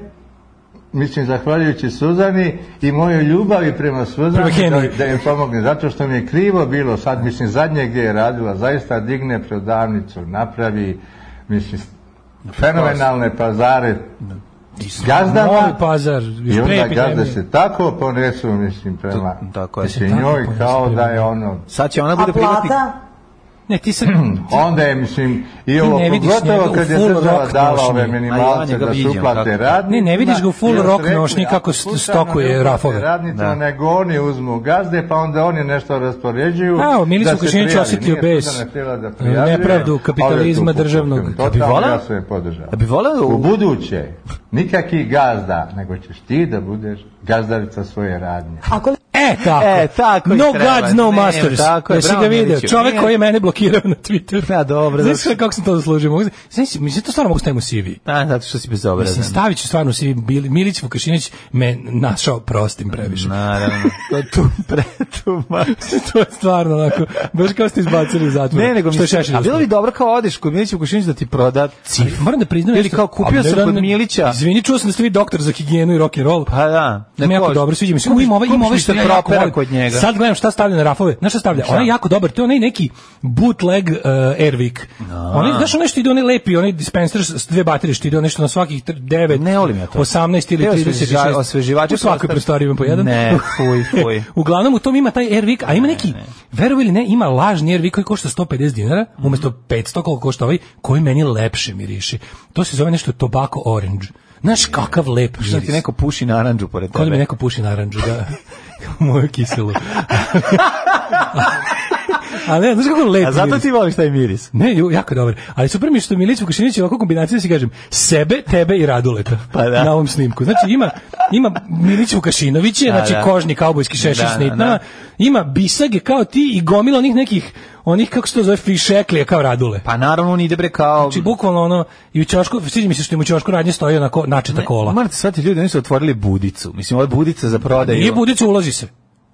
Speaker 12: mislim zahvaljujući Suzani i mojoj ljubavi prema
Speaker 7: Prema
Speaker 12: Suzani
Speaker 7: Henry.
Speaker 12: da, da im pomogne zato što mi je krivo bilo sad mislim zadnje gdje je radila zaista digne prodavnicu napravi mislim fenomenalne pazare gazdama
Speaker 6: Da,
Speaker 7: Novi pazar, još
Speaker 12: i onda
Speaker 7: pre
Speaker 12: gazde
Speaker 7: epidemije.
Speaker 12: se tako ponesu mislim prema
Speaker 6: Tako je.
Speaker 12: mislim,
Speaker 7: tako
Speaker 12: njoj
Speaker 7: ponesu
Speaker 12: kao
Speaker 7: prema
Speaker 12: da je ono
Speaker 6: Sad će ona
Speaker 10: A
Speaker 6: bude privatnik.
Speaker 10: plata?
Speaker 7: Ne, ti se...
Speaker 12: Onda je, mislim, i ovo,
Speaker 7: ne vidiš njega
Speaker 12: pogotovo
Speaker 7: u
Speaker 12: kad je
Speaker 7: full
Speaker 12: država
Speaker 7: rock
Speaker 12: dala ove
Speaker 7: nošnji. A ja
Speaker 12: minimalce
Speaker 7: njega
Speaker 12: da se
Speaker 7: vidim
Speaker 12: uplate
Speaker 7: kako-
Speaker 12: radnicima.
Speaker 7: Ne, ne vidiš ga u full
Speaker 12: jer su
Speaker 7: rock
Speaker 12: rekli,
Speaker 7: nošnji
Speaker 12: ako
Speaker 7: kako st-
Speaker 12: slučajno
Speaker 7: stokuje
Speaker 12: ne uplate
Speaker 7: rafove.
Speaker 12: Radnicima,
Speaker 7: Da.
Speaker 12: nego oni uzmu gazde, pa onda oni nešto raspoređuju. da
Speaker 7: Evo, Milica Vukašinić osjetio bes. Nepravdu kapitalizma državnog.
Speaker 12: Da
Speaker 7: Da bi voleo?
Speaker 12: ja sve podržao. Da bi voleo? U buduće, nikakvi gazda, nego ćeš ti da budeš gazdavica svoje radnje.
Speaker 10: Ako...
Speaker 7: E, tako.
Speaker 6: E, tako i
Speaker 7: no
Speaker 6: treba.
Speaker 7: gods, no
Speaker 6: Ne,
Speaker 7: masters.
Speaker 6: tako je,
Speaker 7: Jesi
Speaker 6: bravo,
Speaker 7: ga vidio?
Speaker 6: Miliću.
Speaker 7: Čovek
Speaker 6: Ne.
Speaker 7: koji je mene blokirao na Twitteru.
Speaker 6: Da, dobro.
Speaker 7: Znaš
Speaker 6: zato-
Speaker 7: sve kako sam to zaslužio? Mogu- Znaš, mislim, to stvarno mogu staviti u CV.
Speaker 6: A, zato što si bezobrazan.
Speaker 7: Mislim, stavit ću stvarno u CV. Bili- Milić Vukašinić me našao prostim previše.
Speaker 6: Naravno. To tu pre tu ma.
Speaker 7: to je stvarno onako, baš kao ste izbacili iz zatvora.
Speaker 6: Ne, nego
Speaker 7: što je
Speaker 6: mi se,
Speaker 7: Šešelj
Speaker 6: a bilo
Speaker 7: uspeo.
Speaker 6: bi dobro kao odeš kod Milića Vukašinić da ti proda cif.
Speaker 7: Moram da priznam
Speaker 6: Ili
Speaker 7: nešto.
Speaker 6: kao kupio
Speaker 7: A,
Speaker 6: sam
Speaker 7: ne,
Speaker 6: kod
Speaker 7: ne,
Speaker 6: Milića.
Speaker 7: Izvini, čuo sam da ste vi doktor za higijenu i rock and roll.
Speaker 6: Pa da.
Speaker 7: Ima jako dobro, sviđa mi se. U, Ima ove, ima ove što ja jako
Speaker 6: propera
Speaker 7: volim.
Speaker 6: kod njega.
Speaker 7: Sad gledam šta stavlja na rafove. Znaš šta stavlja?
Speaker 6: Šta?
Speaker 7: Ona je jako dobar. To je onaj neki bootleg uh, Airwick.
Speaker 6: Da.
Speaker 7: Onaj, znaš onaj što ide, onaj lepi, onaj dispenser s s dve baterije što ide, onaj što na svakih 9,
Speaker 6: Ne volim ja to.
Speaker 7: 18 ili
Speaker 6: Te
Speaker 7: 36.
Speaker 6: osveživa- osveživači
Speaker 7: U svakoj
Speaker 6: prostor-
Speaker 7: prostoriji ima po jedan.
Speaker 6: Ne, fuj, fuj.
Speaker 7: Uglavnom u tom ima taj Airwick, a ima neki, verovali ili ne, ima lažni Airwick koji košta 150 dinara, umesto 500 koliko košta ovaj, koji meni lepše miriši. To se zove nešto tobacco orange. Znaš kakav lep miris.
Speaker 6: Što ti neko puši narandžu pored tebe.
Speaker 7: Kao da mi neko puši naranđu, da. Moju kiselu. Ali ne, znaš kako lepi
Speaker 6: A zato
Speaker 7: miris?
Speaker 6: ti voliš taj miris.
Speaker 7: Ne, ju, jako dobar. Ali super mi je što Milić Vukašinić je ovako kombinacija, da si kažem, sebe, tebe i Raduleta.
Speaker 6: Pa da.
Speaker 7: Na ovom snimku. Znači ima, ima Milić Vukašinović je,
Speaker 6: Da,
Speaker 7: znači
Speaker 6: da.
Speaker 7: kožni kaubojski šešir
Speaker 6: Da,
Speaker 7: s
Speaker 6: da,
Speaker 7: nitnama.
Speaker 6: da.
Speaker 7: Ima bisage kao ti i gomila onih nekih, onih kako se to zove, fišeklija kao Radule.
Speaker 6: Pa naravno on ide bre kao
Speaker 7: Znači bukvalno ono, i u čošku, sviđa mi se što im u čošku radnje stoji onako načeta kola.
Speaker 6: Morate shvatiti ljudi, oni su otvorili budicu. Mislim, ovo je budica za prodaju.
Speaker 7: Nije budica, ulazi se.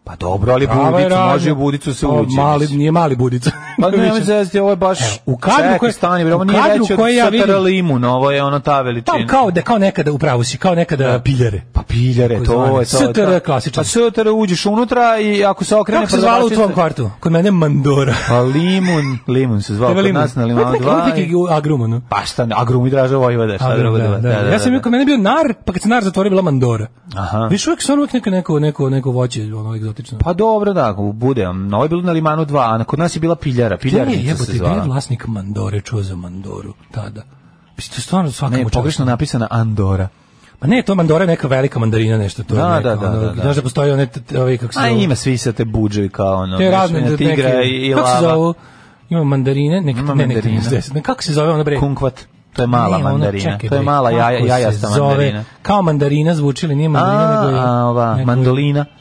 Speaker 6: Pa dobro, ali
Speaker 7: Prava je
Speaker 6: budicu,
Speaker 7: radnja.
Speaker 6: može i u budicu da se
Speaker 7: O,
Speaker 6: uđe.
Speaker 7: Ovaj Pa Mali,
Speaker 6: mislim.
Speaker 7: nije mali budica.
Speaker 6: Pa ne,
Speaker 7: Više.
Speaker 6: ne zezdi, ovo je baš...
Speaker 7: u kadru
Speaker 6: Čekaj,
Speaker 7: koje-
Speaker 6: stani, bre, ovo
Speaker 7: u
Speaker 6: nije
Speaker 7: kadru
Speaker 6: veće od
Speaker 7: koje ja
Speaker 6: satara
Speaker 7: vidim-
Speaker 6: limun, ovo je ono ta veličina.
Speaker 7: Tam kao da kao nekada u pravu si, kao nekada piljare.
Speaker 6: Pa piljare, to je to.
Speaker 7: STR
Speaker 6: to. Pa
Speaker 7: klasičan.
Speaker 6: STR uđeš unutra i ako se okrene...
Speaker 7: Kako se zvala u
Speaker 6: prodavačica-
Speaker 7: tvom kvartu? Kod mene Mandora.
Speaker 6: Pa limun, limun se zvao
Speaker 7: Evo
Speaker 6: kod
Speaker 7: limun.
Speaker 6: nas na
Speaker 7: Ovo
Speaker 6: limanu
Speaker 7: je neki- ovo
Speaker 6: 2.
Speaker 7: je neki agruman, no?
Speaker 6: Pa šta, ne, agrum i draža Vojvoda, šta drugo da, da, da,
Speaker 7: Ja sam
Speaker 6: da.
Speaker 7: bio kod mene bio nar, pa kad se nar zatvorio bila Mandora.
Speaker 6: Aha.
Speaker 7: Viš uvek stvarno uvek neko, neko, neko, neko voće, ono egzotično.
Speaker 6: Pa dobro, da, ako bude. Ovo je bilo na limanu 2, a kod nas je bila piljara.
Speaker 7: Ko je
Speaker 6: Piljarnica
Speaker 7: jebote,
Speaker 6: se
Speaker 7: gde je
Speaker 6: zvala.
Speaker 7: vlasnik Mandore čuo za Mandoru tada? Mislim, to je stvarno svakam
Speaker 6: Ne, pogrešno napisana Andora.
Speaker 7: Ma ne, to Mandora je neka velika mandarina, nešto to. je
Speaker 6: Da,
Speaker 7: neka,
Speaker 6: da, da,
Speaker 7: ono,
Speaker 6: da, da.
Speaker 7: Znaš da postoji one, t- t- ove, kako se
Speaker 6: A
Speaker 7: zovu?
Speaker 6: ima svi se te budževi kao ono.
Speaker 7: Te
Speaker 6: znaš,
Speaker 7: razne
Speaker 6: na tigra
Speaker 7: neke-
Speaker 6: Znači, i, i
Speaker 7: kako se
Speaker 6: lava.
Speaker 7: zovu? Ima mandarine, nek,
Speaker 6: Ima
Speaker 7: ne, nek,
Speaker 6: mandarina.
Speaker 7: 30, ne, kako se zove ona bre?
Speaker 6: Kunkvat. To je mala
Speaker 7: Ne, ono,
Speaker 6: mandarina.
Speaker 7: čekaj,
Speaker 6: to je
Speaker 7: bre,
Speaker 6: mala
Speaker 7: kako
Speaker 6: jaja,
Speaker 7: se
Speaker 6: jajasta
Speaker 7: zove?
Speaker 6: mandarina.
Speaker 7: Kao mandarina zvuči, ali nije mandarina,
Speaker 6: A,
Speaker 7: nego je...
Speaker 6: a, ova,
Speaker 7: nego je-
Speaker 6: mandolina.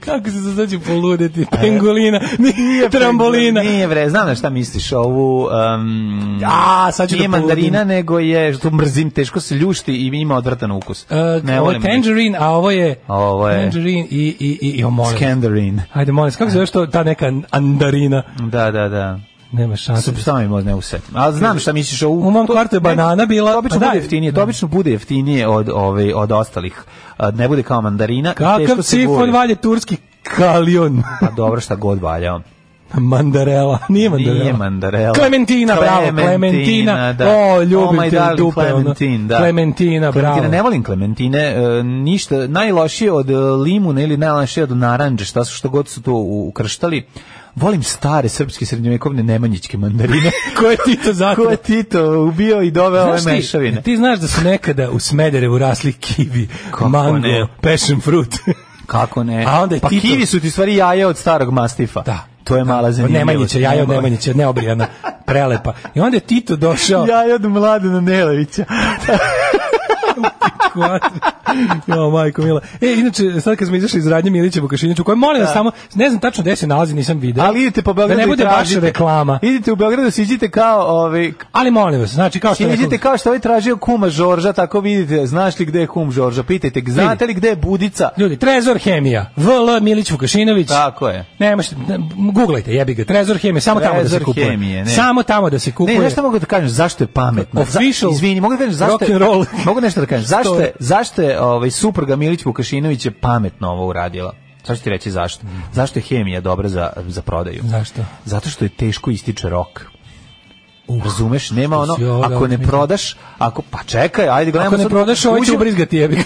Speaker 7: Kako se sad ću poluditi? Pengolina, nije trambolina.
Speaker 6: Nije vre, znam na šta misliš, ovu... Um,
Speaker 7: A, sad ću
Speaker 6: nije
Speaker 7: da poludim.
Speaker 6: mandarina, nego je, što mrzim, teško se ljušti i ima odvrtan ukus.
Speaker 7: Uh, ovo je
Speaker 6: volim da ih.
Speaker 7: tangerine, a ovo je...
Speaker 6: A ovo je-
Speaker 7: Tangerine i... i, i, i o, molim.
Speaker 6: Scandarin.
Speaker 7: Ajde, molim, vas, kako se zove što ta neka andarina?
Speaker 6: Da, da, da.
Speaker 7: Nema šanse.
Speaker 6: Sam mi ne usetim. A znam šta misliš ovu...
Speaker 7: U mom kvartu je banana bila...
Speaker 6: To obično
Speaker 7: Pa da,
Speaker 6: bude jeftinije, to obično bude jeftinije od ove od ostalih. A, Ne bude kao mandarina, i
Speaker 7: Kakav
Speaker 6: teško se
Speaker 7: sifon
Speaker 6: guli.
Speaker 7: valje turski kalion?
Speaker 6: Pa dobro, šta god valjao.
Speaker 7: Mandarela, nije mandarela.
Speaker 6: Nije mandarela.
Speaker 7: Klementina, bravo, Klementina.
Speaker 6: da.
Speaker 7: O, ljubim
Speaker 6: my
Speaker 7: te u
Speaker 6: darling
Speaker 7: dupe, ono.
Speaker 6: Clementine, da.
Speaker 7: Klementina, bravo.
Speaker 6: Klementine, ne volim Klementine, e, ništa, najlošije od e, limuna ili najlošije od naranđe, šta su što god su to u- ukrštali. Volim stare srpske srednjovekovne nemanjićke mandarine.
Speaker 7: Ko je ti to zato?
Speaker 6: Ko je Tito ubio i doveo ove
Speaker 7: Znaš ti-
Speaker 6: mešavine?
Speaker 7: Ti znaš da su nekada u Smederevu rasli kivi,
Speaker 6: Kako
Speaker 7: mango,
Speaker 6: ne? Da
Speaker 7: passion fruit.
Speaker 6: Kako ne?
Speaker 7: A onda je
Speaker 6: pa
Speaker 7: Tito-
Speaker 6: kivi su ti stvari jaje od starog mastifa.
Speaker 7: Da.
Speaker 6: To je mala zanimljivost.
Speaker 7: Nemanjića, jaja od Nemanjića, neobrijana, prelepa. I onda je Tito došao...
Speaker 6: Jaje od Mladena Nelevića.
Speaker 7: jo, majko mila. E, inače, sad kad smo izašli iz radnje Milića Vukašinića, koje molim vas samo, ne znam tačno gde se nalazi, nisam video.
Speaker 6: Da. Ali idite po Beogradu
Speaker 7: Da ne bude
Speaker 6: i
Speaker 7: baš
Speaker 6: tražite.
Speaker 7: reklama.
Speaker 6: Idite u Beogradu, siđite kao ovaj
Speaker 7: Ali molim vas, znači kao što je
Speaker 6: Siđite
Speaker 7: rekao-
Speaker 6: kao što je ovaj tražio kuma Žorža, tako vidite, znaš li gde je kum Žorža, pitajte, ga, znate li gde je Budica?
Speaker 7: Ljudi, Trezor Hemija, VL Milić Vukašinović.
Speaker 6: Tako je.
Speaker 7: Ne, možete, ne, googlajte, jebi ga. Trezor Hemije, samo tamo da se
Speaker 6: Trezor
Speaker 7: kupuje.
Speaker 6: Hemije, ne.
Speaker 7: Samo tamo da se
Speaker 6: Ne,
Speaker 7: kupuje.
Speaker 6: znaš šta mogu da kažem, zašto je pametno? Za-
Speaker 7: Official
Speaker 6: Izvini, mogu da kažem zašto je,
Speaker 7: rock'n'roll.
Speaker 6: mogu nešto da kažem,
Speaker 7: Story.
Speaker 6: zašto je, zašto je ovaj, supruga Milić Vukašinović je pametno ovo uradila? Sad ću ti reći zašto. Zašto je hemija dobra za, za prodaju?
Speaker 7: Zašto?
Speaker 6: Zato što je teško ističe rok. Razumeš, nema ono,
Speaker 7: Uh, si ovo
Speaker 6: ako
Speaker 7: dobro
Speaker 6: ne
Speaker 7: smislio.
Speaker 6: prodaš, ako, pa čekaj, ajde gledamo
Speaker 7: Ako ne
Speaker 6: sad,
Speaker 7: prodaš, ovaj će
Speaker 6: uđemo-
Speaker 7: ubrizgati jebi ga.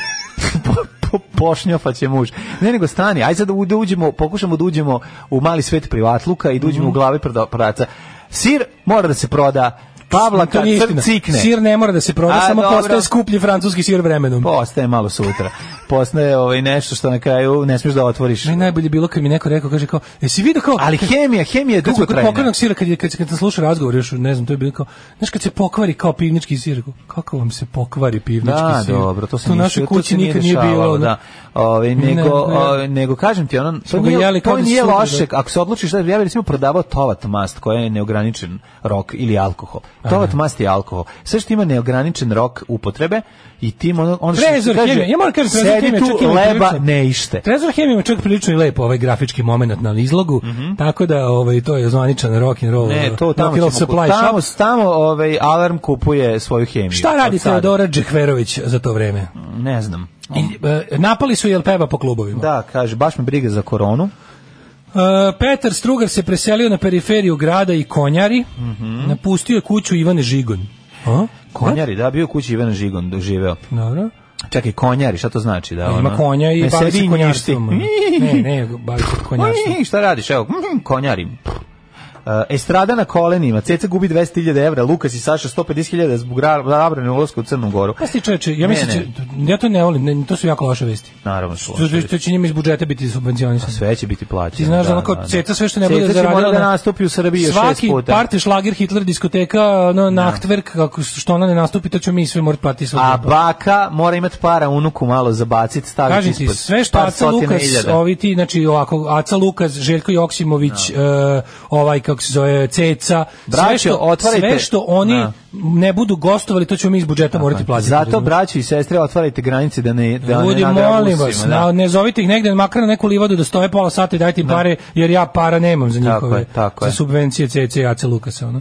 Speaker 6: po- po, pošnjofa će muž. Ne, nego stani, aj sad da u- da uđemo, pokušamo da uđemo u mali svet privatluka i da uđemo u
Speaker 7: Mhm.
Speaker 6: glave proda- prodavca. Sir mora da se proda, pavlaka,
Speaker 7: To nije
Speaker 6: cr-
Speaker 7: istina.
Speaker 6: cikne.
Speaker 7: Sir ne mora da se proda,
Speaker 6: A,
Speaker 7: samo
Speaker 6: dobro.
Speaker 7: postaje skuplji francuski sir vremenom.
Speaker 6: Postaje malo sutra. Postaje ovaj nešto što na kraju ne smiješ da otvoriš.
Speaker 7: Meni najbolje bilo kad mi neko rekao, kaže kao, jesi vidio kao...
Speaker 6: Ali hemija, hemija je
Speaker 7: Kad smo kod
Speaker 6: dugotrajna.
Speaker 7: pokvarnog sira, kad, je- kad, se- kad sam slušao razgovor, još, ne znam, to je bilo kao, znaš, kad se pokvari kao pivnički sir, kao, kako vam se pokvari pivnički
Speaker 6: Da,
Speaker 7: sir?
Speaker 6: dobro, to se
Speaker 7: To u
Speaker 6: nije-
Speaker 7: našoj
Speaker 6: to se
Speaker 7: kući
Speaker 6: nije
Speaker 7: nikad nije
Speaker 6: dešavalo,
Speaker 7: bilo. ono.
Speaker 6: da. Ovaj
Speaker 7: Ne,
Speaker 6: nego
Speaker 7: ne.
Speaker 6: ovaj, nego kažem ti ono to
Speaker 7: Smo ga
Speaker 6: nije,
Speaker 7: jeli kao
Speaker 6: to
Speaker 7: da
Speaker 6: nije
Speaker 7: su sutra,
Speaker 6: loše
Speaker 7: da.
Speaker 6: ako se odlučiš da ja bih recimo prodavao tovat mast koja je neograničen rok ili alkohol. Tovat mast je alkohol. Sve što ima neograničen rok upotrebe i tim ono ono što ti
Speaker 7: Trezor
Speaker 6: kaže,
Speaker 7: Hemija, ja moram kažem, Trezor
Speaker 6: sedi
Speaker 7: Hemija čak
Speaker 6: tu
Speaker 7: ima
Speaker 6: leba
Speaker 7: prilično-
Speaker 6: ne ište.
Speaker 7: Trezor Hemija ima čak prilično i lep ovaj grafički moment na izlogu, tako da ovaj, to je zvaničan rock and roll.
Speaker 6: Mhm. Ne, E, to tamo
Speaker 7: rock and roll
Speaker 6: ćemo,
Speaker 7: supply
Speaker 6: tamo,
Speaker 7: shop.
Speaker 6: tamo ovaj alarm kupuje svoju hemiju.
Speaker 7: Šta radi
Speaker 6: Od sada.
Speaker 7: Teodora Džehverović za to vreme?
Speaker 6: Ne znam.
Speaker 7: I, e, napali su jel peva po klubovima.
Speaker 6: Da, kaže, baš me briga za koronu.
Speaker 7: E, Petar Strugar se preselio na periferiju grada i konjari.
Speaker 6: Mhm.
Speaker 7: Napustio je kuću Ivane Žigon. A?
Speaker 6: Konjari, da, bio u kući Ivan Žigon, doživeo.
Speaker 7: Dobro.
Speaker 6: Čekaj, konjari, šta to znači? Da,
Speaker 7: Ima
Speaker 6: ono?
Speaker 7: konja i
Speaker 6: Ne
Speaker 7: bavi
Speaker 6: sedi
Speaker 7: se
Speaker 6: i
Speaker 7: konjarstvom.
Speaker 6: njišti.
Speaker 7: Ne, ne, bavi se konjarstvom.
Speaker 6: Ih, Šta radiš? Evo, mm, konjari. Uh, Estrada na kolenima, Ceca gubi 200.000 evra, Lukas i Saša 150.000 zbog ra- zabrane ulazka u Crnu Goru.
Speaker 7: Pa sti čoveče, ja
Speaker 6: Ne,
Speaker 7: mislim, će- ja to ne volim, ne, to su jako loše vesti.
Speaker 6: Naravno, su
Speaker 7: To, to će njima iz budžeta biti subvencionisano.
Speaker 6: Sve će biti plaćeno.
Speaker 7: Ti znaš da, ono kao Ceca sve što ne bude
Speaker 6: Ceca će
Speaker 7: zaradila
Speaker 6: morati da
Speaker 7: na-
Speaker 6: nastupi u Srbiji još šest
Speaker 7: Svaki
Speaker 6: puta. Da.
Speaker 7: party šlager Hitler diskoteka, ono Nachtwerk, kako što ona ne nastupi, to ćemo mi sve morati platiti svoj
Speaker 6: A baka mora imat para unuku malo zabacit, staviti
Speaker 7: Kažem ti,
Speaker 6: pa, ispod.
Speaker 7: sve što
Speaker 6: par
Speaker 7: Aca
Speaker 6: stotina
Speaker 7: Lukas,
Speaker 6: hiljada.
Speaker 7: ovi ti, znači ovako, Aca Lukas, Željko Joksimović, e, ovaj kako se zove, Ceca,
Speaker 6: Da. Braćo,
Speaker 7: sve, što,
Speaker 6: otvarajte.
Speaker 7: sve što oni
Speaker 6: Da.
Speaker 7: ne budu gostovali, to ćemo mi iz budžeta morati platiti.
Speaker 6: Zato,
Speaker 7: razumeš?
Speaker 6: braćo i sestre, otvarajte granice da ne, da
Speaker 7: Ljudi,
Speaker 6: ne
Speaker 7: molim
Speaker 6: nadragusimo,
Speaker 7: vas,
Speaker 6: da.
Speaker 7: na- ne zovite ih negde, makar na neku livadu da stoje pola sata i dajte im pare, jer ja para nemam za
Speaker 6: Tako
Speaker 7: njihove,
Speaker 6: je, tako je.
Speaker 7: za subvencije CC i AC Lukasa. Ono.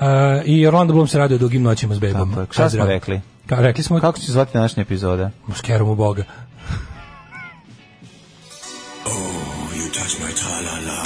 Speaker 7: E, I Orlando Bloom se radio dugim noćima s bebom.
Speaker 6: Tako je, šta smo rekli?
Speaker 7: Ka, rekli smo
Speaker 6: Kako će se zvati današnja epizoda?
Speaker 7: Muskerom u Boga.